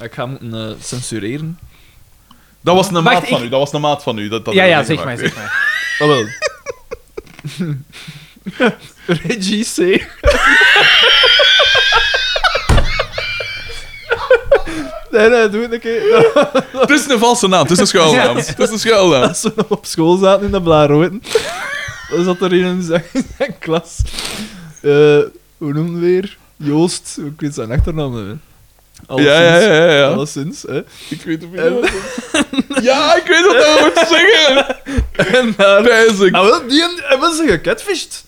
S3: Ik ga moeten eh, censureren.
S2: Dat was een
S1: Wacht,
S2: maat van
S1: ik-
S2: u, dat was een maat van u. Dat, dat
S1: Ja,
S2: heb
S1: ja,
S2: ik
S1: zeg maar,
S2: meegemaakt.
S1: zeg maar.
S3: Ah, [laughs] wel. Reggie C. [laughs] nee, nee, doe het een keer. [laughs]
S2: Het is een valse naam, het is een schuilnaam. [laughs] Het is een schuilnaam.
S3: Als we nog op school zaten in de Blaarhoorn, dan zat er in zijn, in zijn klas. Eh, hoe noemen we weer? Joost, ik weet zijn achternaam niet meer. [laughs] Alleszins.
S2: Ja, ja, ja, ja, ja.
S3: Alleszins, hè.
S2: Ik weet het
S3: En-
S2: niet. [laughs] Ja, ik weet
S3: [laughs]
S2: wat dat moet zeggen.
S3: En eh, daar...
S2: Pijs ik.
S3: Ah, Nou, wel, die hebben ze gecatfished.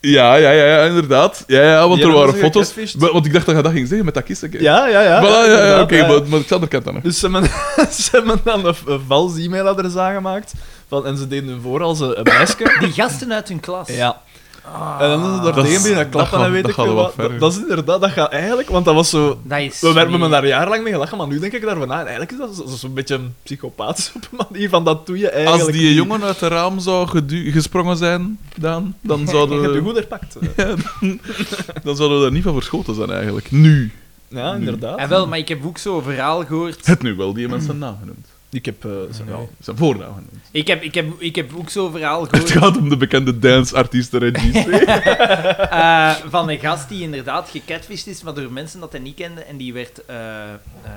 S2: Ja, ja, ja, ja, inderdaad. Ja, ja, want
S3: Ja,
S2: er
S3: dat
S2: waren
S3: was dus een
S2: foto's.
S3: catfish.
S2: Wa- Want ik dacht dat je dat ging zeggen met dat kissen.
S3: Ja, ja, ja.
S2: Voilà, ja, ja,
S3: inderdaad,
S2: oké,
S3: ja.
S2: maar, maar Xander kent dat nog.
S3: Dus ze hebben, [laughs] ze hebben dan een, een vals e-mailadres aangemaakt. Van, en ze deden hun voor als een, een meisje.
S1: [laughs]
S2: [laughs]
S1: Die gasten uit hun klas.
S3: Ja. En dan is ze daar
S2: Dat
S3: tegen
S2: is-
S3: beginnen
S2: Ah. dat
S3: klappen en
S2: gaat-
S3: weet
S2: dat
S3: ik
S2: gaat
S3: veel
S2: wel
S3: wat.
S2: verder.
S3: Dat, dat is inderdaad, dat gaat eigenlijk, want dat was zo...
S1: Dat is
S3: We hebben me
S1: niet-
S3: daar jarenlang mee gelachen, maar nu denk ik daar van na. En Eigenlijk is dat zo- zo- zo'n beetje een psychopaat op een manier van, dat doe je eigenlijk
S2: Als die jongen uit het raam zou gedu- gesprongen zijn, dan,
S3: [laughs]
S2: dan,
S3: Je
S2: zouden
S3: hebt je
S2: we,
S3: goed
S2: [laughs]
S3: herpakt.
S2: ja, dan, dan zouden we daar niet van verschoten zijn, eigenlijk. Nu.
S3: Ja, inderdaad.
S1: En wel, maar ik heb ook zo'n verhaal gehoord.
S2: Het nu wel, die mensen zijn naam genoemd.
S3: Ik heb... eh, zo-
S2: Ja, zijn voornaam genoemd.
S1: Ik heb, ik heb, ik heb ook zo'n verhaal
S2: Het
S1: gehoord
S2: gaat om de bekende danceartiest Regis.
S1: eh, van een gast die inderdaad gecatfished is, maar door mensen dat hij niet kende. En die werd eh, eh,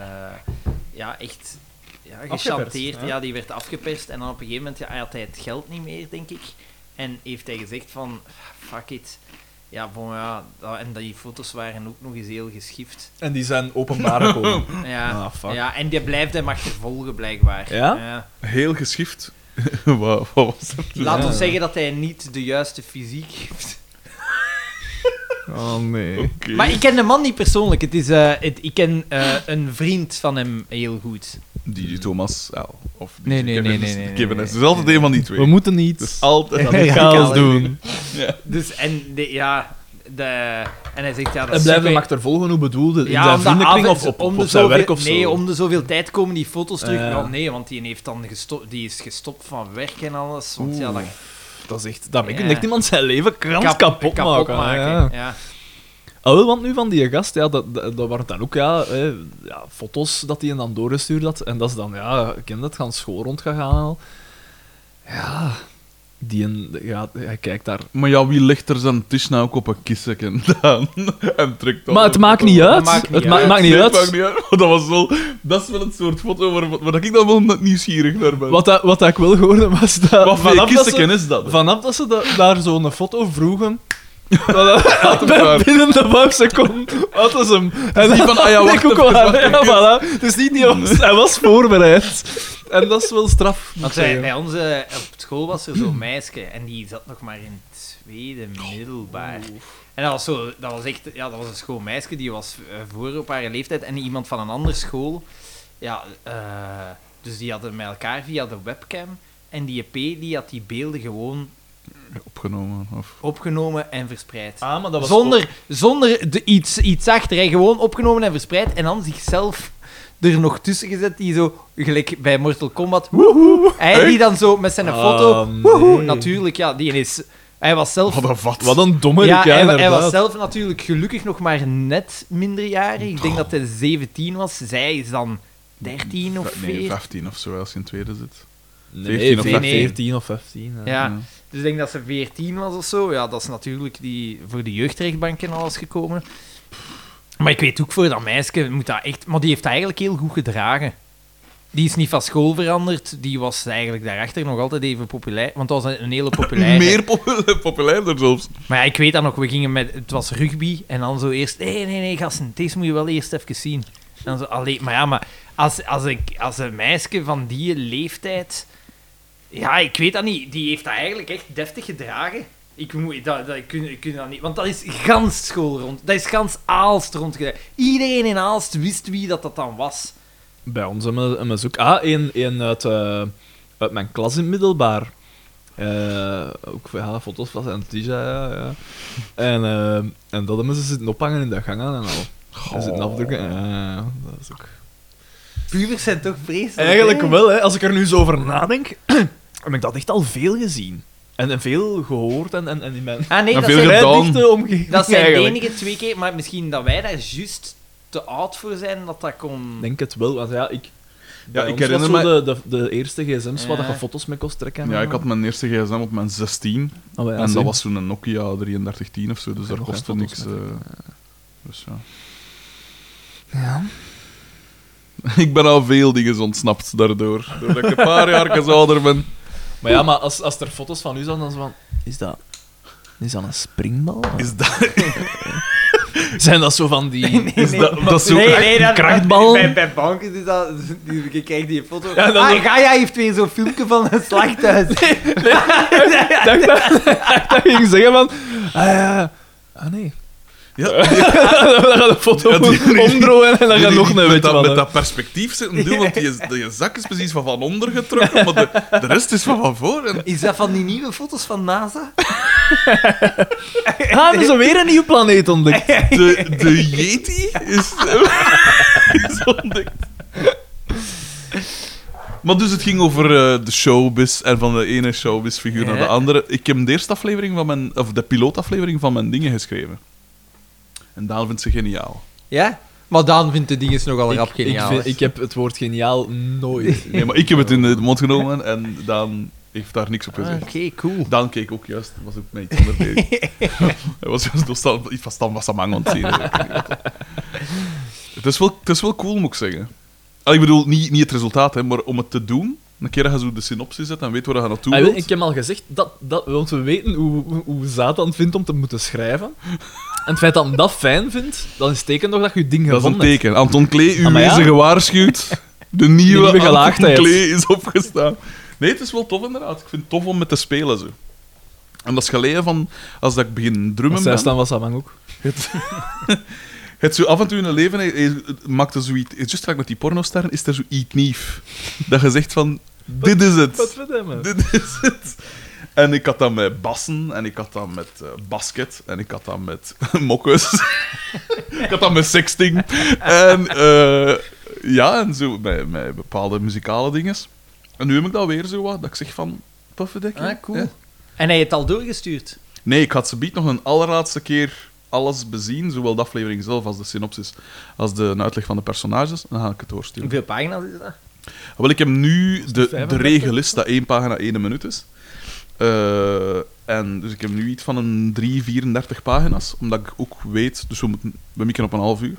S1: ja, echt ja, gechanteerd.
S3: hè?
S1: Ja, die werd afgeperst. En dan op een gegeven moment ja, had hij het geld niet meer, denk ik. En heeft hij gezegd van, fuck it. Ja, bon, ja, dat- en die foto's waren ook nog eens heel
S3: [clears throat]
S1: geschift.
S3: En die zijn openbaar
S2: [laughs]
S3: gekomen.
S1: Ja,
S3: Ah, fuck.
S1: ja en die blijft hem achtervolgen, blijkbaar.
S3: Ja?
S2: Heel geschift. [laughs] Wat wat was dat?
S1: Laat
S3: Ja.
S1: ons zeggen dat hij niet de juiste fysiek heeft.
S3: Oh, nee.
S2: Oké.
S1: Maar ik ken de man niet persoonlijk. Het is, eh, het, ik ken eh, een vriend van hem heel goed.
S2: DJ Thomas L. Of DJ
S1: Nee, nee,
S2: Kevin
S1: nee,
S2: S.
S1: nee, nee,
S2: Kevin
S1: nee,
S2: S. Het is altijd een van die twee.
S3: We moeten niet
S2: Dus-
S3: altijd
S2: [laughs]
S1: Ja,
S3: aan die chaos
S1: chaos
S3: doen.
S1: Dus, en de, ja... De, en hij zegt, ja, dat
S3: En
S1: is
S3: blijven hem
S1: super-
S3: achtervolgen, hoe bedoelde? In
S1: Ja,
S3: zijn
S1: omdat
S3: vriendenkring
S1: af-
S3: of op,
S1: om
S3: op,
S1: de
S3: zijn
S1: zoveel-
S3: werk of zo? Eh.
S1: Nee, om de zoveel tijd komen die foto's terug.
S3: Ja.
S1: Wel, nee, want die, heeft dan gesto- die is gestopt van werk en alles. Want ja, dat
S3: Dat is echt... Daarmee
S1: Ja.
S3: kun je echt iemand zijn leven krans
S1: kap-
S3: kapot, maken.
S1: maken,
S3: Ja.
S1: ja.
S3: Ah, wel, want nu van die gast, ja, dat, dat, dat waren dan ook ja, eh, ja, foto's dat hij dan doorgestuurd had. En dat is dan, ja, ik ken dat, gaan school rondgegaan al. Ja, die een, ja, hij kijkt daar.
S2: Maar ja, wie legt er zijn tisch nou ook op een kissen aan en trekt dat [laughs]
S3: Maar het
S2: op?
S3: maakt niet
S1: dat
S3: uit.
S1: maakt niet
S3: het ma-
S1: uit.
S3: maakt niet
S2: Nee,
S3: uit.
S2: het maakt niet uit. [laughs] Maar dat, was wel, dat is wel het soort foto waar, waar ik dan wel net nieuwsgierig naar ben.
S3: Wat, dat, wat dat ik wel hoorde was dat...
S2: Wat voor
S3: vanaf dat ze-
S2: kissen is dat? hè?
S3: Vanaf dat ze da- daar zo'n foto
S2: [laughs]
S3: vroegen... dat-
S2: waar.
S3: binnen de vijf seconden hadden ze hem. En
S2: niet van, ah ja,
S3: dat [laughs]
S2: wacht
S3: ik ook
S2: even,
S3: wel aan,
S2: wacht
S3: ja, voilà. Dus
S2: [laughs]
S3: niet, die was, hij was voorbereid. En dat is wel straf. moet
S1: Want
S3: ik
S1: wij,
S3: zeggen.
S1: bij ons eh, op school was er zo'n [clears throat] meisje en die zat nog maar in het tweede middelbaar. En dat was, zo, dat was echt ja, dat was een schoolmeisje die was eh, voor op haar leeftijd en iemand van een andere school. Ja, eh, dus die hadden met elkaar via de webcam. En die EP die had die beelden gewoon
S2: Opgenomen. Of...
S1: opgenomen en verspreid.
S3: Ah, maar dat was
S1: Zonder, zonder de, iets, iets achter, hè. gewoon opgenomen en verspreid. En dan zichzelf er nog tussen gezet, die zo, gelijk bij Mortal Kombat, woehoe, hij die dan zo met zijn
S3: Ah,
S1: foto, woehoe,
S3: nee.
S1: natuurlijk, ja, die is... Hij was zelf...
S2: Wat een vat.
S3: Wat een domme
S1: ja,
S3: ja,
S1: hij, wa- hij
S3: inderdaad.
S1: was zelf natuurlijk gelukkig nog maar net minderjarig. Ik denk dat hij 17 was. Zij is dan 13 of
S2: Nee,
S1: 14.
S2: 15 of zo, als je in tweede zit.
S3: Nee,
S2: 14 of
S1: 15.
S3: 14 of 15. Ja.
S1: Ja, dus ik denk dat ze 14 was of zo. Ja, dat is natuurlijk die, voor de jeugdrechtbank en alles gekomen. Maar ik weet ook voor dat meisje moet dat echt. Maar die heeft dat eigenlijk heel goed gedragen. Die is niet van school veranderd. Die was eigenlijk daarachter nog altijd even populair. Want dat was een- een hele populaire.
S2: [laughs] Meer populair, populairder zelfs.
S1: Maar ja, ik weet dat nog. We gingen met. Het was rugby. En dan zo eerst. Nee, nee, nee, gasten. Deze moet je wel eerst even zien. En dan zo. Allee, maar ja, maar als, als, een, als een meisje van die leeftijd. Ja, ik weet dat niet. Die heeft dat eigenlijk echt deftig gedragen. Ik moet dat, dat, ik kun, ik kun dat niet. Want dat is gans school rond. Dat is gans Aalst rondgedragen. Iedereen in Aalst wist wie dat, dat dan was.
S3: Bij ons hebben we- hebben we ook... Ah, één, één uit, eh, uit mijn klas in het middelbaar. Eh, ook ja, foto's van zijn tija, ja, [laughs] ja. En, eh, en dat hebben ze zitten ophangen in de gangen en al. Ze zitten afdrukken. Ja, ja, ja, dat is ook...
S1: Pubers zijn toch vreselijk.
S3: Eigenlijk
S1: hè?
S3: wel, hè. als ik er nu zo over nadenk, [clears throat] heb ik dat echt al veel gezien. En, en veel gehoord en, en, en in [laughs] mijn
S1: Ah nee,
S2: Maar
S1: dat
S2: veel
S1: zijn,
S3: vrij
S2: gedaan.
S3: dichte omgeving
S1: dat zijn de
S3: eigenlijk.
S1: enige twee keer. Maar misschien dat wij daar juist te oud voor zijn dat dat kon.
S3: Ik denk het wel, want ja, ik... bij
S2: ik
S3: ons
S2: herinner
S3: was zo de, de, de eerste gsm's waar dat
S1: Ja.
S3: je foto's mee kost trekken.
S2: Ja, ik had mijn eerste gsm op mijn 16.
S3: Oh, ja,
S2: en
S3: zie.
S2: dat was toen een Nokia 3310 of zo, dus
S3: Ik
S2: daar
S3: heb nog
S2: kostte
S3: geen foto's
S2: niks.
S3: met
S2: eh, dus ja.
S3: Ja.
S2: [laughs] Ik ben al veel dingen ontsnapt daardoor. Doordat ik een paar jaar ouder ben.
S3: Maar ja, maar als, als er foto's van u zijn, dan is van... Is dat... Is dat een springbal?
S2: Is dat...
S3: [laughs] Zijn dat zo van die...
S2: Is dat, dat is zo
S1: nee,
S2: echt
S1: nee, dat-
S3: krachtbal?
S1: Bij, bij banken is dat... Die, je kijkt die foto.
S3: Ja, dan
S1: ah,
S3: ook-
S1: Gaia heeft weer zo'n filmpje van een slachthuis.
S3: dacht dat, [laughs] dacht dat ging zeggen van... Ah ja... Ah nee. [laughs]
S2: [laughs] Ja.
S3: dan gaat de foto
S2: Ja, die-
S3: [laughs]
S2: die-
S3: omdraaien en dan gaat
S2: Die
S3: nog
S2: niet
S3: een
S2: met,
S3: wit
S2: dat, met
S3: vallen.
S2: dat perspectief zitten doen, want die, is- die zak is precies van van onder getrokken, maar de, de rest is van van voor. En
S1: Is dat van die nieuwe foto's van NASA?
S3: Ah, hebben ze weer een nieuw planeet ontdekt.
S2: de, de Yeti is, is ontdekt. Maar dus het ging over eh, de showbiz en van de ene showbiz-figuur naar de
S1: Ja.
S2: andere. Ik heb de eerste aflevering van mijn, of de pilootaflevering van mijn dingen geschreven. En Daan vindt ze geniaal.
S1: Ja? Maar Daan vindt de dinges nogal
S3: Ik,
S1: rap geniaal.
S3: ik, vind- ik heb het woord geniaal nooit.
S2: Nee, maar ik heb het in de mond genomen en Daan heeft daar niks op
S1: Ah,
S2: gezegd.
S1: Oké, cool.
S2: Daan keek ook juist, was ook met iets anders bezig. Hij was juist door Stan, iets van Stan Wassamang aan het zien. het, is wel, het is wel cool, moet ik zeggen. Ah, ik bedoel, niet, niet het resultaat, hè, maar om het te doen, een keer dat je zo de synopsis zet en weet waar je naartoe
S3: Ah, wel,
S2: wilt.
S3: ik heb al gezegd, dat, dat, want we weten hoe, hoe- hoe Zatan het vindt om te moeten schrijven. En het feit dat hij dat fijn vindt, dan is het teken toch dat je je ding
S2: Dat is een
S3: gevonden
S2: teken. Anton Klee, u
S3: Ah, maar ja.
S2: wezen gewaarschuwd. De nieuwe,
S3: nieuwe
S2: Anton
S3: gelaagdheid.
S2: Klee is opgestaan. Nee, het is wel tof inderdaad. Ik vind het tof om met te spelen. Zo. En dat is geleden van, als dat ik begin drummen ben...
S3: hebt. Zij staan was Samang ook.
S2: Het zo af en toe in een leven hij- hij maakt er zoiets. Just straks met die pornosterren is er zoiets nieuws. Dat je zegt van: dit is
S3: Wat
S2: het.
S3: verdomme.
S2: Dit is het. En ik had dat met bassen, en ik had dat met eh, basket, en ik had dat met [laughs] mokkes. ik had dat met sexting. En eh, ja, en zo met, met bepaalde muzikale dingen. En nu heb ik dat weer zo wat, dat ik zeg van. Puffendekking.
S1: Ah, cool.
S2: Ja.
S1: En hij heeft al doorgestuurd.
S2: Nee, ik had ze biedt nog een allerlaatste keer alles bezien, zowel de aflevering zelf als de synopsis, als de een uitleg van de personages. Dan ga ik het doorsturen.
S1: Hoeveel pagina's is dat?
S2: Wel, ik heb nu de, de
S3: 35?
S2: regel is dat één pagina één minuut is. Eh, en dus ik heb nu iets van een 3, 34 pagina's, omdat ik ook weet, dus we, moeten, we mikken op een half uur.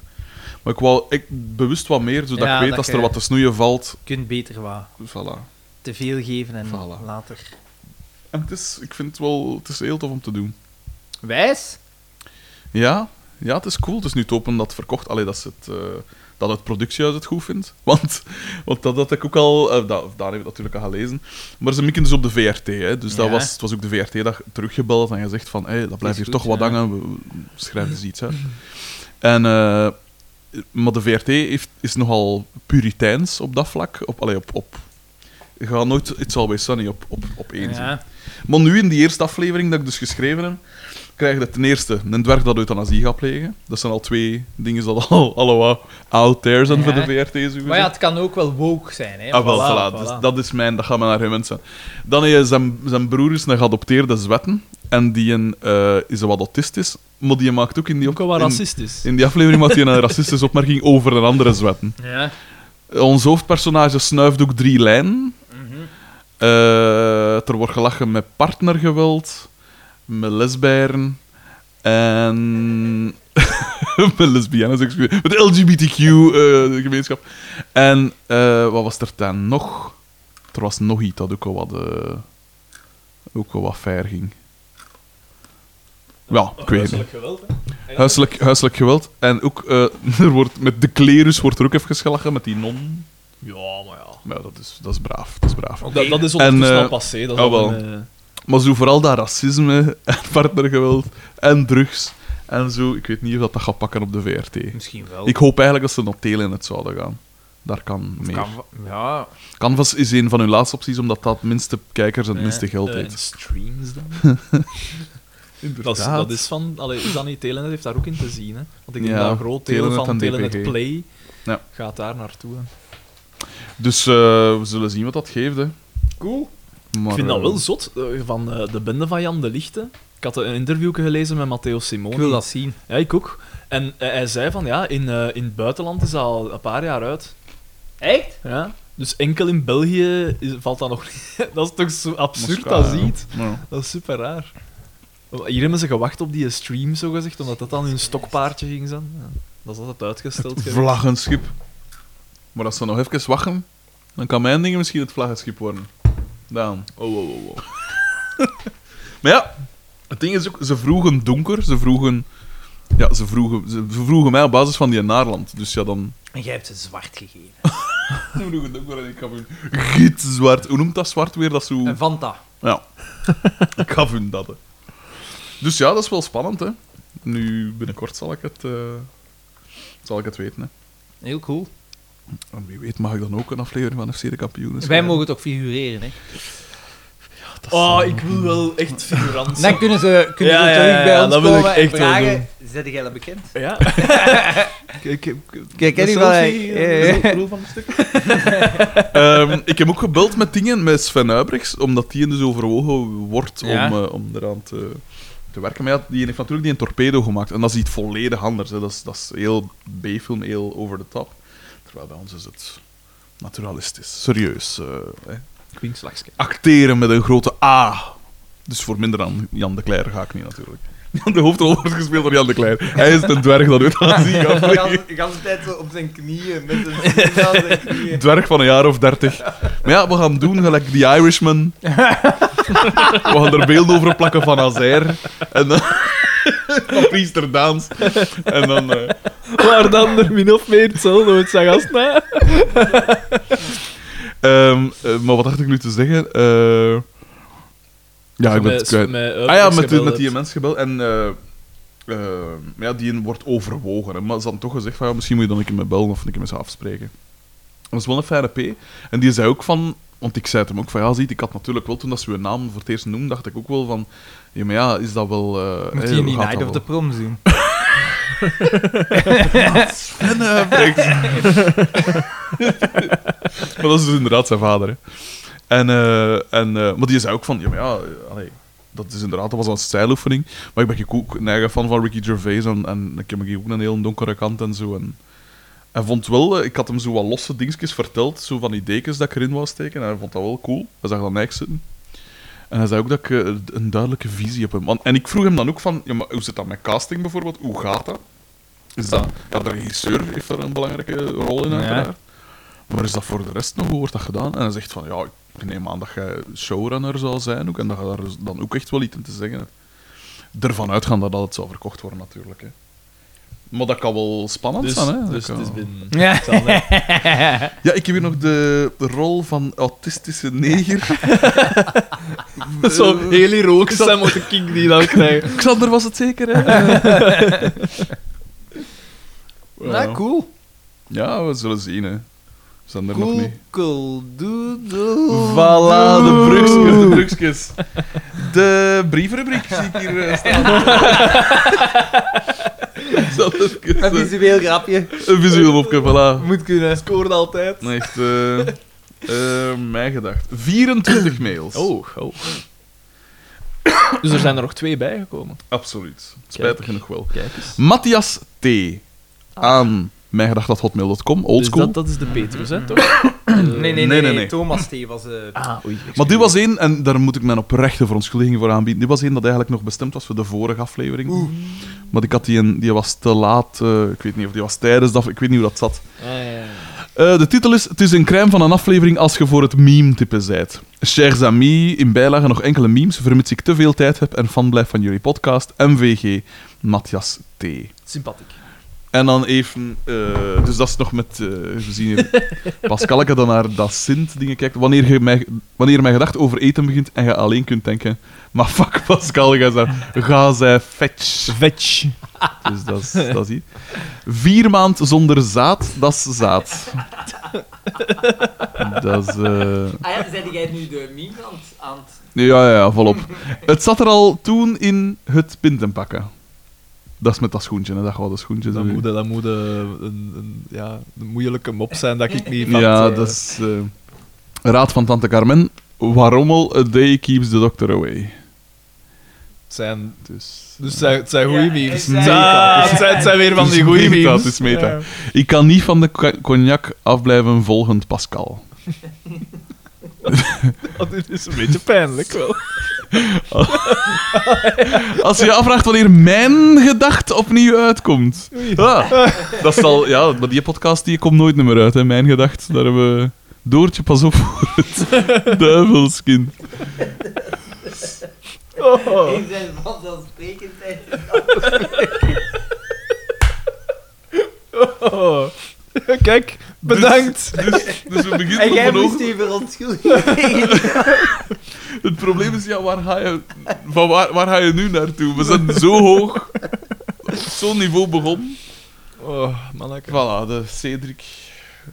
S2: Maar ik wou ik, bewust wat meer, zodat
S1: Ja,
S2: ik weet
S1: dat
S2: als er
S1: je-
S2: wat te snoeien valt.
S1: Je kunt beter wat
S2: Voilà.
S1: te veel geven en
S2: Voilà.
S1: later.
S2: En het is, ik vind het wel, het is heel tof om te doen.
S1: Wijs?
S2: Ja, ja, het is cool. Het is nu te hopen dat het verkocht. Allee, dat, ze het, eh, dat het productiehuis het goed vindt. [laughs] Want, want dat had ik ook al... eh, da, daar heb ik natuurlijk al gelezen. Maar ze mikken dus op de VRT. Hè, dus dat
S1: Ja.
S2: was, het was ook de VRT dat teruggebeld en gezegd van... Hey, dat blijft
S1: Is
S2: hier
S1: goed,
S2: toch wat
S1: ja.
S2: hangen. We, we schrijven dus iets uit. En... eh, maar de VRT heeft, is nogal puriteins op dat vlak. Op, allee, op, op, je gaat nooit It's Always Sunny op, op, op één zien.
S1: Ja.
S2: Maar nu, in die eerste aflevering dat ik dus geschreven heb, krijg je ten eerste een dwerg dat euthanasie gaat plegen. Dat zijn al twee dingen dat al, [laughs] al wat out there zijn
S1: Ja.
S2: voor de VRT. Sowieso.
S1: Maar ja, het kan ook wel woke zijn, hè?
S2: Ah, wel,
S1: Voilà,
S2: voilà.
S1: voilà.
S2: Dus dat is mijn, dat gaan we naar hem mensen. Dan is zijn, zijn broer is een geadopteerde zwetten. En die een, eh, is wat autistisch. Maar die maakt ook in die,
S3: Ook al wat
S2: in-
S3: racistisch.
S2: in die aflevering maakt hij een racistische opmerking over een andere zwetten.
S1: Ja.
S2: Ons hoofdpersonage snuift ook drie lijnen. Eh, er wordt gelachen met partnergeweld, met lesbijren en. [laughs] met lesbiennes, excuus. Met LGBTQ-gemeenschap. eh, en eh, wat was er dan nog? Er was nog iets dat ook wel wat, eh, ook wel wat fair ging. Ja, ik weet het niet.
S3: geweld,
S2: Huiselijk, huiselijk geweld. En ook, eh, [laughs] er wordt, met de klerus wordt er ook even gelachen, met die non.
S3: Ja, maar ja.
S2: Maar ja, dat is, dat is braaf, dat is braaf.
S3: Dat, dat is ondertussen
S2: En, eh,
S3: al passé. Dat is
S2: ah,
S3: al
S2: wel.
S3: een, eh,
S2: Maar zo vooral dat racisme [laughs] en partnergeweld en drugs en zo, ik weet niet of dat, dat gaat pakken op de VRT.
S1: Misschien wel.
S2: Ik hoop eigenlijk dat ze nog telen in het zouden gaan. Daar kan meer.
S1: Kan- ja.
S2: Canvas is een van hun laatste opties, omdat dat het minste kijkers en het minste geld
S3: eh, en
S2: heeft.
S3: streams
S2: [laughs]
S3: dan. dat, is, dat is van... Allee, is dat niet Telenet heeft daar ook in te zien, hè? Want ik denk
S2: Ja,
S3: dat een groot deel
S2: Telenet
S3: van
S2: en
S3: Telenet
S2: DPG.
S3: Play
S2: Ja.
S3: gaat daar naartoe. hè.
S2: Dus eh, we zullen zien wat dat geeft. Hè.
S1: Cool.
S2: Maar,
S3: Ik vind dat
S2: eh,
S3: wel zot, eh, van eh, de bende van Jan de Lichte. Ik had een interview gelezen met Matteo Simoni.
S1: Ik wil dat zien.
S3: Ja, ik ook. En eh, hij zei van, ja, in, eh, in het buitenland is dat al een paar jaar uit.
S1: Echt?
S3: Ja? Dus enkel in België is- valt dat nog niet. [laughs] dat is toch zo absurd,
S2: Moskou,
S3: dat
S2: ja.
S3: ziet.
S2: Ja.
S3: Dat is super raar. Hier hebben ze gewacht op die stream, zogezegd, omdat dat dan hun stokpaardje ging zijn. Ja, dat is altijd uitgesteld geweest.
S2: Vlaggenschip. Maar als ze nog even wachten, dan kan mijn ding misschien het vlaggenschip worden. Daan. Oh, oh, [laughs] oh, oh. maar ja, het ding is ook, ze vroegen donker, ze vroegen Ja, ze vroegen, ze ze vroegen mij op basis van die Naarland. Dus ja, dan... [laughs]
S1: En jij hebt ze zwart gegeven.
S2: Ze vroegen ook wel en ik gaf hun gietzwart. Hoe noemt dat zwart weer? Dat zo...
S1: Een Vanta.
S2: Ja. [laughs] ik gaf hun dat, hè. Dus ja, dat is wel spannend, hè. Nu, binnenkort zal ik het, eh, zal ik het weten, hè.
S1: Heel cool.
S2: En Oh, wie weet mag ik dan ook een aflevering van FC de Kampioenen
S1: Dus Wij
S2: schrijven.
S1: mogen het ook figureren, hè.
S3: Oh, ik wil wel echt figurant
S1: Dan kunnen ze, kunnen
S3: Ja,
S1: ze
S3: ja,
S1: terug
S3: ja,
S1: bij
S3: ja,
S1: ons
S3: dat wil ik
S1: komen
S3: echt
S1: en
S3: wel
S1: vragen... Zet jij dat bekend?
S3: Ja. Kijk, ik
S1: Kijk, ken je wel, eh, hè? Ja, ja.
S3: van het stuk.
S2: Ehm, ik heb ook gebeld met dingen, met Sven Uibrechts, omdat die dus overwogen wordt
S1: Ja.
S2: om, eh, om eraan te, te werken. Maar ja, die heeft natuurlijk die een torpedo gemaakt. En dat is iets volledig anders. Hè. Dat, is, dat is heel B-film, heel over de top. Terwijl bij ons is het naturalistisch, serieus. eh, hè.
S3: Queenslagske.
S2: Acteren met een grote A. Dus voor minder dan Jan de Kleijer ga ik niet, natuurlijk. De hoofdrol wordt gespeeld door Jan de Kleijer. Hij is een dwerg dat uit
S1: [laughs]
S2: Azië gaat
S1: De
S2: vliegen.
S1: hele- de hele tijd zo op zijn knieën, met zijn knieën aan zijn
S2: [laughs]
S1: knieën.
S2: dwerg van een jaar of dertig. Maar ja, we gaan doen gelijk The Irishman. We gaan er beelden over plakken van Azair. En dan... van Priester Daans. En dan... eh,
S3: Waar dan er min of meer hetzelfde met zijn gast na.
S2: ehm, eh, maar wat dacht ik nu te zeggen? Eh, ja, ik ben het kwijt.
S3: eh,
S2: Ah ja, met, die- met die mens gebeld. En eh, eh, ja, die wordt overwogen. Hè. Maar ze hadden toch gezegd van, ja, misschien moet je dan een keer met bellen of een keer met ze afspreken. Dat is wel een fijne P. En die zei ook van... Want ik zei het hem ook van, ja, ziet, ik had natuurlijk wel, toen dat ze hun naam voor het eerst noemden, dacht ik ook wel van... Ja, maar ja, is dat wel... eh
S1: Moet
S2: hè,
S1: je
S2: hoe
S1: niet
S2: gaat
S1: Night
S2: dat
S1: of the
S2: wel?
S1: Prom zien?
S2: Sven, eh, breekt. [laughs] maar dat is dus inderdaad zijn vader, hè. En, eh, en, eh, maar die zei ook van, ja, maar ja, eh, allee, dat is inderdaad, dat was een stijloefening. Maar ik ben ook- ook een eigen fan van Ricky Gervais en, en ik heb ook een heel donkere kant en zo. En hij vond wel, eh, ik had hem zo wat losse dingetjes verteld, zo van die dekens dat ik erin wou steken. En hij vond dat wel cool. Hij zag dat niks zitten. En hij zei ook dat ik eh, een duidelijke visie heb. Want- En ik vroeg hem dan ook van, ja, maar hoe zit dat met casting bijvoorbeeld? Hoe gaat dat? Is dat, ja, de regisseur heeft daar een belangrijke rol in, uiteraard. Maar is dat voor de rest nog, hoe wordt dat gedaan? En hij zegt van, ja, ik neem aan dat jij showrunner zou zijn ook, en dat je daar dus dan ook echt wel iets in te zeggen hebt. Ervan uitgaan dat het zou verkocht worden, natuurlijk. Hè. Maar dat kan wel spannend
S3: Dus,
S2: zijn, hè. Dat
S3: dus
S2: kan-
S3: het is binnen.
S1: Ja.
S3: Hetzelfde.
S1: [laughs]
S2: ja, ik heb hier nog de, de rol van autistische neger.
S3: Zo, heel heroïsch zijn moet de king die dan krijgen.
S2: [laughs] Xander was het zeker, hè?
S1: Nou, cool.
S2: [laughs] Ja, we zullen zien, hè. We zijn er nog
S1: Cool,
S2: niet.
S1: cool, doodle.
S2: Voilà, de brugskes, de brugskes. [laughs] De brievenrubriek zie ik hier eh, [laughs] staan. Zal ik eens,
S1: Een
S2: eh,
S1: visueel grapje.
S2: Een visueel mopje, voilà.
S1: Moet kunnen.
S3: Scoorde altijd.
S2: Nee, Echt, eh eh, mijn gedacht. 24 mails.
S3: Oh, oh. Dus er zijn er nog twee bijgekomen.
S2: Absoluut. Spijtig genoeg wel.
S3: Kijk eens.
S2: Matthias T. aan mijngedacht.hotmail.com, oldschool.
S3: Dus dat, dat is de Petrus, hè, toch?
S1: Nee, nee,
S2: nee,
S1: nee,
S2: nee,
S1: nee,
S2: nee.
S1: Thomas T. was... eh
S3: Ah, oei. excuus.
S2: Maar dit was één, en daar moet ik mijn oprechte verontschuldiging voor aanbieden. Dit was één dat eigenlijk nog bestemd was voor de vorige aflevering. Maar ik had die, een, die was te laat. eh, ik weet niet of die was tijdens dat. Ik weet niet hoe dat zat.
S3: Ah, ja, ja.
S2: Eh, de titel is: Het is een crème van een aflevering als je voor het meme-type zijt. Chers amis, in bijlage nog enkele memes, vermits ik te veel tijd heb en fan blijf van jullie podcast. MVG, Matthias T.
S3: Sympathiek.
S2: En dan even, eh, dus dat is nog met, eh, we zien hier Pascalke dan naar dat Sint-dingen kijkt. Wanneer, je mij, wanneer mijn gedacht over eten begint en je alleen kunt denken, maar fuck Pascal, ga zij, ga zij fetch.
S3: Vetch.
S2: Dus dat is, dat is hier. Vier maand zonder zaad, dat is zaad. Dat is, eh,
S1: Ah ja, zei jij nu de meme aan het- aan het...
S2: ja, ja, ja, volop. Het zat er al toen in het pintenpakken. Dat is met dat schoentje, hè, dat gouden schoentje.
S3: Dat
S2: zo.
S3: moet, dat moet eh, een, een, ja, een moeilijke mop zijn dat ik
S2: [laughs]
S3: niet
S2: Ja,
S3: vat, eh.
S2: dat is... eh, raad van tante Carmen. Waarommel, a day keeps the doctor away.
S3: Het zijn,
S2: Dus...
S3: dus het zijn, het zijn goede
S1: Ja,
S3: memes.
S1: het zijn-
S3: Ah, het, zijn, het zijn weer van
S2: Het is
S3: die goede
S2: meta,
S3: memes.
S2: het is meta.
S3: Ja.
S2: Ik kan niet van de co- cognac afblijven volgend Pascal.
S3: Oh, dit is een beetje pijnlijk wel.
S2: Als je je afvraagt wanneer mijn gedacht opnieuw uitkomt. Ah, dat is al... Ja, maar die podcast die komt nooit meer uit, hè. Mijn gedacht, daar hebben we... Doortje, pas op voor
S3: [laughs]
S2: het duivelskind.
S1: Oh.
S3: Oh,
S1: In zijn vanzelfsprekendheid.
S3: oh. Kijk, bedankt.
S2: Dus, dus we
S1: En
S2: beginnen
S1: jij
S2: met
S1: moest
S2: vanochtend.
S1: die verontschuldigen.
S2: Het probleem is, ja, waar ga je, van waar, waar ga je nu naartoe? We zijn zo hoog, op zo'n niveau begonnen.
S3: Oh, manneke.
S2: Voilà, de Cedric,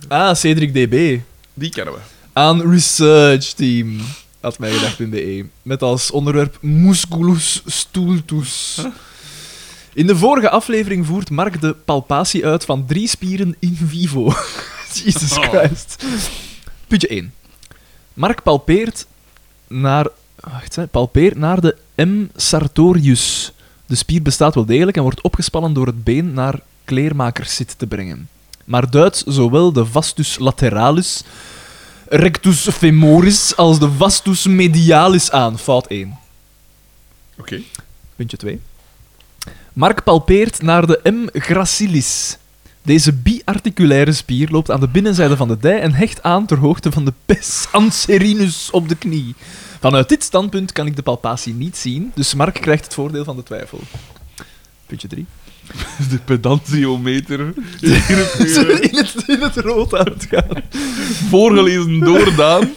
S3: Ah, Cedric DB.
S2: die kennen we.
S3: Aan Research Team. Had mij gedacht.be. E, Met als onderwerp Musculus stultus. In de vorige aflevering voert Mark de palpatie uit van drie spieren in vivo. [laughs] Jesus
S2: Oh.
S3: Christ. Puntje 1. Mark palpeert naar, wacht, hè, palpeert naar de M. sartorius. De spier bestaat wel degelijk en wordt opgespannen door het been naar kleermakerszit te brengen. Maar duidt zowel de vastus lateralis, rectus femoris als de vastus medialis aan. Fout 1.
S2: Oké.
S3: Puntje 2. Mark palpeert naar de M. gracilis. Deze biarticulaire spier loopt aan de binnenzijde van de dij en hecht aan ter hoogte van de pes anserinus op de knie. Vanuit dit standpunt kan ik de palpatie niet zien, dus Mark krijgt het voordeel van de twijfel. Puntje [laughs] 3.
S2: De pedantiometer is hier op je
S3: In het, in het rood aan het gaan.
S2: voorgelezen door Daan,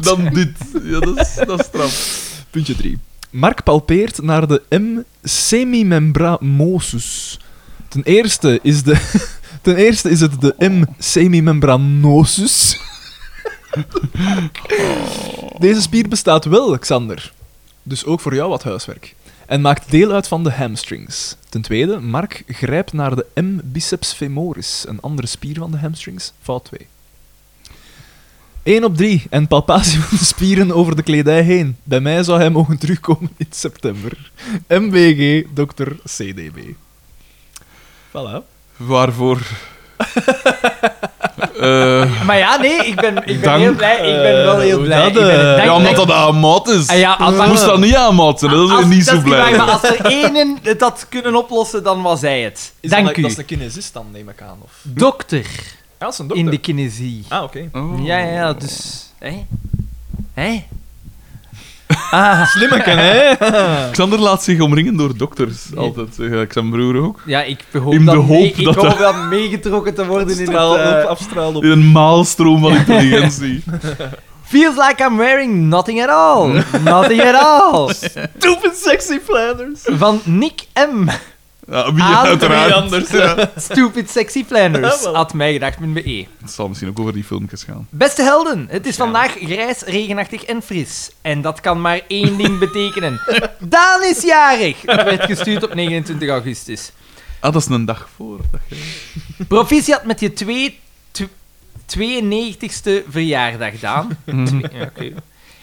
S2: dan dit. Ja, dat is, dat is straf.
S3: Puntje 3. Mark palpeert naar de M. semimembramosus. Ten eerste is, de, [laughs] ten eerste is het de M. semimembranosus. [laughs] Deze spier bestaat wel, Xander. Dus ook voor jou wat huiswerk. En maakt deel uit van de hamstrings. Ten tweede, Mark grijpt naar de M. biceps femoris, een andere spier van de hamstrings. Fout 2. 1 op 3 en [laughs] palpatie van de spieren over de kledij heen. Bij mij zou hij mogen terugkomen in september. MBG, dokter CDB. Voilà.
S2: Waarvoor? Eh,
S1: [laughs] Maar ja, nee, ik ben, ik ben
S2: Dank,
S1: heel blij. Ik ben wel heel
S3: eh,
S1: blij. Ik
S3: dat, eh,
S1: ben
S2: ja, omdat
S1: dankbaar-
S2: dat aan mat is.
S1: Ah, ja, als
S2: Je moest dat niet aan mat zijn, hè, dat is
S1: Als-
S2: niet
S1: dat
S2: zo
S1: niet waar,
S2: blij.
S1: Maar als er één het had kunnen oplossen, dan was hij het. Dank u.
S3: een kinesist dan, neem ik aan. Of...
S1: Dokter
S3: Ja, dat is een
S1: in de kinesie.
S3: Ah, oké.
S2: Oh.
S1: Ja, ja, ja, dus... Hé? Hé? Ah,
S3: [laughs] Slimmeken, hè?
S2: Xander laat zich omringen door dokters, altijd. zeg ik zijn broer ook.
S1: ja, ik hoop,
S2: In de
S1: dat, mee-
S2: hoop
S1: ik
S2: dat
S1: hoop
S2: dat-
S1: dat meegetrokken te worden in
S3: Straal
S1: dat... eh,
S3: op, afstraal [laughs] op.
S2: In een maalstroom [laughs] van intelligentie.
S1: Feels like I'm wearing nothing at all.
S2: [laughs]
S1: Nothing at all.
S3: Stupid sexy planners.
S1: Van Nick M. [laughs]
S2: Ja, wie
S1: Aan-
S2: uiteraard.
S1: wie
S3: anders,
S2: ja.
S1: Stupid Sexy Planners.
S2: [laughs]
S3: Ja, wel.
S1: Had mijgedacht.be.
S2: Het zal misschien ook over die filmpjes gaan.
S1: Beste helden, het is vandaag grijs, regenachtig en fris. En dat kan maar één ding [laughs] betekenen. Daan is jarig! Het werd gestuurd op 29 augustus.
S2: Ah, dat is een dag voor. Dat je-
S1: Proficiat met je twee, tw- 92ste verjaardag, Daan. Twee- ja, oké.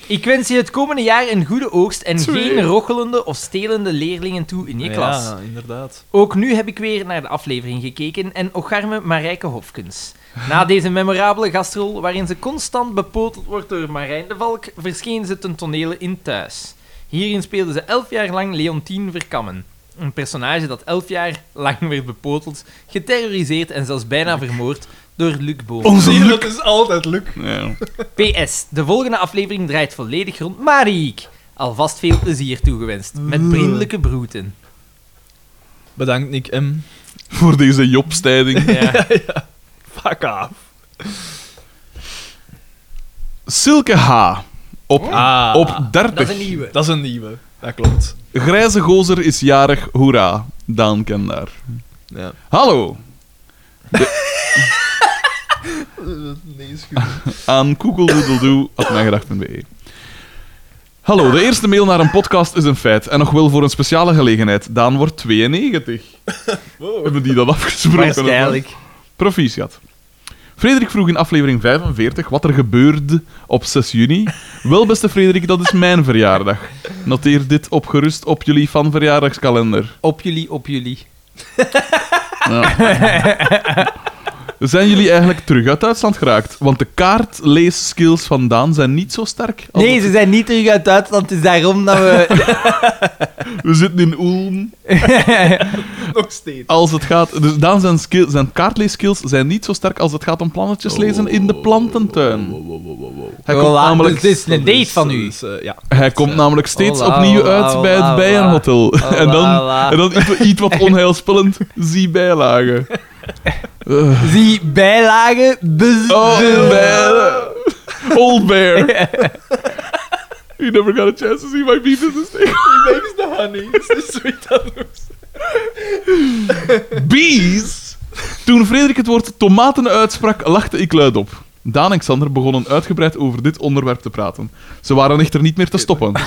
S1: Ik wens je het komende jaar een goede oogst en geen rochelende of stelende leerlingen toe in je klas.
S3: Ja, [laughs] inderdaad.
S1: Ook nu heb ik weer naar de aflevering gekeken en Ocharme Marijke Hofkens. Na deze memorabele gastrol, waarin ze constant bepoteld wordt door Marijn de Valk, verscheen ze ten tonele in Thuis. Hierin speelde ze elf jaar lang Leontien Verkammen. Een personage dat elf jaar lang werd bepoteld, geterroriseerd en zelfs bijna vermoord door Luc Boom.
S2: Onze
S3: Zie je,
S2: luk.
S3: dat is altijd luk.
S2: Ja.
S1: PS, de volgende aflevering draait volledig rond Mariek. Alvast veel plezier toegewenst, met vriendelijke broeten.
S3: Bedankt, Nick [laughs] M.
S2: Voor deze jobstijding.
S1: Ja.
S3: Fuck off.
S2: Silke H. Op,
S3: Ah.
S2: op
S1: [laughs] Dat
S2: 30.
S1: is een nieuwe.
S3: Dat is een nieuwe. Dat klopt.
S2: Grijze gozer is jarig. Hoera. Daan Kendaar.
S3: Ja.
S2: Hallo.
S3: Eh, Nee, is goed.
S2: aan koekeldoedeldoe.mijgedacht.be. E. Hallo, de eerste mail naar een podcast is een feit. En nog wel voor een speciale gelegenheid. Daan wordt 92.
S1: [laughs]
S2: Hebben die dat afgesproken? of wat?
S1: Waarschijnlijk.
S2: Proficiat. Frederik vroeg in aflevering 45 wat er gebeurde op 6 juni. Wel, beste Frederik, dat is mijn verjaardag. Noteer dit opgerust op jullie fanverjaardagskalender.
S1: Op jullie, op jullie.
S2: Ja. Zijn jullie eigenlijk terug uit Duitsland geraakt? Want de kaartleesskills van Daan zijn niet zo sterk. als
S1: Nee, ze zijn niet terug uit Duitsland. Het is daarom dat we...
S2: We zitten in Ulm.
S3: [laughs] Nog steeds.
S2: Als het gaat... Dus Daan zijn, skill, zijn kaartleeskills zijn niet zo sterk als het gaat om plannetjes lezen in de plantentuin. Hij komt
S1: Hola,
S2: namelijk,
S1: dus dit is een date van
S3: [laughs]
S1: u.
S3: Dus, eh, ja.
S2: hij komt namelijk steeds
S1: Hola,
S2: opnieuw
S1: hola,
S2: uit bij het
S1: hola,
S2: Bijenhotel.
S1: hola.
S2: En dan,
S1: Hola.
S2: en dan iets, iets wat onheilspellend. Zie bijlagen. Eh,
S1: Zie bijlagen. Bzz,
S2: oh,
S1: bzz.
S2: man. Old bear. you never got a chance to see my beef in this thing.
S3: Thanks, the honey. It's the sweet honey.
S2: Bees! Toen Frederik het woord tomaten uitsprak, lachte ik luid op. Daan en Xander begonnen uitgebreid over dit onderwerp te praten. Ze waren echter niet meer te stoppen.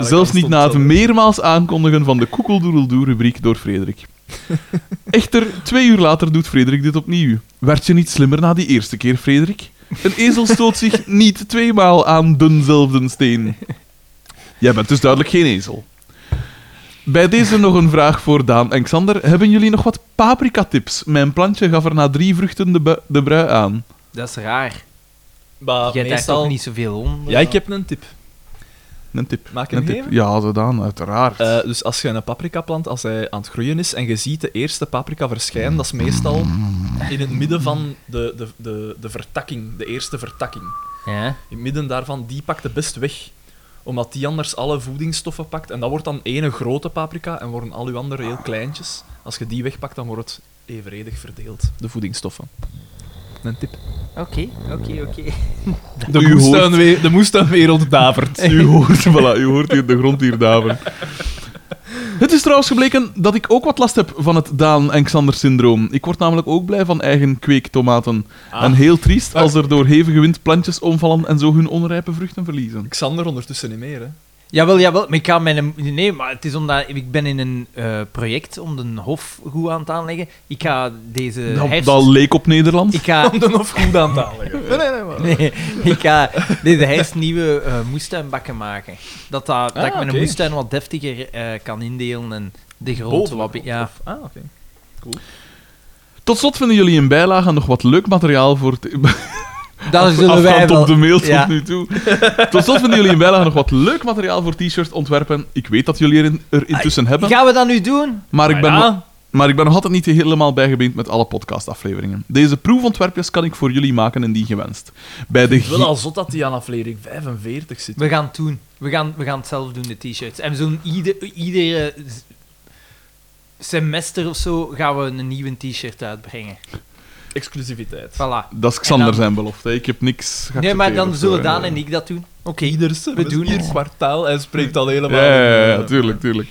S2: Zelfs niet na het meermaals aankondigen van de koekeldoedeldoe-rubriek door Frederik. Echter, twee uur later doet Frederik dit opnieuw. Werd je niet slimmer na die eerste keer, Frederik? Een ezel stoot zich niet tweemaal aan denzelfde steen. Jij bent dus duidelijk geen ezel. Bij deze nog een vraag voor Daan en Xander. Hebben jullie nog wat paprika-tips? Mijn plantje gaf er na drie vruchten de, bu- de brui aan.
S1: Dat is raar.
S3: Maar
S1: Je hebt daar
S3: meestal...
S1: toch niet zoveel dus- onder.
S3: Ja, ik heb een tip.
S2: Een tip.
S3: Maak
S2: Een
S3: een
S2: tip.
S3: geven?
S2: Ja, zodan, uiteraard.
S3: Eh, dus als je een paprika plant, als hij aan het groeien is en je ziet de eerste paprika verschijnen, dat is meestal in het midden van de, de, de, de vertakking, de eerste vertakking.
S1: Ja.
S3: In het midden daarvan, die pakt het best weg. Omdat die anders alle voedingsstoffen pakt. En dat wordt dan ene grote paprika en worden al uw andere heel kleintjes. Als je die wegpakt, dan wordt het evenredig verdeeld, de voedingsstoffen. Een tip.
S1: Oké, oké, oké.
S3: De,
S2: U hoort-
S3: moestuinwe- de moestuinwereld davert.
S2: U hoort, [laughs] voilà, u hoort hier de grond hier daveren. Het is trouwens gebleken dat ik ook wat last heb van het Daan en Xander syndroom. Ik word namelijk ook blij van eigen kweektomaten.
S3: Ah.
S2: En heel triest als er door hevige wind plantjes omvallen en zo hun onrijpe vruchten verliezen.
S3: Xander ondertussen niet meer, hè.
S1: Jawel, jawel. Maar ik ga mijn... Nee, maar het is omdat... Ik ben in een eh, project om de hof goed aan het aanleggen. Ik ga deze
S2: Dat,
S1: herfst...
S2: dat leek op Nederland.
S1: Eh, Ik ga...
S3: Om de hof goed aan te halen.
S1: [laughs] Nee, ik ga deze herfst nieuwe eh, moestuinbakken maken. Dat, dat, dat
S3: Ah,
S1: ik mijn
S3: oké.
S1: moestuin wat deftiger eh, kan indelen en de grond
S3: Boven
S1: wat... be- Ja.
S3: Of- ah, oké.
S2: Tot slot vinden jullie in bijlage nog wat leuk materiaal voor... het-
S1: Daar zullen wij
S2: [laughs] Afgaand
S1: wel...
S2: op de mail tot
S1: Ja.
S2: nu toe. Tot slot vinden jullie in bijlage nog wat leuk materiaal voor t-shirt ontwerpen. Ik weet dat jullie er, in- er intussen hebben.
S1: Gaan we dat nu doen?
S2: Maar ik, ben,
S3: Maar Ah, ja.
S2: nog- maar ik ben nog altijd niet helemaal bijgebeend met alle podcastafleveringen. Deze proefontwerpjes kan ik voor jullie maken indien gewenst. Bij de
S3: Ik wil
S2: gi-
S3: al zot dat die aan aflevering 45 zit.
S1: We gaan het doen. We gaan, we gaan het zelf doen, de t-shirts. En we zullen ieder, iedere z- semester of zo gaan we een nieuwe t-shirt uitbrengen.
S3: Exclusiviteit.
S1: Voilà.
S2: Dat is Xander
S1: En dan-
S2: zijn belofte. hè. Ik heb niks
S1: Nee, maar
S2: geaccepteerd
S1: dan
S2: of zo,
S1: zullen
S2: hè.
S1: Daan en ik dat doen. Oké.
S3: Ieder we
S1: doen
S3: doen hier
S1: het.
S3: kwartaal en spreekt al helemaal.
S2: Ja, ja,
S1: eh,
S2: ja, tuurlijk, tuurlijk.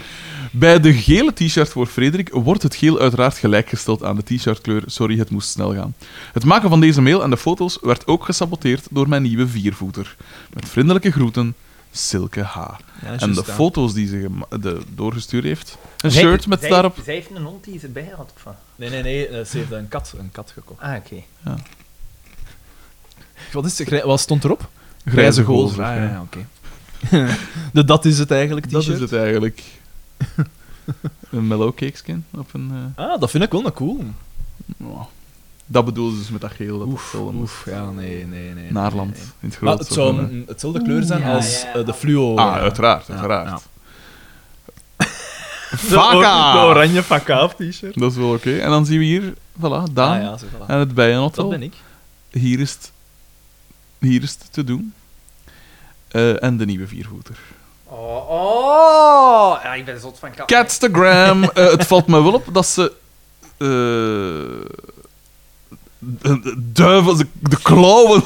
S2: Bij de gele t-shirt voor Frederik wordt het geel uiteraard gelijkgesteld aan de t-shirtkleur. Sorry, het moest snel gaan. Het maken van deze mail en de foto's werd ook gesaboteerd door mijn nieuwe viervoeter. Met vriendelijke groeten, Silke H. En de foto's die ze gema- de doorgestuurd heeft. Een shirt met daarop
S1: Zij heeft een hond die ze bij had. Van.
S3: Nee, nee, nee, eh, ze heeft een kat, een kat gekocht.
S1: Ah, oké.
S3: Wat, is, de- wat stond erop?
S2: grijze goals.
S3: Ah, ja, ja, oké. [laughs] de dat is het eigenlijk,
S2: Dat
S3: t-shirt.
S2: is het eigenlijk.
S3: [laughs]
S2: een mellow cakeskin op een... eh,
S3: Ah, dat vind ik wel een cool.
S2: nou, Dat bedoelden ze dus met dat geel. Dat oef,
S3: Oef, ja, nee, nee, nee.
S2: Naarland,
S3: nee, nee.
S2: in het
S3: Maar
S2: groot.
S3: het
S2: zo
S3: zou
S2: van,
S3: een- hetzelfde kleur zijn
S1: Oeh, ja,
S3: als
S1: ja.
S3: eh, de fluo.
S2: eh. Ah, uiteraard, uiteraard.
S3: ja. De,
S2: [laughs] Vaka!
S3: or- de oranje vaka t-shirt.
S2: Dat is wel oké. En dan zien we hier, voilà, Daan
S3: Ah, ja, zo, voilà.
S2: en het
S3: Dat
S2: bijenotto.
S3: ben ik.
S2: Hier is het... Hier is het te doen. Eh, en de nieuwe viervoeter.
S1: Oh, oh. Ja, ik ben zot van kat.
S2: Cats the gram. Eh, het valt me wel op dat ze... eh, de- de duivel, de, de klauwen.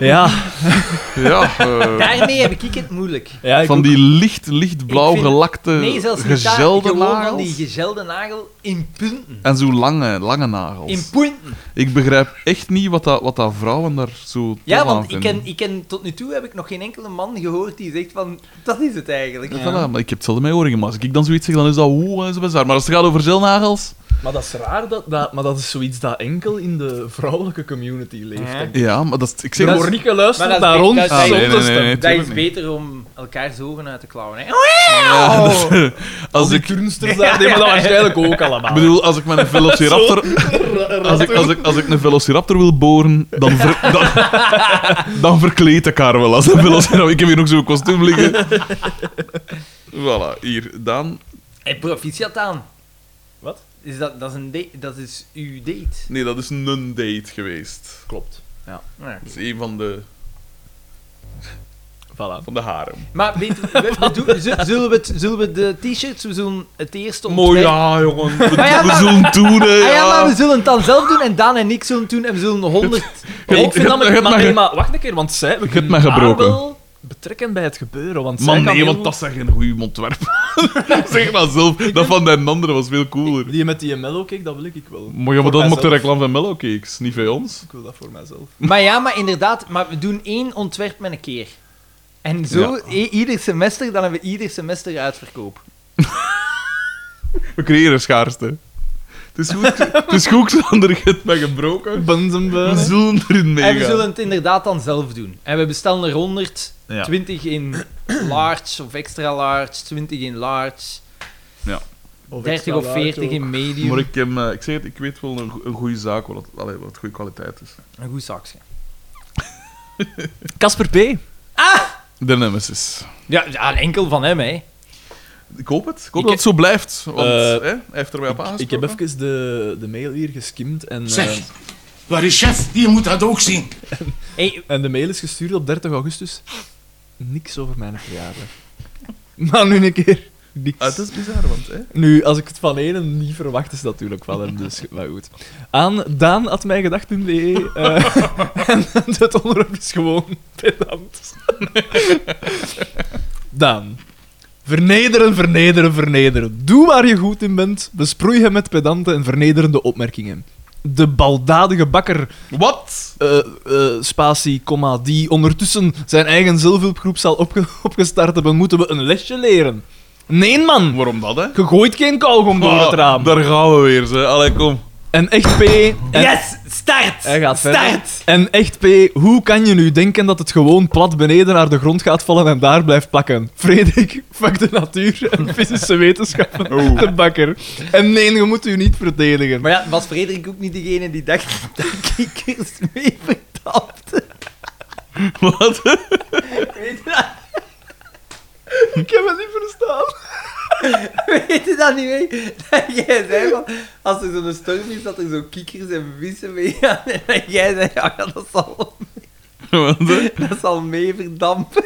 S3: Ja,
S2: [laughs] ja, eh.
S1: Daarmee heb ik het moeilijk.
S3: [laughs] ja ik
S2: van
S3: ook.
S2: die licht, lichtblauw
S1: Ik vind-
S2: gelakte,
S1: Nee, zelfs niet daar.
S2: Eh, gezelde
S1: Gewoon van die
S2: nagels.
S1: gezelde nagel in punten.
S2: En zo lange, lange nagels.
S1: In punten.
S2: Ik begrijp echt niet wat dat, wat dat vrouwen daar zo tof
S1: Ja,
S2: aan
S1: want ik
S2: vinden.
S1: ken, ik ken, tot nu toe heb ik nog geen enkele man gehoord die zegt van, dat is het eigenlijk.
S2: Voilà, maar ik heb hetzelfde met oren Maar als ik dan zoiets zeg, dan is dat oeh, en zo bizar. Maar als het gaat over zelnagels...
S3: Maar dat is raar, dat, dat, maar dat is zoiets dat enkel in de vrouwelijke community leeft.
S1: Ja.
S3: denk ik.
S2: Ja, maar dat is... Ik zeg
S3: Er
S2: maar...
S3: wordt niet
S1: maar dat
S3: geluisterd
S1: is-
S3: naar
S1: dat
S3: ons
S1: is- Ah, nee,
S3: zonder
S2: nee, nee,
S3: stem.
S2: nee.
S1: dat
S2: tuurlijk
S1: is
S2: niet.
S1: beter om elkaars ogen uit te klauwen. Hè?
S2: Ja, [laughs] dat is-
S1: Oh.
S2: als
S3: Als ik
S2: ik...
S3: turnsters daar, die hebben dat waarschijnlijk
S2: [laughs]
S3: ook allemaal.
S2: Ik bedoel, als ik
S1: [laughs]
S2: met een velociraptor... Als ik, als, ik, als ik een velociraptor wil boren, dan, ver, [laughs] dan, dan verkleed ik haar wel als een velociraptor. Ik heb hier ook zo'n kostuum liggen. Voilà, hier. Daan...
S1: En proficiat aan.
S3: Wat?
S1: Is dat, dat, is een date- dat is uw date.
S2: Nee, dat is een date geweest.
S3: Klopt.
S1: Ja.
S2: Dat is een van de
S3: Voilà.
S2: van de harem.
S1: Maar weet, we, we
S2: [laughs]
S1: doen- z- zullen, we het, zullen we de t-shirts, we zullen het eerst
S2: Mooi,
S1: ontwerpen.
S2: ja, jongen. We,
S1: Ah, ja, [laughs]
S2: we
S1: maar-
S2: zullen doen, hè.
S1: Ah ja,
S2: ja.
S1: maar we zullen het dan zelf doen en Daan en ik zullen het doen en we zullen 100.
S2: [laughs]
S3: Nee, ik
S2: je
S3: vind
S2: hebt- je
S3: namelijk...
S2: hebt
S3: Maar,
S2: mij
S3: nee,
S2: ge-
S3: maar wacht een keer, want zij... We kunnen
S2: mij gebroken.
S1: Ah,
S3: haar wel betrekken bij het gebeuren, want zij
S2: Man,
S3: kan
S2: nee,
S3: heel-
S2: want dat zijn geen goede ontwerpen. [laughs] zeg maar zelf, dat van de andere was veel cooler.
S3: Die met die mellow cake, dat wil ik wel.
S2: Maar ja, maar
S3: Voor
S2: dat maakt de
S3: mijzelf.
S2: reclame van Mellow Cakes, niet bij ons.
S3: Ik wil dat voor mijzelf.
S1: Maar ja, maar inderdaad, maar we doen één ontwerp met een keer. En zo i- ieder semester, dan hebben we ieder semester uitverkoop.
S2: We creëren schaarste. Het is goed, het is goed Sander, je hebt mij gebroken. We
S3: Bunzenbeuren.
S2: zullen erin meegaan.
S1: En we zullen het inderdaad dan zelf doen. En we bestellen er 100,
S2: Ja.
S1: 20 in [clears throat] large of extra large, 20 in large, 30 of 40 in medium.
S2: Maar ik, hem, eh, ik zeg het, ik weet wel een, go- een goede zaak wat, het- allee, wat goede kwaliteit is.
S1: Een goed zakje.
S3: Casper P.
S2: De Nemesis.
S1: Ja, ja, enkel van hem, hè.
S2: Ik hoop het. Ik hoop
S1: Ik-
S2: dat het zo blijft. Want
S3: Eh,
S2: hè, hij heeft er wel op
S3: Ik heb
S2: aangesproken.
S3: even de, de mail hier geskimd en, eh,
S4: Zeg, waar is chef? Die moet dat ook zien.
S1: Hey,
S3: en de mail is gestuurd op 30 augustus. Niks over mijn verjaardag. [laughs] Maar nu een keer. Niks.
S2: Ah, het is bizar, want... Hè?
S3: Nu, als ik het van enen niet verwacht, is dat natuurlijk wel hem, dus, maar goed. Aan daan.mijgedacht.be E, eh, [laughs] en het onderwerp is gewoon pedant. Daan. Vernederen, vernederen, vernederen. Doe waar je goed in bent, besproei hem met pedante en vernederende opmerkingen. De baldadige bakker
S2: Wat?
S3: eh, eh, spatie, comma, die ondertussen zijn eigen zelfhulpgroep zal opge- opgestart hebben, moeten we een lesje leren. Nee, man.
S2: Waarom dat, hè?
S3: Je gooit geen kauwgom door het
S2: Ah,
S3: raam.
S2: Daar gaan we weer, ze. Allee, kom.
S3: En echt P... en-
S1: yes, start!
S3: Hij gaat verder.
S1: start!
S3: En echt P, hoe kan je nu denken dat het gewoon plat beneden naar de grond gaat vallen en daar blijft plakken? Frederik, [laughs] fuck de natuur en [laughs] fysische wetenschappen, [laughs]
S2: [laughs] Oh.
S3: de bakker. En nee, je moet u niet verdedigen.
S1: Maar ja, was Frederik ook niet degene die dacht [laughs] dat ik eerst mee [laughs] vertapte?
S2: Wat?
S1: Weet je dat?
S3: ik heb het niet verstaan.
S1: [laughs] Weet je dat niet mee? Dat jij zei van, als er zo'n storm is, dat er zo kikkers en vissen meegaan. En dat jij zei, ja, ja, dat zal,
S2: Wat, hè?
S1: dat zal mee
S3: [laughs]
S1: verdampen.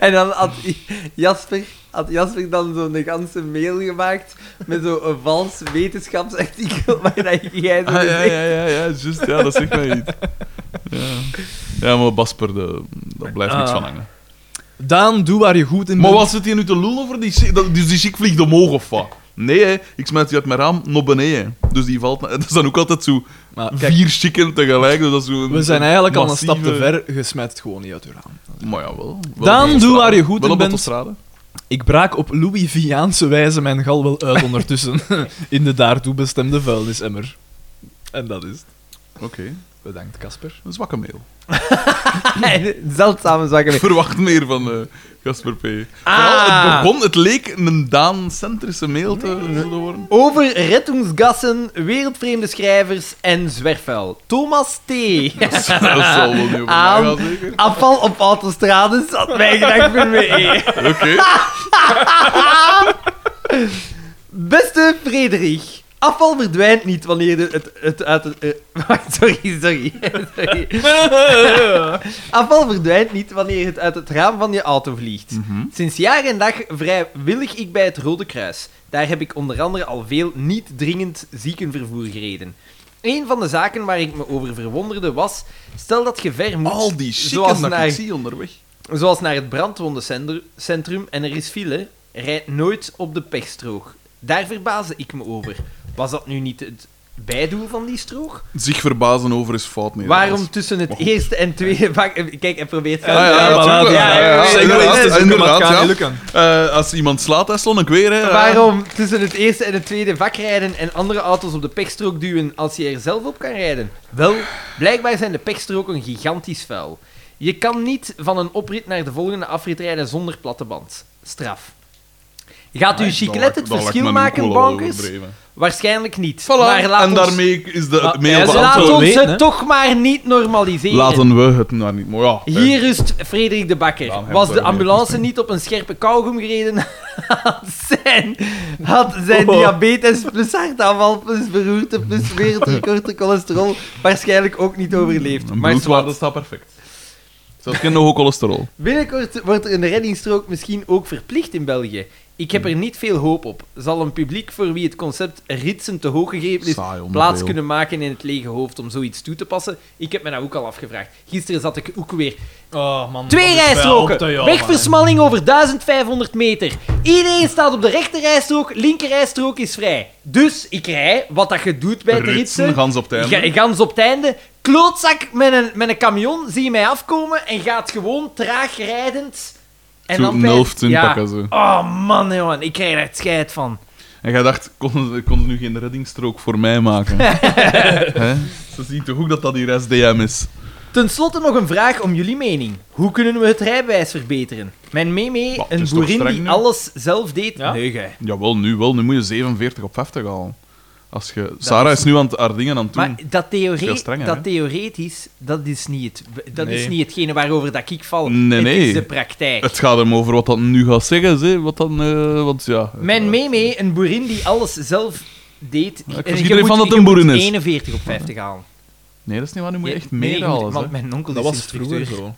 S1: En dan had I- Jasper, had Jasper dan zo'n ganse mail gemaakt met zo'n vals wetenschapsartikel [laughs] waar dat jij zo
S2: Ah, ja,
S1: gezegd-
S2: ja, ja, ja, juist. Ja, dat zegt mij niet. Ja, ja maar Basper, de, daar blijft niks
S3: Ah.
S2: van hangen.
S3: Daan, doe waar je goed in
S2: Maar
S3: bent.
S2: wat zit hier nu te lullen over? Die, chick- dat- dus die chick vliegt omhoog of wat? Nee, hè. ik smijt die uit mijn raam naar beneden. Dus die valt... [laughs] na- Dat is dan ook altijd zo
S3: Maar kijk,
S2: vier chicken tegelijk. Dus dat is zo
S3: we zijn eigenlijk al een
S2: massieve-
S3: stap te ver. Je smijt het gewoon niet uit je raam.
S2: Maar ja, wel. wel
S3: Daan,
S2: op autostrade.
S3: doe waar je goed
S2: wel
S3: in
S2: op
S3: bent.
S2: autostrade.
S3: Ik braak op Louis-Viaanse wijze mijn gal wel uit ondertussen. [laughs] in de daartoe bestemde vuilnisemmer. En dat is het.
S2: Oké,
S3: Bedankt, Casper.
S2: een zwakke mail. [laughs]
S1: [laughs] Zeldzame zwakke
S2: Ik
S1: mee.
S2: verwacht meer van eh, Casper P.
S1: Ah.
S2: Vooral, het begon... Het leek een Daan-centrische mail te zullen worden. [laughs]
S1: Over rettungsgassen, wereldvreemde schrijvers en zwerfvuil. Thomas T.
S2: Dat zal wel niet
S3: Ah.
S2: over mij
S1: Aan-
S2: gaan, zeker?
S1: Afval op autostrades had mij gedacht voor mee.
S2: Oké.
S1: Beste Frederik, afval verdwijnt niet wanneer de- het, het uit het... eh, [laughs] wacht, sorry, sorry, sorry. Afval verdwijnt niet wanneer het uit het raam van je auto vliegt.
S2: Mhm.
S1: Sinds jaar en dag vrijwillig ik bij het Rode Kruis. Daar heb ik onder andere al veel niet dringend ziekenvervoer gereden. Een van de zaken waar ik me over verwonderde was... Stel dat je ver moet...
S2: Al die
S1: zoals
S2: chicken dat
S1: naar-
S2: ik zie onderweg.
S1: Zoals naar het brandwondencentrum en er is file, rijdt nooit op de pechstrook. Daar verbaasde ik me over. Was dat nu niet het bijdoel van die strook?
S2: Zich verbazen over is fout niet.
S1: Waarom tussen het
S2: Maar goed.
S1: eerste en tweede vak... eh, Kijk, hij probeert...
S2: Ja, ja, ja, natuurlijk.
S3: dus
S1: ja, ja, ja,
S2: Zeker
S1: ja,
S2: weten,
S1: ja,
S2: zeker, maar het
S3: inderdaad,
S2: gaat
S3: ja.
S2: niet lukken. Eh, als iemand slaat, hij slon ik weer. Hè.
S1: Waarom tussen het eerste en het tweede vak rijden en andere auto's op de pechstrook duwen als je er zelf op kan rijden? Wel, blijkbaar zijn de pechstroken gigantisch vuil. Je kan niet van een oprit naar de volgende afrit rijden zonder platte band. Straf. Gaat uw
S2: Nee,
S1: chiclet
S2: dan
S1: het
S2: lijkt-
S1: verschil
S2: dan lijkt me
S1: maken,
S2: ook wel
S1: bonkers?
S2: overdreven.
S1: Waarschijnlijk niet.
S2: Voilà,
S1: Maar laat
S2: en
S1: ons,
S2: daarmee is de
S3: Maar
S2: mail
S3: hij
S1: Dus
S3: zou-
S1: laat
S3: Laten we
S1: ons
S3: weten, hè.
S1: het toch maar niet normaliseren.
S2: Laten we het nou niet. Maar ja, hè.
S1: Hier rust Frederik de
S2: Dan
S1: Bakker.
S2: hebben
S1: Was
S2: we
S1: de
S2: weer
S1: ambulance
S2: toespraak.
S1: niet op een scherpe kauwgom gereden, [laughs] had zijn, had zijn
S3: Oh.
S1: diabetes plus hartaanval plus beroerte plus wereldrecord cholesterol waarschijnlijk ook niet overleefd.
S2: Een
S1: Maar
S2: bloedwaarde
S1: zwart.
S2: staat perfect. Zelfs geen hoge cholesterol.
S1: Binnenkort wordt er een reddingstrook misschien ook verplicht in België. Ik heb er niet veel hoop op. Zal een publiek voor wie het concept ritsen te hoog gegeven is,
S2: Saai onderdeel.
S1: plaats kunnen maken in het lege hoofd om zoiets toe te passen? Ik heb me dat ook al afgevraagd. Gisteren zat ik ook weer...
S3: Oh, man.
S1: Twee rijstroken! Wegversmalling over 1500 meter. Iedereen staat op de rechter rijstrook, linker rijstrook is vrij. Dus ik rij, wat dat je doet bij het
S2: Ritsen,
S1: ritsen...
S2: gans op het einde.
S1: Ga- Gans op het einde. Klootzak met een, met een camion zie je mij afkomen en gaat gewoon traag rijdend. En
S2: Zo een
S1: bij-
S2: helft in pakken, zo.
S1: Oh man, jongen, ik krijg er echt scheid van.
S2: En jij dacht, kon ze kon ze nu geen reddingstrook voor mij
S1: [laughs]
S2: maken? Hè? Ze zien toch ook dat dat hier SDM is?
S1: Ten slotte nog een vraag om jullie mening. Hoe kunnen we het rijbewijs verbeteren? Mijn meme,
S2: Bah, het
S1: een
S2: is toch
S1: boerin
S2: streng
S1: die
S2: nu?
S1: alles zelf deed.
S3: Ja?
S1: Nee, gij.
S2: Jawel, nu wel. Nu moet je 47 op 50 halen. Als je... Sarah is nu aan het, haar dingen aan Hm. het doen.
S1: Maar dat, theorie,
S2: Veel strenger, hè?
S1: dat theoretisch, dat is niet, het, dat is
S3: Nee.
S1: niet hetgene waarover dat ik val.
S2: Nee,
S1: het
S2: nee.
S1: is de praktijk.
S2: Het gaat hem over wat dat nu gaat zeggen, ze. Wat dan... eh, want ja...
S1: Mijn meme, een boerin die alles zelf deed.
S2: Ik
S1: en
S2: zie
S1: je
S2: er
S1: moet-
S2: van dat
S1: je
S2: een boerin
S1: moet
S2: is.
S1: 41 op 50 halen.
S2: Nee, dat is niet waar. Nu moet je
S1: Ja,
S2: echt
S1: nee,
S2: meer
S1: je moet-
S2: halen,
S1: Want
S2: ze.
S1: mijn onkel
S3: Dat
S1: is
S3: was vroeger
S1: instructeur.
S3: zo,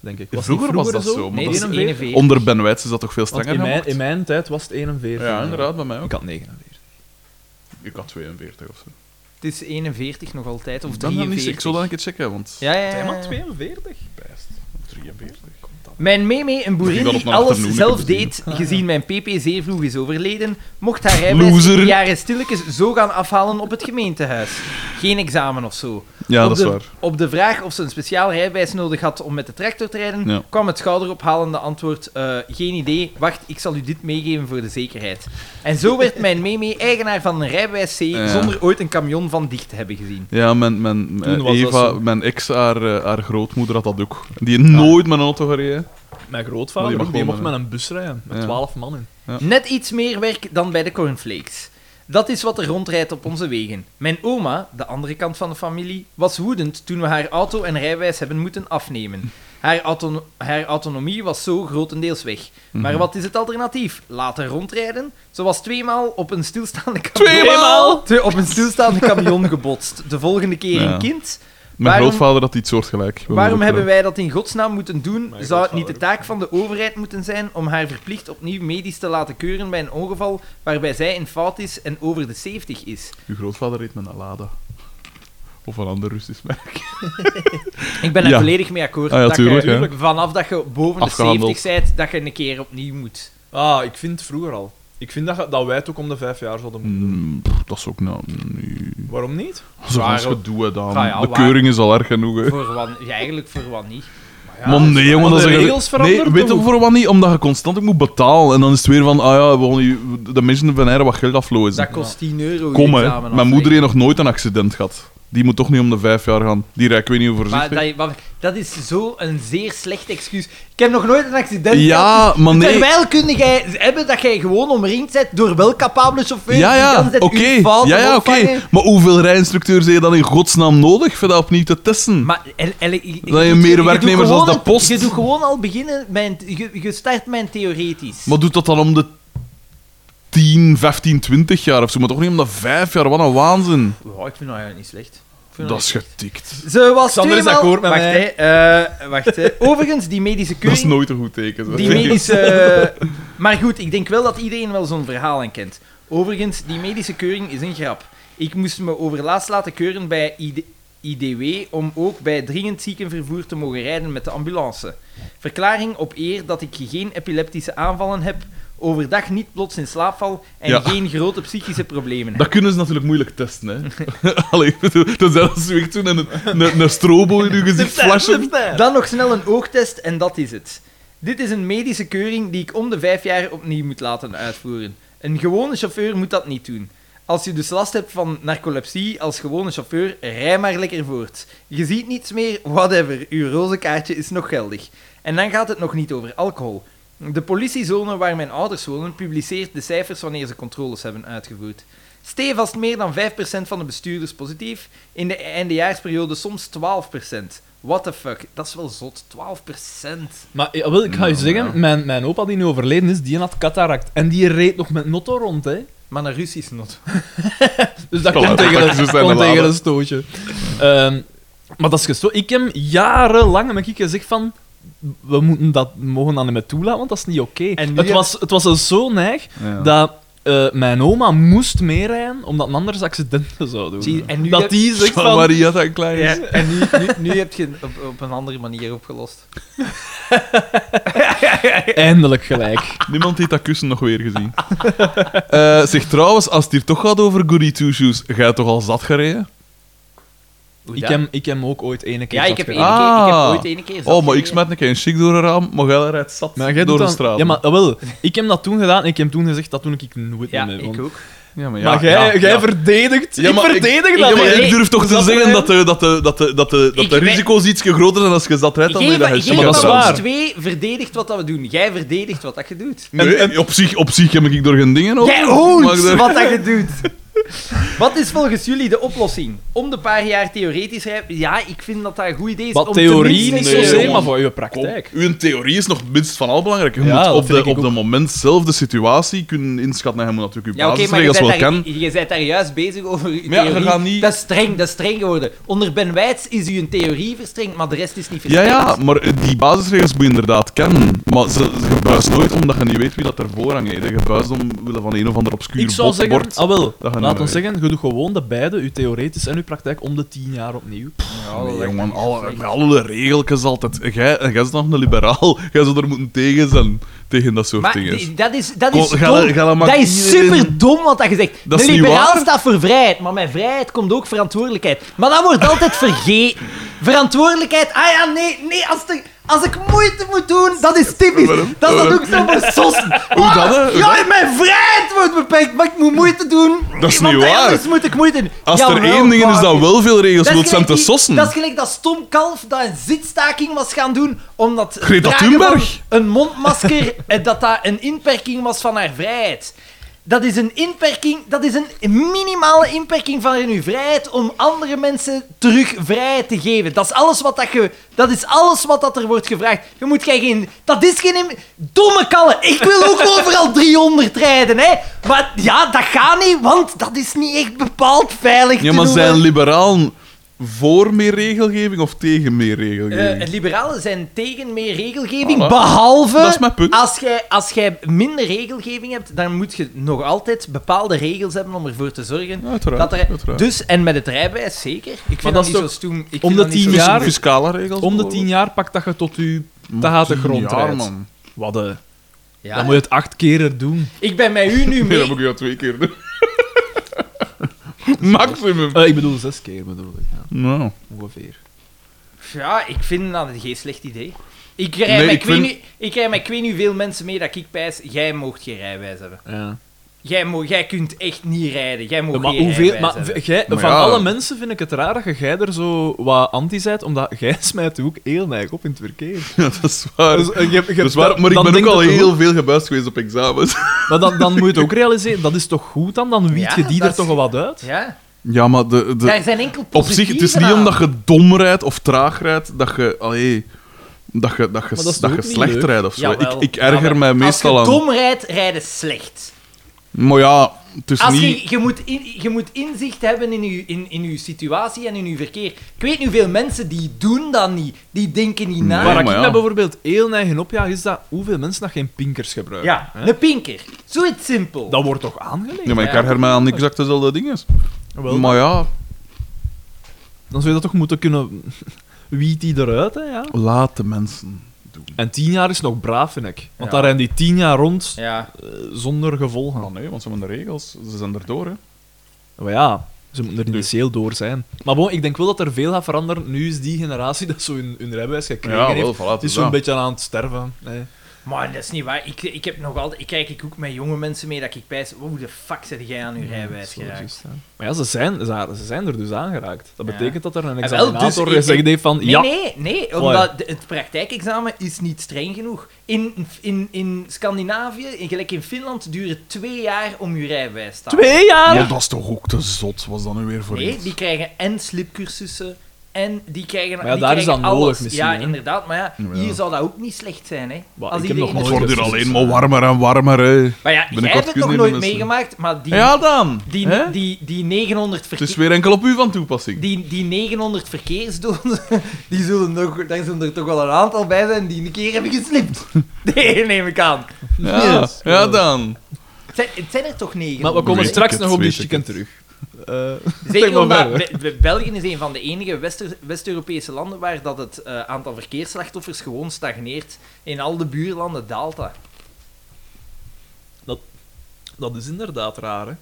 S3: denk ik.
S2: Vroeger,
S3: Was het
S2: was
S3: niet
S2: dat zo, maar
S1: Nee,
S2: dat
S1: dat
S2: is
S1: is
S3: 41?
S1: 41.
S2: Onder Ben Weitz is dat toch veel
S3: Want
S2: strenger
S3: in mijn,
S2: gemaakt?
S3: in mijn tijd was het 41.
S2: Ja, inderdaad, bij mij ook.
S3: Ik had 49.
S2: Ik had 42 of zo.
S1: Het is 41 nog altijd, of
S2: Ik ben dat niet
S1: 43.
S2: zeker. Ik zal dat een keer checken, want...
S1: Ja, ja,
S3: Zijn maar
S1: ja.
S3: 42?
S2: Best. 43.
S1: Mijn meme, een
S2: Ik
S1: boerin
S2: ben op
S1: die
S2: een
S1: alles
S2: afternoon,
S1: zelf
S2: ik heb het
S1: deed, gezien mijn pp zeer vroeg is overleden, mocht haar rijbewijs
S2: Loser.
S1: in de jaren stilletjes zo gaan afhalen op het gemeentehuis. Geen examen of zo.
S2: Ja,
S1: op
S2: dat
S1: de,
S2: is waar.
S1: Op de vraag of ze een speciaal rijbewijs nodig had om met de tractor te rijden,
S2: Ja.
S1: kwam het schouderophalende antwoord: eh, Geen idee, wacht, ik zal u dit meegeven voor de zekerheid. En zo werd mijn meme eigenaar van een rijbewijs C
S2: Ja.
S1: zonder ooit een camion van dicht te hebben gezien.
S2: Ja, mijn, mijn, eh,
S3: Toen was dat
S2: Eva,
S3: zo.
S2: mijn ex, haar, eh, haar grootmoeder had dat ook. Die heeft nooit met een auto gereden.
S3: Mijn
S2: Maar die
S3: grootvader
S2: mag
S3: ook, die
S2: gewoon
S3: mocht met een bus rijden. Met
S2: Ja.
S3: 12 mannen.
S1: Net iets meer werk dan bij de cornflakes. Dat is wat er rondrijdt op onze wegen. Mijn oma, de andere kant van de familie, was woedend toen we haar auto en rijwijs hebben moeten afnemen. Haar, auto haar autonomie was zo grotendeels weg. Maar
S2: Mhm.
S1: wat is het alternatief? Laten rondrijden? Ze was tweemaal op een
S2: [laughs]
S1: stilstaande camion...
S2: Tweemaal?
S1: Twee- Op een stilstaande camion gebotst. De volgende keer
S2: Ja.
S1: een kind.
S2: Mijn
S1: Waarom-
S2: grootvader had iets soortgelijk.
S1: Waarom hebben
S2: eh,
S1: wij dat in godsnaam moeten doen?
S3: Mijn
S1: Zou het niet de
S3: grootvader.
S1: taak van de overheid moeten zijn om haar verplicht opnieuw medisch te laten keuren bij een ongeval waarbij zij in fout is en over de 70 is?
S2: Uw grootvader reed met een Lada. Of een ander Russisch merk.
S1: Ik ben er
S2: Ja.
S1: volledig mee akkoord.
S2: Ah ja,
S1: dat
S2: tuurlijk,
S1: je,
S2: hè.
S1: vanaf dat je boven de
S2: Afgehandeld.
S1: 70 bent, dat je een keer opnieuw moet.
S3: Ah, ik vind het vroeger al. Ik vind dat, dat wij het ook om de vijf jaar zouden moeten doen.
S2: Mm, pff, dat is ook nou... Nee.
S3: Waarom niet?
S2: Zo
S3: Waar-
S2: als gedoe, hè, dan.
S1: Ah, ja,
S2: de
S1: waar-
S2: keuring is al erg genoeg, hè.
S1: Voor wat, ja, eigenlijk voor wat niet.
S2: Dus
S3: Ja,
S2: maar nee, jongen,
S3: de
S2: dat is een-
S3: regels
S2: Nee,
S3: veranderen
S2: weet je
S3: toch?
S2: voor wat niet? Omdat je constant ook moet betalen. En dan is het weer van, ah ja, we gaan die- de mensen van Heeren wat geld aflozen.
S1: Dat kost 10 euro.
S2: Kom,
S1: je
S2: hè.
S1: examen
S2: Mijn moeder
S1: afleggen.
S2: heeft nog nooit een accident gehad. Die moet toch niet om de vijf jaar gaan. Die rijdt, ik weet niet hoe
S1: Maar dat,
S2: voorzichtig.
S1: maar dat is zo'n zeer slecht excuus. Ik heb nog nooit een accident gehad.
S2: Ja, maar Oh, nee.
S1: Terwijl kun jij hebben dat jij gewoon omringd bent door welcapabele chauffeurs.
S2: Ja,
S1: die de
S2: ja,
S1: hele tijd
S2: oké.
S1: uw fouten
S2: Ja, ja, oké.
S1: opvangen.
S2: Maar hoeveel rijinstructeurs heb je dan in godsnaam nodig voor dat opnieuw te testen?
S1: Maar el, el, je- je
S2: Dan heb je
S1: doet-
S2: meer
S1: doet
S2: werknemers
S1: gewoon
S2: als de
S1: een-
S2: post.
S1: Je doet gewoon al beginnen, mijn, je, je start mijn theoretisch.
S2: Maar doet dat dan om de 10, 15, 20 jaar of zo? Maar toch niet om de 5 jaar? Wat een waanzin.
S1: Ja, ik vind dat eigenlijk niet slecht. Ik vind
S2: Dat
S1: niet
S2: is
S1: slecht.
S2: getikt.
S1: Ze was
S3: Sander is
S1: tweemaal-
S3: akkoord met
S1: wacht,
S3: mij.
S1: Hè, eh, wacht, [laughs] hè. Overigens, die medische
S2: Dat is
S1: keuring...
S2: nooit een goed teken. zeg.
S1: Die medische... maar goed, ik denk wel dat iedereen wel zo'n verhaal aan kent. Overigens, die medische keuring is een grap. Ik moest me overlaatst laten keuren bij ID IDW om ook bij dringend ziekenvervoer te mogen rijden met de ambulance. Verklaring op eer dat ik geen epileptische aanvallen heb, overdag niet plots in slaap val en
S2: Ja.
S1: geen grote psychische problemen heb.
S2: Dat kunnen ze natuurlijk moeilijk testen, hè. [laughs] Allee, ik bedoel, tenzij dat ze weg doen en een, een, een strobo in hun gezicht flashen.
S1: Dan nog snel een oogtest en dat is het. Dit is een medische keuring die ik om de vijf jaar opnieuw moet laten uitvoeren. Een gewone chauffeur moet dat niet doen. Als je dus last hebt van narcolepsie als gewone chauffeur, rij maar lekker voort. Je ziet niets meer, whatever, uw roze kaartje is nog geldig. En dan gaat het nog niet over alcohol. De politiezone waar mijn ouders wonen publiceert de cijfers wanneer ze controles hebben uitgevoerd. Stevast meer dan 5% van de bestuurders positief, in de eindejaarsperiode soms 12%. What the fuck, dat is wel zot, 12%.
S3: Maar ja, wel, ik ga je
S2: Nou,
S3: zeggen,
S2: ja.
S3: mijn, mijn opa die nu overleden is, die had cataract. En die reed nog met notto rond, hè.
S1: Maar naar Russisch not. [laughs]
S3: Dus dat
S2: Voilà,
S3: komt tegen,
S2: dat is dus
S3: een,
S2: zijn
S3: komt tegen
S2: laden.
S3: een stootje. Ehm, Maar dat is gesto. Ik heb jarenlang heb ik gezegd van. We moeten dat mogen aan hem toelaten, want dat is niet oké.
S5: En nu
S3: Het,
S5: heb-
S3: was, het was al zo neig
S2: Ja.
S3: dat eh, mijn oma moest meerijden, omdat anders accidenten zou doen.
S5: Zie, en nu
S3: dat
S5: heb-
S3: die zegt
S2: Van
S3: van...
S2: Maria dat klein is.
S5: Ja, en nu, nu, nu heb je het op, op een andere manier opgelost.
S3: Eindelijk
S2: Ah,
S3: gelijk.
S2: Niemand heeft dat kussen nog weer gezien. [laughs] Eh, zeg trouwens, als het hier toch gaat over Goody Two Shoes, ga je toch al zat gereden?
S3: ik, heb, ik heb ook ooit ene keer
S1: Ja, ik
S3: zat
S1: heb, één
S3: gereden.
S2: Ah.
S1: keer, ik heb ooit één keer zat
S2: oh, maar ik
S1: gereden.
S2: smet een keer een chic door een raam, maar jij rijdt zat
S3: Maar jij doet
S2: door de
S3: dan-
S2: straat.
S3: Ja, maar wel. Ik heb dat toen gedaan en ik heb toen gezegd dat toen ik nooit
S1: Ja,
S3: meer mee
S1: ik
S3: won.
S1: ook.
S2: Ja, maar, ja,
S3: Maar jij,
S2: ja,
S3: jij
S2: ja.
S3: verdedigt.
S2: Ja, maar
S3: ik
S2: ik-
S3: verdedig
S1: ik-
S3: dat.
S2: Ja, maar
S1: Nee,
S2: ik
S1: nee,
S2: durf toch
S3: is
S2: te
S3: dat
S2: zeggen
S3: een-
S2: dat de, dat de, dat de, dat de, dat
S1: Ik
S2: de
S1: ben-
S2: risico's iets groter zijn als je zat rijdt dan
S1: Geen
S2: dat je
S1: van-
S2: chic
S1: geen van
S3: maar
S2: gaat
S3: dat is
S2: rijden.
S1: ons
S3: waar.
S1: twee verdedigt wat dat we doen. Jij verdedigt wat dat je doet.
S2: Nee, op, zich, op zich heb ik door geen dingen op.
S1: Jij
S2: Maar ik
S5: Oons,
S2: durf-
S5: wat dat je doet.
S1: Wat is volgens jullie de oplossing? Om de paar jaar theoretisch rijden? Ja, ik vind dat dat een goed idee is.
S3: Wat
S1: om
S3: theorie
S1: tenminste-
S3: niet
S2: nee,
S3: zozeer,
S2: jongen.
S3: maar voor je
S2: Kom,
S3: praktijk.
S2: uw theorie is nog minst van al belangrijk. Je
S3: Ja, dat
S2: moet op,
S3: vind
S2: de,
S3: ik
S2: op
S3: ook.
S2: de moment zelf de situatie kunnen inschatten. Je moet natuurlijk je
S1: Ja, oké, maar
S2: basisregels
S1: je
S2: wel
S1: bent, daar,
S2: kennen.
S1: je bent daar juist bezig over je
S2: Maar ja, je
S1: theorie.
S2: gaat niet-
S1: Dat is streng, dat is streng geworden. Onder Ben Wijts is uw theorie verstrengd, maar de rest is niet
S2: Ja,
S1: verstrengd.
S2: ja, maar die basisregels moet je inderdaad kennen. Maar ze, ze buist nooit omdat je niet weet wie dat er voorrang heeft. Je buist omwille van een of ander obscuur
S3: Ik zou
S2: bord-
S3: zeggen,
S2: bord.
S1: Oh.
S3: ah wel,
S2: Dat gaan
S3: laat
S2: we
S3: ons
S2: weten.
S3: zeggen, je doet gewoon de beide, uw theoretisch en uw praktijk, om de tien jaar opnieuw.
S2: Nee, jongen, alle, met alle regeltjes altijd. Jij, en jij is nog een liberaal. Jij zou er moeten tegen zijn. Tegen dat soort
S1: Maar
S2: dingen.
S1: die- dat is, dat
S2: Kom,
S1: is
S2: ga
S1: dom.
S2: dat- ga dat maar
S1: dat is
S2: iedereen-
S1: super dom wat dat je zegt.
S2: Dat is
S1: de
S2: niet
S1: liberaal
S2: waar.
S1: staat voor vrijheid, maar mijn vrijheid komt ook verantwoordelijkheid. Maar dat wordt altijd vergeten. Verantwoordelijkheid, ah ja, nee, nee, als, de- als ik moeite moet doen, dat is typisch.
S2: Waarom?
S1: Dat is dan ook zo voor sossen.
S2: [laughs] Hoe dat, hè? Hoe
S1: Ja, mijn vrijheid wordt beperkt, maar ik moet moeite doen.
S2: Dat is
S1: want
S2: niet waar.
S1: Anders moet ik moeite doen.
S2: Als er
S1: Jawel,
S2: één ding is dat
S1: Marcus.
S2: wel veel regels
S1: Dat is
S2: wilt, zijn
S1: gelijk
S2: te
S1: die-
S2: sossen.
S1: Dat is gelijk dat stom kalf dat een zitstaking was gaan doen omdat het
S2: Greta
S1: dragen
S2: Thunberg.
S1: van een
S2: [laughs]
S1: mondmasker eh, dat dat een inperking was van haar vrijheid. Dat is een inperking, dat is een minimale inperking van uw vrijheid om andere mensen terug vrijheid te geven. Dat is alles wat dat je, dat is alles wat dat er wordt gevraagd. Je moet geen- geen, dat is geen in- domme kallen. Ik wil
S2: [laughs]
S1: ook overal 300 rijden, hè? Maar ja, dat gaat niet, want dat is niet echt bepaald veilig.
S2: Ja,
S1: te
S2: maar
S1: doen,
S2: zijn
S1: hè.
S2: liberalen voor meer regelgeving of tegen meer
S1: Eh,
S2: regelgeving?
S1: het liberalen zijn tegen meer regelgeving,
S2: Voilà.
S1: behalve
S2: Dat is mijn punt.
S1: Als, jij, als jij minder regelgeving hebt, dan moet je nog altijd bepaalde regels hebben om ervoor te zorgen
S2: Ja, uiteraard,
S1: Ah, dat er...
S2: uiteraard.
S1: Dus, en met het rijbewijs zeker. Ik vind
S3: Maar
S1: dat,
S3: dat is
S1: niet zo
S3: toch-
S1: stoem. Ik vind
S3: om de
S1: dat niet
S3: tien
S1: zo-
S2: Fis-
S3: jaar-
S2: Fiscale regels?
S3: Om de tien jaar pakt dat je tot je te
S2: bijvoorbeeld.
S3: de grond
S2: Tien jaar,
S3: rijdt.
S2: man.
S3: Wat eh,
S1: Ja.
S3: Dan moet je het acht keer doen.
S1: Ik ben met
S2: [laughs]
S1: u nu
S2: Nee, dat moet
S1: mee...
S2: ik jou twee keer doen. [laughs] Maximum.
S3: Eh, ik bedoel zes keer, bedoel ik. Ja,
S2: Nou. [laughs]
S3: ongeveer.
S1: Ja, ik vind dat geen slecht idee. Ik rij
S2: Nee,
S1: met
S2: ik
S1: ik, weet
S2: vind-
S1: niet- ik rij met ik weet niet hoeveel mensen mee dat ik pijs. Jij moogt geen rijbewijs hebben.
S3: Ja.
S1: Jij, mo jij kunt echt niet rijden. Jij moogt
S3: maar
S1: geen
S3: hoeveel,
S1: rijbewijs
S3: maar
S1: hebben.
S3: v- jij,
S2: Maar
S3: van
S2: ja.
S3: alle mensen vind ik het raar dat je jij er zo wat anti zijt, omdat jij [laughs] smijt je ook heel neig op in het verkeer.
S2: Ja, dat is waar.
S3: Dus, eh, je- je-
S2: Dat is Ah, waar, maar ik
S3: dan
S2: ben ook
S3: denk
S2: al
S3: dat je-
S2: heel veel gebuist geweest op examens. [laughs]
S3: Maar dan, dan moet je het ook realiseren, dat is toch goed dan? Dan wiet
S1: Ja,
S3: je die
S1: dat
S3: er toch
S1: is-
S3: wel wat uit?
S1: Ja,
S2: Ja, maar de, de,
S1: daar zijn enkel
S2: op zich, het is
S1: positieve
S2: niet
S1: aan.
S2: omdat je dom rijdt of traag rijdt dat je... Allee, dat je, dat je,
S3: dat
S2: dat
S3: is toch
S2: je
S3: ook niet
S2: slecht
S3: leuk?
S2: rijdt of zo. Ik,
S1: Jawel.
S2: ik erger
S1: Jawel.
S2: mij meestal
S1: Als je
S2: aan...
S1: dom rijdt, rijden slecht.
S2: Maar ja, het is
S1: Als
S2: niet...
S1: je, je, moet in, je moet inzicht hebben in je, in, in uw situatie en in je verkeer. Ik weet niet hoeveel mensen die doen dat niet. Die denken niet na.
S2: Nee,
S3: Waar ik
S2: maar ja.
S3: me bijvoorbeeld heel neig in opjaag is dat hoeveel mensen dat geen pinkers gebruiken.
S1: Ja,
S3: hè?
S1: een pinker. Zoiets simpel.
S3: Dat wordt toch aangelegd?
S2: Ja, maar ik
S1: Ja.
S2: erger mij aan exact dezelfde dingen.
S3: Wel,
S2: Maar ja,
S3: Dan zou je dat toch moeten kunnen... [laughs] Wiet die eruit, hè, ja.
S2: laat de mensen doen.
S3: En tien jaar is nog braaf, vind ik. Want
S1: Ja.
S3: daar rijden die tien jaar rond
S1: Ja.
S3: eh, zonder gevolgen.
S2: Ah, nee, want ze hebben de regels. Ze zijn erdoor, hè.
S3: Maar ja, Dus- ze moeten er initieel door zijn. Maar bon, ik denk wel dat er veel gaat veranderen. Nu is die generatie [laughs] dat zo hun, hun rijbewijs gekregen
S2: Ja, wel,
S3: heeft,
S2: voilà, het
S3: het is
S2: is
S3: zo'n
S2: dat.
S3: beetje aan het sterven. hè.
S1: Maar dat is niet waar. Ik, ik heb nog altijd... Ik kijk ik ook met jonge mensen mee dat ik pijs... Hoe de fuck zit jij aan je rijbewijs
S3: Zo is
S1: geraakt?
S3: het, hè. Maar ja, ze zijn, ze, zijn- ze zijn er dus aangeraakt. Dat
S1: Ja.
S3: betekent dat er een
S1: dus
S3: examinator
S1: ik-
S3: gezegd heeft van...
S1: Nee,
S3: ja,
S1: nee, nee. Omdat de- het praktijkexamen is niet streng genoeg. In, in, in Scandinavië, in, gelijk in Finland, duurt het twee jaar om je rijbewijs te halen.
S3: Twee jaar!
S2: dat is toch ook te zot, was dat nu weer voor
S1: Nee,
S2: iets?
S1: die krijgen en slipcursussen En die krijgen
S3: Maar ja,
S1: die
S3: daar is
S1: krijgen
S3: dat nodig
S1: alles.
S3: misschien,
S1: Ja,
S3: hè?
S1: inderdaad. Maar ja,
S2: Ja.
S1: hier zou dat ook niet slecht zijn, hè.
S3: Maar
S1: Als
S3: ik heb
S1: iedereen-
S3: nog
S2: Het
S3: nooit
S2: wordt hier
S3: gezien.
S2: alleen maar warmer en warmer, hè.
S1: Maar ja, jij
S2: Binnenkort
S1: hebt het nog
S2: kunnen
S1: nooit
S2: mensen-
S1: meegemaakt, maar die,
S2: Ja, dan.
S1: die,
S2: hè?
S1: die, die, 900
S2: Het
S1: verkeer...
S2: is weer enkel op u van toepassing.
S1: Die, die 900 verkeersdoden, [laughs] die zullen nog, daar zullen er toch wel een aantal bij zijn die een keer hebben geslipt. [laughs] Nee, neem ik aan.
S2: Ja,
S3: Yes.
S2: ja dan.
S1: Het zijn, het zijn er toch 900?
S3: Maar we komen
S2: Weet ik
S3: straks
S2: het,
S3: nog op die
S2: weet ik
S3: chicken
S2: het.
S3: terug. Eh, zeg [laughs]
S1: Zeker
S3: maar
S1: omdat
S3: verder.
S1: Be- Be- België is een van de enige Wester- West-Europese landen waar dat het eh, aantal verkeersslachtoffers gewoon stagneert. In al de buurlanden daalt dat.
S3: Dat is inderdaad raar, hè.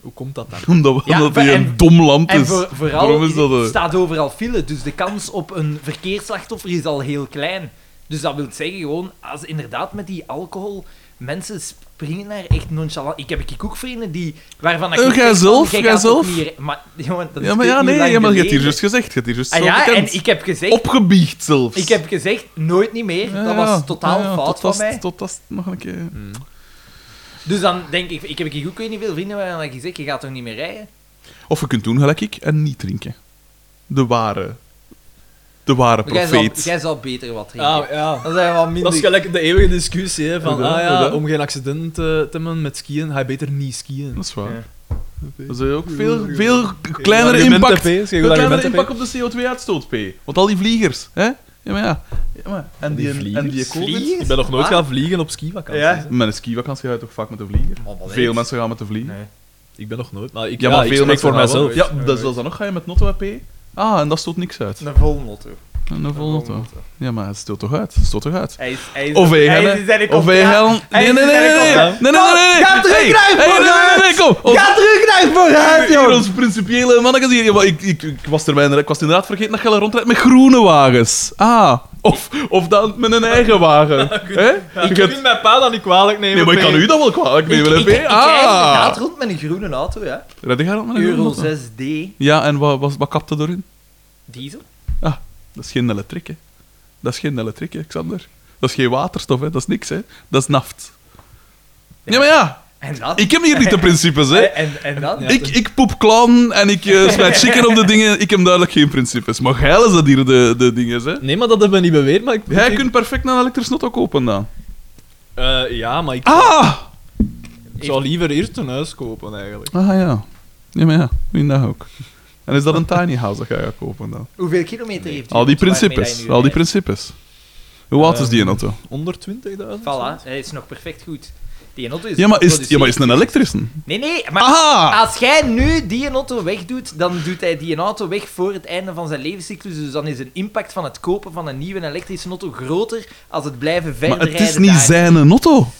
S3: Hoe komt dat dan?
S2: [laughs] Omdat, we-
S1: Ja,
S2: omdat hij
S1: en-
S2: een dom land
S1: En
S2: is.
S1: voor- vooral
S2: Daarom Dus is dat...
S1: het
S2: eh,
S1: staat overal file, dus de kans op een verkeersslachtoffer is al heel klein. Dus dat wil zeggen gewoon, als inderdaad met die alcohol, mensen springen daar echt nonchalant. Ik heb ik ook vrienden die, waarvan ik...
S2: Eh,
S1: ook
S2: jij
S1: zeg van,
S2: zelf?
S1: "Jij
S2: Jij
S1: gaat
S2: zelf?"
S1: toch niet re- Maar, jongen, dat is
S2: Ja, maar ja,
S1: twee uur
S2: nee,
S1: lang
S2: ja, maar je hebt hier dus
S1: geleden.
S2: juist gezegd. Je hebt hier juist
S1: Ah
S2: zo
S1: ja,
S2: bekend.
S1: en ik heb gezegd...
S2: Opgebiecht zelfs.
S1: Ik heb gezegd, nooit niet meer.
S2: Ja,
S1: dat was
S2: ja,
S1: totaal
S2: ja, ja,
S1: fout
S2: tot
S1: van
S2: als-
S1: mij.
S2: Tot als nog een keer...
S1: Dus dan denk ik, ik heb ik ook weet niet veel vrienden waarvan ik zeg, je gaat toch niet meer rijden?
S2: Of je kunt doen gelijk ik en niet drinken. De ware... De ware
S1: Maar jij zal,
S2: profeet.
S1: jij zal beter wat drinken.
S3: Ah, ja.
S1: Dan zijn we wat
S3: Dat
S1: minder...
S3: is gelijk de eeuwige discussie, hè, van
S2: Ja,
S3: ah,
S2: ja.
S3: ja, om geen accident eh, te hebben met skiën, ga je beter niet skiën.
S2: Dat is waar.
S1: Ja.
S2: Dat is ook veel, veel kleinere
S3: Argument,
S2: impact.
S3: hè, P. Is geen
S2: Veel
S3: goed
S2: kleinere
S3: argument, hè,
S2: impact op de CO2-uitstoot, P. Want al die vliegers, hè? Ja, maar ja. ja maar. En die, en die COVID.
S3: Ik ben nog nooit gaan vliegen op skivakanties.
S1: Ja.
S3: hè.
S2: Met een skivakantie ga je toch vaak met de vlieger?
S1: Maar Oh, wat
S2: Veel
S1: is-
S2: mensen gaan met de vlieger.
S1: Nee.
S3: Ik ben nog nooit, maar ik,
S2: Ja, maar
S3: ik
S2: veel
S3: spreek
S2: mensen
S3: voor
S2: gaan wel.
S3: mijzelf.
S2: Ja, dat is dat dan nog. Ga je met Notto, P? Ah, en dat stoot niks uit.
S6: Een volmotto.
S2: En dan vol Notto. Ja, maar het stoot toch uit? Het stoot toch uit?
S6: Hij is, hij is,
S2: Of wij
S6: hij is
S2: gaan...
S6: in zijn
S2: Of wij
S6: contract.
S2: gaan... Nee, nee, nee, nee, nee, nee, nee, nee, nee, nee.
S6: Ga terug
S2: Hey,
S6: naar
S2: hey, nee, nee, nee, nee, kom. Ons-
S6: Ga terug naar vooruit,
S2: Hier,
S6: joh!
S2: ons principiële mannetjes hier. Ja, maar ik, ik, ik, was er bijna, ik was inderdaad vergeten dat je al rondrijdt met groene wagens. Ah, of, of dan met een eigen wagen. Hè?
S3: Ik
S2: Ik
S3: kan
S2: heb-
S3: mijn pa dan niet kwalijk nemen.
S2: Nee, maar ik kan u dat wel kwalijk
S1: Ik, ik,
S2: nemen,
S1: ik,
S2: hè?
S1: rijd inderdaad
S2: Ah!
S1: rond met een groene auto, ja.
S2: Red jij rond met een groene
S1: Euro
S2: auto?
S1: 6D
S2: Ja, en wat, wat, wat kapte erin? Ah,
S1: diesel.
S2: Dat is geen elektriek, hè. Dat is geen elektriek, hè, Xander. Dat is geen waterstof, hè. Dat is niks, hè. Dat is naft. Ja, maar ja.
S1: En dat?
S2: Ik heb hier niet de principes,
S1: [laughs]
S2: hè.
S1: En, en dat?
S3: Ja.
S2: Ik, ik poep klan en ik eh, smijt chicken op de dingen. Ik heb duidelijk geen principes. Maar geil is dat hier de, de dingen, hè.
S3: Nee, maar dat hebben we niet beweerd, maar ik...
S2: Jij
S3: ik-
S2: kunt perfect een elektrische auto kopen dan.
S3: Eh, ja, maar ik
S2: Ah!
S3: zou liever eerst een huis kopen, eigenlijk.
S2: Ah ja. Ja, maar ja. Inderdaad ook. En is dat een tiny house dat jij gaat kopen dan?
S1: Hoeveel kilometer heeft hij?
S2: Al die principes. Al die principes. Hoe oud is die auto?
S3: 120.000? [laughs]
S1: Voilà, hij is nog perfect goed. Die Ah, auto is...
S2: Ja, maar is, ja, maar is
S1: geproduceerd.
S2: het een elektrische?
S1: Nee, nee, maar...
S2: Aha!
S1: Als jij nu die auto wegdoet, dan doet hij die auto weg voor het einde van zijn levenscyclus. Dus dan is de impact van het kopen van een nieuwe elektrische auto groter als het blijven verder
S2: Maar het is
S1: rijden
S2: niet
S1: daar.
S2: zijn auto. [laughs]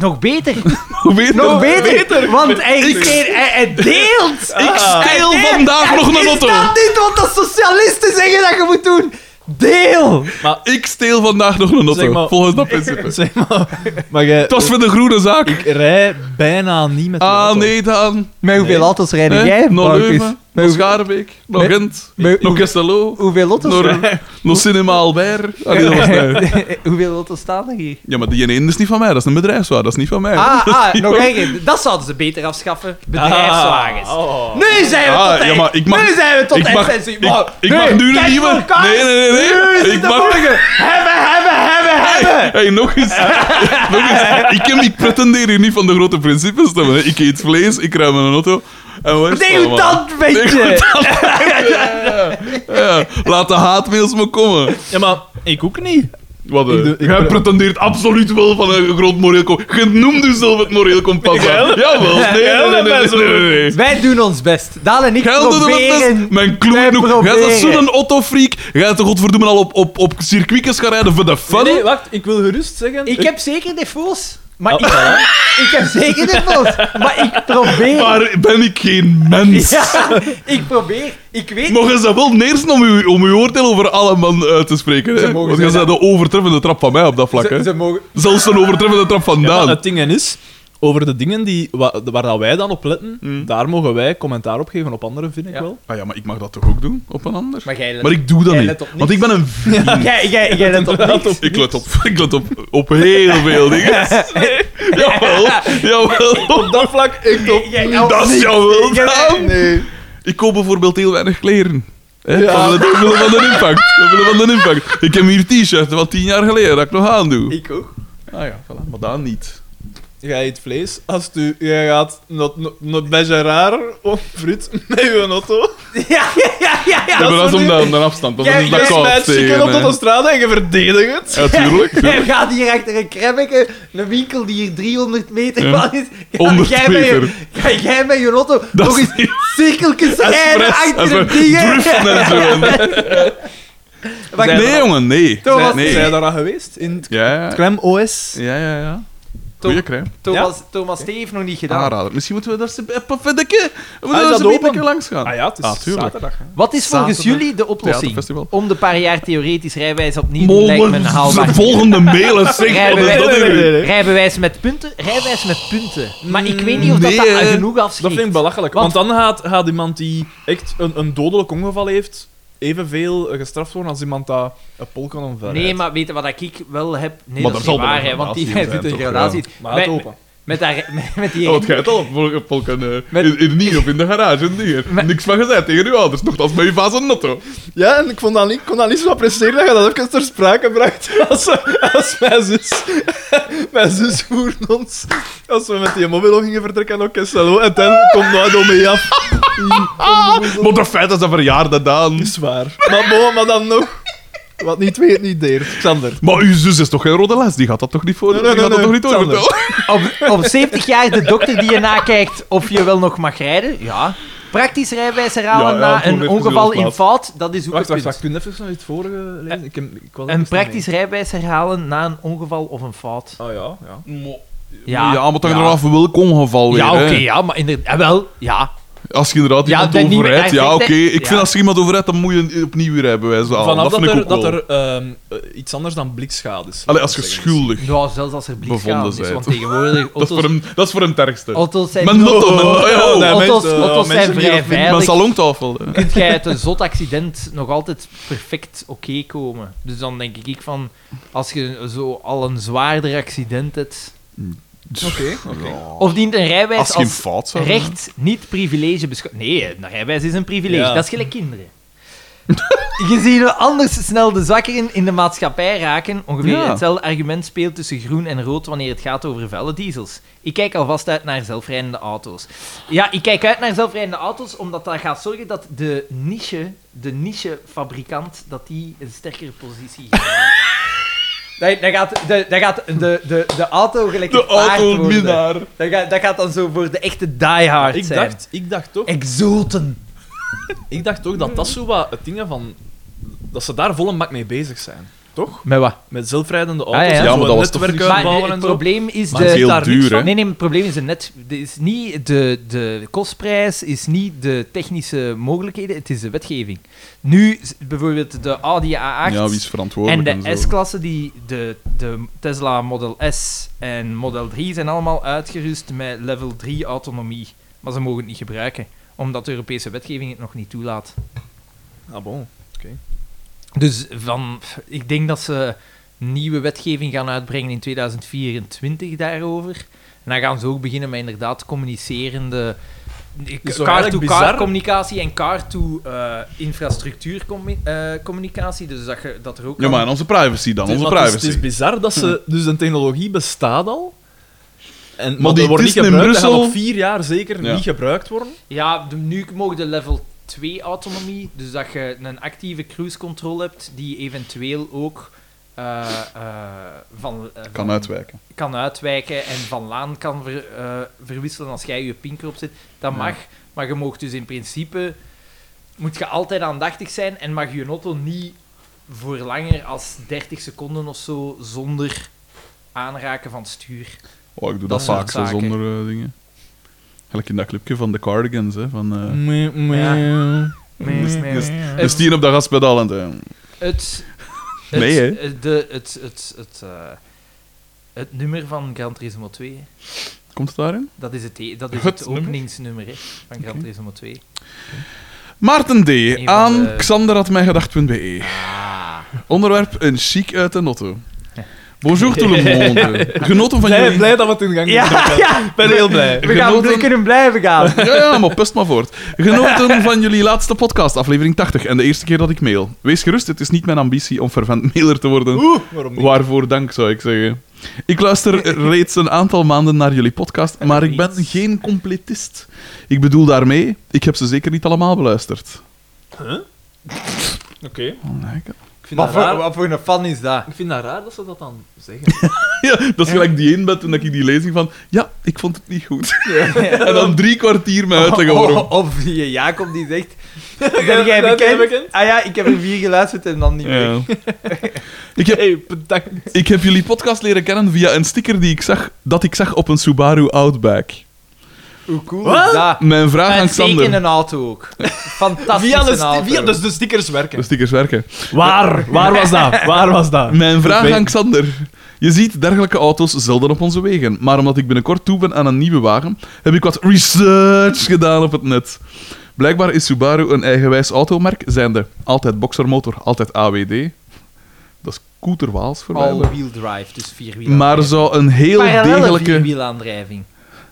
S1: Nog beter.
S2: Hoe weet je
S1: Nog
S2: dat?
S1: beter. Want hij, hij, hij- hij deelt.
S2: [laughs] Ik steel
S1: Hij deelt.
S2: vandaag nog een
S1: Is
S2: auto.
S1: dat niet wat de socialisten zeggen dat je moet doen? Deel.
S2: Ik steel vandaag nog een
S3: Zeg
S2: auto.
S3: maar-
S2: Volgens dat principe.
S3: Zeg maar, maar jij...
S2: Het was voor de groene zaak.
S3: Ik rij bijna niet met de
S2: Ah
S3: auto.
S2: nee, dan.
S6: Met hoeveel
S3: Nee.
S6: auto's rijden jij,
S2: Hè? Naar
S6: Marcus?
S2: Leuven, naar
S6: hoeveel-
S2: Schaarbeek, naar
S6: Nee.
S2: Gent,
S6: Nee.
S2: naar Kesselo.
S6: Hoeveel auto's, [laughs]
S2: Naar, naar Cinema Albert. Ah, nee, dat was mij.
S6: hoeveel auto's staan er hier?
S2: Ja, maar die ene is niet van mij, dat is een bedrijfswaar, [laughs] dat is niet van mij.
S1: Ah, ah nog één. Dat zouden ze beter afschaffen. Bedrijfswagens.
S3: Ah, oh.
S1: Nu zijn we
S2: Ah,
S1: tot
S2: ja,
S1: eind.
S2: maar ik mag-
S1: Nu zijn we tot
S2: ik
S1: eind.
S2: mag,
S1: mensen.
S2: ik,
S1: Maar-
S2: ik mag nu een nieuwe. Nee, nee, nee, nee. Ik mag. Oh,
S1: Hebben, hebben, hebben, hebben.
S2: [laughs] Hey, nog eens. [laughs] nog eens. Ik, heb, ik pretendeer hier niet van de grote principes te hebben. Ik eet vlees, ik ruim een auto. En waar is het
S1: Nee, hoe
S2: allemaal?
S1: dat weet
S2: Nee,
S1: je.
S2: Ja, laat de haatmails maar komen.
S3: Ja, maar ik ook niet.
S2: Wat, eh,
S3: Ik doe- ik
S2: jij
S3: pre-
S2: pretendeert absoluut wel van een groot moreel kompas. Je noemt jezelf het moreel kompas. aan.
S3: Jij-
S2: Jawel. Nee,
S3: jij
S2: nee, nee, nee,
S3: bent
S2: nee, nee, nee.
S6: Wij doen ons best. Daan en ik
S2: Jij doet het best.
S6: proberen...
S2: Mijn kloernoek. Jij
S6: proberen.
S2: bent zo'n autofreak. Jij gaat de godverdomme al op, op, op circuitjes gaan rijden voor de fun.
S3: Nee, nee, wacht, ik wil gerust zeggen...
S1: Ik heb zeker defo's. Maar
S3: Ah,
S1: ik,
S3: voilà.
S1: ik heb zeker defo's. Maar ik probeer...
S2: Oh. Maar ben ik geen mens?
S1: Ja, [laughs] ik probeer. Ik weet...
S2: Mogen ze wel neersen om uw, om uw oordeel over alle man uit te spreken? Hè?
S6: mogen
S2: Want
S6: zijn,
S2: jij bent de overtreffende trap van mij op dat vlak. Hè?
S6: Ze, ze mogen...
S2: Zelfs een overtreffende trap van
S3: Ja,
S2: Daan.
S3: maar het ding is, over de dingen die, wa- waar dat wij dan op letten,
S2: Hmm.
S3: daar mogen wij commentaar op geven. Op anderen vind ik
S1: Ja.
S3: wel.
S2: Ah ja, maar ik mag dat toch ook doen op een ander?
S1: Maar jij let-
S2: ik doe dat
S1: jij
S2: niet.
S1: let op
S2: Want ik
S1: [laughs]
S2: ben een vriend.
S1: Jij, jij, jij let op niks.
S2: Ik let op, [laughs] ik let op, op heel veel dingen. Jawel, jawel.
S3: Op dat vlak, ik top.
S1: Jij- jij-
S2: Dat is jawel,
S1: Jij-
S2: Daan. Ik koop bijvoorbeeld heel weinig kleren. Hè? Hè?
S3: Ja.
S2: Van, de, omwille van de impact. Omwille van de impact. Ik heb hier t-shirt van tien jaar geleden dat ik nog aandoe.
S3: Ik ook.
S2: Ah ja, voilà. Maar dan niet.
S3: Jij eet vlees als u, jij gaat naar- naar- naar Bergeraar of Frut met je auto.
S1: [laughs] Ja, ja, ja, ja. ja.
S2: Ja, maar dat is om
S3: natuurlijk-
S2: de, om de afstand. Dat
S3: Jij
S2: is dat
S3: jij smijt
S2: koud
S3: chicken op
S2: tegen. Eh,
S3: de
S2: hè.
S3: straat en je verdedigt het.
S2: Ja, tuurlijk.
S1: [laughs] Jij gaat hier achter een krebbeke, een winkel die hier 300 meter
S2: Ja.
S1: van is. Ga
S2: 100
S1: jij met je-
S2: meter.
S1: Ga jij met je auto
S2: [laughs] Dat
S1: nog
S2: is
S1: eens cirkeltjes rijden
S2: Espresso.
S1: achter
S2: Espresso.
S1: een dingen?
S2: Driften en zo.
S1: Wacht,
S2: Nee, jongen, nee.
S1: Thomas,
S2: nee.
S3: Zijn daar al geweest? In het
S2: Ja, ja.
S3: Crème OS?
S2: Ja, ja, ja. Goeie crème.
S1: Thomas, Thomas T heeft nog niet gedaan.
S2: Aanrader. Misschien moeten we daar ze- even een dikke- we
S3: Ah, is
S2: moeten daar
S3: dat
S2: ze een
S3: open?
S2: beetje langs gaan.
S3: Ah ja, het is
S2: Ah, tuurlijk.
S3: zaterdag. hè.
S1: Wat is volgens
S2: Zaterdag.
S1: jullie de oplossing
S2: Theaterfestival.
S1: om de paar jaar theoretisch rijbewijs opnieuw te lijkt me een
S2: Molen,
S1: haalbaar.
S2: volgende mailen, zeg, wat is dat
S1: Rijbewijs,
S2: nu weer?
S3: nee.
S1: rijbewijs met punten? Rijbewijs met punten. Maar ik weet niet of dat,
S2: Nee,
S1: dat
S2: hè.
S1: genoeg afschiet.
S3: Dat vind ik belachelijk. Want, dan gaat, gaat iemand die echt een, een dodelijk ongeval heeft, evenveel eh, gestraft worden als iemand dat een pol kan omverrijden.
S1: Nee, maar weet je wat ik wel heb? Nee, dat
S2: Maar er
S1: is
S2: zal
S1: niet
S2: wel
S1: waar,
S2: een
S1: hè, want die [laughs]
S2: gradatie in
S1: doet een
S2: zijn, toch?
S1: gradatie.
S3: Maar het
S1: Met-
S3: open.
S1: Met, daar, [laughs] met, met die...
S2: Ja, want jij Oh, het al, vol- volk en, eh,
S1: Met-
S2: in, in Nier of in de garage, in Nier. Niks van gezegd tegen uw ouders, nogthans bij uw vaas en notto.
S3: Ja, en ik, vond dat niet, ik kon dat niet zo appreciëren dat je dat even ter sprake bracht. [laughs] Als, als mijn zus... [laughs] Mijn zus voerde ons... Als we met die mobile gingen vertrekken naar Kesselo, en dan komt dat door mee af.
S2: Maar de feit is dat verjaarde dan.
S3: Is waar. Maar bon, maar dan nog... Wat niet weet, niet deert. Xander.
S2: Maar uw zus is toch geen rode les, die gaat dat toch niet voor?
S3: nee,
S2: die gaat
S3: nee,
S2: dat toch niet
S3: Xander.
S2: doorvertellen?
S1: Op, op 70 jaar de dokter die je nakijkt of je wel nog mag rijden, ja. Praktisch rijbewijs herhalen
S2: Ja, ja,
S1: na
S2: voor
S1: een
S2: dit
S1: ongeval
S2: is heel
S1: in fout, dat is ook
S3: Wacht,
S1: een punt.
S3: wacht, wacht. Kun je even naar het vorige lezen? Ik, heb- ik was er
S1: Een
S3: niet mee.
S1: praktisch rijbewijs herhalen na een ongeval of een fout.
S3: Ah ja, ja.
S1: Ja,
S2: ja, maar dan
S1: ja.
S2: eraf welk ongeval weer.
S1: Ja, oké,
S2: hè.
S1: ja, maar inderdaad... Wel, ja.
S2: Als je inderdaad
S1: Ja,
S2: iemand
S1: dat niet-
S2: overrijdt,
S1: hij
S2: ja,
S1: zegt,
S2: oké.
S1: hè.
S2: Ik
S1: Ja.
S2: vind als je iemand overrijdt, dan moet je een- opnieuw weer rijbewijs halen.
S3: Vanaf dat,
S2: Oh, vind ik
S3: er,
S2: ook wel.
S3: dat er ehm, eh, iets anders dan blikschade is.
S2: Allee, als je
S3: Zeggen.
S2: schuldig...
S1: Ja, zelfs als er blikschade
S2: Bevonden
S1: is,
S2: zij
S1: want
S2: het.
S1: tegenwoordig...
S2: Dat is, voor
S1: Auto's,
S2: hem, dat is voor hem het ergste.
S1: auto's zijn...
S2: Mijn
S1: [laughs]
S2: notto, mijn notto, ja,
S3: Oh, nee,
S1: Auto's-
S3: mensen-
S1: auto's
S3: mensen
S1: zijn
S3: die
S1: vrij
S3: dat vinden.
S1: veilig.
S2: Mijn salontafel. hè.
S1: kunt jij uit een zot accident nog altijd perfect oké komen. Dus dan denk ik van, als je zo al een zwaarder accident hebt...
S3: Oké,
S2: Ja.
S1: Of dient een rijwijs
S2: Als
S1: als,
S2: je een fout zou hebben.
S1: recht niet privilege beschouwd... Nee, een rijwijs is een privilege.
S3: Ja.
S1: Dat is gelijk kinderen. [laughs] Gezien we anders snel de zwakkeren in de maatschappij raken, ongeveer
S2: Ja.
S1: hetzelfde argument speelt tussen groen en rood wanneer het gaat over vuile diesels. Ik kijk alvast uit naar zelfrijdende auto's. Ja, ik kijk uit naar zelfrijdende auto's, omdat dat gaat zorgen dat de niche, de niche-fabrikant, dat die een sterkere positie
S2: [laughs]
S1: heeft. Dan dan gaat, de, dan gaat de, de, de auto gelijk
S2: De
S1: het paard worden.
S2: auto-minnaar.
S1: Dat gaat, dat gaat dan zo voor de echte diehard
S3: Ik
S1: zijn.
S3: dacht, ik dacht toch...
S1: Exoten.
S3: Ik dacht toch dat dat zo wat het ding van... Dat ze daar volle mak mee bezig zijn. Toch?
S1: Met wat?
S3: Met zelfrijdende
S1: ja.
S3: auto's
S1: Ja,
S3: en
S2: maar
S3: zo
S2: dat was
S3: netwerken
S2: toch-
S3: bouwen
S1: Maar
S3: en
S1: het
S3: zo.
S1: probleem is
S3: Maar het is
S1: de...
S2: Heel
S3: heel daar niks
S2: duur,
S3: van.
S2: hè.
S1: Nee, nee, het probleem is de net... de- Is niet de, de kostprijs, is niet de technische mogelijkheden, het is de wetgeving. Nu, s- bijvoorbeeld de Audi A8
S2: Ja, wie is
S1: en
S2: verantwoordelijk en,
S1: de
S2: zo.
S1: S-klasse, die de, de Tesla Model S en Model 3 zijn allemaal uitgerust met level 3 autonomie. Maar ze mogen het niet gebruiken, omdat de Europese wetgeving het nog niet toelaat.
S3: Ah, bon.
S1: Dus van, ik denk dat ze nieuwe wetgeving gaan uitbrengen in 2024 daarover. En dan gaan ze ook beginnen met inderdaad communicerende
S3: is toch eigenlijk
S1: car-to-car
S3: bizar?
S1: communicatie en eh, car-to-infrastructuur communicatie. Dus dat, je, dat er ook...
S2: Ja, maar en onze privacy dan, onze privacy.
S3: Het is, bizar dat ze... Dus de technologie bestaat al. En, maar,
S2: Maar die
S3: die wordt niet
S2: testen in
S3: gebruikt. Dat gaat
S2: Brussel-
S3: nog vier jaar zeker
S2: Ja.
S3: niet gebruikt worden.
S1: Ja, de- nu mogen de level 2 autonomie, dus dat je een actieve cruise control hebt die eventueel ook eh, eh, van, eh, van
S2: Kan uitwijken.
S1: kan uitwijken en van laan kan ver- eh, verwisselen als jij je pinker op zit. Dat
S2: Ja.
S1: mag, maar je mag dus in principe moet je altijd aandachtig zijn en mag je auto niet voor langer als 30 seconden of zo zonder aanraken van het stuur.
S2: Oh, ik doe dat,
S1: Dat soort
S2: vaak zo
S1: zaken.
S2: zonder eh, dingen. Gelijk in dat clubje van de Cardigans, hè. Van, eh,
S3: Meh, meh.
S2: Dus-
S1: nee,
S2: dus-
S1: nee.
S2: dus die op de gaspedaal en zo.
S1: Het, het,
S2: Nee, hè?
S1: het- de, het, het, het, eh, het nummer van Gran Turismo 2, hè.
S2: Komt het daarin?
S1: dat is het, e- dat is
S2: Het
S1: het,
S2: nummer?
S1: openingsnummer hè, van Gran Turismo 2.
S2: Maarten D.
S1: van
S2: aan
S1: de- Ah.
S2: xander.mijgedacht.be. Onderwerp: een chic uit de notto. Bonjour tout le monde. Genoten van
S3: Blij,
S2: jullie...
S3: blij dat we het in gang
S1: Ja,
S3: gebracht hebben.
S1: ja.
S3: Ik ben heel blij.
S1: We, gaan, we
S2: Genoten-
S1: kunnen blijven gaan.
S2: Ja, ja, maar pust maar voort. Genoten van jullie laatste podcast, aflevering 80, en de eerste keer dat ik mail. Wees gerust, het is niet mijn ambitie om fervent mailer te worden.
S3: Oeh, waarom niet?
S2: Waarvoor dank, zou ik zeggen. Ik luister reeds een aantal maanden naar jullie podcast, maar ik ben geen completist. Ik bedoel daarmee, ik heb ze zeker niet allemaal beluisterd.
S3: Oké.
S2: Oh, lekker.
S3: Ik, vind
S1: Wat
S3: dat
S1: voor,
S3: raar-
S1: wat voor een fan is dat?
S3: ik vind dat raar dat ze dat dan zeggen.
S2: [laughs] Ja, dat is gelijk die inbed toen ik die lezing van... Ja, ik vond het niet goed. [laughs] En dan drie kwartier me
S3: [laughs]
S2: uitleggen
S3: Oh,
S2: waarom.
S1: Of, [laughs] of die Jacob die [laughs] zegt...
S3: Ben
S1: Ben jij bekend? Ah ja, ik heb er vier geluisterd en dan niet
S3: oh.
S1: meer.
S2: Ja. Ik heb
S3: hey, bedankt.
S2: Ik heb jullie podcast leren kennen via een sticker die ik zag, dat ik zag op een Subaru Outback.
S1: Hoe cool
S3: Wat?
S1: is dat?
S2: Mijn vraag aan
S1: En zeker in
S2: Xander.
S1: een auto ook.
S2: [laughs]
S1: Fantastisch
S3: Via de, sti-
S1: auto.
S3: via, dus de stickers
S2: De
S3: werken.
S2: stickers werken.
S3: Waar? Waar was dat? Waar was dat?
S2: Mijn vraag
S3: weet-
S2: aan Xander. Je ziet dergelijke auto's zelden op onze wegen. Maar omdat ik binnenkort toe ben aan een nieuwe wagen, heb ik wat research gedaan op het net. Blijkbaar is Subaru een eigenwijs automerk, zijnde altijd boxermotor, altijd AWD. Dat is koeterwaals voor mij. maar-
S1: All-wheel drive, dus vierwiel.
S2: Maar zou een heel
S1: Parallelle
S2: degelijke...
S1: vierwielaandrijving.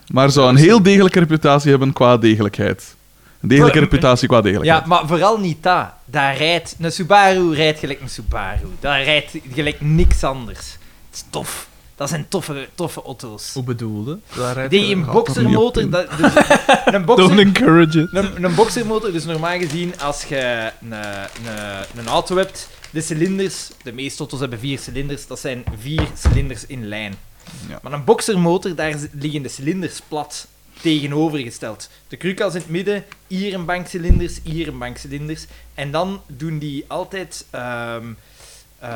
S2: Maar zou een heel degelijke reputatie hebben qua degelijkheid. Een degelijke
S1: Maar-
S2: reputatie qua degelijkheid.
S1: Ja, maar vooral niet dat. Daar rijdt... Een Subaru rijdt gelijk een Subaru. Daar rijdt gelijk niks anders. Het is tof. Dat zijn toffe, toffe auto's.
S3: Hoe bedoelde?
S1: Die een boxermotor...
S2: niet
S1: Dat,
S2: [laughs]
S1: dus, een, boxer,
S3: Don't encourage it.
S1: een, een boxermotor, dus normaal gezien, als je een, een, een auto hebt, de cilinders, de meeste auto's hebben vier cilinders, dat zijn vier cilinders in lijn.
S2: Ja.
S1: Maar een boxermotor, daar z- liggen de cilinders plat tegenovergesteld. De krukas in het midden, hier een bank cilinders, hier een bank cilinders. En dan doen die altijd ehm, eh,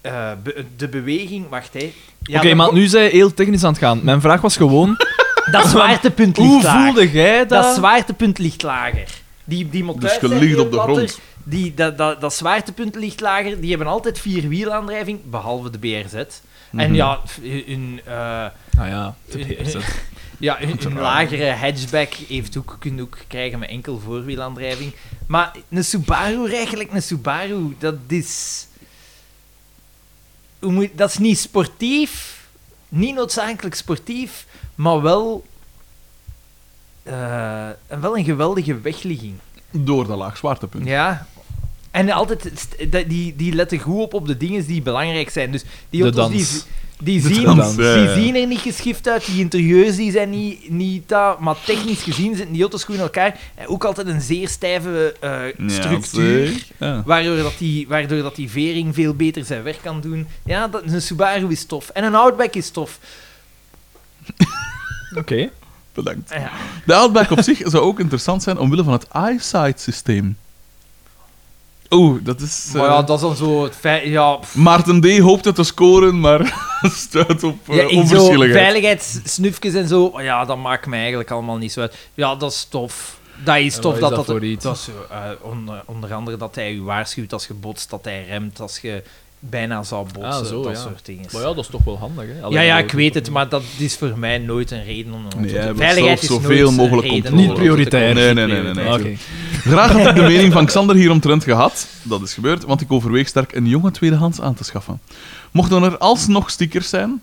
S1: eh, be- de beweging... Wacht, hè. Ja,
S3: Oké,
S1: de
S3: maar
S1: bo-
S3: nu zijn we heel technisch aan het gaan. Mijn vraag was
S1: [laughs]
S3: gewoon...
S1: Dat zwaartepunt ligt
S3: Hoe
S1: laag.
S3: voelde jij dat?
S1: Dat zwaartepunt ligt lager. Die, die monteurs
S2: Dus je
S1: zijn
S2: ligt
S1: heel
S2: op de
S1: platter.
S2: grond.
S1: Die, dat, dat, dat zwaartepunt ligt lager. Die hebben altijd vierwielaandrijving, behalve de BRZ.
S2: Mhm.
S1: En ja, f- hun, eh,
S3: Ah ja,
S1: [laughs] de BRZ. ja, hun, hun lagere hatchback heeft ook, kun je ook krijgen met enkel voorwielaandrijving. Maar een Subaru, eigenlijk een Subaru, dat is... Hoe moet, dat is niet sportief, niet noodzakelijk sportief, maar wel, eh, en wel een geweldige wegligging.
S2: Door dat laag zwaartepunt.
S1: Ja. En altijd, st- dat- die, die letten goed op op de dingen die belangrijk zijn. Dus die
S3: De
S1: auto's die,
S3: dans.
S1: z- die, zien,
S2: dans,
S1: die
S2: ja, ja.
S1: zien er niet geschift uit, die interieurs die zijn niet, niet dat, maar technisch gezien zitten die auto's goed in elkaar. En ook altijd een zeer stijve eh, structuur,
S2: zeg. Ja.
S1: waardoor, dat die, waardoor dat die vering veel beter zijn werk kan doen. Ja, dat, een Subaru is tof. En een Outback is tof.
S3: Oké.
S2: Bedankt.
S1: Eh, Ja.
S2: De Outback op zich zou ook interessant zijn omwille van het eyesight-systeem. Oeh, dat is... eh,
S1: Maar ja, dat is dan zo het feit... Ja, pff.
S2: Maarten D. hoopt het te scoren, maar [laughs] stuit op eh,
S1: Ja, ik zo,
S2: onverschilligheid.
S1: veiligheidssnufjes en zo, oh ja, dat maakt mij eigenlijk allemaal niet zo uit. Ja, dat is tof. Dat is
S3: En
S1: tof
S3: wat
S1: dat
S3: is
S1: dat...
S3: dat voor iets?
S1: dat is, eh, onder, onder andere dat hij u waarschuwt als je botst, dat hij remt als je bijna zou botsen,
S3: Ah, zo,
S1: dat
S3: ja.
S1: soort dingen.
S3: Maar ja, dat is toch wel handig, hè?
S1: ja,
S3: Alleen
S1: ja,
S3: dat-
S1: ik weet het, maar dat is voor mij nooit een reden om een auto
S2: Nee,
S1: te-
S2: jij wilt
S1: Veiligheid is
S2: zelf
S1: nooit
S2: zoveel
S1: een
S2: mogelijk
S1: reden om
S2: controle.
S1: een auto te
S3: Niet prioritair.
S1: kopen.
S2: Nee, nee, nee, nee, nee.
S1: Niet
S3: Oké.
S1: prioritair.
S2: Graag had ik de mening van Xander hieromtrent gehad. Dat is gebeurd, want ik overweeg sterk een jonge tweedehands aan te schaffen. Mochten er alsnog stickers zijn,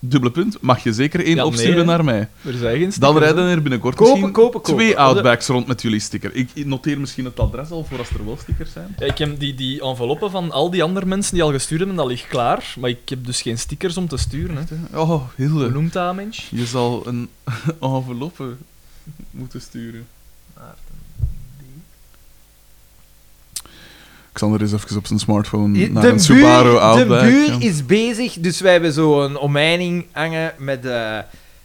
S2: dubbele punt, mag je zeker één
S3: Ja,
S2: opsturen
S3: nee, hè.
S2: naar mij.
S3: Er zijn geen
S2: Dus Dan
S3: stickers,
S2: rijden er binnenkort
S1: Kopen,
S2: misschien
S1: kopen, kopen.
S2: twee Outbacks rond met jullie sticker. Ik noteer misschien het adres al voor als er wel stickers zijn.
S3: hè. Ja, ik heb die, die enveloppen van al die andere mensen die al gestuurd hebben, dat ligt klaar. Maar ik heb dus geen stickers om te sturen, hè.
S2: Oh,
S3: Hoe
S2: Hilde.
S3: noemt dat, mens?
S2: Je zal
S1: [laughs]
S2: een enveloppe moeten sturen. Xander is even op zijn smartphone
S1: Je-
S2: naar
S1: de
S2: een
S1: buur-
S2: Subaru Outback.
S1: De buur
S2: ja.
S1: is bezig, dus wij hebben zo een omheining hangen met... eh,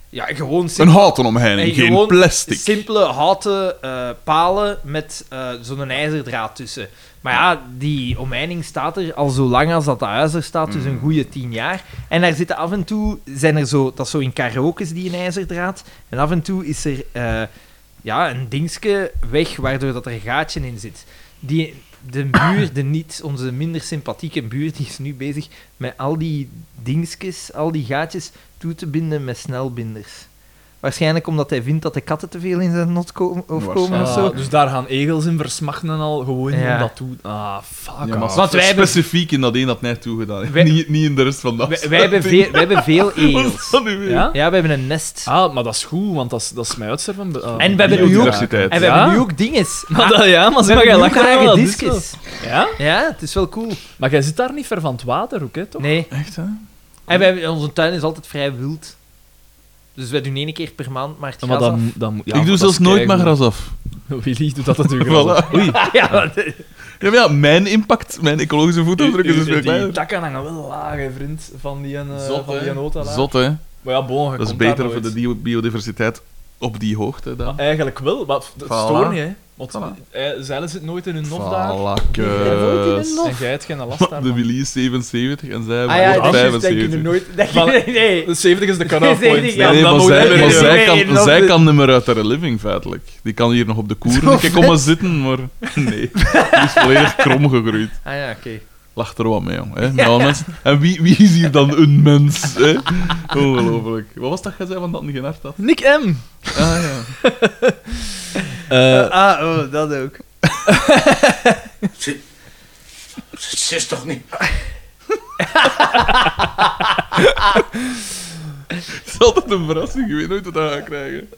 S1: ja, gewoon
S2: Een houten omheining,
S1: En
S2: geen
S1: gewoon
S2: plastic.
S1: Simpele houten eh, palen met eh, zo'n ijzerdraad tussen. Maar ja, die omheining staat er al zo lang als dat de huis er staat, dus een goede tien jaar. En daar zitten af en toe, zijn er zo, dat is zo in karaokes die een ijzerdraad. En af en toe is er eh, ja, een dingske weg waardoor dat er een gaatje in zit. Die, de buur, de niet, onze minder sympathieke buur, die is nu bezig met al die dingskes, al die gaatjes toe te binden met snelbinders. Waarschijnlijk omdat hij vindt dat de katten te veel in zijn not komen, of komen of
S3: Ah,
S1: zo.
S3: dus daar gaan egels in versmachten en al gewoon
S1: Ja.
S3: om dat toe. Ah, fuck.
S2: Ja, maar
S3: off.
S7: Want wij hebben-
S2: specifiek in dat één dat net toegedaan. heeft.
S7: Wij-
S2: Niet, niet in de rest van dat.
S7: Wij,
S2: [laughs]
S7: wij hebben veel, wij hebben veel
S1: [laughs]
S7: egels.
S2: Wat nu weer?
S3: Ja?
S1: Ja, we hebben een nest.
S3: Ah, maar dat is goed, want dat is, dat is mijn uitsterven. be- ah.
S7: En we hebben nu ook-
S2: Biodiversiteit.
S7: En we
S3: Ja?
S7: hebben nu ook
S3: [laughs]
S7: dinges. Ah,
S3: Maar dat, ja, maar
S1: We
S3: ze
S1: hebben
S3: mag jij
S1: nu
S3: lachen.
S1: rare
S3: wel, dat
S7: dus
S3: is
S1: discus.
S3: wel. Ja?
S1: dus Ja, het is wel cool.
S3: Maar jij zit daar niet ver van het water ook, hè, toch?
S1: Nee.
S2: Echt, hè?
S1: En wij, hebben- onze tuin is altijd vrij wild. Dus wij doen één keer per maand maar het
S3: Ja, maar
S1: gras
S3: dat,
S1: af. [laughs]
S3: mo- dat, mo- ja,
S2: ik
S3: maar
S2: doe
S3: dat
S2: zelfs
S3: is
S2: nooit mijn
S3: keigoed.
S2: gras af.
S3: [laughs] Willy doet dat natuurlijk wel.
S2: Voilà. Oei. Ja, maar ja, mijn impact, mijn ecologische voetafdruk is dus
S3: Die-
S2: veel
S3: Die
S2: kleiner.
S3: takken hangen wel laag, hè, vriend, van die, eh
S2: Zot,
S3: van
S2: hè.
S3: die nota laag.
S2: Zot, hè?
S3: Maar ja, bon, je
S2: Dat is
S3: komt daar
S2: beter voor
S3: nooit.
S2: de dio- biodiversiteit op die hoogte dan.
S3: Eigenlijk wel, maar
S2: Voilà.
S3: dat stoort niet, hè. Want
S2: Voilà.
S3: eh, zeilen zit nooit in hun nof
S1: Eh,
S3: daar.
S2: Valakkes.
S3: En jij hebt geen last
S2: Maar De
S3: daarvan.
S2: Willy is 77 en zij
S1: Ah ja,
S2: wordt
S1: dat is denk je
S2: 75.
S1: nooit... dat je-
S3: Voilà.
S1: [laughs] nee.
S3: De 70 is de
S1: [laughs]
S3: cut-off
S1: Nee,
S3: point.
S1: nee,
S2: Nee,
S1: Ja,
S2: maar,
S3: moet
S2: zij,
S3: je
S2: maar
S3: weer-
S2: zij
S1: weer in
S2: kan,
S1: nog
S2: zij
S1: de-
S2: kan nummer uit haar living, feitelijk. Die kan hier nog op de koer een keer komen zitten, maar... Nee, die is volledig krom gegroeid.
S1: Ah ja, oké.
S2: Lacht er wat mee, jong. Hè? Met alle mensen. En wie, wie is hier dan een mens?
S1: [laughs]
S2: Hè? Ongelooflijk. Wat was dat jij zei van dat hij geen hart had?
S3: Nick M.
S2: Ah, ja.
S3: [laughs] Eh,
S1: Ah, oh, dat ook.
S4: Ze, ze, ze is toch niet...
S2: Het is altijd een verrassing, je weet nooit wat dat gaat krijgen.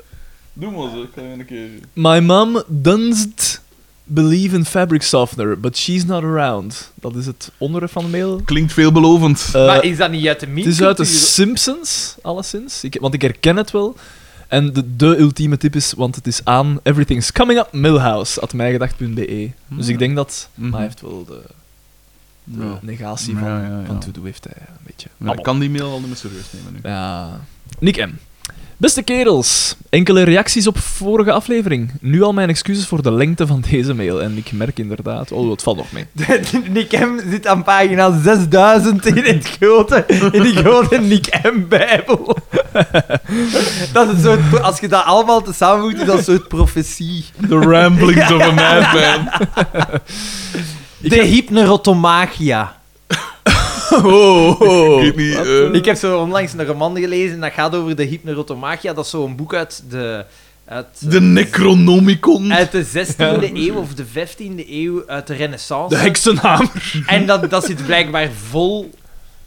S2: Doe maar zo, ik ga even een keer...
S3: my mom doesn't believe in fabric softener, but she's not around. Dat is het onderwerp van de mail.
S2: Klinkt veelbelovend.
S3: Eh,
S1: maar is dat niet uit de meme?
S3: Het is uit de Simpsons, alleszins. Ik, want ik herken het wel. En de, de ultieme tip is, want het is aan Everything's Coming Up Millhouse, at mijgedacht.be. Dus ik denk dat...
S2: Mhm.
S3: Maar hij heeft wel de, de
S2: Ja.
S3: negatie
S2: Ja,
S3: van,
S2: ja, ja.
S3: van to-do heeft hij een beetje.
S2: Maar
S3: Allemaal.
S2: ik kan die mail al niet meer serieus nemen nu.
S3: Ja. Nick M. Beste kerels, enkele reacties op vorige aflevering. Nu al mijn excuses voor de lengte van deze mail. En ik merk inderdaad... Oh, het valt nog mee.
S1: [laughs] Nick M zit aan pagina 6000 in, het grote, in die grote Nick M-bijbel. [laughs] Dat is een soort, pro- als je dat allemaal tezamen moet, is dat een soort profetie.
S2: The ramblings of a [laughs] madman.
S1: De hypnerotomachia.
S3: Oh,
S2: Ik weet niet... eh,
S1: Ik heb zo onlangs een roman gelezen en dat gaat over de hypnerotomachia. Dat is zo'n boek uit de... Uit, eh,
S2: de Necronomicon.
S1: uit de 16e eeuw of de 15e eeuw, uit de renaissance.
S3: De heksenhamer.
S1: En dat, dat zit blijkbaar vol...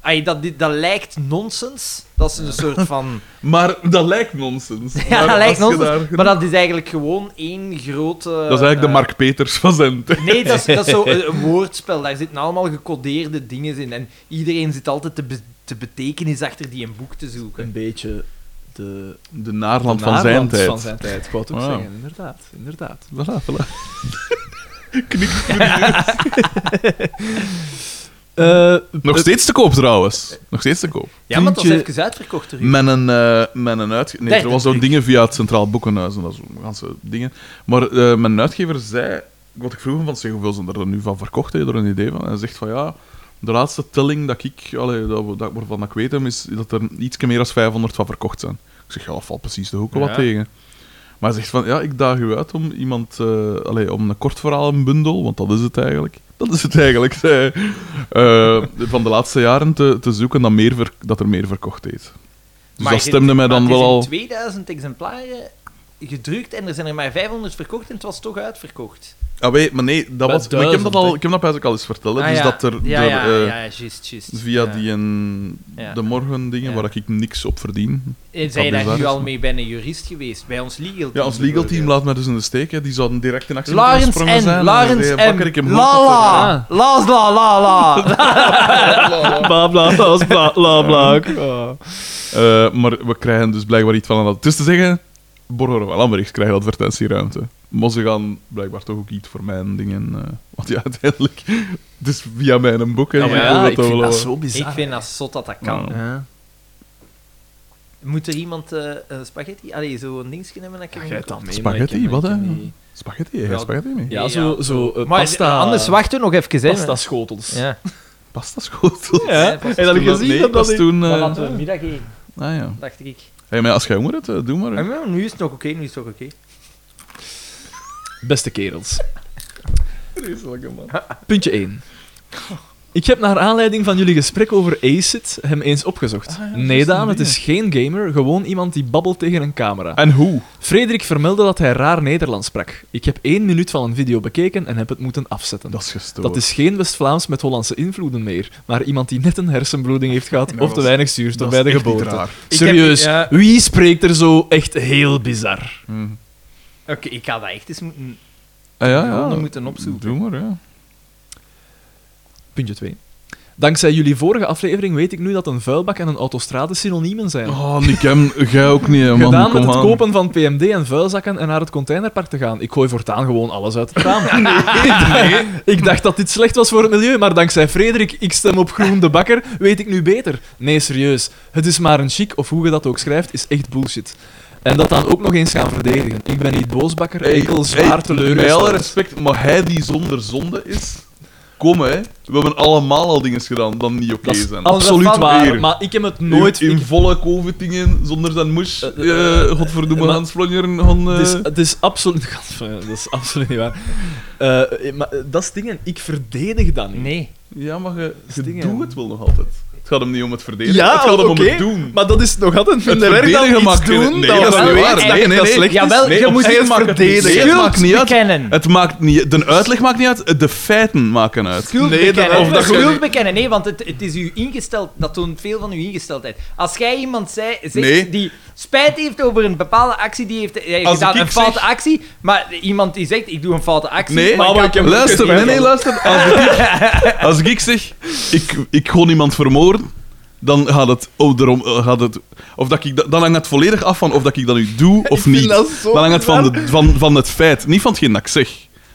S1: Ay, dat, dit- dat lijkt nonsens. Dat is een soort van...
S2: Maar dat lijkt nonsens.
S1: Ja, dat
S2: als
S1: lijkt
S2: je
S1: nonsens,
S2: daar-
S1: Maar eh, dat is eigenlijk gewoon één grote...
S2: Dat is eigenlijk de Mark Peters van zijn tijd.
S1: Nee, dat is, dat
S2: [laughs]
S1: is zo een een woordspel. Daar zitten allemaal gecodeerde dingen in. En iedereen zit altijd de, be- de betekenis achter die een boek te zoeken.
S3: Een beetje de...
S2: De naarland van
S3: Naarland
S2: zijn tijd.
S3: Van zijn tijd, ik wou het ook
S2: Wow.
S3: zeggen. Inderdaad, inderdaad.
S2: Voilà, voilà.
S3: Eh,
S2: Nog steeds te koop trouwens. Nog steeds te koop.
S1: Ja, maar dat is
S3: Vriendje-
S1: even uitverkocht er.
S2: Met een, eh, met een uitgever. Nee,
S1: Derde
S2: er was zo'n
S1: druk.
S2: dingen via het Centraal Boekenhuis en dat soort ganse dingen. Maar eh, mijn uitgever zei. Wat ik vroeg hem van zeg, hoeveel zijn er nu van verkocht? Heb je er een idee van? En hij zegt van ja. De laatste telling dat ik, allee, dat, we- dat, waarvan ik weet hem, is dat er iets meer dan 500 van verkocht zijn. Ik zeg, ja, dat valt precies de hoeken
S3: Ja.
S2: wat tegen. Maar hij zegt van, ja, ik daag u uit om iemand, eh, allee, om een kort verhalenbundel, want dat is het eigenlijk. Dat is het eigenlijk, [laughs] zei hij, eh, van de laatste jaren te, te zoeken dat, meer ver- dat er meer verkocht heeft. Dus dat stemde mij dan wel al...
S1: 2000 exemplaren gedrukt en er zijn er maar 500 verkocht en het was toch uitverkocht.
S2: Ah, weet, maar nee, dat
S3: Bij
S2: was, maar ik heb dat,
S3: duizend,
S2: al,
S3: hè.
S2: ik heb dat eigenlijk al eens verteld. hè.
S1: Ah,
S2: dus
S1: ja.
S2: dat er,
S1: Ja,
S2: er,
S1: ja, ja,
S2: eh,
S1: juist, juist.
S2: via
S1: Ja.
S2: die en
S1: Ja.
S2: de morgen dingen,
S1: Ja.
S2: waar ik niks op verdien.
S1: En zijn
S2: dat
S1: Eh, daar
S2: bizar
S1: nu
S2: is,
S1: al
S2: maar-
S1: mee bij een jurist geweest? Bij ons legal team.
S2: Ja, ons legal team
S1: bijvoorbeeld.
S2: laat mij dus in de steek. Hè. Die zouden direct in actie moeten
S1: Lawrence
S2: gesprongen zijn.
S1: M.
S2: En dan
S1: Lawrence
S2: zei hij, "Bakker, ik heb
S1: M.
S2: hem hard
S1: La
S2: op de-
S1: la. Las la la
S2: [laughs]
S1: la.
S3: Bla bla bla bla bla bla. Ah.
S2: Eh, maar we krijgen dus blijkbaar iets van aan dat. Dus te zeggen, Borger wel Lambrechts krijgen advertentieruimte. Maar ze gaan blijkbaar toch ook iets voor mijn dingen. eh, want ja, [laughs] uiteindelijk. Het is via mijn boek. Hè,
S3: Ja,
S2: dus
S3: maar
S2: ik wil
S3: ja,
S2: dat
S3: ik
S2: wel
S3: vind dat
S2: wel-
S3: zo
S1: Ik
S3: bizar.
S1: vind dat zot dat dat kan.
S2: Ja.
S3: Ja.
S1: Moet er iemand eh, eh, spaghetti? Allee, zo'n dingetje hebben dat ik
S3: Ja,
S1: hem
S3: jij hebt
S1: kan-
S3: dat mee,
S2: Spaghetti,
S3: maar ik heb-
S2: wat,
S3: ik heb
S2: hè?
S3: niet-
S2: Spaghetti, jij
S1: Ja.
S2: hebt spaghetti mee. Eh.
S3: Ja, zo, zo eh,
S1: Maar
S3: pasta...
S1: anders wachten we nog even, hè.
S3: Pasta schotels.
S1: Ja.
S2: Pasta schotel.
S3: Ja,
S1: Ja, pasta
S3: en dan heb je
S2: Toen-
S3: gezien
S2: nee, dat
S3: dat dat
S2: was
S3: ik...
S2: toen... eh,
S1: Dan laten we middag eten,
S2: ah ja.
S1: dacht ik.
S2: Hey, maar als jij honger hebt, eh, doe maar. hè.
S1: Ah, maar nu is het nog oké, nu is het nog oké.
S3: Beste kerels.
S2: Vreselijke man.
S3: Puntje 1. Ik heb naar aanleiding van jullie gesprek over ACID hem eens opgezocht.
S2: Ah,
S3: nee, Daan, het is geen gamer, gewoon iemand die babbelt tegen een camera.
S2: En hoe?
S3: Frederik vermeldde dat hij raar Nederlands sprak. Ik heb één minuut van een video bekeken en heb het moeten afzetten.
S2: Dat is gestoord.
S3: Dat is geen West-Vlaams met Hollandse invloeden meer, maar iemand die net een hersenbloeding heeft gehad of te weinig zuurstof
S2: dat
S3: bij
S2: is
S3: de
S2: echt niet
S3: geboorte.
S2: raar.
S7: Ik
S3: Serieus,
S7: heb- ja.
S3: wie spreekt er zo echt heel bizar?
S7: Oké, ik ga dat echt eens moeten...
S2: Ah, ja,
S7: Ja,
S2: ja.
S7: we moeten opzoeken.
S2: Doe maar, ja.
S3: Puntje 2. Dankzij jullie vorige aflevering weet ik nu dat een vuilbak en een autostrade synoniemen zijn.
S2: Oh, Nick hem, jij ook niet, hè, man.
S3: Gedaan
S2: Kom
S3: met het
S2: aan.
S3: kopen van PMD en vuilzakken en naar het containerpark te gaan. Ik gooi voortaan gewoon alles uit
S2: [laughs]
S3: het raam. Ik- Ik dacht dat dit slecht was voor het milieu, maar dankzij Frederik, ik stem op Groen de Bakker, weet ik nu beter. Nee, serieus. Het is maar een chic, of hoe je dat ook schrijft, is echt bullshit. En dat dan ook nog eens gaan verdedigen. Ik ben niet boosbakker,
S2: Hey,
S3: enkel zwaar
S2: hey, Met alle
S3: teleurgesteld.
S2: respect, maar hij die zonder zonde is... Kom, hè. We hebben allemaal al dingen gedaan dan niet oké
S3: Dat is
S2: zijn.
S3: absoluut
S7: Van
S3: waar,
S2: eer.
S3: maar ik heb het
S2: Nooit
S3: nooit...
S2: in,
S3: ik-
S2: volle covid-dingen, zonder zijn moes,
S3: Eh, eh,
S2: eh, godverdomme,
S3: maar-
S2: Hans Vlonjeren, gaan...
S3: Het is,
S2: eh,
S3: het is absoluut... [laughs] Gadver, Dat is absoluut niet waar. Eh, eh, maar eh, dat is dingen, ik verdedig dat niet.
S7: Nee.
S2: Ja, maar je, je
S3: Sting,
S2: doet
S3: hè.
S2: het wel nog altijd. Het gaat hem niet om het verdedigen,
S3: Ja,
S2: het gaat hem om
S3: oké,
S2: het doen.
S3: Maar dat is nog altijd minder erg
S2: verdedigen
S3: dan iets
S2: maakt geen-
S3: doen.
S2: nee,
S3: dan
S2: dat is
S3: wel
S2: niet waar.
S3: weten dat
S2: Nee,
S3: je
S2: nee,
S3: dat
S2: nee.
S3: slecht is.
S7: Jawel,
S2: Nee,
S7: je
S2: op
S7: moet
S2: zich
S7: het
S2: maakt het niet uit.
S7: verdedigen.
S2: Het maakt niet uit.
S7: bekennen.
S2: Het maakt niet, de uitleg maakt niet uit, de feiten maken uit.
S7: Schuld
S3: Nee, dat-
S7: bekennen.
S3: of dat je-
S7: Schuld bekennen, nee, want het, het is u ingesteld, dat toont veel van uw ingesteldheid. Als jij iemand zei, zegt
S2: Nee.
S7: die spijt heeft over een bepaalde actie die heeft hij
S2: Als
S7: gedaan,
S2: ik
S7: een foute
S2: zeg-
S7: actie, maar iemand die zegt, ik doe een foute actie,
S2: Nee,
S7: maar ik had-
S2: luister, nee, nee, luister. Als ik, als ik zeg, ik, ik gewoon iemand vermoorden, dan gaat het, oh, daarom, eh, gaat het of dat ik, dat- dan hangt het volledig af van of dat ik dat nu doe of niet.
S3: dat zo
S2: Dan hangt het van, de, van, van het feit, niet van hetgeen dat ik zeg.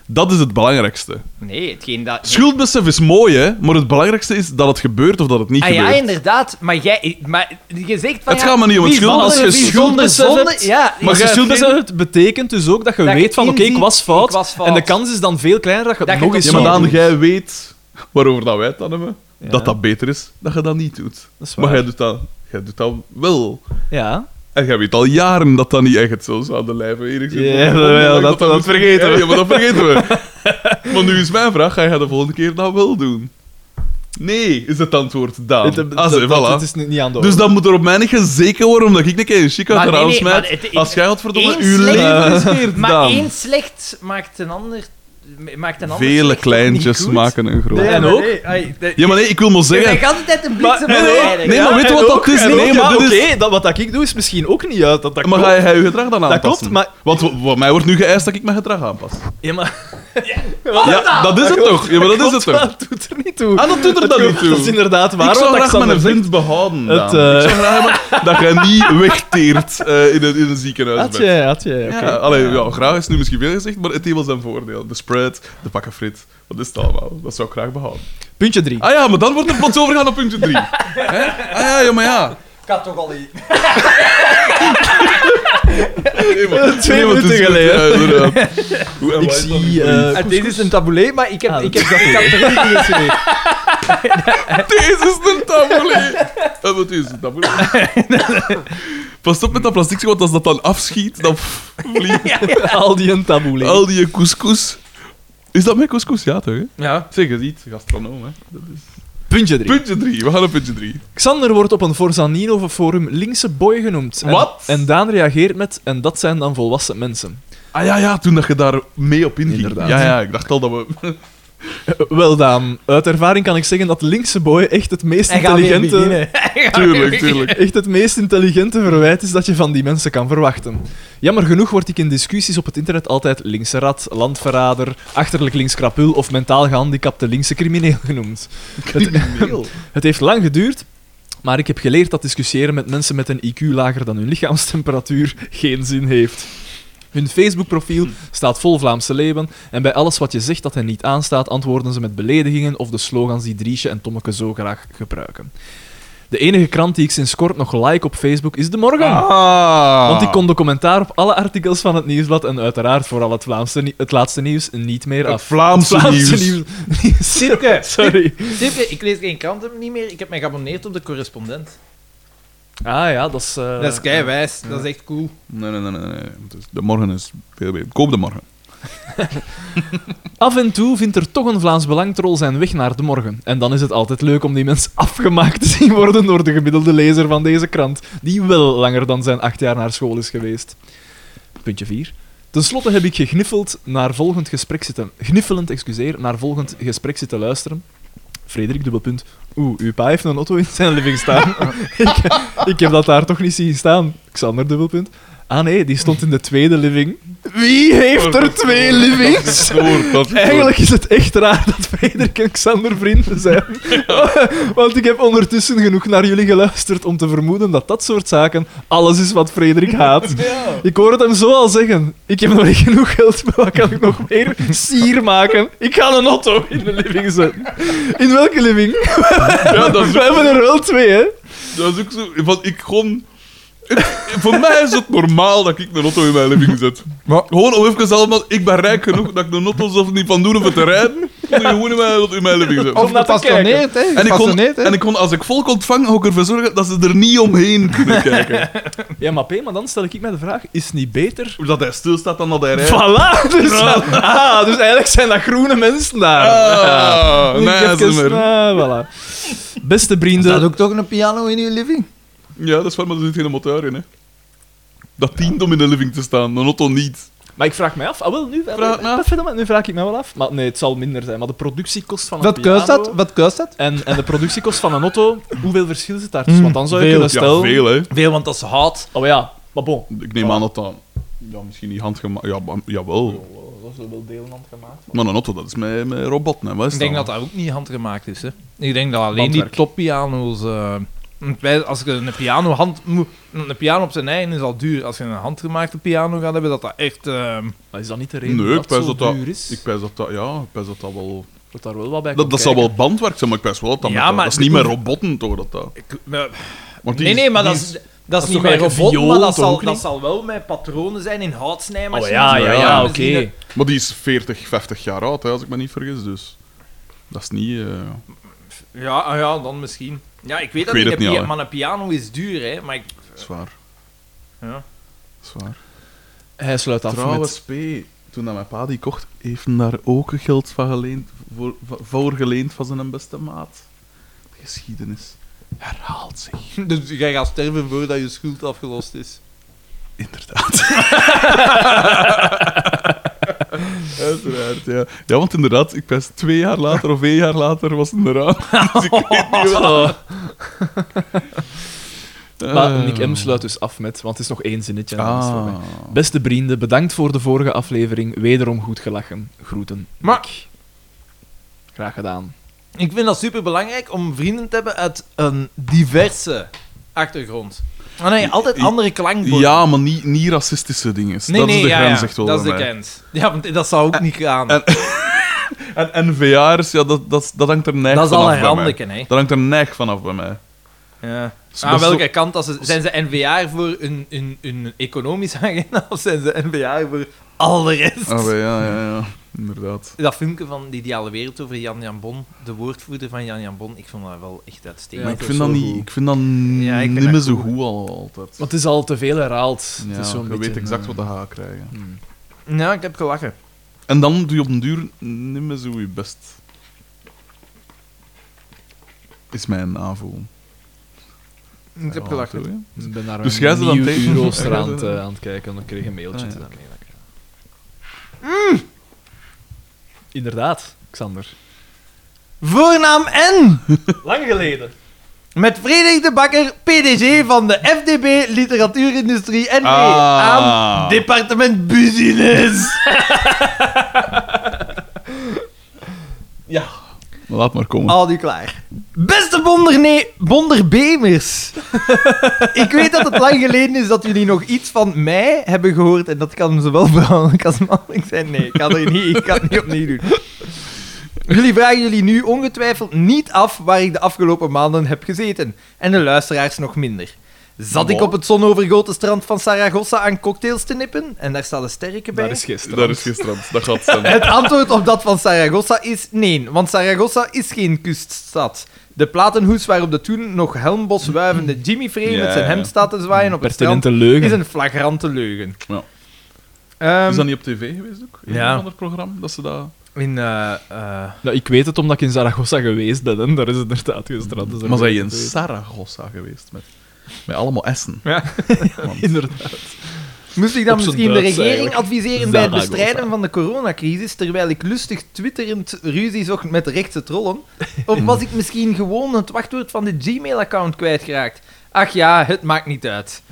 S2: Dat is het belangrijkste.
S7: Nee, hetgeen dat...
S2: Schuldbesef is mooi, hè, maar het belangrijkste is dat het gebeurt of dat het niet
S7: Ah ja,
S2: gebeurt.
S7: inderdaad, maar jij... Maar je zegt van...
S2: Het
S7: ja,
S2: gaat me niet om het
S7: wie
S2: schuld,
S7: zonder-
S2: als je
S7: wie zonder
S3: schuldbesef
S7: zonde-
S3: hebt,
S7: Ja,
S3: Maar
S2: Maar
S3: je
S2: jij
S3: schuldbesef hebt, betekent dus ook dat je
S7: Dat je
S3: weet van, oké, ik,
S7: inziet,
S3: was fout,
S7: ik was fout.
S3: en de kans is dan veel kleiner dat je het
S7: Dat je
S3: nog
S7: het
S3: eens
S2: Ja,
S7: opnieuw
S2: maar
S3: zou
S2: dan
S3: doen.
S2: jij weet waarover dat wij het dan hebben,
S3: Ja.
S2: dat dat beter is dat je dat niet doet.
S3: Dat is waar.
S2: Maar jij doet dat, jij doet dat wel.
S3: Ja.
S2: En jij weet al jaren dat dat niet echt zo zou de lijven enigszins.
S3: Ja, wel, dat- dat vergeten
S2: we. Ja, maar dat vergeten we.
S3: [laughs]
S2: maar nu is mijn vraag, ga je de volgende keer dat wel doen? Nee, is het antwoord Daan.
S3: Het- het-
S2: Ah,
S3: dat-
S2: ze,
S3: dat-
S2: voilà.
S3: het is niet niet aan de
S2: Dus
S3: orde.
S2: dan moet er op mij niet gezeken worden omdat ik een keer een chic uit
S7: Maar
S2: de
S7: nee,
S2: raam
S7: nee,
S2: smijt,
S7: maar het- het-
S2: Als jij had verdomme
S7: één
S2: uw
S7: slecht-
S2: leven riskeert,
S7: [laughs] Maar
S2: Daan.
S7: één slecht maakt een ander... Maakt een ander
S2: Vele
S7: slecht toch niet
S2: kleintjes
S7: goed?
S2: maken een groot.
S3: Nee, en ook...
S2: Ja, maar nee, ik wil maar
S7: Je
S2: zeggen...
S7: krijgt altijd een bliksem
S3: Maar-
S7: van
S3: nee,
S7: rijden.
S2: nee, maar weet je
S3: en
S2: wat dat
S3: ook-
S2: is?
S3: en
S2: Nee,
S3: ook,
S2: maar
S3: ja,
S2: dit is-
S3: oké, dat wat dat ik doe is misschien ook niet uit. Dat, dat
S2: Maar
S3: klopt.
S2: ga je je gedrag dan aanpassen?
S3: klopt, maar-
S2: Want wa- wat mij wordt nu geëist dat ik mijn gedrag aanpas.
S3: Ja, maar...
S2: Ja, dat is het toch? Ja, maar dat is het
S3: klopt,
S2: toch?
S3: maar het doet er niet toe.
S2: Ah, dat doet er dan niet toe.
S3: Dat is inderdaad waar.
S2: ik
S3: wat
S2: zou graag
S3: Xander
S2: mijn
S3: zegt.
S2: vriend behouden.
S3: Het,
S2: Daan.
S3: eh,
S2: Ik zou graag hebben dat jij niet wegteert eh, in, een, in een ziekenhuis.
S3: Had
S2: bent.
S3: je, had je, oké.
S2: Ja, allee, ja, graag is nu misschien veel gezegd, maar het heeft wel zijn voordeel. De spread, de pakken frit, wat is het allemaal? Dat zou ik graag behouden.
S3: Puntje 3.
S2: Ah ja, maar dan wordt er plots overgaan op puntje 3. ah ja, ja, maar ja.
S7: Ik had toch al die...
S2: Nee, maar-
S3: Twee
S2: maar het is
S3: minuten
S2: goed,
S3: geleden.
S2: ja,
S3: [laughs]
S2: inderdaad. Hoe- en
S3: Ik
S2: waar is dat
S3: zie...
S2: nu?
S3: eh,
S7: Ah, Dit is een taboulet, maar ik heb,
S3: Ah,
S7: ik
S3: dat
S7: heb dat ik had er niet in gezien. [laughs]
S2: Deze is een taboulet. En dat is een taboulet.
S3: [laughs]
S2: Pas op met dat plastic, want als dat dan afschiet, dan vliegt
S3: [laughs] al die een taboe liggen.
S2: al die couscous. Is dat met couscous? Ja, toch? Hè?
S7: Ja.
S2: Zeg het niet, gastronoom. Hè?
S3: Puntje 3.
S2: Puntje 3, we gaan op puntje 3.
S3: Xander wordt op een Forzanino forum linkse boy genoemd. En-
S2: Wat?
S3: En Daan reageert met, en dat zijn dan volwassen mensen.
S2: Ah ja, ja, toen dat je daar mee op inging.
S3: Inderdaad.
S2: Ja, ja, ik dacht al dat we. [laughs]
S3: Eh, Wel Daan, uit ervaring kan ik zeggen dat linkse boy echt het meest
S7: En gaan weer
S3: intelligente...
S2: [laughs]
S7: beginnen.
S2: tuurlijk, tuurlijk.
S3: Echt het meest intelligente verwijt is dat je van die mensen kan verwachten. Jammer genoeg word ik in discussies op het internet altijd linkse rat, landverrader, achterlijk links krapul of mentaal gehandicapte linkse crimineel genoemd.
S2: Crimineel.
S3: Het heeft lang geduurd, maar ik heb geleerd dat discussiëren met mensen met een IQ lager dan hun lichaamstemperatuur [laughs] geen zin heeft. Hun Facebookprofiel staat vol Vlaamse leeuwen en bij alles wat je zegt dat hen niet aanstaat, antwoorden ze met beledigingen of de slogans die Driesje en Tommeke zo graag gebruiken. De enige krant die ik sinds kort nog like op Facebook is De Morgen.
S2: Ah.
S3: Want ik kon de commentaar op alle artikels van het nieuwsblad en uiteraard vooral het, Vlaamse, nie- het laatste nieuws niet meer
S2: Het
S3: af.
S2: Vlaamse, nieuws.
S3: nieuws. [laughs]
S7: Sipke.
S1: [laughs]
S3: Sorry.
S7: Sipke, ik lees geen kranten niet meer. Ik heb mij geabonneerd op de correspondent.
S3: Ah ja, dat is... eh,
S7: dat is keiwijs. Dat is echt cool.
S2: Nee, nee, nee, nee. nee. Het is- De morgen is veel beter. Koop de morgen.
S3: Af en toe vindt er toch een Vlaams belangtrol zijn weg naar de morgen. En dan is het altijd leuk om die mens [laughs] afgemaakt te zien worden door de gemiddelde lezer van deze krant, die wel langer dan zijn acht jaar naar school is geweest. Puntje 4. Ten slotte heb ik gegniffeld naar volgend gesprek zitten... Gniffelend, excuseer, naar volgend gesprek zitten luisteren. Frederik, dubbelpunt. Oeh, uw pa heeft een auto in zijn living staan. ik, ik heb dat daar toch niet zien staan. Xander, dubbelpunt. Ah nee, die stond in de tweede living. Wie heeft er twee livings?
S2: Stoor, dat
S3: Eigenlijk is het echt raar dat Frederik en Xander vrienden zijn. [laughs] Want ik heb ondertussen genoeg naar jullie geluisterd om te vermoeden dat dat soort zaken alles is wat Frederik haat. Ik hoor het hem zo al zeggen. Ik heb nog niet genoeg geld, maar wat kan ik nog meer? Sier maken. Ik ga een auto in de living zetten. In welke living?
S2: Ja, dat is
S3: We
S2: ook,
S3: hebben er wel twee, hè?
S2: dat is ook zo. Want ik gewoon... Voor mij is het normaal dat ik een auto in mijn living zet.
S1: Maar-
S2: Gewoon om even allemaal... Ik ben rijk genoeg dat ik de auto zelf niet van doen of te rijden. Kon ik gewoon in mijn, in mijn living zetten.
S1: Of
S3: naar te
S1: gepassioneerd, hè?
S2: En ik, kon,
S1: Gepassioneerd, Oh, hè?
S2: en ik kon, als ik volk ontvang, ook ervoor zorgen dat ze er niet omheen kunnen kijken.
S3: Ja, maar P, maar dan stel ik mij de vraag, is het niet beter?
S2: Dat hij stilstaat dan dat hij rijdt.
S3: Voilà! Dus, ah, dus eigenlijk zijn dat groene mensen daar. Ja.
S2: Ah,
S3: Ik
S2: nee,
S3: heb
S2: ze
S3: kes-
S2: maar.
S3: Ah, voilà. Beste
S1: Is dat
S3: vrienden.
S1: ook toch een piano in uw living?
S2: Ja, dat is waar, maar er zit geen motor in, hè. Dat dient om in de living te staan, een auto niet.
S3: Maar ik vraag mij af. Ah, wel, nu,
S2: Vraag het me af.
S3: verder, nu vraag ik mij wel af. Maar nee, het zal minder zijn. Maar de productiekost van een
S1: Wat
S3: piano
S1: keus dat? Wat keus dat?
S3: En, en de productiekost van een auto, hoeveel verschil zit daar tussen?
S1: Mm,
S3: Want dan zou je
S1: veel.
S3: kunnen
S2: Ja,
S3: stellen...
S2: veel, hè.
S7: Veel, want dat is hout.
S3: Oh ja, maar bon.
S2: Ik neem aan dat dat... Ja, misschien niet handgemaakt... Ja, maar- jawel.
S3: Oh, Dat is wel deel gemaakt.
S2: Maar een auto, dat is met, met robot, hè. Wat is
S1: Ik denk dat
S2: dat?
S1: dat ook niet handgemaakt is. Hè. Ik denk dat alleen
S3: Handwerk.
S1: die toppiano's. eh, want wij- als je een piano, hand, moet- een piano op zijn eigen is al duur. Als je een handgemaakte piano gaat hebben, dat dat echt. ehm,
S3: Maar is dat niet de reden
S2: Nee, ik
S3: dat het
S2: pijs
S3: zo
S2: dat dat...
S3: duur is?
S2: Ik pijs dat dat... Ja, ik pijs dat dat wel...
S3: Dat daar wel wat bij
S2: Dat,
S3: komt
S2: dat zou
S3: kijken.
S2: wel bandwerk zijn, maar ik pijs wel dat dat...
S1: Ja,
S2: met dat-
S1: maar
S2: dat is
S1: de-
S2: niet met robotten, toch, dat dat...
S1: ik- nou,
S2: Want die
S7: nee,
S2: is-
S7: nee, maar
S2: die
S7: dat is, dat
S3: toch
S7: is niet mijn
S3: eigenlijk
S7: robot,
S3: viool,
S7: maar dat
S3: toch
S7: zal,
S3: ook
S7: dat
S3: niet?
S7: zal wel met patronen zijn in houtsnijmachines.
S3: Oh ja, ja,
S2: Ja,
S3: ja,
S2: ja,
S3: oké.
S7: misschien een-
S2: Maar die is 40, 50 jaar oud, hè, als ik me niet vergis, dus... Dat is niet... eh,
S7: Ja, ah ja, dan misschien. Ja, ik weet dat
S2: weet
S7: niet,
S2: het
S7: een
S2: niet
S7: pia-
S2: al, hè.
S7: maar een piano is duur, hè. Maar ik,
S2: Zwaar.
S7: Ja.
S2: Zwaar.
S3: Hij sluit af
S2: Trouwens,
S3: met...
S2: P, toen dat mijn pa die kocht, heeft hem daar ook geld van geleend, voor, va- voor geleend van zijn beste maat. De geschiedenis herhaalt zich.
S1: dus jij gaat sterven voordat je schuld afgelost is.
S2: Inderdaad. [laughs] Uiteraard, ja. Ja, want inderdaad, ik was twee jaar later of één jaar later was het eraan. Dus ik weet niet wat...
S3: [laughs] Oh.
S2: [laughs]
S3: Maar
S2: Eh.
S3: Nick M. sluit dus af met... Want het is nog één zinnetje. en dan is het voorbij.
S2: Ah.
S3: Beste vrienden, bedankt voor de vorige aflevering. Wederom goed gelachen. Groeten.
S1: Maar
S3: Graag gedaan.
S1: ik vind dat super belangrijk om vrienden te hebben uit een diverse achtergrond. Ah nee, altijd
S2: I-
S1: andere klankborden.
S2: Ja, maar niet, niet racistische dingen.
S1: nee,
S2: dat
S1: nee,
S2: is de
S1: ja,
S2: grens
S1: ja,
S2: echt wel
S1: Dat is
S2: bij
S1: de
S2: mij.
S1: grens. Ja, want dat zou ook niet gaan.
S2: en- En, en VR's, ja, dat, dat, dat hangt er neig
S1: dat is
S2: vanaf
S1: al een
S2: bij mij.
S1: randeken, hè.
S2: Dat hangt er neig vanaf bij mij.
S1: Ja.
S2: Dus
S1: Aan
S2: dat is
S1: Ah, welke kant? Als ze, zijn ze NVA voor hun, hun, hun economische [laughs] agenda of zijn ze NVA voor al de rest?
S2: zo- Ah, wel, ja, ja, ja. Inderdaad.
S1: Dat filmpje van de ideale wereld over Jan Jan Bon, de woordvoerder van Jan Jan Bon, ik vond dat wel echt
S2: maar
S1: uitstekend.
S2: ik
S3: dat
S2: vind
S3: is
S2: dat
S3: wel
S2: niet...
S3: goed.
S2: Ik vind dat
S1: Ja, ik vind
S2: niet meer
S1: dat
S2: zo
S1: goed.
S2: goed al, altijd.
S3: Want het is al te veel herhaald.
S2: ja,
S3: het is zo'n
S2: je
S3: beetje,
S2: weet exact
S3: eh,
S2: wat je gaat krijgen.
S3: hmm.
S1: Ja, ik heb gelachen.
S2: En dan doe je op den duur niet meer zo je best. Is mijn aanvoel.
S1: Ik heb
S2: Ja,
S1: gelachen.
S2: zo, hè.
S3: Ik ben naar
S2: Dus
S3: een
S2: jij ze dan
S3: nieuw
S2: tegen-
S3: [laughs] uurrooster aan, het,
S2: Ja,
S3: eh, aan het kijken. Dan kreeg ik een mailtje.
S2: Ah, ja.
S3: dus daarmee dat ik- Inderdaad, Xander.
S1: Voornaam N!
S3: Lang geleden.
S1: Met Frederik de Bakker, PDG van de FDB Literatuurindustrie NV
S2: Ah. [laughs]
S1: aan Departement [laughs] Business.
S2: Maar laat maar komen.
S1: Al nu klaar. Beste bonderne-
S3: [laughs]
S1: bonderbemers. ik weet dat het lang geleden is dat jullie nog iets van mij hebben gehoord. En dat kan zowel vrouwelijk als mannelijk zijn. Nee, ik kan, er niet, ik kan het niet opnieuw doen. Jullie vragen jullie nu ongetwijfeld niet af waar ik de afgelopen maanden heb gezeten. En de luisteraars nog minder. Zat ik op het zonovergoten strand van Saragossa aan cocktails te nippen? En daar staat een sterke bij.
S3: Daar is gisteren.
S2: Daar is gisteren. Dat [laughs] gaat zijn.
S1: Het antwoord op dat van Saragossa is nee, want Saragossa is geen kuststad. De platenhoes waarop de toen nog helmbos wuivende Jimmy Frey
S2: Ja,
S1: met zijn
S2: ja, ja.
S1: hemd staat te zwaaien op het strand
S3: Pertinente leugen.
S1: is een flagrante leugen.
S2: Ja. Is
S7: Ehm,
S2: dat niet op tv geweest ook? In
S7: Ja.
S2: een ander programma? Dat ze dat...
S7: in, eh, eh,
S3: Nou, ik weet het omdat ik in Zaragoza geweest ben, en daar is inderdaad gestrand. Dus daar
S2: Maar
S3: weet
S2: zijn je in
S3: ik het weer.
S2: Saragossa geweest? Met, met allemaal
S1: [laughs]
S2: essen.
S3: Inderdaad.
S7: moest ik dan
S3: Op z'n
S7: misschien de
S3: Duits
S7: regering
S3: eigenlijk.
S7: adviseren bij het
S3: Zaragoza.
S7: bestrijden van de coronacrisis, terwijl ik lustig twitterend ruzie zocht met rechtse
S3: [laughs]
S7: trollen? Of was ik misschien gewoon het wachtwoord van dit Gmail-account kwijtgeraakt? Ach ja, het maakt
S3: [laughs]
S7: niet uit.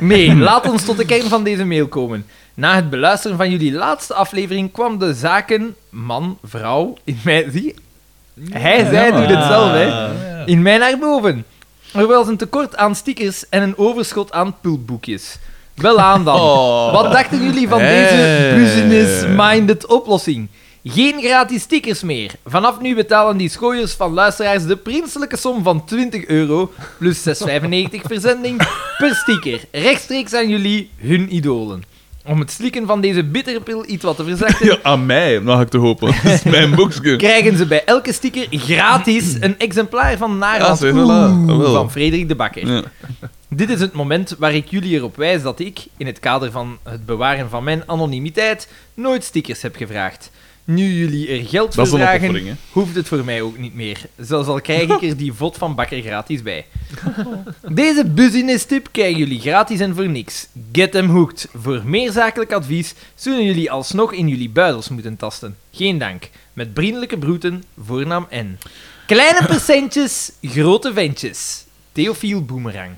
S7: Nee, laat ons tot de kern van deze mail komen. Na het beluisteren van jullie laatste aflevering kwam de zaken man, vrouw, in mij... Zie, hij, zij
S2: maar-
S7: doet het zelf, hè.
S3: Ah.
S2: Ja.
S7: In mij naar boven. Er was een tekort aan stickers en een overschot aan pulpboekjes. Wel aan
S2: [laughs]
S7: dan.
S2: Oh.
S7: Wat dachten jullie van deze
S2: Hey.
S7: business-minded oplossing? Geen gratis stickers meer. Vanaf nu betalen die schooiers van luisteraars de prinselijke som van 20 euro plus 6,95 verzending per sticker. Rechtstreeks aan jullie, hun idolen. Om het slikken van deze bittere pil iets wat te verzachten,
S2: Ja, aan mij, mag ik te
S1: [laughs]
S2: hopen. Dat is mijn boekje.
S7: krijgen ze bij elke sticker gratis een exemplaar van
S2: Ja,
S7: Naarland
S2: zo, voilà. Ah, wel.
S7: van Frederik de Bakker.
S2: Ja.
S7: Dit is het moment waar ik jullie erop wijs dat ik, in het kader van het bewaren van mijn anonimiteit, nooit stickers heb gevraagd. Nu jullie er geld
S2: Dat is
S7: voor
S2: een
S7: vragen,
S2: opoffering, hè.
S7: hoeft het voor mij ook niet meer. Zelfs al krijg ik er die vod van bakker gratis
S3: [laughs]
S7: bij. Deze business tip krijgen jullie gratis en voor niks. Get them hooked. Voor meer zakelijk advies zullen jullie alsnog in jullie buidels moeten tasten. Geen dank. Met vriendelijke broeten, voornaam N. Kleine percentjes, grote ventjes. Theofiel Boemerang.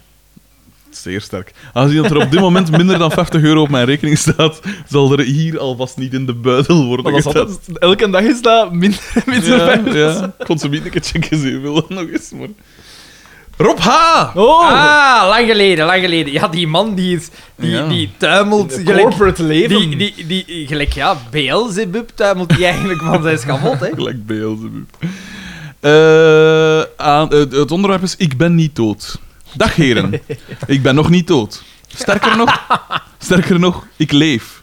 S2: Zeer sterk. Aangezien dat er op dit moment minder dan 50 euro op mijn rekening staat, zal er hier alvast niet in de buidel worden
S3: Maar dat is
S2: getest.
S3: altijd, elke dag is dat minder en minder.
S2: Ja, ja. Ik kon ze niet een keer checken, ze wil dat [laughs] nog eens, maar... Rob H!
S3: Oh,
S7: Ah, lang geleden, lang geleden. Ja, die man die, is, die,
S2: Ja.
S7: die tuimelt. Gelijk,
S3: corporate leven.
S7: die, die, die, gelijk, ja, Beelzebub tuimelt die eigenlijk van zijn schavot, hè.
S2: Gelijk Beelzebub. Eh, aan- eh, het onderwerp is Ik ben niet dood. Dag heren, ik ben nog niet dood. Sterker
S3: [laughs]
S2: nog, sterker nog ik leef.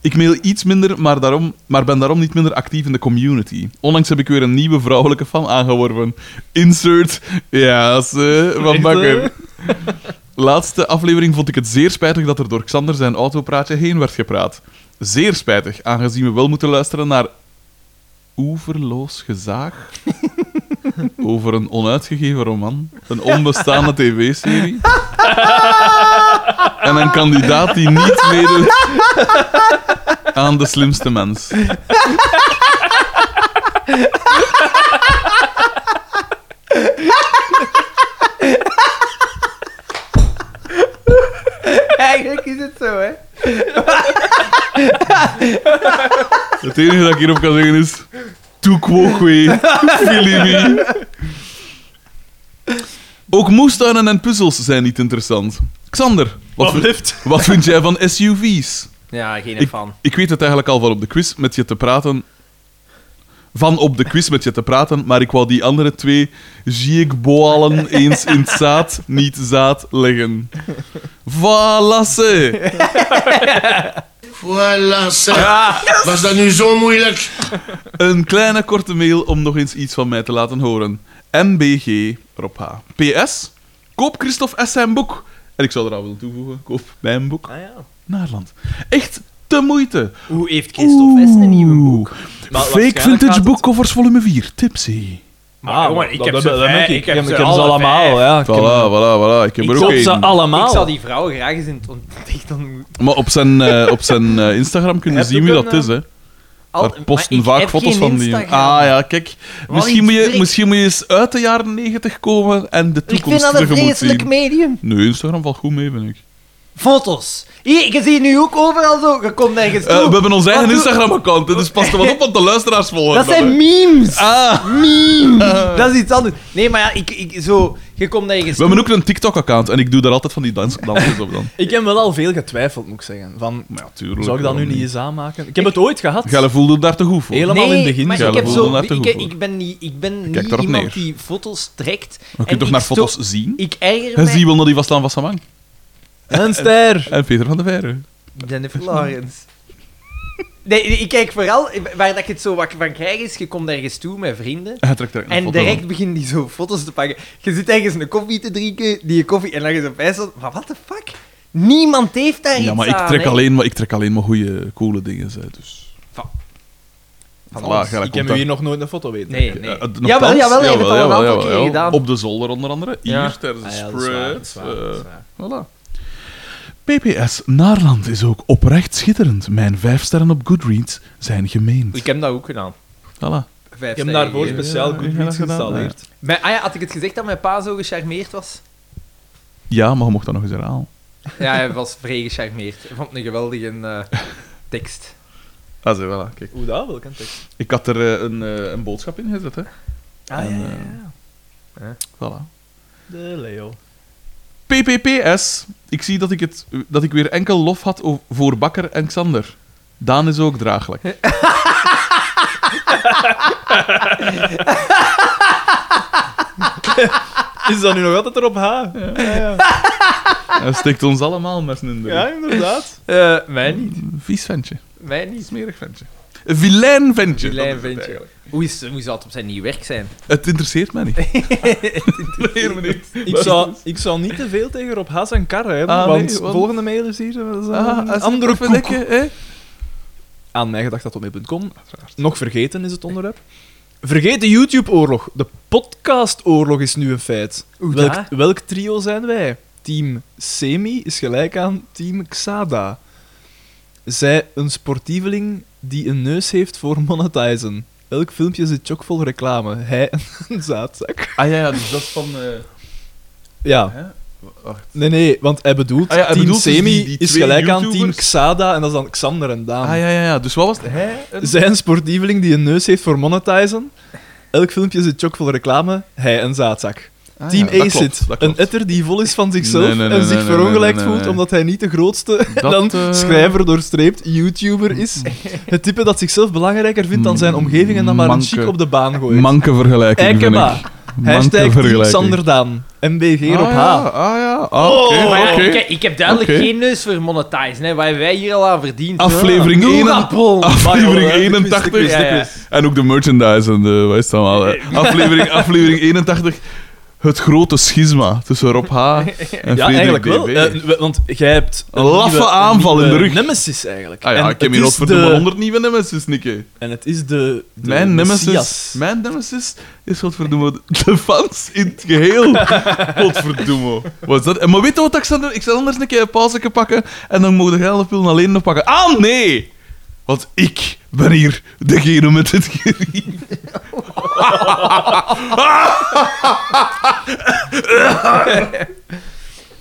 S2: Ik mail iets minder, maar, daarom, maar ben daarom niet minder actief in de community. Onlangs heb ik weer een nieuwe vrouwelijke fan aangeworven. Insert, ja, ze, van
S3: Echt, hè?
S2: Bakker. Laatste aflevering vond ik het zeer spijtig dat er door Xander zijn autopraatje heen werd gepraat. Zeer spijtig, aangezien we wel moeten luisteren naar oeverloos
S3: [laughs]
S2: gezaag over een onuitgegeven roman, een
S3: [laughs]
S2: onbestaande tv-serie en een kandidaat die niet meedoet aan de slimste mens.
S7: Eigenlijk is het zo, hè.
S2: Het enige dat ik hierop kan zeggen is... Tu quoque, Filimi. Ook moestuinen en puzzels zijn niet interessant. Xander, wat, vind- wat vind jij van SUV's?
S7: Ja, geen
S2: Ik-
S7: fan.
S2: Ik weet het eigenlijk al van op de quiz met je te praten. Van op de quiz met je te praten, maar ik wou die andere twee Giekboalen eens in het zaad, niet zaad leggen. Voilà, ze.
S4: Voilà, zeg. Was dat nu zo moeilijk?
S2: Een kleine korte mail om nog eens iets van mij te laten horen. MBG Rob H. PS. Koop Christophe S. zijn boek. En ik zou er al willen toevoegen. Koop mijn boek.
S3: Ah, ja.
S2: Naarland. Echt te moeite.
S7: Hoe heeft Christophe S. een nieuwe boek?
S3: Maar
S2: Fake
S3: waarschijnlijk gaat
S2: vintage
S3: het-
S2: boekcovers volume 4. Tipsy.
S3: Maar
S8: Ah, jongen, ik heb ze
S3: dat merk
S8: vijf,
S3: ik.
S8: ik heb
S3: Ja, maar
S8: ze
S3: ik heb ze
S8: alle
S3: allemaal.
S8: vijf.
S3: Ja, ik heb-
S2: Voilà, voilà, voilà. Ik heb
S3: Ik
S2: er ook
S3: heb ze
S2: één.
S7: Ik zou
S3: allemaal.
S7: die vrouw graag eens in het ontdekt ontmoeten.
S2: Maar op zijn, eh, op zijn eh, Instagram kunnen
S3: Heb
S2: zien
S3: je
S2: wie
S3: ook
S2: dat
S3: een,
S2: is, hè.
S7: eh, Al-
S2: Daar
S7: maar
S2: posten
S7: ik
S2: vaak
S7: heb
S2: foto's
S7: geen
S2: van die. Ah
S7: Instagram.
S2: ja, kijk. Misschien
S7: iets
S2: moet, je,
S7: drinken.
S2: misschien moet je eens uit de jaren 90 komen en de
S7: Ik vind
S2: toekomst
S7: dat een
S2: tegemoet
S7: vreselijk
S2: zien.
S7: medium.
S2: Nee, Instagram valt goed mee, ben ik.
S7: Foto's. Hier, je ziet nu ook overal zo. Je komt nergens toe.
S2: Eh, we hebben ons eigen
S7: Wat doe-
S2: Instagram-account, dus pas er wat op, want de luisteraars volgen.
S7: Dat
S2: dan, hè.
S7: zijn memes.
S2: Ah.
S7: Memes.
S2: [laughs]
S7: Dat is iets anders. Nee, maar ja, ik, ik, zo, je komt nergens
S2: We hebben ook een TikTok-account en ik doe daar altijd van die dans dansjes op dan.
S3: Ik heb wel al veel getwijfeld, moet ik zeggen. Van,
S2: Maar ja, tuurlijk.
S3: zou ik dat nu
S2: waarom
S3: niet eens aanmaken? Ik heb het ooit gehad.
S2: Gelle voelde daar te goed voor.
S3: Helemaal-
S7: nee,
S3: in het begin
S7: Maar
S2: zelf.
S7: ik, heb
S2: Ja,
S7: zo,
S2: daarnaar te
S7: ik,
S2: goed voor.
S7: ik ben niet, ik ben
S2: kijk
S7: niet
S2: daarop
S7: iemand
S2: neer.
S7: die foto's trekt.
S2: Je
S7: En
S2: kunt toch
S7: ik
S2: naar
S7: sto-
S2: foto's zien?
S7: Ik erger
S2: En
S7: mij...
S2: zie wel dat die vast aan Vassamang.
S3: Een ster.
S2: En Peter van der Veijren.
S7: Jennifer Lawrence. Nee, nee, ik kijk vooral... Waar dat ik het zo wat van krijg is, je komt ergens toe met vrienden...
S2: Hij trekt direct een
S7: En
S2: foto
S7: direct
S2: van.
S7: beginnen die zo foto's te pakken. Je zit ergens een koffie te drinken, die je koffie... En dan je zo bij staat, maar what the fuck?
S9: Niemand heeft daar
S2: Ja,
S9: iets
S2: maar ik
S9: aan,
S2: trek,
S9: hè.
S2: alleen maar ik trek alleen maar goede, coole dingen uit. Dus. Voilà,
S3: Alles.
S2: jij dat
S3: ik heb
S2: contact.
S3: hier nog nooit een foto weten.
S9: Nee, nee.
S2: Eh, eh, nogthans,
S9: Jawel, jawel, je hebt het al een aantal keer gedaan.
S2: Op de zolder onder andere. Hier,
S9: Ja.
S2: ter
S3: Ah, ja, dat is waar, dat
S2: spread. eh,
S3: is waar, dat is waar.
S2: Voilà. PPS, Naarland is ook oprecht schitterend. Mijn vijf sterren op Goodreads zijn gemeend.
S7: Ik heb dat ook gedaan.
S2: Voilà.
S7: Vijf
S3: Ik heb
S7: sterren
S3: daarvoor
S7: gegeven.
S3: speciaal
S2: ja,
S3: Goodreads
S2: ja, gedaan,
S3: geïnstalleerd.
S7: Mijn- ah ja, had ik het gezegd dat mijn pa zo gecharmeerd was?
S2: Ja, maar je mocht dat nog eens herhalen.
S7: Ja, hij was vrij gecharmeerd. Hij vond een geweldige
S2: [laughs]
S7: eh, tekst.
S2: Ah, zo, voilà, kijk.
S3: Hoe dat? Welke tekst?
S2: Ik had er eh, een, eh, een boodschap in gezet, hè.
S7: Ah,
S2: ja, ja, Voilà.
S3: De Leo.
S2: PPPS. Ik zie dat ik, het, dat ik weer enkel lof had o- voor Bakker en Xander. Daan is ook draaglijk.
S3: Is dat nu nog altijd erop H? [laughs] Ja, ja.
S2: Hij steekt ons allemaal messen in de
S3: Ja,
S2: rug. [laughs] Eh,
S3: inderdaad.
S7: ja. mij niet.
S2: Vies ventje.
S7: Mij niet.
S2: Smerig ventje. Een vilijn ventje.
S7: Vilijn
S2: dat is het
S7: ventje.
S2: eigenlijk.
S7: Hoe, is, hoe zou het op zijn nieuw werk zijn?
S2: Het interesseert mij niet.
S3: [laughs]
S2: Meer minuut.
S3: Ik zou, ik zou niet te veel tegen Rob Haas en Karre hebben,
S2: Ah, nee,
S3: want
S2: want-
S3: volgende mail is hier dat is een
S2: Ah,
S3: andere koek.
S2: hè?
S3: Aan mijgedacht.com. Nog vergeten is het onderwerp. Vergeet de YouTube-oorlog. De podcast-oorlog is nu een feit.
S7: Hoe
S3: Welk,
S7: dat?
S3: welk trio zijn wij? Team Semi is gelijk aan Team Xada. Zij een sportieveling die een neus heeft voor monetizen. Elk filmpje zit chockvol reclame. Hij [laughs] een zaadzak.
S2: Ah ja, ja, dus dat is van. eh,
S3: Ja,
S2: hè? Wacht.
S3: nee, nee, want hij bedoelt
S2: Ah ja, hij
S3: Team
S2: bedoelt dus
S3: Semi
S2: die- die
S3: is
S2: twee
S3: gelijk aan
S2: YouTubers?
S3: Team Xada en dat is dan Xander en Daan.
S2: Ah ja, ja, ja. Dus wat was het? Hij? een-
S3: Zij een sportieveling die een neus heeft voor monetizen. Elk filmpje zit chockvol reclame. Hij een zaadzak.
S2: Ah,
S3: Team
S2: ja, dat
S3: Acid,
S2: klopt, dat
S3: een
S2: klopt.
S3: etter die vol is van zichzelf
S2: Nee, nee, nee,
S3: en zich
S2: nee, nee,
S3: verongelijkt
S2: nee, nee,
S3: voelt
S2: nee.
S3: omdat hij niet de grootste
S2: [laughs]
S3: en
S2: Dat,
S3: dan
S2: eh,
S3: schrijver doorstreept
S2: [laughs]
S3: YouTuber is. Het type dat zichzelf belangrijker vindt dan zijn omgeving en dan maar een
S2: Manke.
S3: chic op de baan gooit.
S2: Manke vergelijking. vind
S3: Eikema.
S2: ik. Manke
S3: Hashtag Team
S2: vergelijking.
S3: Xander Daan. MBG op
S2: ah,
S3: H.
S2: ja, ah ja, ah, oké.
S7: Oh, Maar ja,
S2: oké.
S7: ik, ik heb duidelijk
S2: Oké.
S7: geen neus voor monetizen, hè, waar wij hier al aan verdiend
S2: Aflevering Ah,
S7: Ja.
S2: 1 en-
S7: Noordappel.
S2: Aflevering
S3: Maar ja, hoor,
S2: 81.
S3: de quiz,
S7: de quiz.
S2: En ook de merchandise en de. Wat is het allemaal?
S3: [laughs]
S2: hè? Aflevering, aflevering 81. Het grote schisma tussen
S3: [laughs]
S2: Rob H. en Frederik Ah
S3: Ja, eigenlijk
S2: DB.
S3: wel. Eh, we- want jij hebt...
S2: Een laffe aanval in de
S3: nieuwe
S2: rug.
S3: Nemesis eigenlijk.
S2: Ah ja, ik heb
S3: het
S2: hier nog
S3: is
S2: voor
S3: de-
S2: de 100 nieuwe nemesis, Nicky.
S3: En het is de, de
S2: Mijn nemesis,
S3: Messias.
S2: mijn nemesis is godverdomme [laughs] de fans in het
S3: [laughs]
S2: geheel. Godverdomme. Wat is dat? En Maar weet je wat ik zal doen? Ik zal anders een keer een pauze pakken en dan mogen de hele pillen alleen nog pakken. Ah, nee! Want ik ben hier degene met het gerief.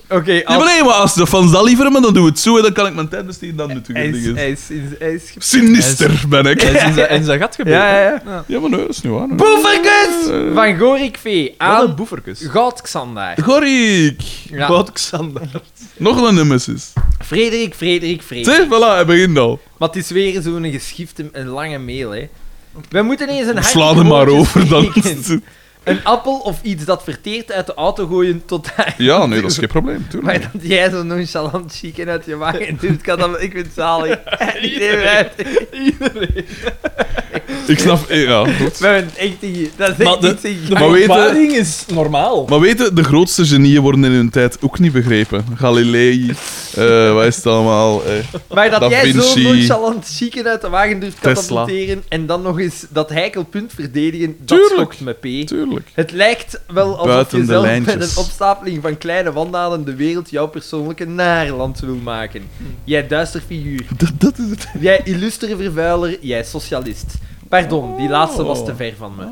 S7: Oké,
S2: Ja,
S7: als-
S2: maar nee, maar als de fans dat liever hebben, dan doen we het zo en dan kan ik mijn tijd besteden aan
S7: hij
S2: natuurlijk.
S7: is-
S2: dingen.
S7: hij is- hij is- hij is-
S2: Sinister ben ik.
S3: Hij is in zijn- in zijn gat gebeten.
S7: Ja, ja, ja.
S2: Ja, maar nee, dat is niet waar. nee.
S7: Boeverkus! Van Gorik V.
S3: Wat een
S7: Aan
S3: boeverkus.
S7: Goudxandaar.
S2: [laughs] Gorik!
S7: Ja.
S3: Wout Xander.
S2: Nog een nemesis.
S7: Frederik, Frederik, Frederik.
S2: Zie, voilà, hij begint al.
S7: Maar het is weer zo'n geschifte, een lange mail, hè. We moeten eens een hard
S2: Sla hem maar
S7: woordje
S2: over dan.
S7: spreken. Een appel of iets dat verteert uit de auto gooien tot daar.
S2: [laughs] Ja, nee, dat is geen probleem. Tuurlijk.
S7: Maar dat jij zo nonchalant chicken uit je wagen doet, kan dat... Ik vind het zalig. Ik neem uit.
S2: Ik snap, eh, ja, goed.
S7: We hebben echt niet... Dat is echt
S3: Maar de-
S7: niet in-
S3: De
S2: Maar weten-
S3: verontwaardiging is normaal.
S2: Maar weten, de grootste genieën worden in hun tijd ook niet begrepen. Galilei, eh wat is het allemaal? eh.
S7: Maar dat
S2: Da
S7: jij zo
S2: Vinci.
S7: nonchalant chicken uit de wagen durft
S2: Tesla.
S7: katapulteren en dan nog eens dat heikelpunt verdedigen, dat
S2: Tuurlijk.
S7: schokt me P.
S2: Tuurlijk.
S7: Het lijkt wel alsof
S2: Buiten
S7: je
S2: de
S7: zelf met
S2: lijntjes.
S7: een opstapeling van kleine wandaden de wereld jouw persoonlijke naarland wil maken.
S2: Hm.
S7: Jij duister figuur.
S2: Dat, dat is het.
S7: Jij illustere vervuiler, jij socialist. Pardon, die laatste was te ver van me.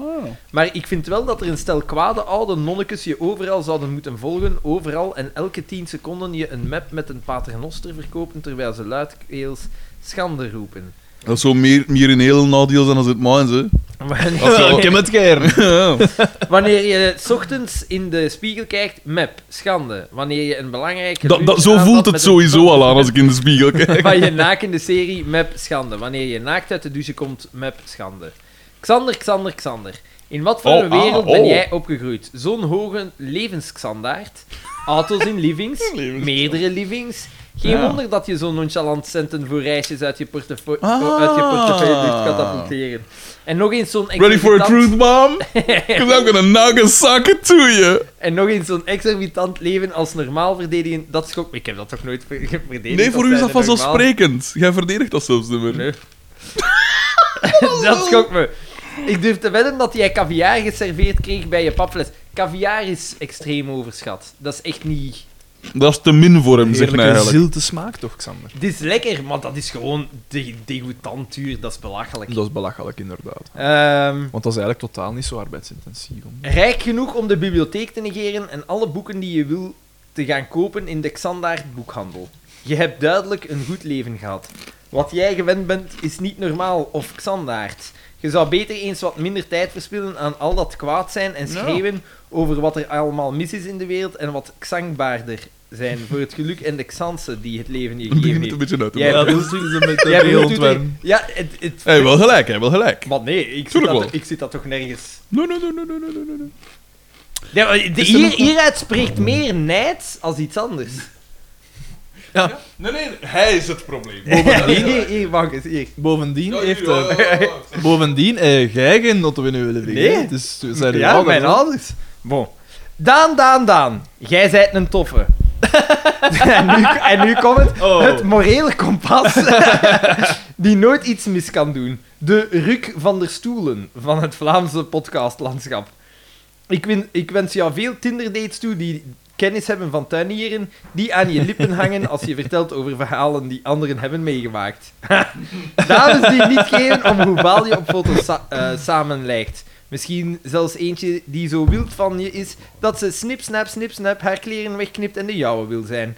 S7: Maar ik vind wel dat er een stel kwade oude nonnekes je overal zouden moeten volgen, overal en elke 10 seconden je een map met een paternoster verkopen terwijl ze luidkeels schande roepen.
S2: Dat is zo meer, meer in heel nadeel zijn als het mijns, hè.
S7: Wanneer,
S3: Ik heb [laughs] het keer.
S7: wanneer je 's ochtends in de spiegel kijkt, map, schande. Wanneer je een belangrijke.
S2: Dat, dat,
S7: lunch
S2: zo
S7: aanvat
S2: voelt het
S7: met een
S2: sowieso al aan als ik in de [laughs] spiegel kijk.
S7: Van je nakende serie, map, schande. Wanneer je naakt uit de douche komt, map, schande. Xander, Xander, Xander. In wat voor
S2: Oh,
S7: een wereld
S2: ah,
S7: ben
S2: oh.
S7: jij opgegroeid?
S2: [laughs]
S7: Zo'n hoge levensxandaard, auto's in livings, meerdere livings, Geen
S2: Ja.
S7: wonder dat je zo nonchalant centen voor reisjes uit je, portefeu-
S2: Ah.
S7: uit je portefeuille moet katapulteren. En nog eens zo'n
S2: Ready for a
S7: exorbitant-
S2: truth, [laughs] mom? Because I'm gonna knock a socket to you.
S7: En nog eens zo'n exorbitant leven als normaal verdedigen. Dat schokt me. Ik heb dat toch nooit [laughs] ver- verdedigd.
S2: Nee, voor
S7: als
S2: u is dat
S7: zijnde normaal.
S2: vanzelfsprekend. Jij verdedigt dat zelfs niet meer.
S7: Nee. dat schokt me. Ik durf te wedden dat jij caviar geserveerd kreeg bij je papfles. Caviar is extreem overschat. Dat is echt niet...
S2: Dat is te min voor hem, zeg
S3: Heerlijke
S2: maar eigenlijk.
S3: zilte smaak toch, Xander?
S7: Het is lekker, maar dat is gewoon de degoutant duur. Dat is belachelijk.
S3: Dat is belachelijk, inderdaad.
S7: Ehm,
S3: Want dat is eigenlijk totaal niet zo arbeidsintensief. Om...
S7: rijk genoeg om de bibliotheek te negeren en alle boeken die je wil te gaan kopen in de Xandaard boekhandel. Je hebt duidelijk een goed leven gehad. Wat jij gewend bent is niet normaal of Xandaard. Je zou beter eens wat minder tijd verspillen aan al dat kwaad zijn en
S2: Ja.
S7: schreeuwen over wat er allemaal mis is in de wereld en wat xangbaarder zijn voor het geluk en de Xansen die het leven je
S2: Dan begint
S7: gegeven
S2: het een
S7: heeft.
S2: beetje uit te
S7: Jij-
S2: maken.
S7: dat
S3: is een beetje
S7: Jij bedoelt u tegen- Ja, het, het,
S2: Hij wel gelijk, hij wel gelijk.
S7: Maar nee, ik zit,
S2: Eh, Tuurlijk
S7: dat,
S2: wel.
S7: ik zit dat toch nergens.
S2: Nee, nee, nee, nee, nee, nee, nee, nee.
S7: Ja, maar de- hier, hieruit spreekt meer nijd als iets anders.
S2: Nee, nee, hij is het probleem.
S7: [laughs] hier, hier, wacht eens, hier.
S3: Bovendien heeft hij... [laughs] Bovendien, eh, jij geen notte winnen willen wegen.
S7: Nee.
S3: Dus we zijn er
S7: Ja,
S3: allemaal
S7: mijn
S3: van.
S7: ouders. Bon. Daan, Daan, Daan. Jij zijt een toffe. en, nu, en nu komt het.
S3: Oh.
S7: Het morele kompas. die nooit iets mis kan doen. De Ruk van der Stoelen van het Vlaamse podcastlandschap. Ik, win, ik wens jou veel Tinder-dates toe die kennis hebben van tuinieren, die aan je lippen hangen als je vertelt over verhalen die anderen hebben meegemaakt. [laughs] Dames die niet geven om hoe baal je op foto's sa- eh, samen lijkt. Misschien zelfs eentje die zo wild van je is dat ze snip, snap, snip, snap haar kleren wegknipt en de jouwe wil zijn.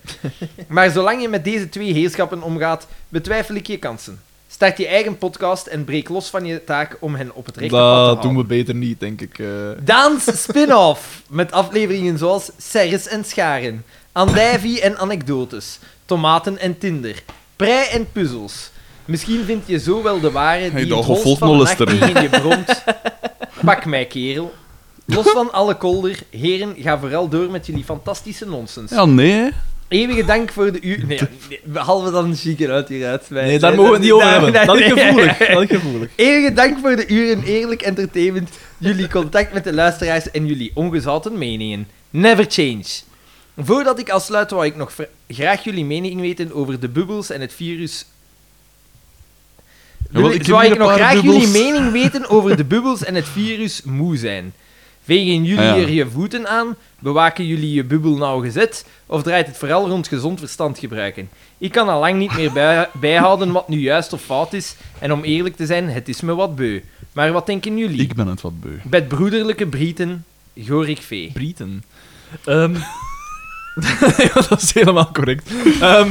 S7: Maar zolang je met deze twee heerschappen omgaat, betwijfel ik je kansen. Start je eigen podcast en breek los van je taak om hen op het rechte pad te houden.
S3: Dat doen we beter niet, denk ik. eh.
S7: Daans spin-off met afleveringen zoals Serres en Scharen, Andijvie en anekdotes, Tomaten en Tinder, Prei en puzzels. Misschien vind je zo wel de ware die
S2: Hey,
S7: het
S2: dat
S7: holst
S2: gevoelt
S7: van
S2: nog
S7: de
S2: eens
S7: nacht
S2: erin.
S7: tegen je bromt. Pak mij, kerel. Los van alle kolder, heren, ga vooral door met jullie fantastische nonsens.
S2: Ja, nee.
S7: Eeuwige dank voor de uur... Nee, nee, we halen we dan chique uit hieruit. wij-
S3: Nee, daar
S7: wij-
S3: mogen we het niet over
S7: daar-
S3: hebben.
S7: daar-
S3: Dat is gevoelig. Dat is gevoelig.
S7: Eeuwige dank voor de uren eerlijk entertainment, jullie contact met de luisteraars en jullie ongezouten meningen. Never change. Voordat ik afsluit, wou ik nog vra- graag jullie mening weten over de bubbels en het virus.
S2: want
S7: Wil-
S2: ik heb
S7: Zou
S2: hier
S7: ik
S2: een
S7: nog
S2: paar
S7: graag
S2: bubbels.
S7: jullie mening weten over de bubbels en het virus moe zijn? Vegen jullie
S2: Ah, ja.
S7: er je voeten aan? Bewaken jullie je bubbel nauwgezet? Of draait het vooral rond gezond verstand gebruiken? Ik kan al lang niet meer bij- [laughs] bijhouden wat nu juist of fout is. En om eerlijk te zijn, het is me wat beu. Maar wat denken jullie?
S2: Ik ben het wat beu.
S7: Met broederlijke Britten, Gorik Vee.
S3: Britten. Ehm, [laughs] ja, dat is helemaal correct. Ehm,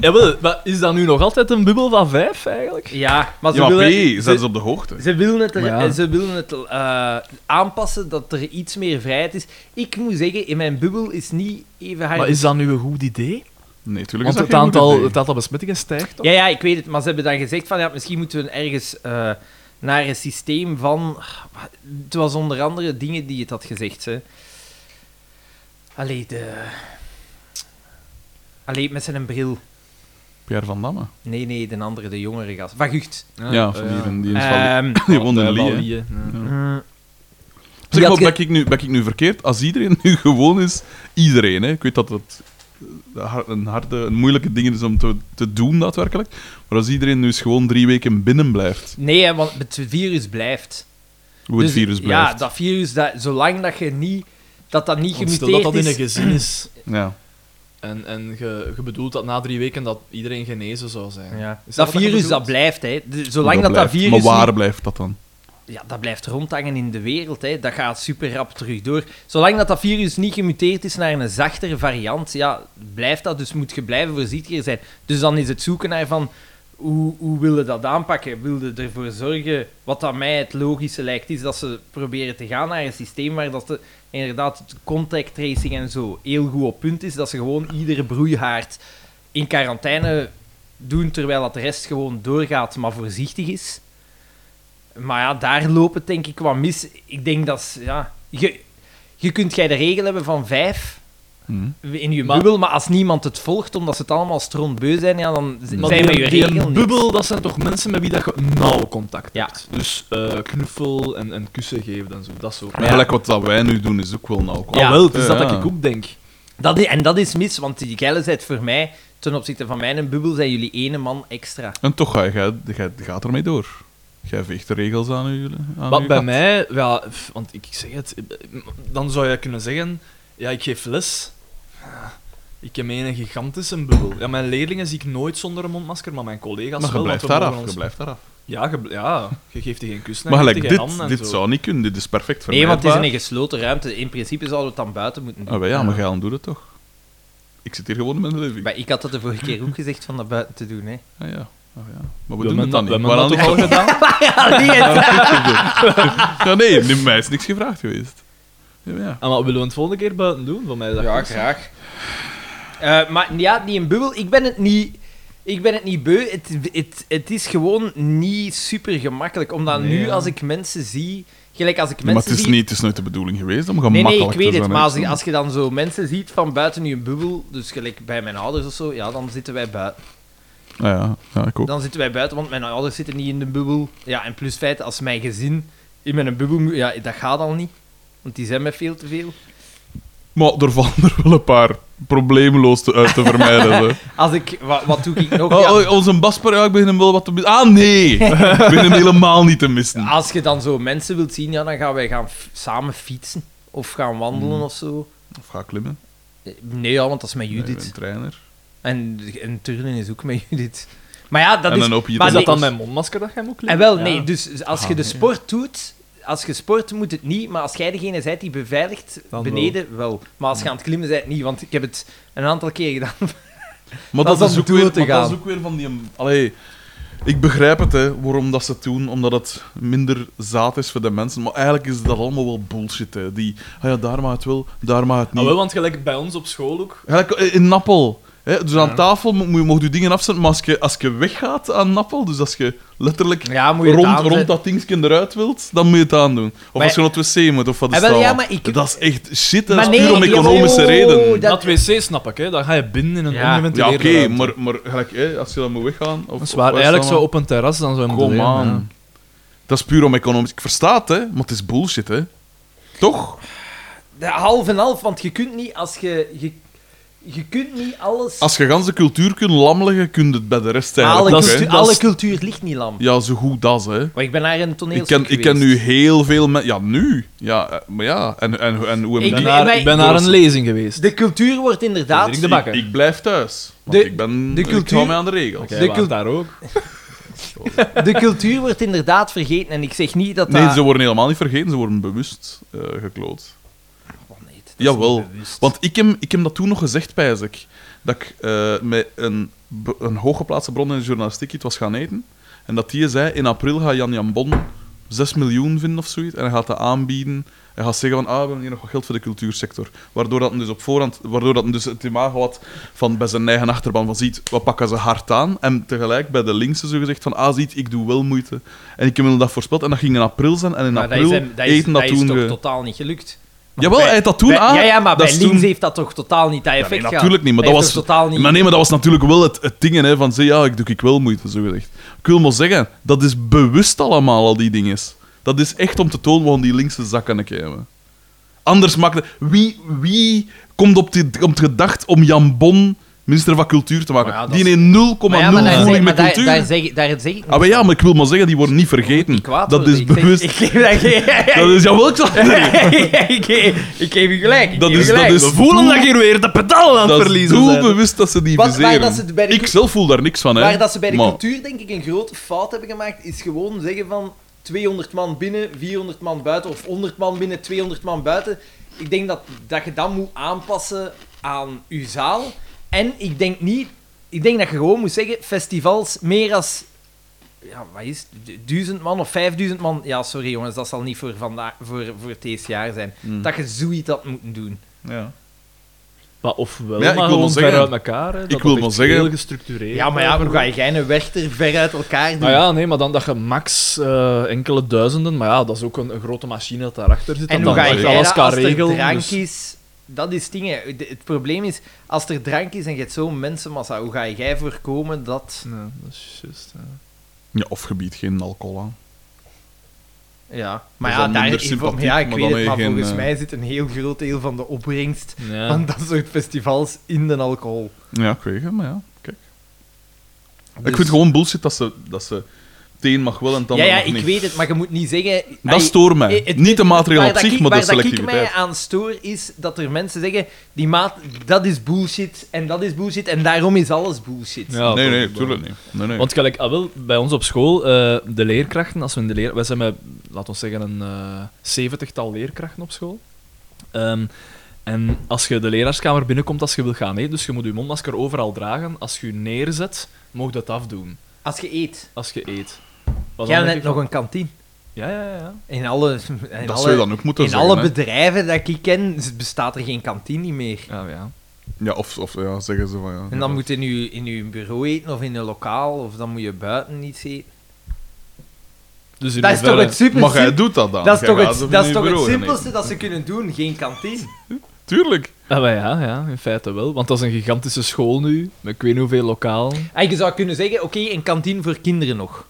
S3: ja, wel, maar is dat nu nog altijd een bubbel van vijf, eigenlijk?
S7: Ja, maar ze
S2: Ja, maar
S7: willen...
S2: P,
S7: ze-
S2: zijn ze op de hoogte.
S7: Ze willen het, er-
S3: Maar ja.
S7: ze willen het eh, aanpassen dat er iets meer vrijheid is. Ik moet zeggen, in mijn bubbel is niet even hard.
S3: Maar is dat nu een goed idee?
S2: Nee, tuurlijk
S3: Want
S2: is dat
S3: het
S2: geen goed
S3: aantal,
S2: idee.
S3: het aantal besmettingen stijgt toch?
S7: Ja, ja, ik weet het, maar ze hebben dan gezegd van ja, misschien moeten we ergens eh, naar een systeem van. Het was onder andere dingen die het had gezegd. Hè. Allee, de. Allee, met zijn bril.
S2: Pierre van Damme.
S7: Nee, nee, de andere, de jongere gast. Van Gucht.
S2: Ja, van die, van die is van-
S7: Ehm,
S2: [laughs] die woont
S3: oh,
S2: in Lee, hè.
S7: mm,
S2: Zeg
S7: Die had
S2: maar,
S7: ge-
S2: ben ik, nu, ben ik nu verkeerd? Als iedereen nu [laughs] gewoon is, iedereen, hè. ik weet dat het eh, har- een harde, een moeilijke ding is om te, te doen daadwerkelijk, maar als iedereen nu eens gewoon drie weken binnen blijft,
S7: nee, hè, want het virus blijft.
S2: hoe het
S7: Dus,
S2: virus
S7: Ja,
S2: blijft.
S7: dat virus, dat, zolang dat je niet... Dat dat niet
S3: Want
S7: gemuteerd
S3: stel dat dat in een
S7: is...
S3: gezin is
S2: Ja.
S3: en, en je, je bedoelt dat na drie weken dat iedereen genezen zou zijn.
S7: Ja.
S3: Is
S7: Dat
S3: je
S7: virus, dat
S3: bedoelt?
S7: blijft, hè. De- zolang dat, dat
S2: blijft.
S7: virus...
S2: Maar waar
S7: niet-
S2: blijft dat dan?
S7: ja, dat blijft rondhangen in de wereld, hè. Dat gaat super rap terug door. Zolang dat dat virus niet gemuteerd is naar een zachtere variant, ja, blijft dat. Dus moet je blijven voorzichtiger zijn. Dus dan is het zoeken naar van... Hoe, hoe willen dat aanpakken? Willen ervoor zorgen, wat aan mij het logische lijkt, is dat ze proberen te gaan naar een systeem waar dat de, inderdaad het contact tracing en zo heel goed op punt is. Dat ze gewoon iedere broeihaard in quarantaine doen, terwijl dat de rest gewoon doorgaat, maar voorzichtig is. Maar ja, daar loopt het denk ik wat mis. Ik denk dat... ze- Ja, je, je kunt jij de regel hebben van vijf,
S3: Hmm.
S7: in je bubbel, maar als niemand het volgt omdat ze het allemaal strontbeu zijn, ja, dan z-
S3: Maar
S7: zijn we je
S3: die, die
S7: regel niet.
S3: bubbel, dat zijn toch mensen met wie dat je nauw contact
S7: Ja.
S3: hebt. Dus eh, knuffel en, en kussen geven en zo, dat soort
S2: Maar gelijk wat dat wij nu doen is ook wel nauw.
S3: Ja, wel, het is
S2: Ja,
S3: dat,
S2: ja.
S3: dat ik ook denk.
S7: Dat is, en dat is mis, want die geilheid voor mij, ten opzichte van mijn bubbel, zijn jullie ene man extra.
S2: En toch ga je, jij- jij gaat ermee door. Jij veegt de regels aan u. Aan
S3: Wat
S2: uw
S3: bij
S2: gat.
S3: mij, ja, pff, want ik zeg het, dan zou je kunnen zeggen, ja, ik geef les. Ik heb een gigantische bubbel. Ja, mijn leerlingen zie ik nooit zonder een mondmasker, maar mijn collega's
S2: Maar je
S3: wel.
S2: blijft
S3: want we
S2: daaraf.
S3: mogen
S2: Je
S3: ons-
S2: blijft daaraf.
S3: Ja, je, bl- ja, je geeft die geen kus.
S2: Maar gelijk, dit, dit zou niet kunnen. Dit is perfect voor
S7: Nee, want het is in een
S2: mij.
S7: gesloten ruimte. In principe zouden we het dan buiten moeten doen.
S2: Ah, wel ja, maar Geilen doet het toch. Ik zit hier gewoon met de living.
S7: Maar ik had dat de vorige keer ook gezegd van dat buiten te doen, hè.
S2: Ah, ja. Ah, ja. Maar we
S3: We
S2: doen
S3: hebben
S2: het dan
S3: dat-
S2: niet.
S3: we hebben
S2: Waarom
S3: dat
S2: niet?
S3: toch al gedaan?
S2: Ja, nee, nee, mij is niks gevraagd geweest. Ja, maar ja.
S3: Ah, maar willen we het volgende keer buiten doen? Voor mij is dat goed.
S7: graag. Eh, maar ja, die een bubbel, ik ben het niet... Ik ben het niet beu. Het, het, het is gewoon niet super gemakkelijk. Omdat
S3: Nee,
S7: nu,
S3: ja.
S7: als ik mensen zie... Gelijk als ik
S2: Maar
S7: mensen
S2: het is,
S7: zie...
S2: niet, het is nooit de bedoeling geweest om
S7: Nee,
S2: gemakkelijk
S7: nee, ik weet
S2: te
S7: het.
S2: zijn,
S7: Maar
S2: hè.
S7: als, je- als je dan zo mensen ziet van buiten je bubbel, dus gelijk bij mijn ouders of zo, ja, dan zitten wij buiten.
S2: Ah, ja, ja, ik ook.
S7: Dan zitten wij buiten, want mijn ouders zitten niet in de bubbel. Ja, en plus feit, als mijn gezin in mijn bubbel moet, ja, dat gaat al niet. Want die zijn met veel te veel.
S2: Maar er vallen er wel een paar probleemloos te, uit te vermijden.
S7: [laughs]
S2: hè.
S7: Als ik, wat, wat doe ik
S2: [laughs]
S7: nog?
S2: Oh,
S7: Ja,
S2: oh, onze Basper, ja, ik begin hem wel wat te missen. Ah,
S7: [laughs]
S2: nee! ik begin hem helemaal niet te missen.
S7: als je dan zo mensen wilt zien, ja, dan gaan wij gaan f- samen fietsen of gaan wandelen of zo.
S2: Of ga klimmen.
S7: Eh, Nee, ja, want dat is met
S2: Mm. Nee, ik ben
S7: Judith.
S2: een trainer.
S7: En, en turnen is ook met Judith. Maar ja, dat
S2: en
S7: is.
S2: een hoop hier
S7: maar
S3: Is
S2: te-
S3: dat dan
S7: nee.
S3: mijn mondmasker dat jij moet
S7: En
S3: kleden?
S7: wel,
S3: Ja.
S7: nee, dus als
S2: Ah,
S7: je de sport doet, als je sport moet het niet, maar als jij degene bent die beveiligt,
S3: Dan wel.
S7: beneden wel. Maar als je aan het klimmen bent, niet, want ik heb het een aantal keer gedaan.
S2: Maar
S7: Dat
S2: dat, is
S7: is om
S2: ook
S7: toe
S2: weer,
S7: te
S2: maar dat
S7: gaan.
S2: is ook weer van die... Allee, ik begrijp het, hè, waarom dat ze het doen. Omdat het minder zaad is voor de mensen. Maar eigenlijk is dat allemaal wel bullshit, hè. Die, ah ja, daar mag het wel, daar mag het
S3: Ah,
S2: niet.
S3: wel, want gelijk bij ons op school ook.
S2: Gelijk eh, in Nappel. Hè? Dus aan tafel mo- moet je, mocht je dingen afzetten, maar als je, als je weggaat aan Nappel, dus als je letterlijk
S7: Ja, moet je het
S2: rond,
S7: aanzetten.
S2: rond dat dingetje eruit wilt, dan moet je het aandoen. Of
S7: Maar-
S2: als je naar het wc moet, of wat is
S7: Ah, wel,
S2: dat?
S7: ja,
S2: al?
S7: maar ik-
S2: Dat is echt shit, hè. dat
S7: Maar
S2: is
S7: nee, Oh,
S2: puur om
S7: jawel,
S2: economische redenen.
S7: dat-
S3: Dat wc snap ik, hè. Dan ga je binnen in een
S7: Ja.
S2: Ja,
S3: ongeventileerde
S2: oké,
S3: ruimte.
S2: maar, maar gelijk, hè, als je dan moet weggaan... Of,
S3: Dat is
S2: of waar
S3: waar.
S2: is
S3: Eigenlijk
S2: dat
S3: zo
S2: dan?
S3: op een terras dan zo een
S2: Kom
S3: probleem, ja.
S2: aan. Dat is puur om economisch... Ik versta het, hè, maar het is bullshit, hè. Toch?
S7: De half en half, want je kunt niet als je. je je kunt niet alles.
S2: Als je gans de cultuur kunt lamleggen, kun je het bij de rest
S7: alle,
S2: eigenlijk ook,
S7: cultu-
S2: hè.
S7: alle cultuur ligt niet lam.
S2: Ja, zo goed dat, hè.
S7: Maar ik ben naar een
S2: Ik
S7: toneelstuk
S2: ken, ik ken
S7: geweest.
S2: nu heel veel mensen. Ja, nu. Ja, eh, maar ja. En, en, en hoe
S7: Ik
S2: hebben
S3: Ik ben,
S7: Nee,
S2: die...
S3: naar,
S7: wij-
S3: ik ben naar een lezing geweest.
S7: De cultuur wordt inderdaad.
S3: Dirk de Bakker.
S2: Ik, ik blijf thuis. Want
S7: De-
S2: ik ben.
S7: de
S2: Ik
S7: cultuur-
S2: hou mij aan de regels.
S3: Oké,
S7: de
S3: wacht
S7: cult-
S3: daar ook.
S7: De cultuur wordt inderdaad vergeten. En ik zeg niet dat dat.
S2: Nee, ze worden helemaal niet vergeten, ze worden bewust eh, gekloot.
S7: Oh, nee, dat is
S2: Jawel.
S7: niet bewust.
S2: Want ik heb, ik heb dat toen nog gezegd, pijs ik. Dat ik eh, met een, be- een hooggeplaatste bron in de journalistiek iets was gaan eten. En dat die zei, in april gaat Jan Jan Bon 6 miljoen vinden of zoiets. En hij gaat dat aanbieden. Hij gaat zeggen van, ah, we hebben hier nog wat geld voor de cultuursector. Waardoor dat hem dus op voorhand, waardoor dat hem dus het imago had van bij zijn eigen achterban van, ziet, wat pakken ze hard aan? En tegelijk bij de linkse zo gezegd van, ah, ziet, ik doe wel moeite. En ik heb hem dat voorspeld. En dat ging in april zijn. En in
S7: Maar
S2: april
S7: dat is, hem- dat is-
S2: eten dat,
S7: dat is
S2: toen...
S7: toch
S2: ge-
S7: totaal niet gelukt. Want
S2: Jawel,
S7: bij-
S2: hij heeft dat toen
S7: bij-
S2: aan.
S7: Ja, ja maar
S2: dat
S7: bij
S2: is
S7: links
S2: toen-
S7: heeft dat toch totaal niet dat
S2: Ja,
S7: effect
S2: nee,
S7: gehad.
S2: natuurlijk niet, maar dat,
S7: Hij
S2: was,
S7: heeft totaal niet.
S2: maar nee, maar dat was natuurlijk wel het, het ding hè, van, zie, ja, ik doe ik wel moeite, zo gezegd. Ik wil maar zeggen, dat is bewust allemaal, al die dingen. Dat is echt om te tonen waarom die linkse zakken hebben. Anders maakt het... Wie, wie komt op, die, op het gedacht om Jan Bon minister van Cultuur te maken?
S7: Maar ja, dat
S2: die
S7: is-
S2: heeft 0,0
S7: Maar ja, maar daar zeg-
S2: voeling
S7: maar
S2: met
S7: daar-
S2: cultuur.
S7: daar zeg- daar zeg ik
S2: Ah, maar ja, maar ik wil maar zeggen, die worden niet vergeten.
S7: niet kwaad
S2: Dat
S7: worden.
S2: is
S7: Ik zeg-
S2: bewust...
S7: Ik geef dat geen-
S2: [laughs] Dat is... Jawel, ik zal het zeggen.
S7: [laughs] ik, geef, ik geef u gelijk. Ik
S2: Dat
S7: geef u
S2: is-
S7: gelijk.
S2: dat is-
S3: We voelen dat hier weer de pedalen aan het
S2: Dat is
S3: verliezen zijn.
S2: doelbewust dat ze die
S7: Wat- waar
S2: viseren.
S7: dat ze bij de
S2: Ik
S7: cul-
S2: zelf voel daar niks van, hè.
S7: Waar dat ze bij de
S2: Maar-
S7: cultuur denk ik een grote fout hebben gemaakt, is gewoon zeggen van 200 man binnen, 400 man buiten, of 100 man binnen, 200 man buiten. Ik denk dat, dat je dat moet aanpassen aan uw zaal. En ik denk niet, ik denk dat je gewoon moet zeggen, festivals meer als, ja, wat is het, 1000 man of 5000 man. Ja, sorry jongens, dat zal niet voor, vandaag, voor, voor deze jaar zijn.
S2: Hmm.
S7: Dat je zoiets had moeten doen.
S2: Ja.
S3: Maar ofwel,
S2: Ja, ik
S3: maar
S2: wil
S3: gewoon
S2: maar zeggen-
S3: ver uit elkaar. Hè, dat
S2: ik wil
S3: dat
S2: maar
S3: echt
S2: zeggen-
S3: Heel gestructureerd.
S7: Ja, maar ja, hoe ga jij een Werchter ver uit elkaar doen?
S3: Nou ja, nee, maar dan dat je max eh, enkele duizenden, maar ja, dat is ook een, een grote machine dat daarachter zit.
S7: En
S3: dat
S7: hoe ga
S3: dan
S7: je
S3: alles
S7: dat
S3: kan
S7: als er
S3: regelen.
S7: drank
S3: dus-
S7: is? dat is het ding. hè. De- Het probleem is, als er drank is en je hebt zo'n mensenmassa, hoe ga jij voorkomen dat...
S3: Ja, dat is juist. ja.
S2: Ja, of gebied geen alcohol aan.
S7: Ja, maar
S2: is
S7: ja,
S2: dan
S7: daar,
S2: minder
S7: ik-
S2: sympathiek,
S7: ja, ik
S2: maar
S7: weet
S2: dan
S7: het, maar
S2: heb je geen,
S7: volgens
S2: eh,
S7: mij zit een heel groot deel van de opbrengst
S3: Ja.
S7: van dat soort festivals in de alcohol.
S2: Ja, ik weet het, maar ja, kijk. Ik
S7: Dus-
S2: vind het gewoon bullshit dat ze, dat ze het een mag wel en het
S7: ja,
S2: ander
S7: ja,
S2: mag
S7: ik
S2: niet.
S7: weet het, maar je moet niet zeggen...
S2: Dat stoort mij.
S7: eh, het-
S2: niet de maatregel
S7: Waar
S2: op
S7: dat
S2: zich,
S7: ik-
S2: maar de
S7: waar dat ik
S2: selectiviteit.
S7: mij aan stoor, is dat er mensen zeggen... Die maat, dat is bullshit, en dat is bullshit, en daarom is alles bullshit.
S3: Ja,
S2: nee, nee,
S3: toch.
S2: tuurlijk niet. Nee, nee.
S3: [laughs] Want gelijk, ah, wel, bij ons op school, eh, de leerkrachten, als we in de leer... Wij zijn met, laten we zeggen, een eh, zeventigtal leerkrachten op school. Ehm, en als je de leraarskamer binnenkomt als je wil gaan eten, dus je moet je mondmasker overal dragen. Als je je neerzet, mocht dat afdoen.
S7: Als je eet.
S3: Als je eet. Wat
S7: Jij
S3: dan
S7: net
S3: denk ik
S7: nog een kantine.
S3: van- Ja, ja, ja.
S7: In alle, in
S2: Dat zou
S7: alle,
S2: je dan ook moeten
S7: in
S2: zeggen.
S7: alle
S2: hè.
S7: bedrijven dat ik ken, z- bestaat er geen kantine meer.
S3: Ja, ja.
S2: Ja, of, of ja, zeggen ze van ja.
S7: En dan moet je in uw, in uw bureau eten of in een lokaal, of dan moet je buiten iets eten.
S3: Dus in
S7: Dat is toch
S3: hoeverre-
S7: het super
S2: Maar jij
S7: sim-
S2: doet dat dan.
S7: dat is
S2: Jij
S7: toch
S2: gaat
S7: het,
S2: er van
S7: dat is
S2: je
S7: toch het
S2: bureau gaan
S7: simpelste
S2: eten.
S7: dat ze kunnen doen, geen kantine.
S2: Tuurlijk.
S3: Ah, maar ja, ja, in feite wel. Want dat is een gigantische school nu, met ik weet niet hoeveel lokaal.
S7: En Ah, je zou kunnen zeggen, oké, een kantine voor kinderen nog.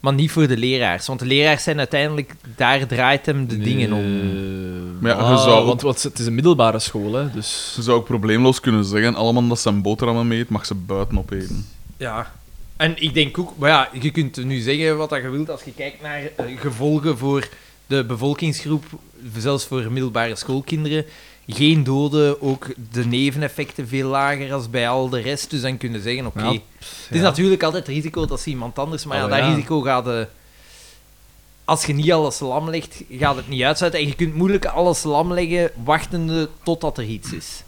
S7: Maar niet voor de leraars, want de leraars zijn uiteindelijk, daar draait hem de dingen om.
S3: Eh,
S2: Maar ja, je
S3: ah,
S2: zou ook-
S3: Want wat, het is een middelbare school, hè, dus...
S2: Ze zou ook probleemloos kunnen zeggen: allemaal dat ze een boterhammen meet, mag ze buiten opeten.
S7: Ja. En ik denk ook, maar ja, je kunt nu zeggen wat dat je wilt als je kijkt naar eh, gevolgen voor de bevolkingsgroep, zelfs voor middelbare schoolkinderen. Geen doden, ook de neveneffecten veel lager als bij al de rest. Dus dan kunnen zeggen, oké.
S3: Ja,
S7: Het is
S3: ja.
S7: natuurlijk altijd risico dat ze iemand anders, maar ja,
S3: Oh,
S7: dat
S3: ja.
S7: risico gaat... eh, als je niet alles lam legt, gaat het niet uitzetten. En je kunt moeilijk alles lam leggen, wachtende totdat er iets is.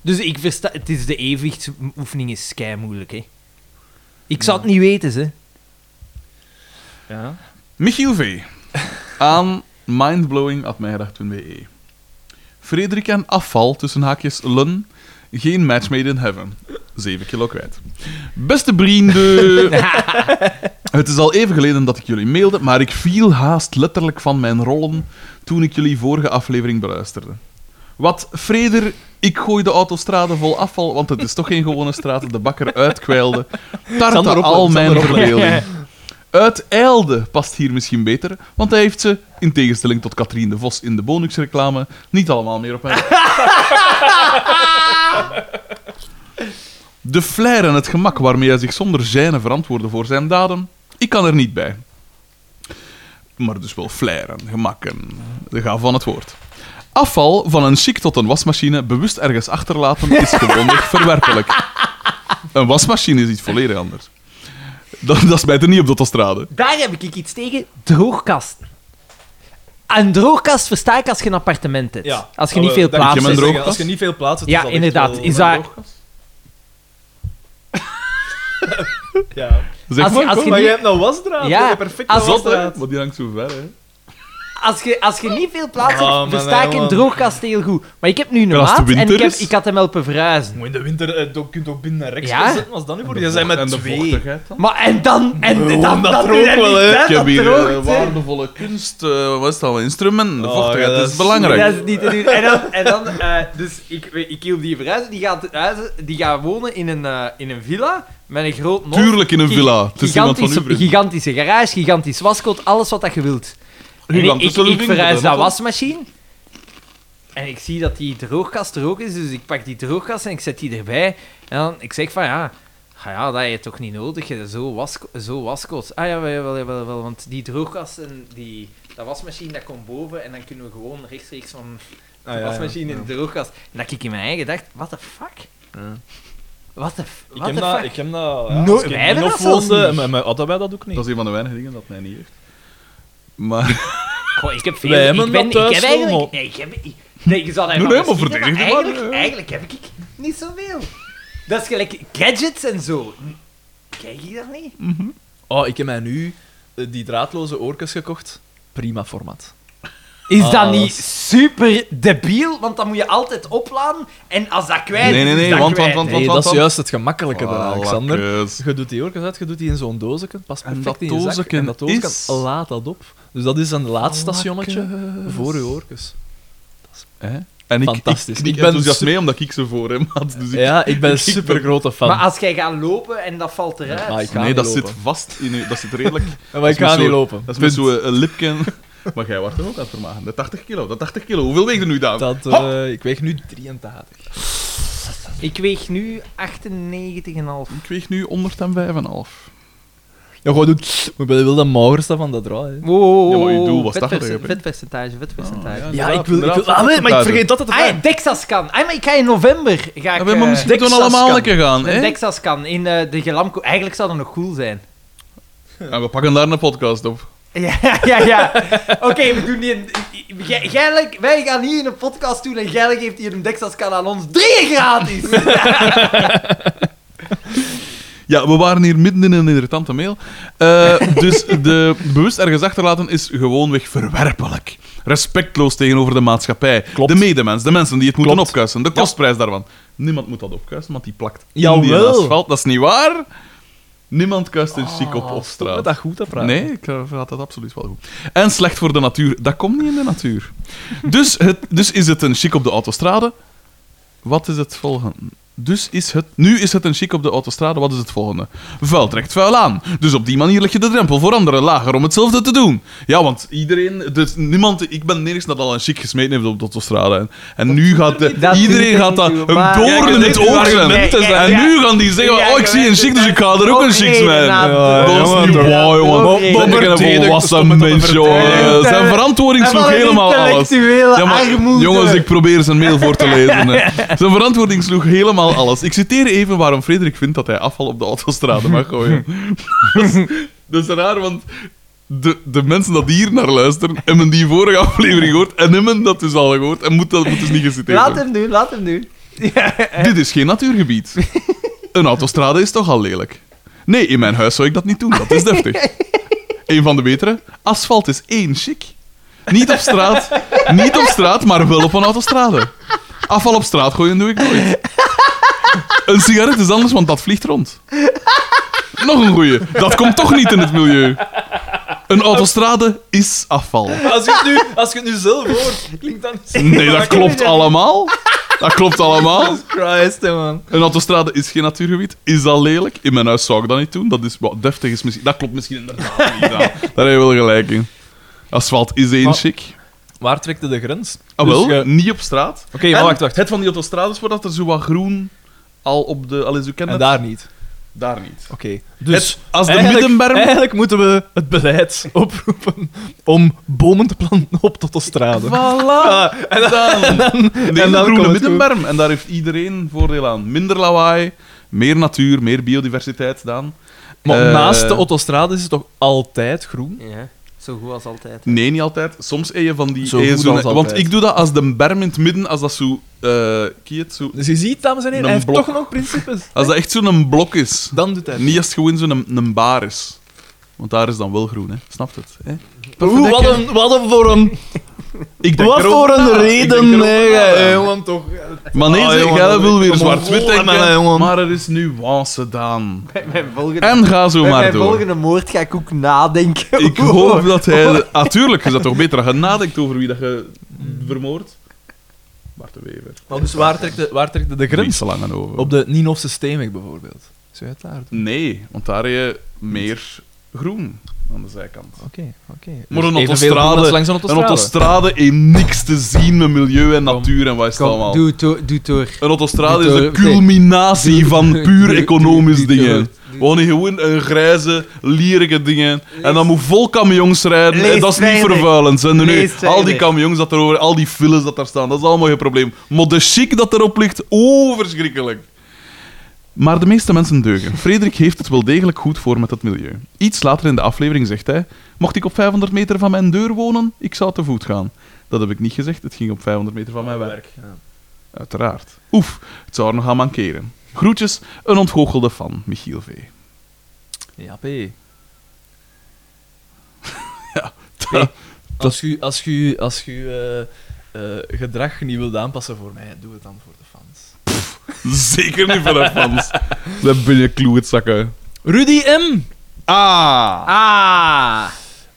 S7: Dus ik versta... Het is de evenwichtsoefening is kei moeilijk, hè. Ik zou het niet weten, ze.
S3: Ja.
S2: Michiel V. Aan mindblowing.mijgedacht.be Frederik en afval, tussen haakjes lun, geen match made in heaven. 7 kilo kwijt. Beste
S3: [laughs]
S2: vrienden! Het is al even geleden dat ik jullie mailde, maar ik viel haast letterlijk van mijn rollen toen ik jullie vorige aflevering beluisterde. Wat, Freder, ik gooi de autostrade vol afval, want het is toch geen gewone straat, de bakker uitkwijlde, tartte
S3: Sander, oplet,
S2: al mijn
S3: Sander, oplet. [laughs]
S2: verbeelding. Uiteilde past hier misschien beter, want hij heeft ze, in tegenstelling tot Katrien de Vos in de Bonux-reclame, niet allemaal meer op hem. De flair en het gemak waarmee hij zich zonder gêne verantwoordde voor zijn daden, ik kan er niet bij. Maar dus wel flair en gemak en de gaaf van het woord. Afval van een chic tot een wasmachine bewust ergens achterlaten
S3: [laughs]
S2: is gewoonweg verwerpelijk. Een wasmachine is iets volledig anders. Dat, dat spijt er niet op de autostrade.
S7: Daar heb ik iets tegen. Droogkast. Een droogkast versta ik als je een appartement hebt.
S3: Ja.
S7: Als je niet
S3: Ah,
S7: veel
S2: dank je,
S7: plaats
S2: mijn
S7: hebt.
S2: droog-
S3: Zeggen, Als je niet veel plaats hebt,
S7: Ja,
S3: is dat echt
S7: inderdaad.
S3: wel-
S7: Is dat-
S3: Ja.
S2: Zeg
S7: Als-
S2: maar,
S7: als-
S2: kom.
S3: maar
S7: niet-
S3: je hebt nou wasdraad.
S7: Ja,
S3: Ja. Perfect
S7: als-
S2: Zot, hè?
S3: wasdraad.
S2: Maar die hangt zo ver, hè.
S7: Als je, als je niet veel plaats hebt,
S3: Ah, maar
S7: versta
S3: nee,
S7: ik een
S3: man.
S7: droogkast heel goed. Maar ik heb nu een
S2: Maar als het
S7: maat en
S2: winter
S7: ik, heb,
S2: is?
S7: ik had hem helpen verhuizen.
S3: Moet je in de winter eh, ook- kunt ook binnen rechts
S7: Ja.
S3: zetten, als dan nu voor. Je zijn met
S2: En de
S3: twee.
S2: vochtigheid dan?
S7: Maar en dan... En
S3: Bro,
S7: dan,
S3: dat
S7: dan
S3: droogt
S7: doe je
S3: wel, hè.
S7: niet,
S2: Ik heb
S7: dat
S2: hier
S7: droogt,
S2: eh,
S7: hè.
S2: waardevolle kunst, eh, wat is dat, wel, instrumenten. De
S3: Oh,
S2: vochtigheid
S3: ja, dat
S2: is
S3: is-
S2: belangrijk.
S7: Dat is niet te doen. En dan, en dan eh, dus ik, ik hielp die verhuizen. Die gaat, huizen, die gaat wonen in een, eh, in een villa met een groot nood.
S2: Tuurlijk in een villa. Het is iemand van uw
S7: Gigantische,
S2: vriend.
S7: gigantische garage, gigantisch waskot, alles wat dat je wilt. En ik, ik,
S2: Gigantische
S7: ik
S2: living,
S7: verhuis
S2: dat
S7: dat
S2: is het.
S7: wasmachine. En ik zie dat die droogkast er ook is, dus ik pak die droogkast en ik zet die erbij. En dan, ik zeg van ja, ah ja dat heb je toch niet nodig, hè, zo, was, zo waskot. Ah ja, wel, wel, wel, wel, want die droogkast en die, dat wasmachine, dat komt boven en dan kunnen we gewoon rechtstreeks van de
S3: Ah, ja, ja.
S7: wasmachine in de droogkast. En dat ik in mijn eigen dacht, what the fuck?
S3: Ja.
S7: What the, f-
S3: Ik
S7: what
S3: heb,
S7: the
S3: dat,
S7: fuck?
S3: ik heb dat...
S7: Nooit-
S3: als ik
S7: wij
S3: in
S7: hebben dat
S3: Minhof
S7: zelfs
S3: woonde,
S7: niet.
S3: Met, met hadden wij dat ook niet.
S2: Dat is een van de weinige dingen dat mij niet heeft. Maar
S7: Goh, ik heb veel.
S3: Wij
S7: ik,
S3: hebben
S7: ben,
S3: dat thuis
S7: ik heb eigenlijk.
S3: wel,
S7: Nee, ik heb. ik- Nee, je zou dat
S2: Nee,
S7: wel
S2: nee, maar
S7: misschien-
S2: verdedig het maar,
S7: eigenlijk,
S2: ja.
S7: eigenlijk heb ik niet zoveel. Dat is gelijk gadgets en zo. Kijk je dat niet?
S3: Oh, ik heb mij nu eh, die draadloze oorkes gekocht. Prima formaat.
S7: Is
S3: Ah,
S7: dat
S3: dat
S7: niet
S3: is-
S7: super debiel? Want dan moet je altijd opladen. En als dat kwijt is,
S2: Nee, nee,
S7: is
S2: nee,
S7: dat
S2: want-
S7: kwijt,
S2: want-
S7: hè.
S3: Nee,
S2: wat
S3: dat is
S2: dan?
S3: juist het gemakkelijke eraan,
S2: Ah,
S3: Alexander.
S2: lakkes.
S3: Je doet die oorkes uit, je doet die in zo'n doosje. Pas
S2: En
S3: perfect
S2: dat
S3: in je zak.
S2: dozeken
S3: En dat dozeken,
S2: is-
S3: laat dat op. Dus dat is een laatstationnetje voor je oorkes.
S2: Hè? En ik,
S3: Fantastisch.
S2: ik knik
S3: Ik ben
S2: enthousiast
S3: su-
S2: mee omdat ik ze voor hem had. Dus ik- [laughs]
S3: Ja, ik ben een super grote fan.
S7: Maar als jij gaat lopen en dat valt eruit...
S3: Ah, ik ga
S2: nee,
S3: niet
S2: dat
S3: lopen.
S2: zit vast in u. Dat zit
S3: [laughs]
S2: redelijk.
S3: Maar ik
S2: met
S3: ga niet
S2: zo'n-
S3: lopen.
S2: Dat is met zo'n lipken. [laughs] Maar jij wordt er ook aan het vermagen. De 80 kilo, dat 80 kilo. Hoeveel weegt er nu, Daan?
S3: Dat, eh, ik weeg nu 83.
S7: Ik weeg nu 98,5.
S2: Ik weeg nu 105,5.
S3: Ja, gewoon doen. Maar ik ben wel de magerste van dat raad. hè.
S7: Wow, wow,
S2: Ja, maar uw
S7: wow,
S2: doel was
S7: vet
S2: 80,
S7: perce-
S2: heb ik.
S7: Vetpercentage, vetpercentage.
S2: Ah,
S3: Ja,
S2: inderdaad,
S3: ik wil... Ik
S2: inderdaad,
S3: wil ah, nee, maar ik vergeet dat het
S7: Ah, ja, Dexascan. Ah, maar ik ga in november... Ga ik,
S2: Ja, Ah, maar misschien
S7: eh,
S2: moeten we
S3: Texas
S2: allemaal
S3: kan.
S2: lekker gaan,
S7: een
S2: hè?
S7: Dexascan in eh, de Gelamco. Eigenlijk zou dat nog cool zijn. [laughs]
S2: Ja, we pakken daar een podcast op.
S7: Ja, ja, ja. Oké, we doen die... in- Jij- jij lijkt- wij gaan hier een podcast doen en Geilig geeft hier een Dexascan aan ons. Drieën gratis!
S2: Ja, we waren hier midden in een irritante mail.
S3: [laughs]
S2: Eh, dus de bewust ergens achterlaten is gewoonweg verwerpelijk. Respectloos tegenover de maatschappij.
S3: Klopt.
S2: De medemens, de mensen die het moeten
S3: Klopt.
S2: opkuisen. De kostprijs daarvan. Niemand moet dat opkuisen, want die plakt in die
S3: Jawel.
S2: asfalt. Dat is niet waar. Niemand kuist een chic op op
S3: Stop met
S2: straat.
S3: Ah, dat goed te praten.
S2: Nee, ik eh, vind dat absoluut wel goed. En slecht voor de natuur. Dat komt niet in de
S3: [laughs]
S2: natuur. Dus, het, dus is het een chic op de autostrade. Wat is het volgende? Dus is het... Nu is het een chic op de autostrade. Wat is het volgende? Vuil trekt vuil aan. Dus op die manier leg je de drempel voor anderen lager om hetzelfde te doen. Ja, want iedereen... Dus niemand... Ik ben nergens dat al een chic gesmeten heeft op de autostrade. En, en nu gaat... de-
S7: Dat doet
S2: iedereen
S7: er
S2: gaat
S7: niet
S2: dat
S7: toe,
S2: een
S7: maar-
S2: doorn in
S7: Kijk,
S2: het
S7: dit is
S2: oog
S7: argument,
S2: zijn.
S7: hè, ja,
S2: En
S7: ja.
S2: nu gaan die zeggen...
S7: Ja,
S2: Oh, ik zie een chic, dus ik ga er ook een chic smijten.
S3: Ja,
S2: Dat is
S3: maar
S2: niet
S3: toch.
S2: waar,
S7: Ook
S2: jongen.
S7: niet.
S2: Ben ik
S3: Bomber
S2: een
S3: Dirk,
S2: volwassen
S3: stop met dat
S2: mens, jongen.
S7: vertellen.
S2: Zijn verantwoording sloeg helemaal alles.
S7: Intellectuele
S2: Ja, maar,
S7: armoede.
S2: jongens, ik probeer zijn mail voor te lezen.
S7: [laughs]
S2: hè. Zijn verantwoording sloeg helemaal alles. Ik citeer even waarom Frederik vindt dat hij afval op de autostrade mag gooien.
S7: [laughs]
S2: dat, is, dat is raar, want de, de mensen dat hier naar luisteren, hebben die vorige aflevering gehoord en hebben dat dus al gehoord en moet dat moet dus niet geciteerd
S7: Laat
S2: worden.
S7: hem doen, laat hem doen.
S2: Dit is geen natuurgebied. Een autostrade is toch al lelijk? Nee, in mijn huis zou ik dat niet doen. Dat is
S7: [laughs]
S2: deftig. Een van de betere. Asfalt is één chic. Niet op straat, niet op straat, maar wel op een autostrade. Afval op straat gooien doe ik nooit. Een sigaret is anders, want dat vliegt rond. Nog een goeie. Dat komt toch niet in het milieu. Een autostrade is afval.
S3: Als je, het nu, als je het nu zelf hoort, klinkt dat niet zo.
S2: Nee,
S3: [laughs]
S2: dat klopt allemaal. Dat klopt allemaal.
S3: Christ, hè, man.
S2: Een autostrade is geen natuurgebied. Is dat lelijk? In mijn huis zou ik dat niet doen. Dat is wat deftig is misschien. Dat klopt misschien inderdaad niet. Daan. Daar heb je wel gelijk in. Asfalt is één
S3: Maar-
S2: chic.
S3: Waar trekt de grens?
S2: Ah, wel,
S3: Dus je-
S2: niet op straat.
S3: Oké, maar
S2: En
S3: wacht, wacht.
S2: Het van die autostrades voordat er zo wat groen al op de. Al is u kent
S3: En
S2: het?
S3: daar niet.
S2: daar niet.
S3: Oké. Dus
S2: Het- als de
S3: eigenlijk,
S2: middenberm.
S3: eigenlijk moeten we het beleid [laughs] oproepen om bomen te planten op tot de straten.
S2: Voilà! Ah, En dan,
S3: dan
S2: de
S3: komt
S2: groene
S3: het
S2: middenberm. En daar heeft iedereen voordeel aan. Minder lawaai, meer natuur, meer biodiversiteit, Daan.
S3: Maar
S2: Eh,
S3: naast de autostrade is het toch altijd groen?
S7: Ja, zo goed als altijd.
S2: Nee, niet altijd. Soms eet je van die...
S3: Zo goed
S2: eet
S3: als
S2: zo'n-
S3: altijd.
S2: want ik doe dat als de berm in het midden, als dat zo... eh kie het zo...
S3: Dus je ziet, dames en heren,
S2: Een
S3: hij heeft
S2: blok.
S3: toch nog principes.
S2: Als dat echt zo'n blok is.
S3: Dan doet hij het.
S2: Niet als het gewoon zo'n een bar is. Want daar is dan wel groen, hè. Snapt het? Hè?
S3: Oeh, wat een, wat een voor een...
S2: Ik denk
S3: Wat
S2: erover
S3: voor een
S2: na. Ik denk
S3: reden,
S2: erover
S3: hè,
S2: na.
S3: jij, jongen, toch.
S2: Maar nee,
S3: Ah,
S2: zeg,
S3: jongen,
S2: jij
S3: dat
S2: wil
S3: weet ik
S2: weer
S3: allemaal.
S2: zwart-wit
S3: Oh,
S2: denken.
S3: maar, jongen.
S2: Maar er is nuance, Daan.
S7: Mijn volgende,
S2: En ga zo
S7: bij
S2: maar
S7: mijn
S2: door.
S7: volgende moord ga ik ook
S2: [laughs]
S7: nadenken.
S2: Ik hoop dat hij... Natuurlijk is dat toch beter dat je nadenkt over wie dat je vermoordt? Bart de Wever.
S3: Maar dus waar trekt de, waar trekt de, de
S2: Drie
S3: grens?
S2: slangen over.
S3: Op de Ninofse steenweg bijvoorbeeld. Zou je het daar doen?
S2: Nee, want daar heb je meer groen aan de zijkant.
S3: Oké, oké.
S2: Maar
S3: Dus
S2: een
S3: evenveel
S2: autostrade-
S3: groen als langs een
S2: Een
S3: autostrade.
S2: autostrade heeft eh, niks te zien met milieu en natuur en wat is het allemaal.
S1: Doe het door- doe het door.
S2: Een autostrade is
S1: Doe
S2: de
S1: door-
S2: culminatie
S1: Doe-
S2: van
S1: doe-
S2: puur
S1: doe-
S2: economisch
S1: doe- doe-
S2: dingen. Gewoon gewoon een grijze, lierige dingen. En dan moet vol camions rijden.
S7: Lees
S2: en dat is niet
S7: weinig.
S2: vervuilend. Zijn er nu
S7: Lees
S2: al die
S7: weinig.
S2: camions dat er over, al die files dat daar staan, dat is allemaal geen probleem. Maar de chic dat erop ligt, oh, verschrikkelijk. Maar de meeste mensen deugen. Frederik heeft het wel degelijk goed voor met het milieu. Iets later in de aflevering zegt hij: Mocht ik op 500 meter van mijn deur wonen, ik zou te voet gaan. Dat heb ik niet gezegd, het ging op 500 meter van mijn werk. Uiteraard. Oef, het zou er nog aan mankeren. Groetjes, een ontgoochelde fan, Michiel V. [laughs]
S3: Ja, p.
S2: Dat-
S3: Als je als je, als je eh, eh, gedrag niet wilt aanpassen voor mij, doe het dan voor de fans.
S2: Zeker niet van de [laughs] fans. Dan ben je kloetzakken.
S3: Rudy M.
S2: Ah!
S7: Ah!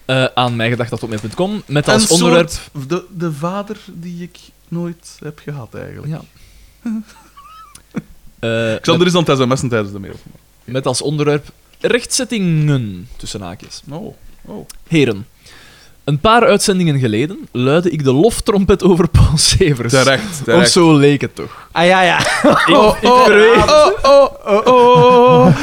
S3: eh aan mijgedacht.com met
S2: Een
S3: als onderwerp...
S2: soort- de, de vader die ik nooit heb gehad, eigenlijk. [laughs]
S3: Ja. Eh,
S2: Xander is aan het sms'en tijdens de mail.
S3: met, met als onderwerp rechtzettingen, tussen haakjes.
S2: Oh, oh.
S3: Heren, een paar uitzendingen geleden luidde ik de loftrompet over Paul Severs.
S2: Terecht,
S3: Of
S2: terecht.
S3: zo leek het toch.
S1: Ah ja,
S3: [laughs]
S1: ja.
S2: Oh, oh, oh, oh, oh, oh.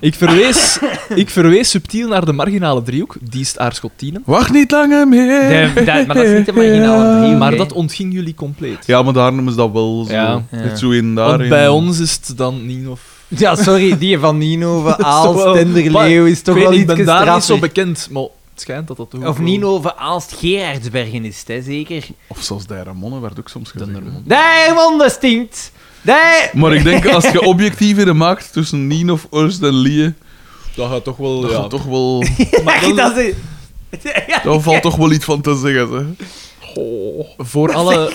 S3: Ik verwees, ik verwees subtiel naar de marginale driehoek, Diest, Aarschot, Tienen.
S2: Wacht niet langer meer.
S7: De- dat- maar dat is niet de marginale driehoek,
S3: Maar
S7: hè.
S3: dat ontging jullie compleet.
S2: Ja, maar daar noemen ze dat wel zo.
S3: Ja.
S2: Het zo in daar.
S3: Want bij ons is het dan niet of...
S1: Ja, sorry, die van Nino, van
S3: toch wel-
S1: Aalst, Tenderleeuw is toch
S3: ik weet
S1: wel
S3: niet,
S1: iets
S3: ik ben daar niet zo
S1: straffer.
S3: bekend, maar het schijnt dat dat toch ook
S7: Of
S3: wel-
S7: Nino van Aalst Gerardsbergen is, het, hè, [laughs] zeker?
S2: Of zelfs de Ramonnen werd ook soms
S3: De
S2: gezegd. hè.
S3: Nermon.
S1: Nee, man, dat stinkt. Nee.
S2: Maar ik denk, als je objectievere maakt tussen Nien of Urs en Lie,
S3: Dat gaat toch wel...
S2: dan
S3: ja.
S2: gaat toch wel,
S1: Maar dat is...
S2: daar valt toch wel iets van te zeggen. Zeg.
S3: Voor alle...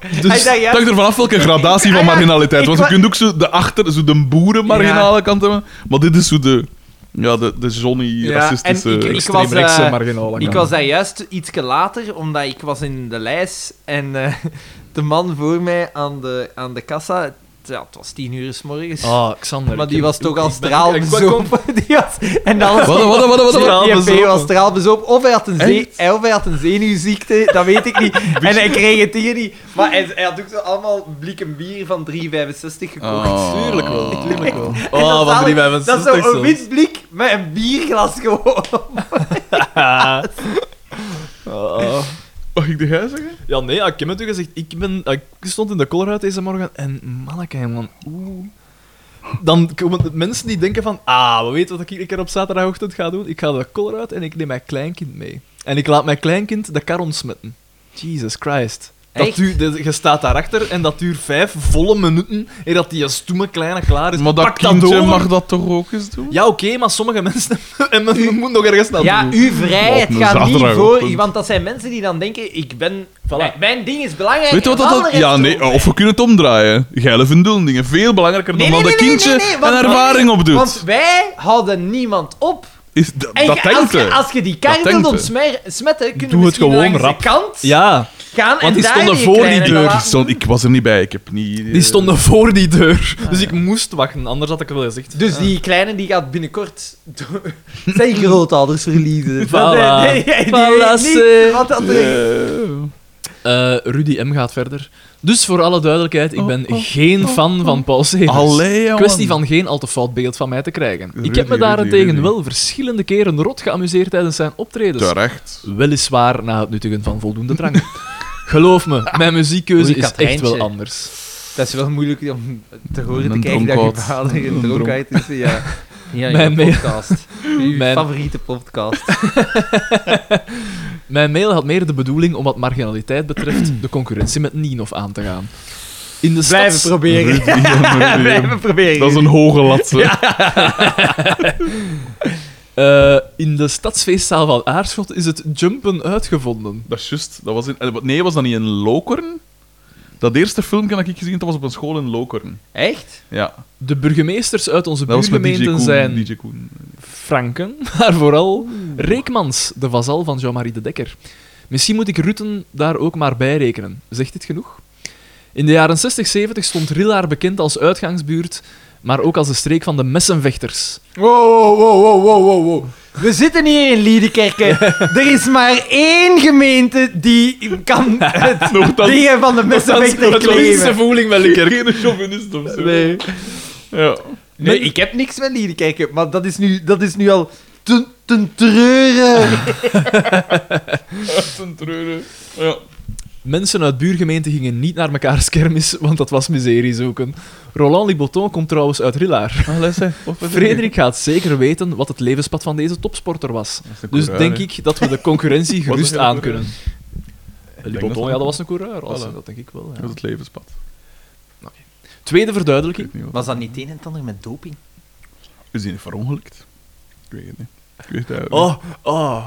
S1: Hij
S2: Dus
S1: zei, ja.
S2: het hangt er vanaf welke gradatie van
S1: Ah, ja.
S2: marginaliteit.
S1: Ik
S2: Want je
S1: wa-
S2: kunt ook zo de, achter, zo de boerenmarginale kant hebben, maar dit is zo de, ja, de, de
S1: Ja,
S2: Johnny-racistische...
S1: en ik- ik- was,
S3: extreemrechtse
S1: eh,
S3: marginale
S1: Ik
S3: kant.
S1: was daar juist iets later, omdat ik was in de lijst en eh, [laughs] de man voor mij aan de, aan de kassa, het, ja, het was tien uur s morgens,
S3: Ah, Xander.
S1: maar
S3: ik
S1: die
S3: heb-
S1: was toch al
S3: ik ben ook- ik- ik-
S1: straalbezopen. [laughs] Die was- En dan was
S2: Wat, wat, wat, wat, wat?
S3: Straal
S1: die EP was
S3: bezopen.
S1: straalbezopen, of hij had een, zee,
S2: Echt?
S1: hij- of hij had een zenuwziekte, dat weet ik
S2: [laughs]
S1: niet. En hij kreeg het hier niet. Maar hij, hij had ook zo allemaal blikken bier van 3,65 gekocht.
S2: Oh.
S3: Tuurlijk wel, tuurlijk wel.
S1: En dat
S3: Oh,
S1: zalig-
S3: wat die bij
S1: Dat is zo een wit blik met een bierglas gewoon.
S2: Mag ik de gij zeggen?
S3: Ja, nee, ja, ik heb het u gezegd. Ik, ben, ik stond in de Colruyt deze morgen en manneke, man, oeh. Dan komen de mensen die denken van, ah, we weten wat ik een keer op zaterdagochtend ga doen. Ik ga de Colruyt en ik neem mijn kleinkind mee. En ik laat mijn kleinkind de kar ontsmetten. Jesus Christ. Dat
S7: Echt?
S3: duurt, dat- je staat daarachter en dat duurt vijf volle minuten en dat die stoeme kleine klaar is.
S2: Maar dat
S3: Dus Pak dat
S2: kindje
S3: door.
S2: mag dat toch ook eens doen?
S3: Ja, oké, maar sommige mensen... [laughs] en men moet nog ergens naartoe.
S7: Ja, uw vrijheid
S2: Op een
S7: gaat niet
S2: zaterdag,
S7: voor...
S2: punt.
S7: Want dat zijn mensen die dan denken, ik ben...
S3: Voilà.
S7: Mijn- Mijn ding is belangrijk.
S2: Weet je wat
S7: en
S2: dat...
S7: anderen
S2: Ja,
S7: heeft
S2: nee, oh,
S7: het ook.
S2: of we kunnen het omdraaien. Geile dingen Veel belangrijker
S7: Nee,
S2: dan
S7: nee,
S2: dat een
S7: nee, nee,
S2: kindje
S7: nee, nee,
S2: een
S7: want-
S2: ervaring opdoet.
S7: Want wij houden niemand op.
S2: Is, dat
S7: En
S2: dat
S7: ge- als,
S2: denkt
S7: je,
S2: hij.
S7: als je die kar
S2: Dat
S7: wilt
S2: denkt hij.
S7: ontsmetten,
S3: Doe
S7: kunnen we
S3: het
S7: misschien
S3: gewoon
S7: langs
S3: rap.
S7: de kant
S3: ja.
S7: gaan en
S3: want die
S7: daar
S3: stonden
S7: die
S3: voor die
S7: kleine
S3: deur.
S2: Ik,
S1: Ah.
S7: laten-
S2: stond, ik was er niet bij, ik heb niet... eh,
S3: Die stonden voor die deur. dus ik moest wachten, anders had ik het wel gezegd.
S7: Dus die kleine die gaat binnenkort...
S1: Zijn grootouders verliezen.
S3: Voilà.
S7: Nee, nee, die
S3: Voilà,
S7: weet niet
S3: zeg.
S7: wat dat er-
S2: Eh,
S3: Eh, Rudy M. gaat verder. Dus voor alle duidelijkheid,
S7: Oh,
S3: ik ben geen fan van Paul Severs.
S2: Allee, jongen.
S3: Kwestie van geen al te fout beeld van mij te krijgen. ik heb me
S2: Rudy,
S3: daarentegen
S2: Rudy.
S3: wel verschillende keren rot geamuseerd tijdens zijn optredens. [laughs]
S2: Terecht.
S3: Weliswaar na het nuttigen van voldoende drank. [laughs] Geloof me, mijn muziekkeuze
S7: Oei,
S3: is echt
S7: Katrijntje.
S3: wel anders.
S1: Dat is wel moeilijk om te horen te
S2: Een
S1: kijken dat je
S2: dronkaard.
S1: vader een
S2: Een dronk.
S1: dronkaard is. Ja,
S7: Ja, ja,
S3: Mijn mail-
S1: podcast. Uw
S3: [laughs] Mijn-
S1: favoriete podcast.
S3: Mijn mail had meer de bedoeling om wat marginaliteit
S7: [clears throat]
S3: betreft de concurrentie met Nienhof aan te gaan. In de
S1: Blijven
S3: stads...
S1: proberen.
S2: Rudy en Rudy.
S1: Blijven proberen.
S2: Dat is een hoge lat. zeg.
S3: Eh, in de stadsfeestzaal van Aarschot is het jumpen uitgevonden.
S2: Dat is juist. Dat was in, eh, wat- nee, was dat niet in Lokeren? Dat eerste filmpje dat ik gezien heb, dat was op een school in Lokeren.
S7: Echt?
S2: Ja,
S3: De burgemeesters uit onze
S2: dat was met DJ
S3: buurgemeenten
S2: Koen.
S3: zijn
S2: DJ Koen.
S3: Franken, [laughs] maar vooral Reekmans, de vazal van Jean-Marie de Dekker. Misschien moet ik Rutten daar ook maar bij rekenen. Zegt dit genoeg? In de jaren 60-70 stond Rillaar bekend als uitgangsbuurt, maar ook als de streek van de messenvechters.
S1: Wow, wow, wow, wow, wow, wow, wow.
S7: We zitten hier in Liedekerken. Er is maar één gemeente die kan het dingen van de messenvechter
S2: dat is-
S7: claimen.
S3: voeling wel
S2: Geen chauvinist of zo.
S1: Nee.
S2: Ja.
S1: Nee, ik heb niks met lieden kijken, maar dat is nu, dat is nu al ten, ten treuren.
S2: Ten treuren. Ja.
S3: Mensen uit buurgemeenten gingen niet naar mekaars kermis, want dat was miserie zoeken. Roland Liboton komt trouwens uit Rillaar. Frederik gaat zeker weten wat het levenspad van deze topsporter was. Dus denk ik dat we de
S2: [laughs]
S3: concurrentie
S2: Was
S3: gerust
S2: dat geen
S3: aan kunnen.
S2: denk
S3: Liboton,
S2: dat-
S3: ja, dat was een coureur. was
S2: Voilà.
S3: hij, Dat denk ik wel. ja.
S2: Dat is het levenspad. Ik
S3: Tweede
S2: weet
S3: verduidelijking.
S2: niet wat.
S7: [laughs] Was dat niet het een en het ander met doping?
S2: Is die niet verongelukt? Ik weet het niet. Ik weet het eigenlijk
S3: Oh, oh.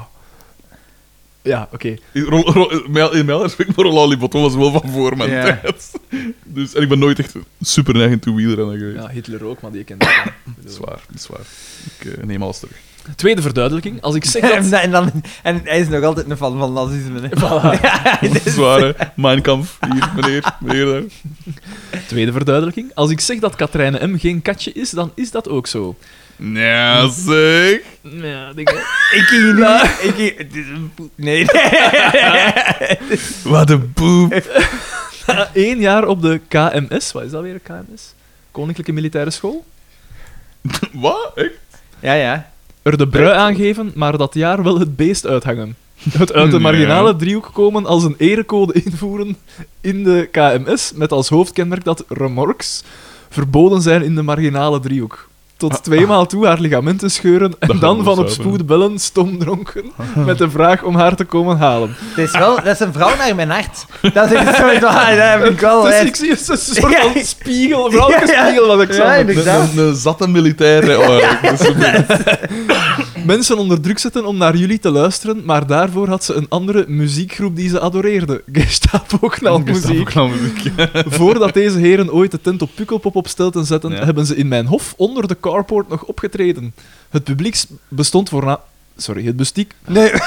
S3: Ja, oké.
S2: niet. Rol- rol- In mijn- in mijn respect voor Lali Botton was wel van voor mijn
S1: Ja.
S2: tijd. [laughs] Dus, en ik ben nooit echt super neigen toe wielrennen geweest. [laughs]
S3: Ja, Hitler ook, maar die kent ik niet.
S2: Dat is waar, dat is waar. Ik eh, neem alles terug.
S3: Tweede verduidelijking. Als ik
S1: [laughs]
S3: zeg
S1: En,
S2: [laughs]
S3: dat... [laughs]
S1: dan- en, dan, en hij is nog altijd een fan van nazisme. hè.
S2: Dat is waar, hè. Mein Kampf. Hier, meneer. meneer daar.
S3: Tweede verduidelijking. Als ik zeg dat Katrijne M. geen katje is, dan is dat ook
S2: [laughs]
S3: zo.
S2: Ja, zeg.
S3: Ja, denk ik.
S1: Ik ging nu... Ik ging, het is een poe- nee, [laughs]
S2: Wat een poep.
S3: Eén jaar op de KMS. Wat is dat weer, KMS? Koninklijke Militaire School.
S2: Wat? Echt?
S1: Ja, ja.
S3: Er de brui aangeven, maar dat jaar wel het beest uithangen. Het uit de
S2: Ja.
S3: marginale driehoek komen als een erecode invoeren in de KMS, met als hoofdkenmerk dat remorks verboden zijn in de marginale driehoek. Tot tweemaal toe haar ligamenten scheuren en
S2: Ah, Dat
S3: dan
S2: gaat
S3: van
S2: wel
S3: op
S2: zuiver, hè? Ah.
S3: spoed bellen, stomdronken, met de vraag om haar te komen halen.
S1: Het is wel... Dat is een vrouw naar mijn hart. Dat is zo... Dat heb ik wel...
S3: Dus
S1: Oh, echt-
S3: ik zie een
S1: [laughs]
S3: soort
S1: Ja.
S3: van spiegel, vrouwenspiegel wat ik
S1: Ja,
S3: zag.
S2: Een,
S1: inderdaad.
S2: een, een zatte militair. hè. Oh, ja, dat is een-
S3: Mensen onder druk zetten om naar jullie te luisteren, maar daarvoor had ze een andere muziekgroep die ze adoreerde. [laughs] Gestapo
S2: Oh,
S3: knalmuziek.
S2: Gestapo muziek.
S3: Voordat deze heren ooit de tent op Pukkelpop op stelten zetten,
S2: Ja.
S3: hebben ze in mijn hof onder de carport nog opgetreden. Het publiek s- bestond voorna... Sorry, het bestiek...
S1: Nee. oh,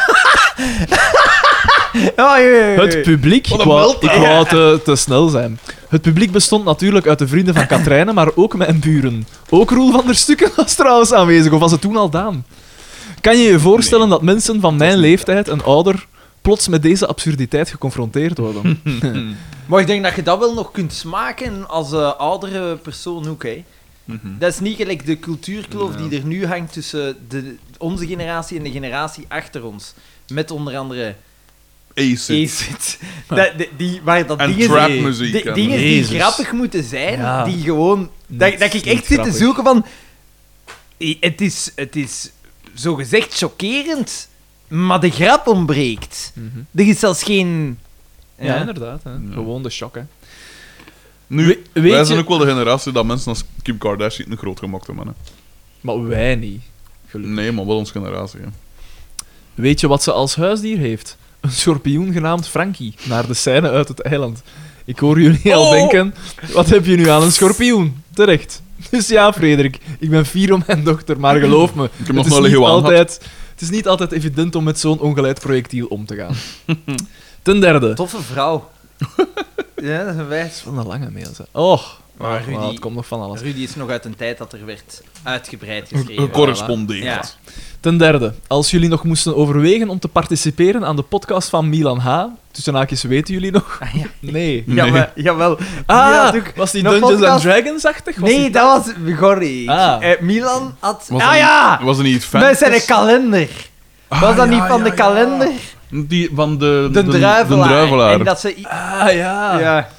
S1: jee, jee, jee.
S3: Het publiek... Ik
S2: Wat een
S3: wou, ik
S2: meld, hè.
S3: wou te, te snel zijn. Het publiek bestond natuurlijk uit de vrienden van Katrijnen, maar ook mijn buren. Ook Roel van der Stukken [laughs] was trouwens aanwezig, of was het toen al daan? Kan je je voorstellen dat mensen van mijn leeftijd en ouder plots met deze absurditeit geconfronteerd worden?
S7: Maar ik denk dat je dat wel nog kunt smaken als eh, oudere persoon ook, hè.
S3: Mhm.
S7: Dat is niet gelijk de cultuurkloof die er nu hangt tussen de, onze generatie en de generatie achter ons. Met onder andere
S2: Ace.
S3: [laughs]
S7: Acid. Dat, de- die, waar dat
S2: En
S7: dingen,
S2: trapmuziek
S7: die-
S2: en-
S7: dingen die
S3: Jezus.
S7: grappig moeten zijn,
S3: Ja.
S7: die gewoon... Dat, dat ik
S3: niet
S7: echt zit te
S3: grappig.
S7: zoeken van... i- Het is, het is zogezegd chockerend, maar de grap ontbreekt.
S3: Mhm.
S7: Er is zelfs geen...
S3: [laughs] Ja,
S7: Ja.
S3: inderdaad. Hè. Gewoon de shock, hè.
S2: Nu,
S3: We- weet
S2: wij
S3: je-
S2: zijn ook wel de generatie dat mensen als Kim Kardashian een groot gemaakt hebben. Hè.
S3: Maar wij niet.
S2: Nee, maar wel onze generatie. Hè.
S3: Weet je wat ze als huisdier heeft? Een schorpioen genaamd Frankie, naar de scène uit het eiland. Ik hoor jullie al
S2: Oh.
S3: denken, wat heb je nu aan een schorpioen? Terecht. Dus ja, Frederik, ik ben fier om mijn dochter, maar geloof me,
S2: Ik heb
S3: het
S2: nog
S3: is,
S2: wel
S3: niet
S2: liggen aan gehad.
S3: altijd, het is niet altijd evident om met zo'n ongeleid projectiel om te gaan. Ten derde...
S7: Toffe vrouw. [laughs] ja, dat is een wijs.
S3: Van een lange mail, zeg. Oh,
S7: Maar
S3: maar
S7: Rudy-
S3: het komt nog van alles.
S7: Rudy is nog uit een tijd dat er werd uitgebreid geschreven.
S2: Gecorrespondeerd.
S7: Ja.
S3: Ten derde, als jullie nog moesten overwegen om te participeren aan de podcast van Milan H., tussen haakjes weten jullie nog?
S2: Nee.
S3: Nee.
S1: Jawel, jawel.
S3: Ah,
S1: had ook
S3: was die
S1: nog
S3: Dungeons and
S1: podcast.
S3: Dragons-achtig? Was
S1: Nee,
S3: die-
S1: dat was Gorry.
S3: Ah.
S1: Eh, Milan had...
S2: Was
S1: ah
S2: dat niet-
S1: ja!
S2: Was dat niet fan?
S1: Wij zijn de kalender.
S7: Ah,
S1: was dat niet van de kalender?
S2: Die van de...
S1: De, druivelaar.
S2: De druivelaar.
S1: En dat ze... i-
S3: Ah, ja.
S1: Ja.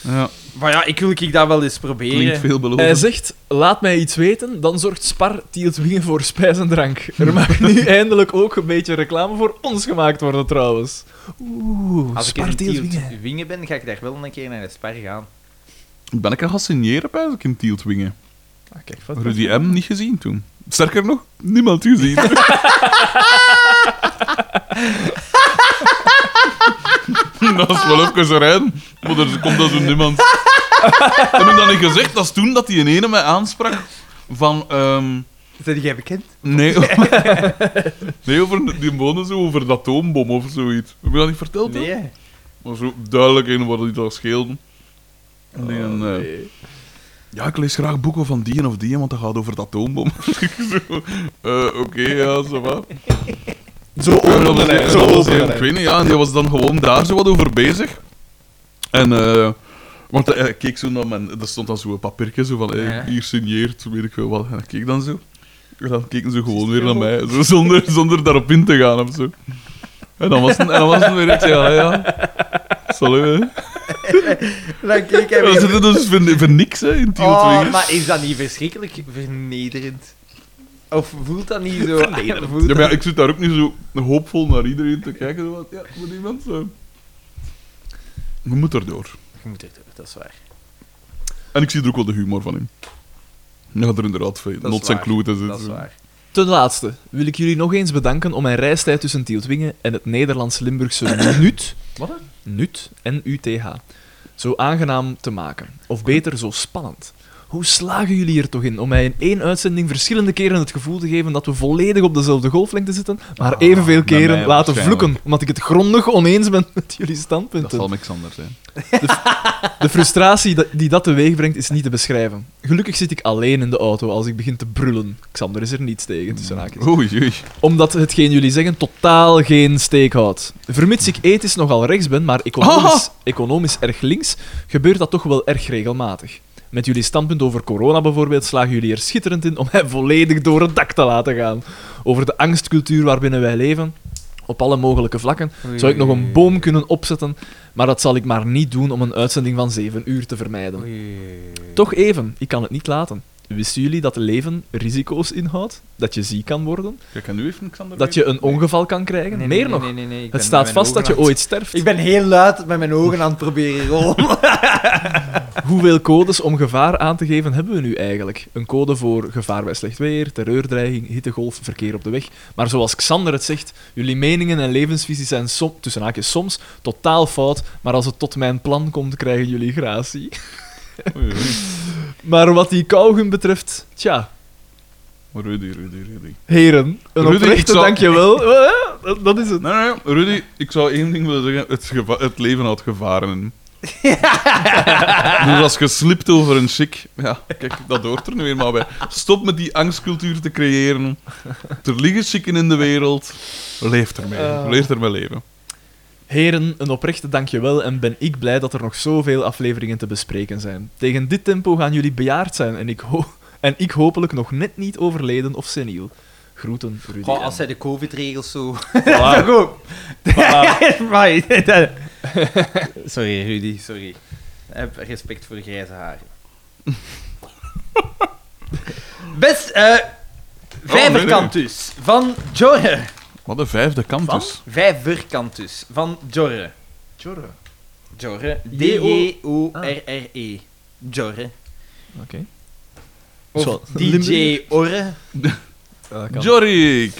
S2: Ja,
S7: Maar ja, ik wil ik dat wel eens proberen.
S2: klinkt
S3: Hij
S2: veelbelovend.
S3: zegt, laat mij iets weten, dan zorgt Spar Tieltwingen voor spijs en drank. Er mag
S1: [laughs]
S3: nu eindelijk ook een beetje reclame voor ons gemaakt worden, trouwens. Oeh,
S7: Als ik
S3: Spar
S7: in
S3: Tieltwingen.
S7: Tielt Wingen ben, ga ik daar wel een keer naar de spar gaan.
S2: Ben ik al gaan signeren bij in Tieltwingen?
S3: Ah, kijk, wat-
S2: Rudy M. niet gezien toen. Sterker nog, niemand
S3: [laughs]
S2: gezien. dat is wel even zo rein, maar er komt dat zo niemand. Heb ik dat niet gezegd? Dat is toen dat die ene mij aansprak van... ehm,
S1: Zijn jij bekend?
S2: nee, over, [laughs] nee, over die wonen zo over de atoombom of zoiets. Heb ik dat niet verteld? hè?
S1: Nee.
S2: Maar zo duidelijk in wat die daar scheelde. En die een, eh,
S3: Nee.
S2: ja, ik lees graag boeken van die en of die, want dat gaat over de atoombom. [laughs] Zo, eh, Oké, ja, zo wat.
S3: Zo openen, hè, zo openen,
S2: Ik
S3: hè.
S2: weet niet, ja, en die was dan gewoon daar zo wat over bezig. En, eh, want hij hij keek zo naar mijn... Er stond dan zo'n papiertje zo van, eh,
S7: Ja.
S2: hier signeert, weet ik veel wat. En ik keek dan zo. En dan keken ze gewoon weer naar mij, zo, zonder,
S7: [laughs]
S2: zonder daarop in te gaan of zo. En dan was het, en dan was het weer, ik zei, ja, ja. Salut, hè.
S1: Dan keek hij
S2: Ja, [laughs] we
S1: weer.
S2: zitten dus voor, voor niks hè, in Tiel
S7: Oh,
S2: 2.
S7: maar is dat niet verschrikkelijk vernederend? Of voelt dat niet zo? Voelt
S2: Ja,
S7: dat-
S2: maar ja, ik zit daar ook niet zo hoopvol naar iedereen te kijken. zo Wat, ja, moet iemand zo. We moeten erdoor.
S7: Je moet het doen, dat is waar.
S2: En ik zie er ook wel de humor van in. Je gaat er inderdaad veel
S7: Dat is
S2: nots en
S7: waar,
S2: kloeten
S7: Dat is
S2: zitten.
S7: waar.
S3: Ten laatste wil ik jullie nog eens bedanken om mijn reistijd tussen Tieltwingen en het Nederlands-Limburgse [coughs] Nut.
S7: Wat?
S3: Nut, N-U-T-H. Zo aangenaam te maken. Of beter, zo spannend. Hoe slagen jullie er toch in om mij in één uitzending verschillende keren het gevoel te geven dat we volledig op dezelfde golflengte zitten, maar evenveel
S2: Ah, bij mij
S3: keren laten
S2: waarschijnlijk.
S3: vloeken, omdat ik het grondig oneens ben [laughs] met jullie standpunten?
S2: Dat zal Alexander zijn.
S3: De frustratie dat- die dat teweeg brengt is niet te beschrijven. Gelukkig zit ik alleen in de auto als ik begin te brullen. Xander is er niets tegen, dus tussen haakjes.
S2: Oei, oei.
S3: Omdat hetgeen jullie zeggen totaal geen steek houdt. Vermits ik ethisch nogal rechts ben, maar economisch, economisch erg links, gebeurt dat toch wel erg regelmatig. Met jullie standpunt over corona bijvoorbeeld slagen jullie er schitterend in om mij volledig door het dak te laten gaan. Over de angstcultuur waarbinnen wij leven, op alle mogelijke vlakken, zou ik nog een boom kunnen opzetten, maar dat zal ik maar niet doen om een uitzending van 7 uur te vermijden. Toch even, ik kan het niet laten. Wisten jullie dat leven risico's inhoudt? Dat je ziek kan worden?
S2: Kijk, en nu even Xander.
S3: Dat je een ongeval kan krijgen?
S1: Nee, nee,
S3: Meer
S1: nee,
S3: nog.
S1: nee, nee, nee, ik ben
S3: het staat
S1: met
S3: vast
S1: mijn
S3: dat je
S1: ogen aan
S3: ooit sterft.
S1: Ik ben heel luid met mijn ogen aan het proberen rollen.
S3: Hoeveel codes om gevaar aan te geven hebben we nu eigenlijk? Een code voor gevaar bij slecht weer, terreurdreiging, hittegolf, verkeer op de weg. Maar zoals Xander het zegt, jullie meningen en levensvisies zijn som, tussen haakjes soms totaal fout, maar als het tot mijn plan komt, krijgen jullie gratie.
S2: Oei, oei.
S3: Maar wat die kauwgum betreft, tja,
S2: Rudy, Rudy, Rudy.
S3: heren, een
S2: Rudy, ik
S3: oprechte
S2: zou-
S1: [laughs]
S3: dankjewel. Eh, dat- Dat is het.
S2: Nee, nee, Rudy, ik zou één ding willen zeggen. Het, geva- het leven had gevaren.
S3: [laughs]
S2: dus als je slipt over een chic, ja, kijk, dat hoort er nu eenmaal bij. Stop met die angstcultuur te creëren. Er liggen chicken in de wereld. Leef ermee.
S3: Eh.
S2: Leef ermee leven.
S3: Heren, een oprechte dankjewel en ben ik blij dat er nog zoveel afleveringen te bespreken zijn. Tegen dit tempo gaan jullie bejaard zijn en ik, ho- [laughs] en ik hopelijk nog net niet overleden of seniel. Groeten, Rudy.
S1: Goh, als
S3: M.
S1: zij de covid-regels zo... [laughs]
S2: Voilà.
S1: Goed. [laughs] Maar- dat- sorry, Rudy, sorry. Heb respect voor grijze haren. Best, eh Vijverkantus van Jorre.
S2: Wat de vijfde kant
S1: Van?
S2: dus.
S1: Vijverkantus van Jorre.
S3: Tjorre.
S1: Jorre. E
S3: J-O-
S1: D-E-O-R-R-E. E. Jorre.
S3: Ah. Oké. Zo,
S1: Of DJ
S3: Limburg.
S1: Orre.
S2: Jorik!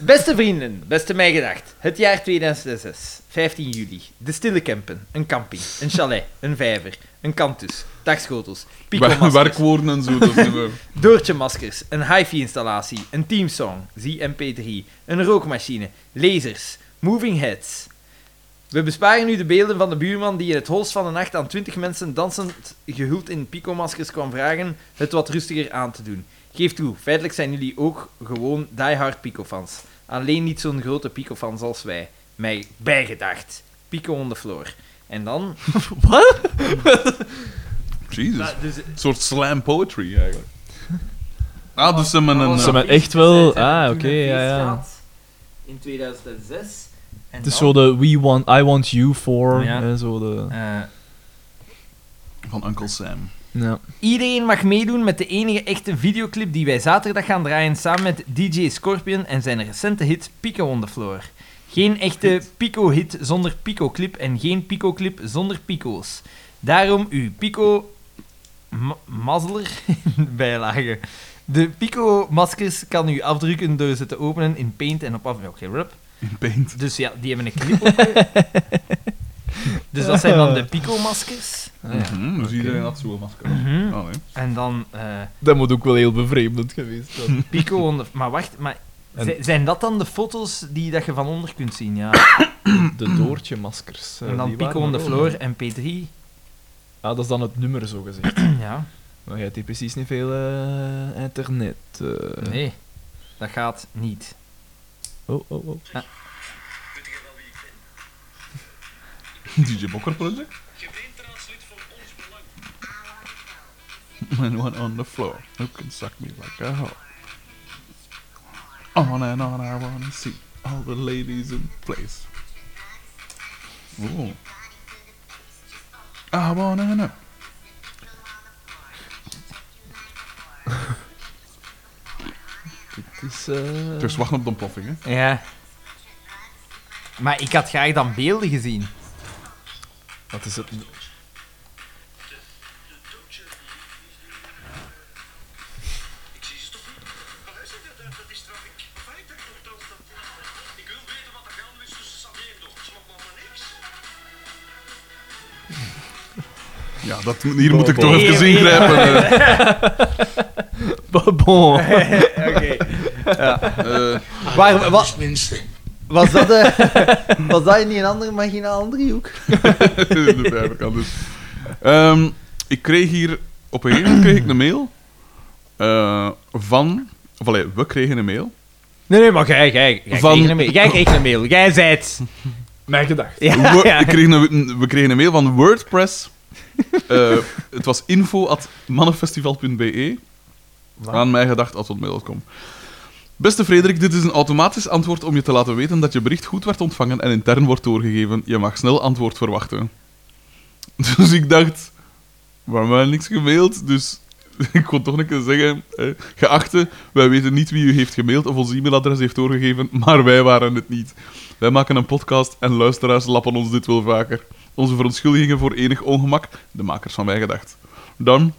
S1: Beste vrienden, beste mij gedacht. Het jaar 2006, 15 juli. De Stille Kempen, een camping, een chalet, een vijver, een kantus, dagschotels,
S2: Wer-
S1: pico-maskers,
S2: Werkwoorden en zo. Dat is
S3: [laughs]
S2: niet
S1: doortje-maskers, een hi-fi-installatie, een teamsong, zie MP3, een rookmachine, lasers, moving heads. We besparen nu de beelden van de buurman die in het holst van de nacht aan 20 mensen dansend gehuld in pico-maskers kwam vragen het wat rustiger aan te doen. Geef toe, feitelijk zijn jullie ook gewoon diehard Pico-fans. Alleen niet zo'n grote Pico-fans als wij. Mij bijgedacht. Pico on the floor. En dan...
S2: Jesus.
S1: Dus,
S2: Een soort slam poetry eigenlijk. Ah, dus ze hebben een.
S3: Ze hebben echt wel... Ah, oké, ja, ja.
S1: In 2006. En
S3: Het is zo de we want, I want you for...
S1: Ja.
S3: eh, zo de...
S2: eh, Van Uncle Sam.
S3: Ja.
S1: Iedereen mag meedoen met de enige echte videoclip die wij zaterdag gaan draaien samen met DJ Scorpion en zijn recente hit Pico on the Floor. Geen echte Pico-hit zonder Pico-clip en geen Pico-clip zonder Pico's. Daarom uw Pico... ma- [laughs] Mazzeler bijlagen. De Pico-maskers kan u afdrukken door ze te openen in Paint en op af... Oké, rup.
S2: In paint.
S1: Dus ja, die hebben een clip op. dus dat zijn dan de Pico-maskers.
S2: Mhm, dus iedereen had zo'n
S3: [laughs]
S2: masker.
S1: Mhm.
S2: Oh, nee.
S1: En dan... eh,
S3: Dat moet ook wel heel bevreemdend geweest
S1: [laughs]
S3: zijn.
S1: Pico onder... Maar wacht, maar...
S3: En-
S1: zi- Zijn dat dan de foto's die dat je van onder kunt zien? Ja.
S3: De doortje-maskers. eh,
S1: en dan
S3: die
S1: Pico
S3: waren
S1: on the
S3: er
S1: floor en
S3: ook.
S1: P3.
S7: [clears throat]
S3: Ah, dat is dan het nummer, zo
S1: [laughs]
S3: gezegd.
S1: ja,
S3: Maar jij hebt hier precies niet veel eh, internet. eh.
S1: nee. Dat gaat niet.
S3: Oh, oh, oh.
S2: [laughs] DJ Bokker Project? Man [laughs] one on the floor who can suck me like a hoe. On and on I wanna see all the ladies in place. Ooh. I wanna know.
S3: Dit is... eh,
S2: Dus wachten op de ontploffing, hè?
S1: Ja. Maar ik had graag dan beelden gezien.
S3: Wat
S1: [laughs]
S3: is het?
S2: Ja, dat, hier moet ik toch even ingrijpen. eh.
S3: Bon.
S2: Eh,
S4: Ah,
S1: Waar- wa-
S4: Tenminste.
S1: was, dat, [laughs] eh, was dat niet een andere marginaal driehoek?
S2: [laughs] de vijverkant dus. Ehm, ik kreeg hier... Op een gegeven moment kreeg ik een mail eh, van... Of allee, we kregen een mail.
S7: Nee, nee, maar jij, jij, jij
S2: Van-
S7: kreeg een mail. Jij kreeg een mail. Jij zei het.
S3: Mijn gedacht.
S7: Ja,
S2: We,
S7: ja.
S2: ik kreeg een, we kregen een mail van WordPress. Eh, het was info at mannenfestival.be. E. Aan mij gedacht at hotmail.com. Beste Frederik, dit is een automatisch antwoord om je te laten weten dat je bericht goed werd ontvangen en intern wordt doorgegeven. Je mag snel antwoord verwachten. [laughs] Dus ik dacht, waarom hebben we niks gemaild? Dus [laughs] ik kon toch een keer zeggen, eh, geachte, wij weten niet wie u heeft gemaild of ons e-mailadres heeft doorgegeven, [laughs] maar wij waren het niet. Wij maken een podcast en luisteraars lappen ons dit wel vaker. Onze verontschuldigingen voor enig ongemak, de makers van Wij Gedacht. Dan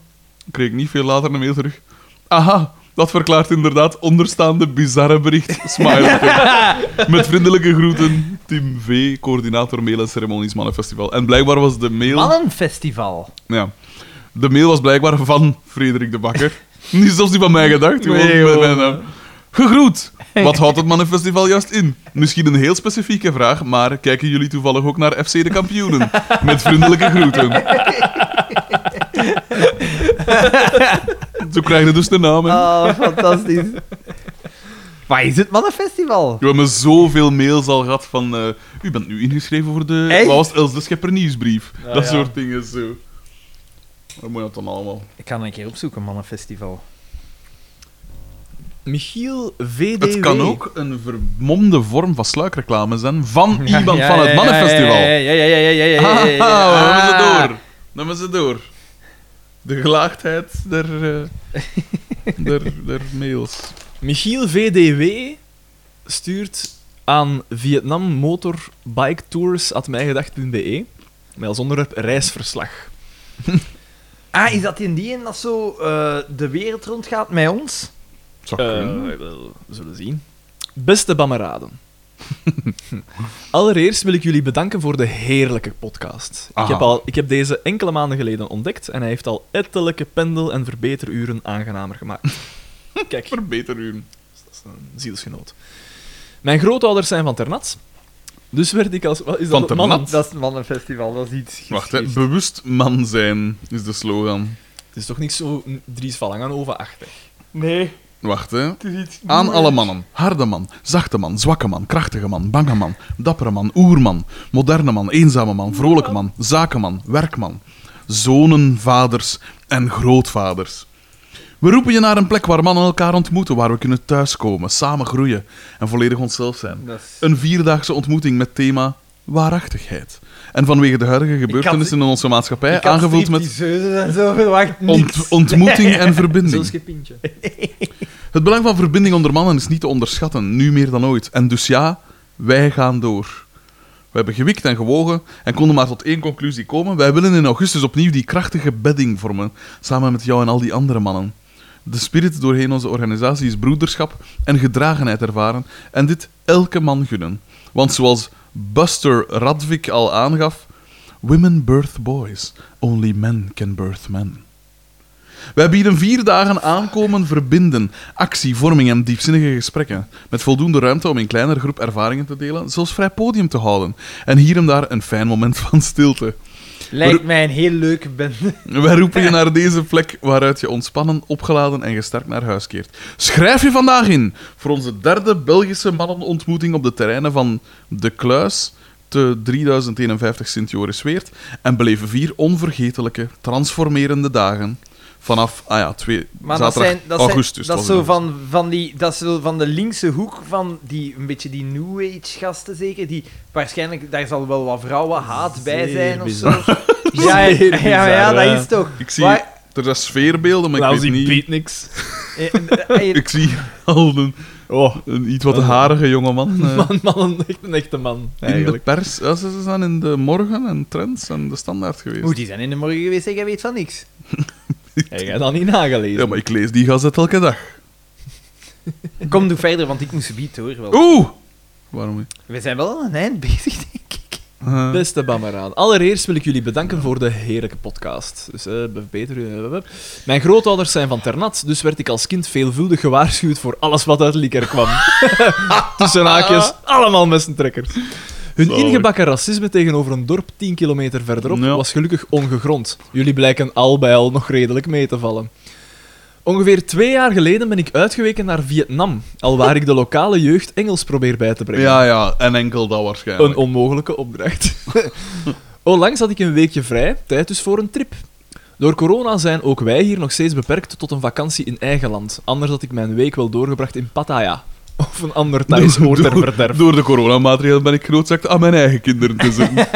S2: kreeg ik niet veel later een mail terug. Aha, dat verklaart inderdaad onderstaande bizarre bericht. Smile. Met vriendelijke groeten, Tim V., coördinator mail en ceremonies Mannenfestival. En blijkbaar was de mail...
S7: Mannenfestival.
S2: Ja. De mail was blijkbaar van Frederik de Bakker.
S1: [laughs]
S2: niet zelfs die van mij gedacht. Gewoon
S3: Nee,
S2: bij
S3: joh.
S2: mijn naam. Gegroet! Wat houdt het Mannenfestival juist in? Misschien een heel specifieke vraag, maar kijken jullie toevallig ook naar FC de Kampioenen? Met vriendelijke groeten. Zo krijg je dus de naam. hè.
S1: Oh, fantastisch. Waar is het mannenfestival?
S2: We hebben zoveel mails al gehad van... eh, u bent nu ingeschreven voor de...
S1: Echt?
S2: Wat was het? Els de Schepper nieuwsbrief. dat
S3: ja.
S2: soort dingen zo. Waar moet dat dan allemaal?
S7: Ik kan een keer opzoeken, mannenfestival.
S3: Michiel VDW.
S2: Het kan ook een vermomde vorm van sluikreclame zijn van iemand
S7: [laughs] Ja,
S2: van het
S7: ja,
S2: Mannenfestival.
S7: eh, Ja, ja, ja, ja, ja, ja, ja, ja, ja, ja.
S2: Ah, we hebben ze
S7: Ah.
S2: door. Dan hebben ze door. De gelaagdheid der,
S7: [laughs]
S2: eh, der, der mails.
S3: Michiel VDW stuurt aan Vietnam Motor Bike Tours at mijgedacht.be E. met als onderwerp reisverslag.
S7: Ah, is dat in die en dat zo eh, de wereld rondgaat met ons?
S2: Zou kunnen.
S3: Eh, wel, we zullen zien.
S2: [laughs]
S3: Beste Bammeraden. Allereerst wil ik jullie bedanken voor de heerlijke podcast. Ik
S2: Aha.
S3: heb, al, ik heb deze enkele maanden geleden ontdekt en hij heeft al ettelijke pendel- en verbeteruren aangenamer
S2: [laughs]
S3: gemaakt. Kijk,
S2: Verbeter u.
S3: dat is een zielsgenoot. Mijn grootouders zijn van Ternat, dus werd ik als... Wat is
S2: Van
S3: dat?
S2: Ternat?
S3: Mannen-
S1: Dat is het mannenfestival, dat is iets.
S2: Wacht, hè. bewust man zijn is de slogan.
S3: Het is toch niet zo mm, Dries van Langenhoven-achtig?
S1: Nee.
S2: Wacht, hè. Aan alle mannen. Harde man, zachte man, zwakke man, krachtige man, bange man, dappere man, oerman, moderne man, eenzame man, vrolijke man, zakenman, werkman. Zonen, vaders en grootvaders. We roepen je naar een plek waar mannen elkaar ontmoeten, waar we kunnen thuiskomen, samen groeien en volledig onszelf zijn.
S1: Dat is-
S2: Een vierdaagse ontmoeting met thema waarachtigheid. En vanwege de huidige gebeurtenissen in onze maatschappij,
S1: Ik had
S2: aangevuld
S1: Steve
S2: met
S1: die zeuzen en zo verwacht niks.
S2: ont- ontmoeting en
S1: [laughs]
S2: verbinding.
S3: schepintje.
S2: Het belang van verbinding onder mannen is niet te onderschatten, nu meer dan ooit. En dus ja, wij gaan door. We hebben gewikt en gewogen en konden maar tot één conclusie komen. Wij willen in augustus opnieuw die krachtige bedding vormen, samen met jou en al die andere mannen. De spirit doorheen onze organisatie is broederschap en gedragenheid ervaren en dit elke man gunnen. Want zoals Buster Radvik al aangaf, women birth boys, only men can birth men. Wij bieden vier dagen aankomen, verbinden, actie, vorming en diepzinnige gesprekken. Met voldoende ruimte om in kleiner groep ervaringen te delen, zelfs vrij podium te houden. En hier en daar een fijn moment van stilte.
S7: Lijkt mij een heel leuke [laughs] bende.
S2: Wij roepen je naar deze plek waaruit je ontspannen, opgeladen en gesterkt naar huis keert. Schrijf je vandaag in voor onze derde Belgische mannenontmoeting op de terreinen van De Kluis te 3051 Sint-Joris-Weert en beleven vier onvergetelijke, transformerende dagen vanaf, ah ja, twee,
S7: Maar dat
S2: zaterdag
S7: zijn, dat
S2: augustus.
S7: Zijn, dat,
S2: was
S7: is zo
S2: het dan.
S7: van,
S3: dus.
S7: van die, dat is zo van de linkse hoek van die, een beetje die New Age gasten zeker. Die, waarschijnlijk, daar zal wel wat vrouwenhaat bij
S3: Zeer
S7: zijn of zo.
S3: bizar.
S7: Ja,
S3: [laughs]
S7: ja,
S3: Zeer
S7: ja, ja,
S3: bizar,
S7: dat
S3: ja.
S7: is
S3: [laughs]
S7: toch.
S2: Ik zie,
S7: Waar-
S2: er zijn sfeerbeelden, maar
S3: Nou,
S2: ik weet niet...
S3: niks.
S7: eh, eh, eh,
S2: Ik zie [laughs] al een,
S3: Oh,
S2: een iets wat harige jongeman. eh,
S3: man, man, een echt een echte man.
S2: in de
S3: Eigenlijk.
S2: pers. Ja, ze ze zijn in de morgen en trends en de standaard geweest.
S7: Moet die zijn in de morgen geweest en jij weet van niks.
S3: Heb jij dat niet nagelezen?
S2: Ja, maar ik lees die gazet elke dag.
S7: Kom, doe verder, want ik moest beat hoor. Wel.
S2: Oeh! Waarom? niet?
S7: We zijn wel aan een eind bezig, denk ik.
S2: Eh,
S3: Beste Bamaraan, allereerst wil ik jullie bedanken voor de heerlijke podcast. Dus eh, beter. eh, Mijn grootouders zijn van Ternat, dus werd ik als kind veelvuldig gewaarschuwd voor alles wat uit Likker kwam. [laughs] Tussen haakjes, allemaal messentrekkers. Hun
S2: Zalig.
S3: ingebakken racisme tegenover een dorp 10 kilometer verderop
S2: Ja.
S3: was gelukkig ongegrond. Jullie blijken al bij al nog redelijk mee te vallen. Ongeveer twee jaar geleden ben ik uitgeweken naar Vietnam, alwaar ik de lokale jeugd Engels probeer bij te brengen.
S2: ja, ja, en enkel dat waarschijnlijk.
S3: Een onmogelijke opdracht. Onlangs had ik een weekje vrij, tijd dus voor een trip. Door corona zijn ook wij hier nog steeds beperkt tot een vakantie in eigen land. Anders had ik mijn week wel doorgebracht in Pattaya. Of een ander
S2: [laughs]
S3: thuisoord ter verderf.
S2: Door de coronamaatregelen ben ik genoodzaakt aan mijn eigen kinderen te zitten.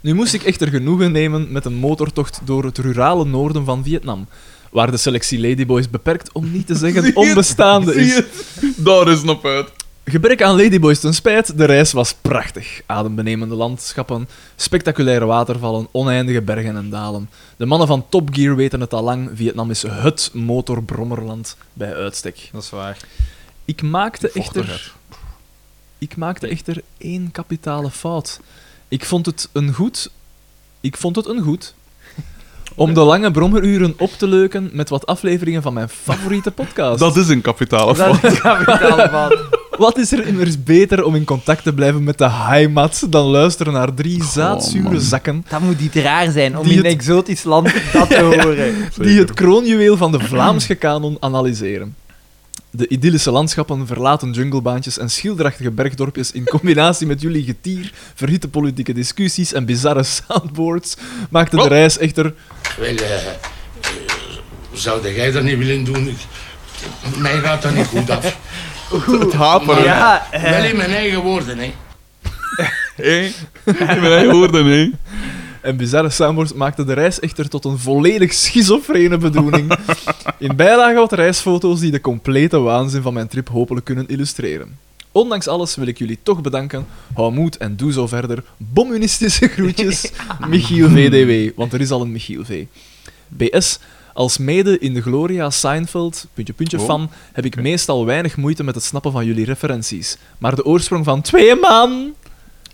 S3: Nu moest ik echter genoegen nemen met een motortocht door het rurale noorden van Vietnam. Waar de selectie Ladyboys beperkt, om niet te
S2: Zie
S3: zeggen
S2: je het?
S3: onbestaande
S2: Zie
S3: is.
S2: je het? Daar is het op uit.
S3: Gebrek aan ladyboys ten spijt, de reis was prachtig. Adembenemende landschappen, spectaculaire watervallen, oneindige bergen en dalen. De mannen van Top Gear weten het al lang, Vietnam is het motorbrommerland bij uitstek.
S1: Dat is waar.
S3: Ik maakte
S2: Vochtigheid.
S3: echter... Ik maakte echter één kapitale fout. Ik vond het een goed... Ik vond het een goed... Om de lange brommeruren op te leuken met wat afleveringen van mijn favoriete podcast.
S2: Dat is een kapitale fout.
S1: Dat is kapitaal van.
S3: Wat is er immers beter om in contact te blijven met de heimat dan luisteren naar drie zaatzure
S2: man.
S3: zakken
S1: Dat moet niet raar zijn om
S3: Die
S1: in een
S3: het-
S1: exotisch
S7: [laughs]
S1: land dat te horen.
S3: die het kroonjuweel van de Vlaamse kanon analyseren? De idyllische landschappen, verlaten junglebaantjes en schilderachtige bergdorpjes in combinatie met jullie getier, verhitte politieke discussies en bizarre soundboards maakten de
S2: Wel.
S3: reis echter...
S4: Wel, eh, eh, zou jij dat niet willen doen? Ik, mij gaat dat niet goed af.
S2: Het haperen.
S1: Ja, eh,
S4: Wel in mijn eigen woorden, hè.
S2: Hé? Wij hoorden, hé?
S3: En bizarre soundboards maakten de reis echter tot een volledig schizofrene
S2: [laughs]
S3: bedoeling. In bijlage wat reisfoto's die de complete waanzin van mijn trip hopelijk kunnen illustreren. Ondanks alles wil ik jullie toch bedanken. Hou moed en doe zo verder. Bomunistische
S2: [laughs]
S3: groetjes, Michiel VDW, want er is al een Michiel V. BS, als mede in de Gloria Seinfeld, puntje puntje
S2: Oh,
S3: fan, heb ik meestal weinig moeite met het snappen van jullie referenties. Maar de oorsprong van twee man,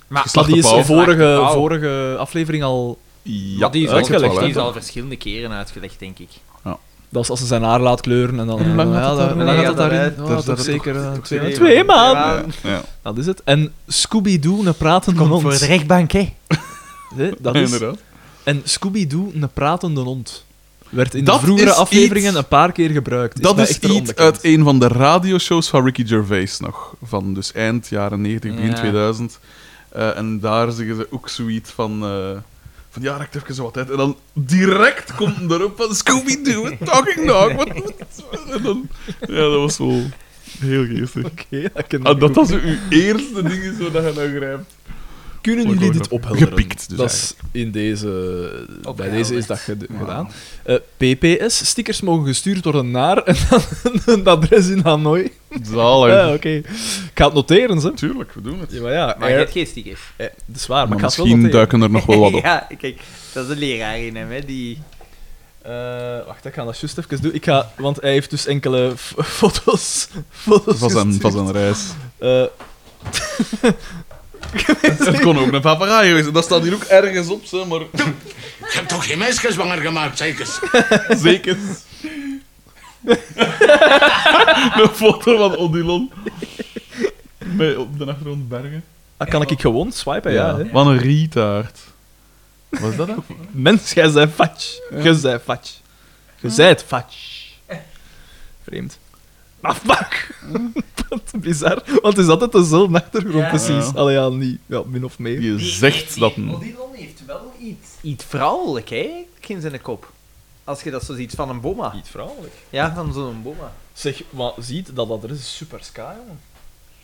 S2: Maar
S3: dat die is
S2: pauw.
S3: vorige, vorige aflevering al
S2: Ja,
S7: Maar die is
S2: ik denk het
S3: uitgelegd,
S2: wel, hè.
S7: Die is al verschillende keren uitgelegd, denk ik.
S3: Dat is als ze zijn haar laat kleuren en dan...
S2: En hoe lang
S3: ja,
S2: had het
S3: dan-
S2: daar-
S3: hoe
S1: nee,
S3: lang
S1: ja,
S3: had
S1: dat-
S3: het daarin?
S2: daar
S3: Oh,
S2: zat
S3: toch
S2: het
S3: zeker eh, twee,
S1: twee
S3: twee maanden.
S1: maanden.
S2: Ja,
S3: Dat is het. En Scooby-Doo, een pratende
S1: Komt
S3: hond.
S1: voor de rechtbank, hè.
S3: Hè, dat is.
S2: inderdaad.
S3: En Scooby-Doo, een pratende hond. Werd in
S2: Dat
S3: de vroegere
S2: is
S3: afleveringen
S2: iets-
S3: een paar keer gebruikt.
S2: Dat
S3: mij
S2: is
S3: echter
S2: iets
S3: onbekend. [laughs]
S2: uit een van de radioshows van Ricky Gervais nog. Van dus eind jaren 90, begin
S7: Ja.
S2: 2000. Eh, en daar zeggen ze ook zoiets van... eh, van ja, rekt even zo wat uit. En dan direct komt erop van Scooby-Doo, a Talking Dog. Wat, wat- en dan, ja, dat was wel heel geestig.
S3: Oké, dat ken ik
S2: Ah, dat
S3: ook.
S2: was uw eerste ding is wat je nou grijpt.
S3: Kunnen
S2: Mooi
S3: jullie dit
S2: gehoord.
S3: ophelderen?
S2: Gepikt dus
S3: dat is in deze,
S7: Ook
S3: bij
S7: wel,
S3: deze is
S7: echt.
S3: dat ged-
S2: Ja.
S3: gedaan. Eh, PPS, stickers mogen gestuurd worden naar [laughs] en dan een adres in Hanoi.
S2: Zalig.
S3: Ja, oké. Ik ga het noteren, ze.
S2: Tuurlijk, we doen het.
S3: Ja, maar ja,
S7: Maar
S3: er-
S7: je hebt geen stickers.
S3: eh, dat is waar, maar,
S2: Maar
S3: ik ga het wel
S2: misschien
S3: noteren.
S2: duiken er nog wel wat
S3: [laughs]
S2: op.
S7: [laughs] ja, kijk, dat is een leraar in hem, hè, die...
S3: Eh, wacht, ik ga dat juist even doen. Ik ga, want hij heeft dus enkele f- [laughs] foto's. foto's
S2: Van zijn, van
S3: gestuurd.
S2: zijn reis.
S3: Eh,
S2: Het kon ook een papegaai geweest zijn. Dat staat hier ook ergens op, zeg maar.
S4: Je hebt toch geen meisje zwanger gemaakt, [laughs] zeker?
S2: Zeker. een foto van Odilon. Bij, op de achtergrond bergen.
S3: ah, kan ik gewoon swipen? Ja. hè?
S2: Wat een rietaard. Wat is dat ook?
S3: Mens, jij bent fatsch. Jij bent fatsch. Jij bent fatsch. Vreemd. Maar fuck! [laughs] Dat is bizar, want het is altijd dezelfde achtergrond,
S7: Ja.
S3: precies.
S2: Hm? Ja.
S3: Allee, ja, niet. Ja, min of meer.
S2: Je zegt dat een...
S7: Odilon heeft wel iets, iets vrouwelijk, hè, in zijn kop. Als je dat zo ziet van een boma.
S3: Niet vrouwelijk.
S7: Ja, van zo'n boma.
S3: Zeg, maar ziet dat adres is super sky, jongen.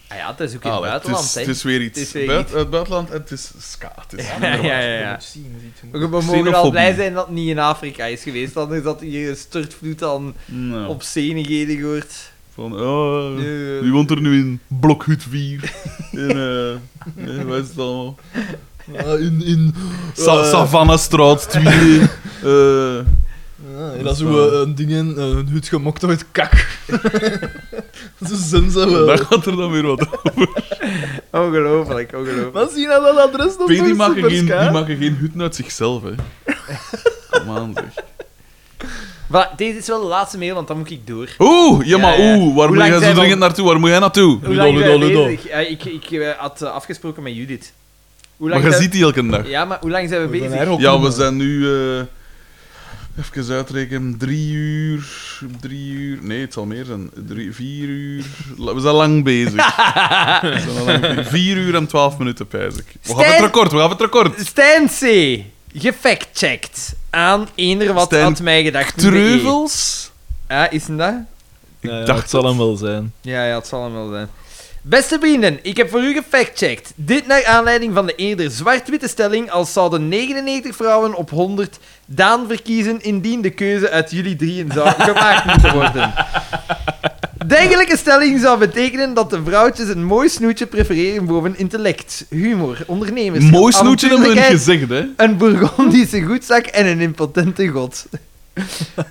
S7: Ah ja, het is ook in
S2: Ah, het,
S7: het
S2: is,
S7: buitenland, hè.
S2: het is weer iets.
S7: Het is weer
S2: Buit-
S7: iets.
S2: Uit het buitenland en het is ska. Het is
S7: [laughs] Ja, ja, ja.
S3: Je
S7: ja.
S3: moet zien, ziet, je moet-
S7: We mogen al
S2: Xenofobie.
S7: blij zijn dat het niet in Afrika is geweest, dan is dat hier een stortvloed aan
S2: Nou,
S7: obscenigheden gehoord.
S2: Van, oh,
S7: Eh,
S2: wie woont er nu in Blokhut 4? In, eh, eh, wat is het allemaal?
S3: Ah, in, in,
S2: Sa
S3: eh,
S2: Savannahstraat 2. eh [laughs]
S3: Ja, dat is hoe eh, dingen, eh, een hut gemokt uit kak. Ze zijn ze wel.
S2: Daar gaat er dan weer wat over.
S1: Ongelooflijk, ongelooflijk.
S3: Wat zie je nou dat adres dan?
S2: P, die maken, geen, die maken geen hutten uit zichzelf, hè. Kom aan, zeg.
S7: Maar deze is wel de laatste mail, want dan moet ik door.
S2: Oeh, ja, maar
S7: Ja, ja.
S2: oeh, waar
S7: Hoe
S2: moet
S7: lang
S2: jij zo
S7: zijn we-
S2: dringend naartoe? Waar moet jij naartoe?
S7: Hoe lang zijn we bezig? Ja, ik ik eh, had eh, afgesproken met Judith. Hoe
S2: Maar
S7: lang
S2: je
S7: zijn-
S2: ziet die elke dag.
S7: Ja, maar hoe lang zijn we bezig?
S2: Ja, we zijn nu... eh, even uitrekenen. Drie uur... Drie uur... Nee, het zal meer zijn. Drie, vier uur... la- We zijn lang
S7: [laughs]
S2: bezig. we zijn al lang bezig. Vier uur en twaalf minuten, pijs ik. We gaan het
S7: Stijn-
S2: record, we gaan het record.
S7: Stijn C. Gefactcheckt aan eender wat
S2: Stijn
S7: had mij gedacht.
S2: Treuvels?
S7: Ja, is hem dat?
S3: Ik
S2: dacht
S3: dacht het zal hem wel [laughs] zijn.
S7: Ja, ja, het zal hem wel zijn. Beste vrienden, ik heb voor u gefactcheckt. Dit naar aanleiding van de eerder zwart-witte stelling als zouden 99 vrouwen op 100 Daan verkiezen indien de keuze uit jullie drieën
S2: [laughs]
S7: zou gemaakt moeten worden. Dergelijke stelling zou betekenen dat de vrouwtjes een mooi snoetje prefereren boven intellect, humor, ondernemers.
S2: Mooi snoetje hebben we niet
S7: avontuurlijkheid,
S2: gezegd, hè.
S7: een Bourgondische goedzak en een impotente god.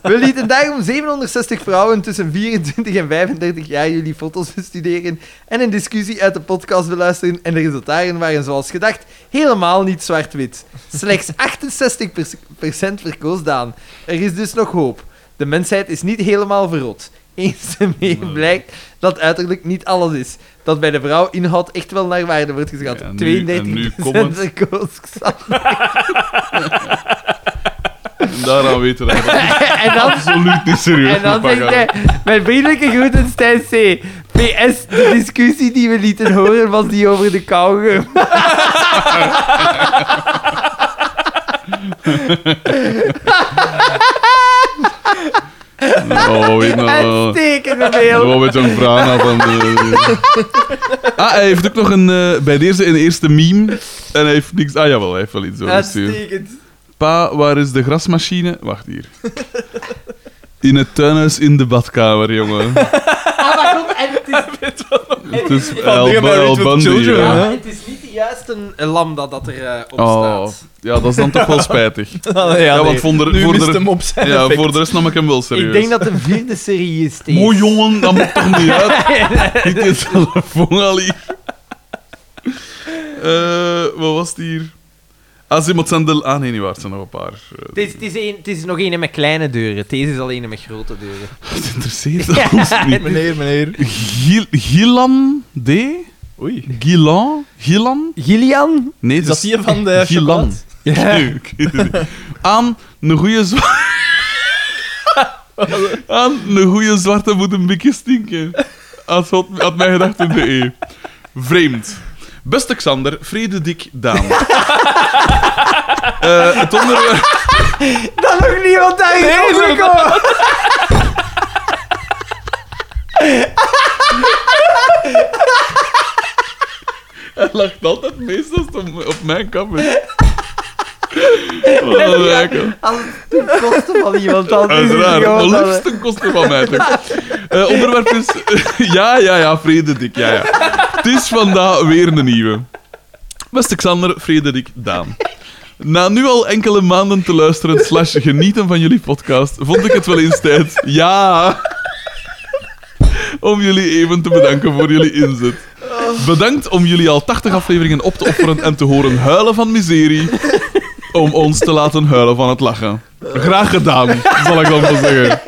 S7: We lieten daarom 760 vrouwen tussen 24 en 35 jaar jullie foto's bestuderen en een discussie uit de podcast beluisteren en de resultaten waren zoals gedacht helemaal niet zwart-wit. Slechts 68% verkoos Daan. Er is dus nog hoop. De mensheid is niet helemaal verrot. Eens ermee
S2: Hmm.
S7: blijkt dat uiterlijk niet alles is. Dat bij de vrouw inhoud echt wel naar waarde wordt geschat.
S2: Ja, en nu-
S7: 32%
S2: en nu comment.
S7: verkoos Xander.
S2: En daaraan weten we dat het
S7: [laughs] en dan,
S2: absoluut niet serieus
S7: en dan
S2: moet
S7: zegt
S2: pakken.
S7: hij, mijn vriendelijke groeten Stijn C. PS, de discussie die we lieten horen was die over de kauwgum.
S2: Oh. Oh,
S7: [laughs]
S2: weet nou...
S7: Uitstekende mail.
S2: Wat met zo'n vraag aan van de... Ah, hij heeft ook nog een... eh, bij deze een eerste meme. En hij heeft niks... Ah, jawel, hij heeft wel iets overgestuurd.
S7: Uitstekend.
S2: Pa, waar is de grasmachine? Wacht hier. In het tuinhuis in de badkamer, jongen.
S7: Ah, maar goed, en het is,
S2: Het is
S3: Van
S2: El,
S3: dingen bij
S2: El
S3: Ritual
S2: Bundy,
S3: Children,
S2: ja.
S3: hè?
S7: het is niet de juiste lambda dat er eh, op
S2: Oh,
S7: staat.
S2: ja, dat is dan toch wel spijtig.
S3: Ah, ja,
S2: Ja,
S3: nee.
S2: want voor de,
S3: nu
S2: voor
S3: mist
S2: de,
S3: hem op zijn
S2: ja,
S3: effect.
S2: voor de rest nam ik hem wel serieus.
S7: Ik denk dat de vierde serie is, Steve.
S2: Mooi jongen, dat moet toch niet
S3: [laughs]
S2: uit. Ik is telefoon al hier. Eh, wat was het hier? Ah, ze moet zijn de... Ah, nee, niet waar. Het zijn nog een paar. Eh,
S7: Het is, het, is een, het is nog een met kleine deuren. Deze is alleen een met grote deuren.
S2: Het interesseert [laughs] ons
S3: [laughs]
S2: niet.
S3: Meneer, meneer.
S2: Gil Gilan D?
S3: Oei.
S2: Gilan? Gilan?
S7: Gillian?
S2: Nee,
S3: Is
S2: het
S3: dat die van
S2: eh,
S3: de
S2: Gilan.
S3: chocolade?
S2: [laughs] Nee, ik weet het niet. Aan een goede zwarte... [laughs] Aan een goede zwarte moet een beetje stinken. Als had, had mij gedacht in de E. Vreemd. Beste Xander, vrede dik Daan. Eh, het onderwerp...
S7: Dat nog niemand daar is overgekomen.
S2: Hij lacht altijd meestal op, op mijn kamer. Wat een eikel.
S7: Als het ten koste van iemand anders is. het
S2: Uiteraard,
S7: gewoon
S2: de
S7: dat we-
S2: liefste kosten van mij. toch? Eh, onderwerp is... [laughs] ja, ja, ja, Frederik, ja, ja. Het is vandaag weer een nieuwe. Beste Xander, Frederik, Daan. Na nu al enkele maanden te luisteren slash genieten van jullie podcast, vond ik het wel eens tijd, ja, om jullie even te bedanken voor jullie inzet. Bedankt om jullie al 80 afleveringen op te offeren en te horen huilen van miserie, om ons te laten huilen van het lachen. Graag gedaan, zal ik dan wel zeggen.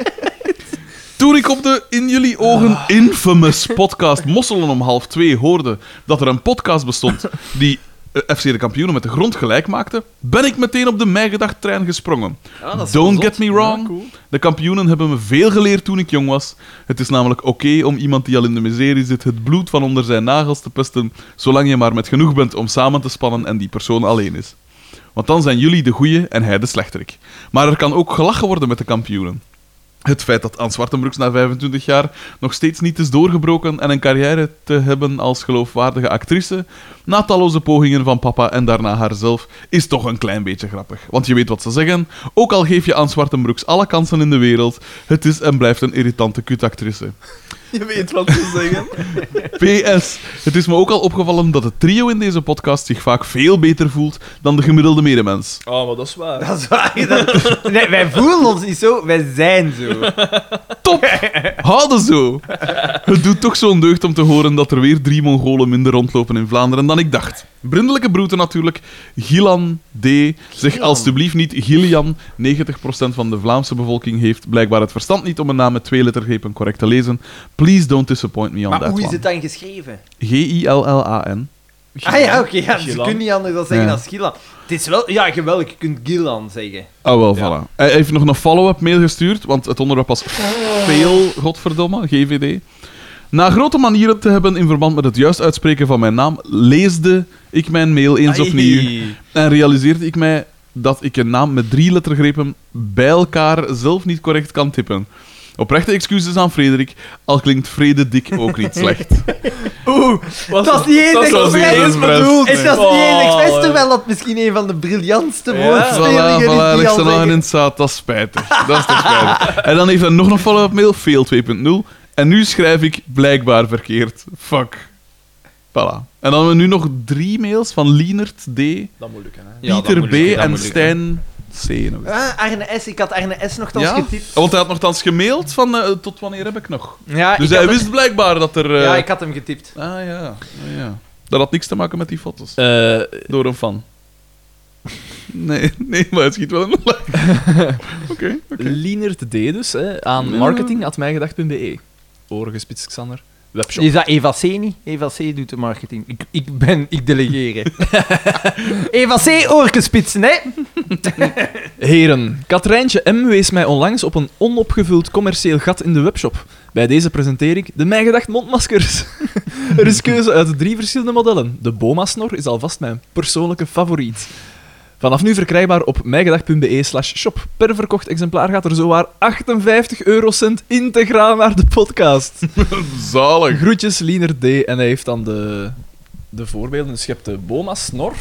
S2: Toen ik op de in jullie ogen infamous podcast Mosselen om half twee hoorde dat er een podcast bestond die eh, FC de kampioenen met de grond gelijk maakte, ben ik meteen op de mijgedacht-trein gesprongen.
S7: Ah, dat is wel
S2: Don't
S7: zot.
S2: get me wrong, de kampioenen hebben me veel geleerd toen ik jong was. Het is namelijk oké om iemand die al in de miserie zit het bloed van onder zijn nagels te pesten, zolang je maar met genoeg bent om samen te spannen en die persoon alleen is. Want dan zijn jullie de goeie en hij de slechterik. Maar er kan ook gelachen worden met de kampioenen. Het feit dat Anne Zwartenbroeks na 25 jaar nog steeds niet is doorgebroken en een carrière te hebben als geloofwaardige actrice, na talloze pogingen van papa en daarna haarzelf, is toch een klein beetje grappig. Want je weet wat ze zeggen, ook al geef je Anne Zwartenbroeks alle kansen in de wereld, het is en blijft een irritante kutactrice.
S3: Je weet wat ze zeggen.
S2: PS. Het is me ook al opgevallen dat het trio in deze podcast zich vaak veel beter voelt dan de gemiddelde medemens.
S3: Oh, maar dat is waar.
S7: Dat is waar. dat- Nee, wij voelen ons niet zo, wij zijn zo.
S2: Houden zo! Het doet toch zo'n deugd om te horen dat er weer drie Mongolen minder rondlopen in Vlaanderen dan ik dacht. Brindelijke broeten natuurlijk. Gilan D. Zeg alstublieft niet Gillian. 90% van de Vlaamse bevolking heeft blijkbaar het verstand niet om een naam met twee lettergrepen correct te lezen. Please don't disappoint me on
S7: Maar
S2: that
S7: hoe is
S2: one.
S7: het dan geschreven?
S2: G-I-L-L-A-N.
S7: Ah ja, oké, ja, dus je
S3: Gilan.
S7: kunt niet anders dan zeggen
S2: Ja.
S7: dan Gilan. Het is wel, ja, geweldig, je kunt Gilan zeggen.
S2: Oh, wel,
S3: Ja.
S2: voilà. Hij heeft nog een follow-up mail gestuurd, want het onderwerp was veel, godverdomme, GVD. Na grote manieren te hebben in verband met het juist uitspreken van mijn naam, leesde ik mijn mail eens opnieuw en realiseerde ik mij dat ik een naam met drie lettergrepen bij elkaar zelf niet correct kan tippen. Oprechte excuses aan Frederik, al klinkt Frederik ook niet slecht.
S7: Oeh,
S3: Was-
S7: dat is niet eens
S3: dat
S7: expres
S2: was niet eens
S7: bedoeld. Oh.
S2: expres,
S7: Het was niet eens
S3: nee.
S7: expres, terwijl dat misschien een van de briljantste
S3: Ja.
S7: woordspelingen
S2: Voilà,
S7: is
S2: voilà,
S7: die
S2: ligt
S7: al
S2: er nog
S7: zeggen.
S2: in het zaad. Dat is spijtig. Dat is toch spijtig. En dan heeft hij nog een follow-up mail, fail 2.0. En nu schrijf ik blijkbaar verkeerd. Fuck. Voilà. En dan hebben we nu nog drie mails van Lienert D,
S3: Dat moet lukken, hè.
S2: Pieter B
S10: dat
S2: en
S10: moet lukken.
S2: Stijn C. nog eens.
S7: Ah, Arne S, ik had Arne S nogthans
S2: Ja,
S7: getipt.
S2: want hij had nogthans gemaild van eh, tot wanneer heb ik nog.
S7: Ja,
S2: Dus
S7: ik
S2: hij
S7: had-
S2: wist blijkbaar dat er... eh,
S7: ja, ik had hem getipt.
S2: Ah ja, ah, ja. Dat had niks te maken met die foto's.
S3: Eh,
S2: Door een fan. Nee, [laughs] nee, maar het schiet wel een lach. Oké, oké.
S3: Lienert D dus, hè, aan
S2: Ja.
S3: marketing.mijngedacht.be. Oren gespitst, e. Xander. Webshop.
S7: Is dat Eva C niet? Eva C doet de marketing. Ik, ik ben, ik delegeer. hè. [laughs] Eva C, oorkespitsen, hè?
S3: Heren, Katrijntje M. wees mij onlangs op een onopgevuld commercieel gat in de webshop. Bij deze presenteer ik de Mijn Gedacht mondmaskers. [laughs] er is keuze uit drie verschillende modellen. De Boma-snor is alvast mijn persoonlijke favoriet. Vanaf nu verkrijgbaar op mijgedacht.be slash shop. Per verkocht exemplaar gaat er zowaar 58 eurocent integraal naar de podcast.
S2: Zalig.
S3: Groetjes, Liener D. En hij heeft dan de, de voorbeelden. Dus je hebt de Boma-snor,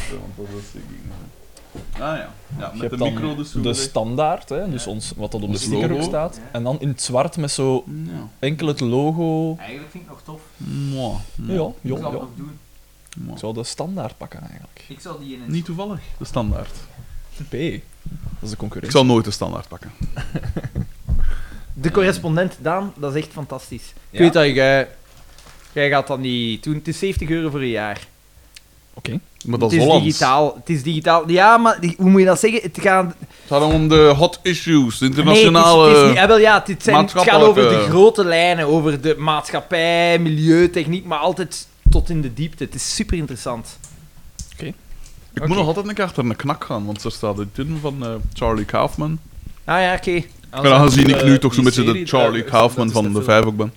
S2: Ah ja, ja
S3: je
S2: met de
S3: hebt dan
S2: micro dus
S3: de standaard, hè, dus ons, wat dat op de
S2: Ons
S3: sticker ook
S2: logo.
S3: staat. En dan in het zwart met zo
S2: Ja.
S3: enkel het logo.
S7: Eigenlijk vind ik nog tof.
S2: Mwah.
S3: Ja, ja, ja.
S7: doen.
S3: Ik zou de standaard pakken eigenlijk.
S7: Ik zal die in
S2: Niet toevallig, Mm. de standaard.
S3: P. Dat is de
S2: Ik
S3: concurrentie.
S2: zal nooit de standaard pakken.
S7: De correspondent, Daan, dat is echt fantastisch.
S3: Ja.
S7: Ik weet dat jij... Jij gaat dat niet doen. Het is 70 euro voor een jaar.
S3: Oké.
S2: Maar dat
S7: het
S2: is
S7: is
S2: Hollands.
S7: digitaal. Het is digitaal. Ja, maar die- hoe moet je dat zeggen? Het gaat...
S2: Het gaat om de hot issues, de
S7: Nee,
S2: internationale...
S7: het is, het is niet... ah, wel, ja, het, zijn, het gaat over de
S2: maatschappelijke-
S7: grote lijnen. Over de maatschappij, milieu, techniek. Maar altijd tot in de diepte. Het is super interessant.
S2: Ik moet nog altijd een keer achter een knak gaan, want er staat het in van eh, Charlie Kaufman.
S7: Ah ja, oké.
S2: En aangezien ik nu toch zo'n
S3: eh, die
S2: beetje de
S3: serie,
S2: Charlie
S3: eh,
S2: Kaufman
S3: dat
S2: van
S3: is de
S2: de
S3: film.
S2: vijf ook ben.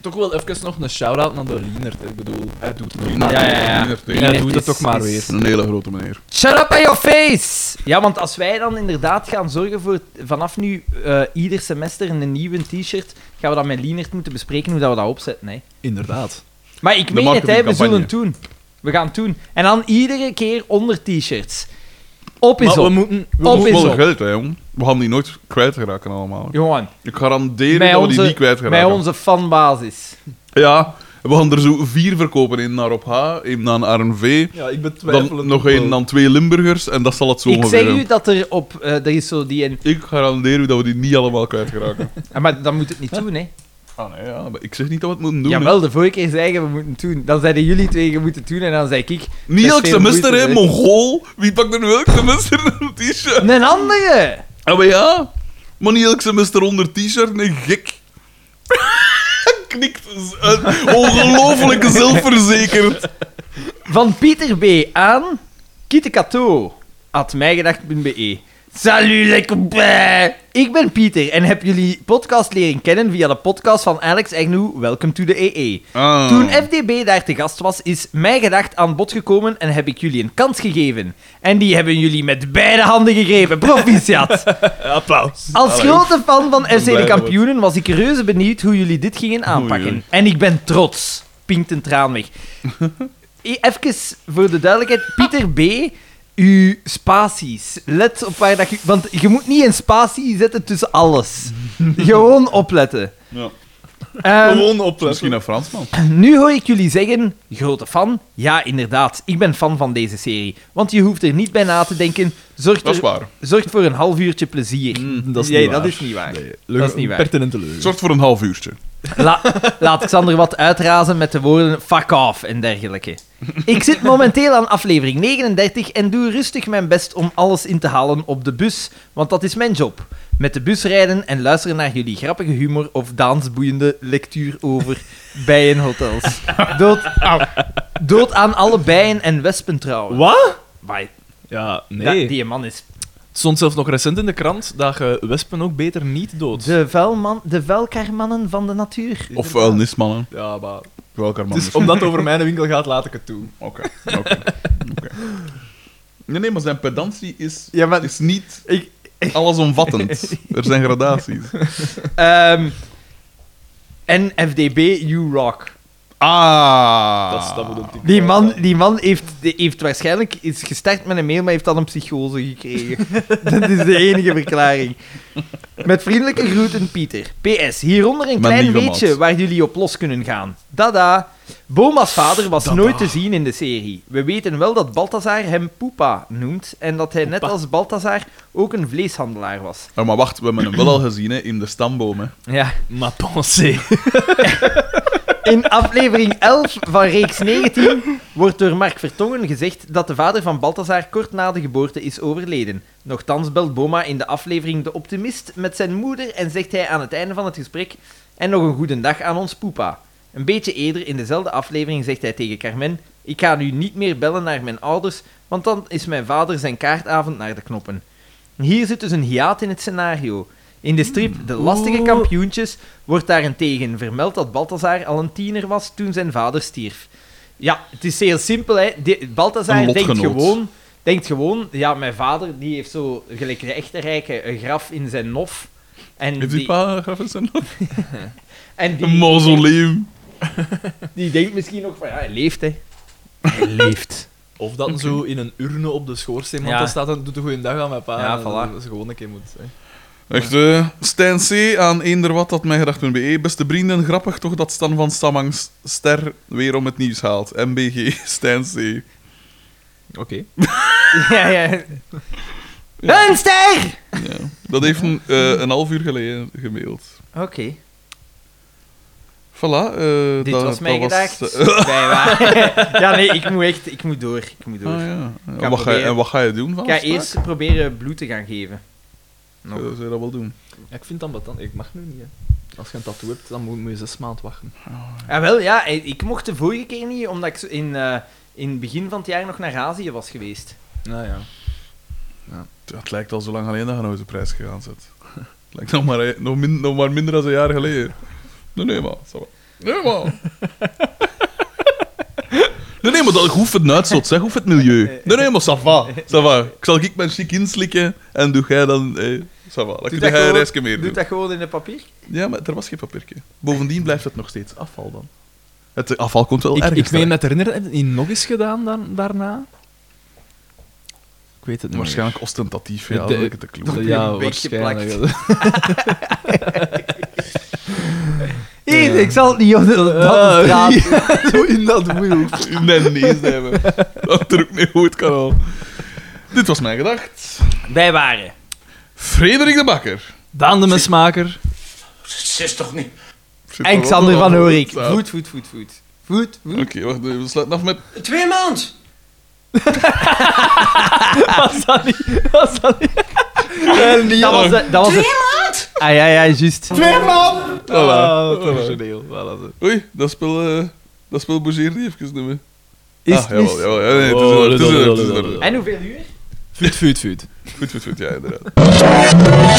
S3: Toch wel even nog een shout-out naar de Lienert. Ik bedoel, hij doet het
S2: Ja,
S7: ja, ja.
S3: Hij
S7: Lienert
S3: doet het
S7: is-
S3: toch maar
S7: is-
S3: weer.
S2: Een hele grote meneer.
S7: Shut up in your face! Ja, want als wij dan inderdaad gaan zorgen voor vanaf nu eh, ieder semester een nieuwe t-shirt, gaan we dat met Lienert moeten bespreken hoe dat we dat opzetten. Hè.
S3: Inderdaad.
S7: Maar ik
S2: De
S7: meen het, hè, we
S2: marketingcampagne.
S7: zullen het doen. We gaan het doen. En dan iedere keer onder t-shirts. Op is
S3: Maar we
S7: op.
S3: moeten... we
S7: Op
S2: Dat
S7: is
S2: is wel
S7: op.
S2: geld, hè, jong. We gaan die nooit kwijtraken allemaal.
S7: Johan,
S2: Ik garandeer
S7: Bij
S2: dat we
S7: onze-
S2: die niet
S7: bij
S2: kwijtraken.
S7: onze fanbasis.
S2: Ja, we gaan er zo vier verkopen. Eén naar op H, één naar RNV,
S3: moeten- Ja, ik betwijfel
S2: Dan
S3: het
S2: nog
S3: wel.
S2: één, dan twee Limburgers en dat zal het zo
S7: Ik
S2: ongeveer
S7: zeg
S2: zijn.
S7: u dat er op... eh er is zo die een...
S2: Ik garandeer u dat we die niet allemaal kwijtraken.
S7: Ah, maar dan moet het niet doen, hè.
S2: ah nee, ja, maar ik zeg niet dat we het moeten doen. hè.
S7: Jawel, de vorige keer zeggen we moeten het doen. Dan zeiden jullie twee, je moet het doen. En dan zei ik...
S2: Niet
S7: dat
S2: elk
S7: is veel
S2: semester, hè,
S7: moeite,
S2: mongool. Wie pakt er nu elk semester een t-shirt?
S7: Een andere!
S2: Ah, maar ja. Maar niet elk semester onder t-shirt, nee, gek. [laughs] Knikt z- eh, ongelooflijk zelfverzekerd.
S7: Van Pieter B. aan Kitekato. At mijgedacht.be. E. Salut, lekker bij! Ik ben Pieter en heb jullie podcast leren kennen via de podcast van Alex Agnew, Welcome to the EE.
S2: Ah.
S7: Toen FDB daar te gast was, is mijn gedacht aan bod gekomen en heb ik jullie een kans gegeven. En die hebben jullie met beide handen gegrepen.
S2: [laughs]
S7: Proficiat!
S3: Applaus.
S7: Als grote fan van FC
S2: blij
S7: De
S2: dat we-
S7: Kampioenen was ik reuze benieuwd hoe jullie dit gingen aanpakken.
S2: Oei, oei.
S7: En ik ben trots. Pinkt een
S2: [laughs]
S7: traan weg. E- Even voor de duidelijkheid. Pieter B., uw spaties.
S2: [laughs]
S7: Let op waar dat je... Want je moet niet een spatie zetten tussen alles. Gewoon opletten.
S2: Ja.
S7: Ehm,
S3: Gewoon opletten.
S2: Misschien een Fransman.
S7: nu hoor ik jullie zeggen, grote fan. Ja, inderdaad, ik ben fan van deze serie. Want je hoeft er niet bij na te denken. Zorgt,
S2: Dat is
S7: er,
S2: waar.
S7: zorgt voor een half uurtje plezier.
S3: Mm, dat is
S7: Nee,
S3: niet
S7: dat
S3: waar.
S7: is niet waar.
S3: Nee,
S7: dat is niet waar.
S3: Pertinente leugen.
S2: Zorgt voor een half uurtje.
S7: La- laat Xander wat uitrazen met de woorden fuck off en [laughs] dergelijke. Ik zit momenteel aan aflevering 39 en doe rustig mijn best om alles in te halen op de bus, want dat is mijn job. Met de bus rijden en luisteren naar jullie grappige humor of Daans boeiende lectuur over bijenhotels. Dood, au. dood aan alle bijen en wespen trouwens.
S3: Wat?
S7: Waai,
S3: Ja,
S7: da-
S3: nee.
S7: die man is...
S3: Het stond zelfs nog recent in de krant dat je wespen ook beter niet dood.
S7: De, vuilman, de vuilkarmannen van de natuur.
S2: Of vuilnismannen.
S3: Ja, maar...
S2: Welke man
S3: Dus omdat het over mijn winkel gaat, laat ik het toe.
S2: Oké, oké, oké. Nee, nee, maar zijn pedantie is,
S3: Ja, maar...
S2: is niet
S3: Ik...
S2: allesomvattend. Er zijn gradaties.
S7: Ehm en FDB, you rock.
S2: Ah!
S3: Dat, is- dat moet een
S7: Die man, die man heeft, die heeft waarschijnlijk is gestart met een mail, maar heeft dan een psychose gekregen. Dat is de enige verklaring. Met vriendelijke groeten, Pieter. PS, hieronder een
S2: Maar
S7: klein
S2: niet van
S7: weetje
S2: Mats.
S7: waar jullie op los kunnen gaan. Dada. Boma's vader was nooit te zien in de serie. We weten wel dat Balthazar hem Poepa noemt en dat hij net als Balthazar ook een vleeshandelaar was.
S2: Oh, maar wacht, we hebben hem wel al gezien hè, in de stamboom. Hè.
S7: Ja.
S3: Ma pensée.
S7: In aflevering 11 van reeks 19 wordt door Mark Vertongen gezegd dat de vader van Balthazar kort na de geboorte is overleden. Nochtans belt Boma in de aflevering De Optimist met zijn moeder en zegt hij aan het einde van het gesprek en nog een goede dag aan ons poepa. Een beetje eerder in dezelfde aflevering zegt hij tegen Carmen ik ga nu niet meer bellen naar mijn ouders, want dan is mijn vader zijn kaartavond naar de knoppen. Hier zit dus een hiaat in het scenario. In de strip De
S2: Oh.
S7: Lastige Kampioentjes wordt daarentegen vermeld dat Balthazar al een tiener was toen zijn vader stierf. Ja, het is heel simpel. Hè. De-
S2: Een
S7: Balthazar
S2: lotgenoot.
S7: denkt gewoon, denkt gewoon, ja, mijn vader die heeft zo, gelijk de echte rijke, een graf in zijn nof. En
S2: Heeft die
S7: die,
S2: pa graf in zijn
S7: en
S2: Een
S7: die,
S2: mausoleum.
S7: die denkt misschien nog van, ja, hij leeft, hè. Hij leeft.
S3: Of dat zo in een urne op de schoorsteen, want
S7: Ja.
S3: dan staat dan doet een goede dag aan mijn pa.
S7: Ja,
S3: En
S7: voilà.
S3: Dat ze gewoon een keer moet... Hè.
S2: Echt, eh, Stijn C. aan eender wat dat mij gedacht BE. Beste vrienden, grappig toch dat Stan van Stammang's ster weer om het nieuws haalt. MBG, [laughs] Stijn C.
S3: Oké.
S7: [laughs] Ja, ja. Een ster!
S2: Ja. Dat heeft een, eh, een half uur geleden gemaild.
S7: Oké,
S2: Voilà. eh,
S7: dit
S2: dat,
S7: was mijn
S2: dat
S7: gedacht.
S2: was,
S7: Wij waren- [laughs] ja, nee, ik moet echt, ik moet door, ik moet door.
S2: Ah, ja. En
S7: Kan
S2: wat, ga je,
S7: proberen.
S2: en wat ga je doen van
S7: Ik ga
S2: afspraak?
S7: eerst proberen bloed te gaan geven.
S2: Eh, zou je dat wel doen?
S3: Ja, ik vind dat ambetant. Ik mag nu niet, hè. Als je een tattoo hebt, dan moet moet je zes maanden wachten.
S7: Ah, wel, ja, ik ik mocht de vorige keer niet, omdat ik zo in, eh, in het begin van het jaar nog naar Azië was geweest.
S3: Nou ja.
S2: Ja, Het lijkt al zo lang alleen dat je nooit de prijs gegaan zit. Het [laughs] lijkt nog maar, eh, nog, min- nog maar minder dan een jaar geleden. Nee, nee, maar. ça va. Nee,
S7: [laughs]
S2: maar. Nee, nee, maar dat hoeft het uitstoot, zeg. Hoeft het milieu. Nee, nee, maar ça va. Ça va. Ik zal ik mijn chic inslikken en doe jij dan... Eh, ça va. Dan kun
S7: dat
S2: jij een
S7: gewoon.
S2: reisje meer doen.
S7: Doet dat gewoon in een papier?
S2: Ja, maar er was geen papiertje. Bovendien blijft het nog steeds afval dan. Het afval komt wel
S3: Ik,
S2: ergens
S3: ik meen
S2: terecht.
S3: me te herinneren, heb je het niet nog eens gedaan dan, daarna? Ik weet het niet meer.
S2: Waarschijnlijk ostentatief, ja.
S3: De-
S2: dat ik het te kloot.
S7: heb je
S3: ja,
S7: een beetje
S3: waarschijnlijk.
S7: Hier, ik zal het niet onder de
S3: Ah,
S7: straat.
S3: Zo in dat wiel.
S2: [laughs] in mijn neus hebben. Dat er ook niet goed kan al. Dit was mijn gedacht.
S7: Wij waren.
S2: Frederik de Bakker.
S3: Daan de mesmaker.
S4: Het is toch niet...
S2: Zit er
S7: En
S2: wel
S7: Xander
S2: nog
S7: van
S2: wel
S7: Horik.
S2: op.
S7: Voet, voet, voet, voet. Voet, voet.
S2: Oké, wacht. We sluiten af met...
S4: Twee maand!
S7: [laughs]
S3: Was dat niet? Was dat niet? En die
S7: Dat was, de, dat was het. Ah ja, ja, juist. Oh,
S3: Ah,
S2: Voilà.
S3: wat origineel. Voilà, zo.
S2: Oei, dat spel... eh, dat spel bougeert niet even doen. we.
S7: Is,
S2: Ah, jawel,
S7: is-
S2: jawel. Ja, nee, het is
S3: Oh,
S2: er, het is
S3: dat-
S2: er,
S3: dat-
S2: het is
S3: dat-
S2: er.
S3: dat-
S7: En hoeveel uur?
S3: Vuut, vuut, vuut.
S2: Goed, goed, goed. Ja, inderdaad.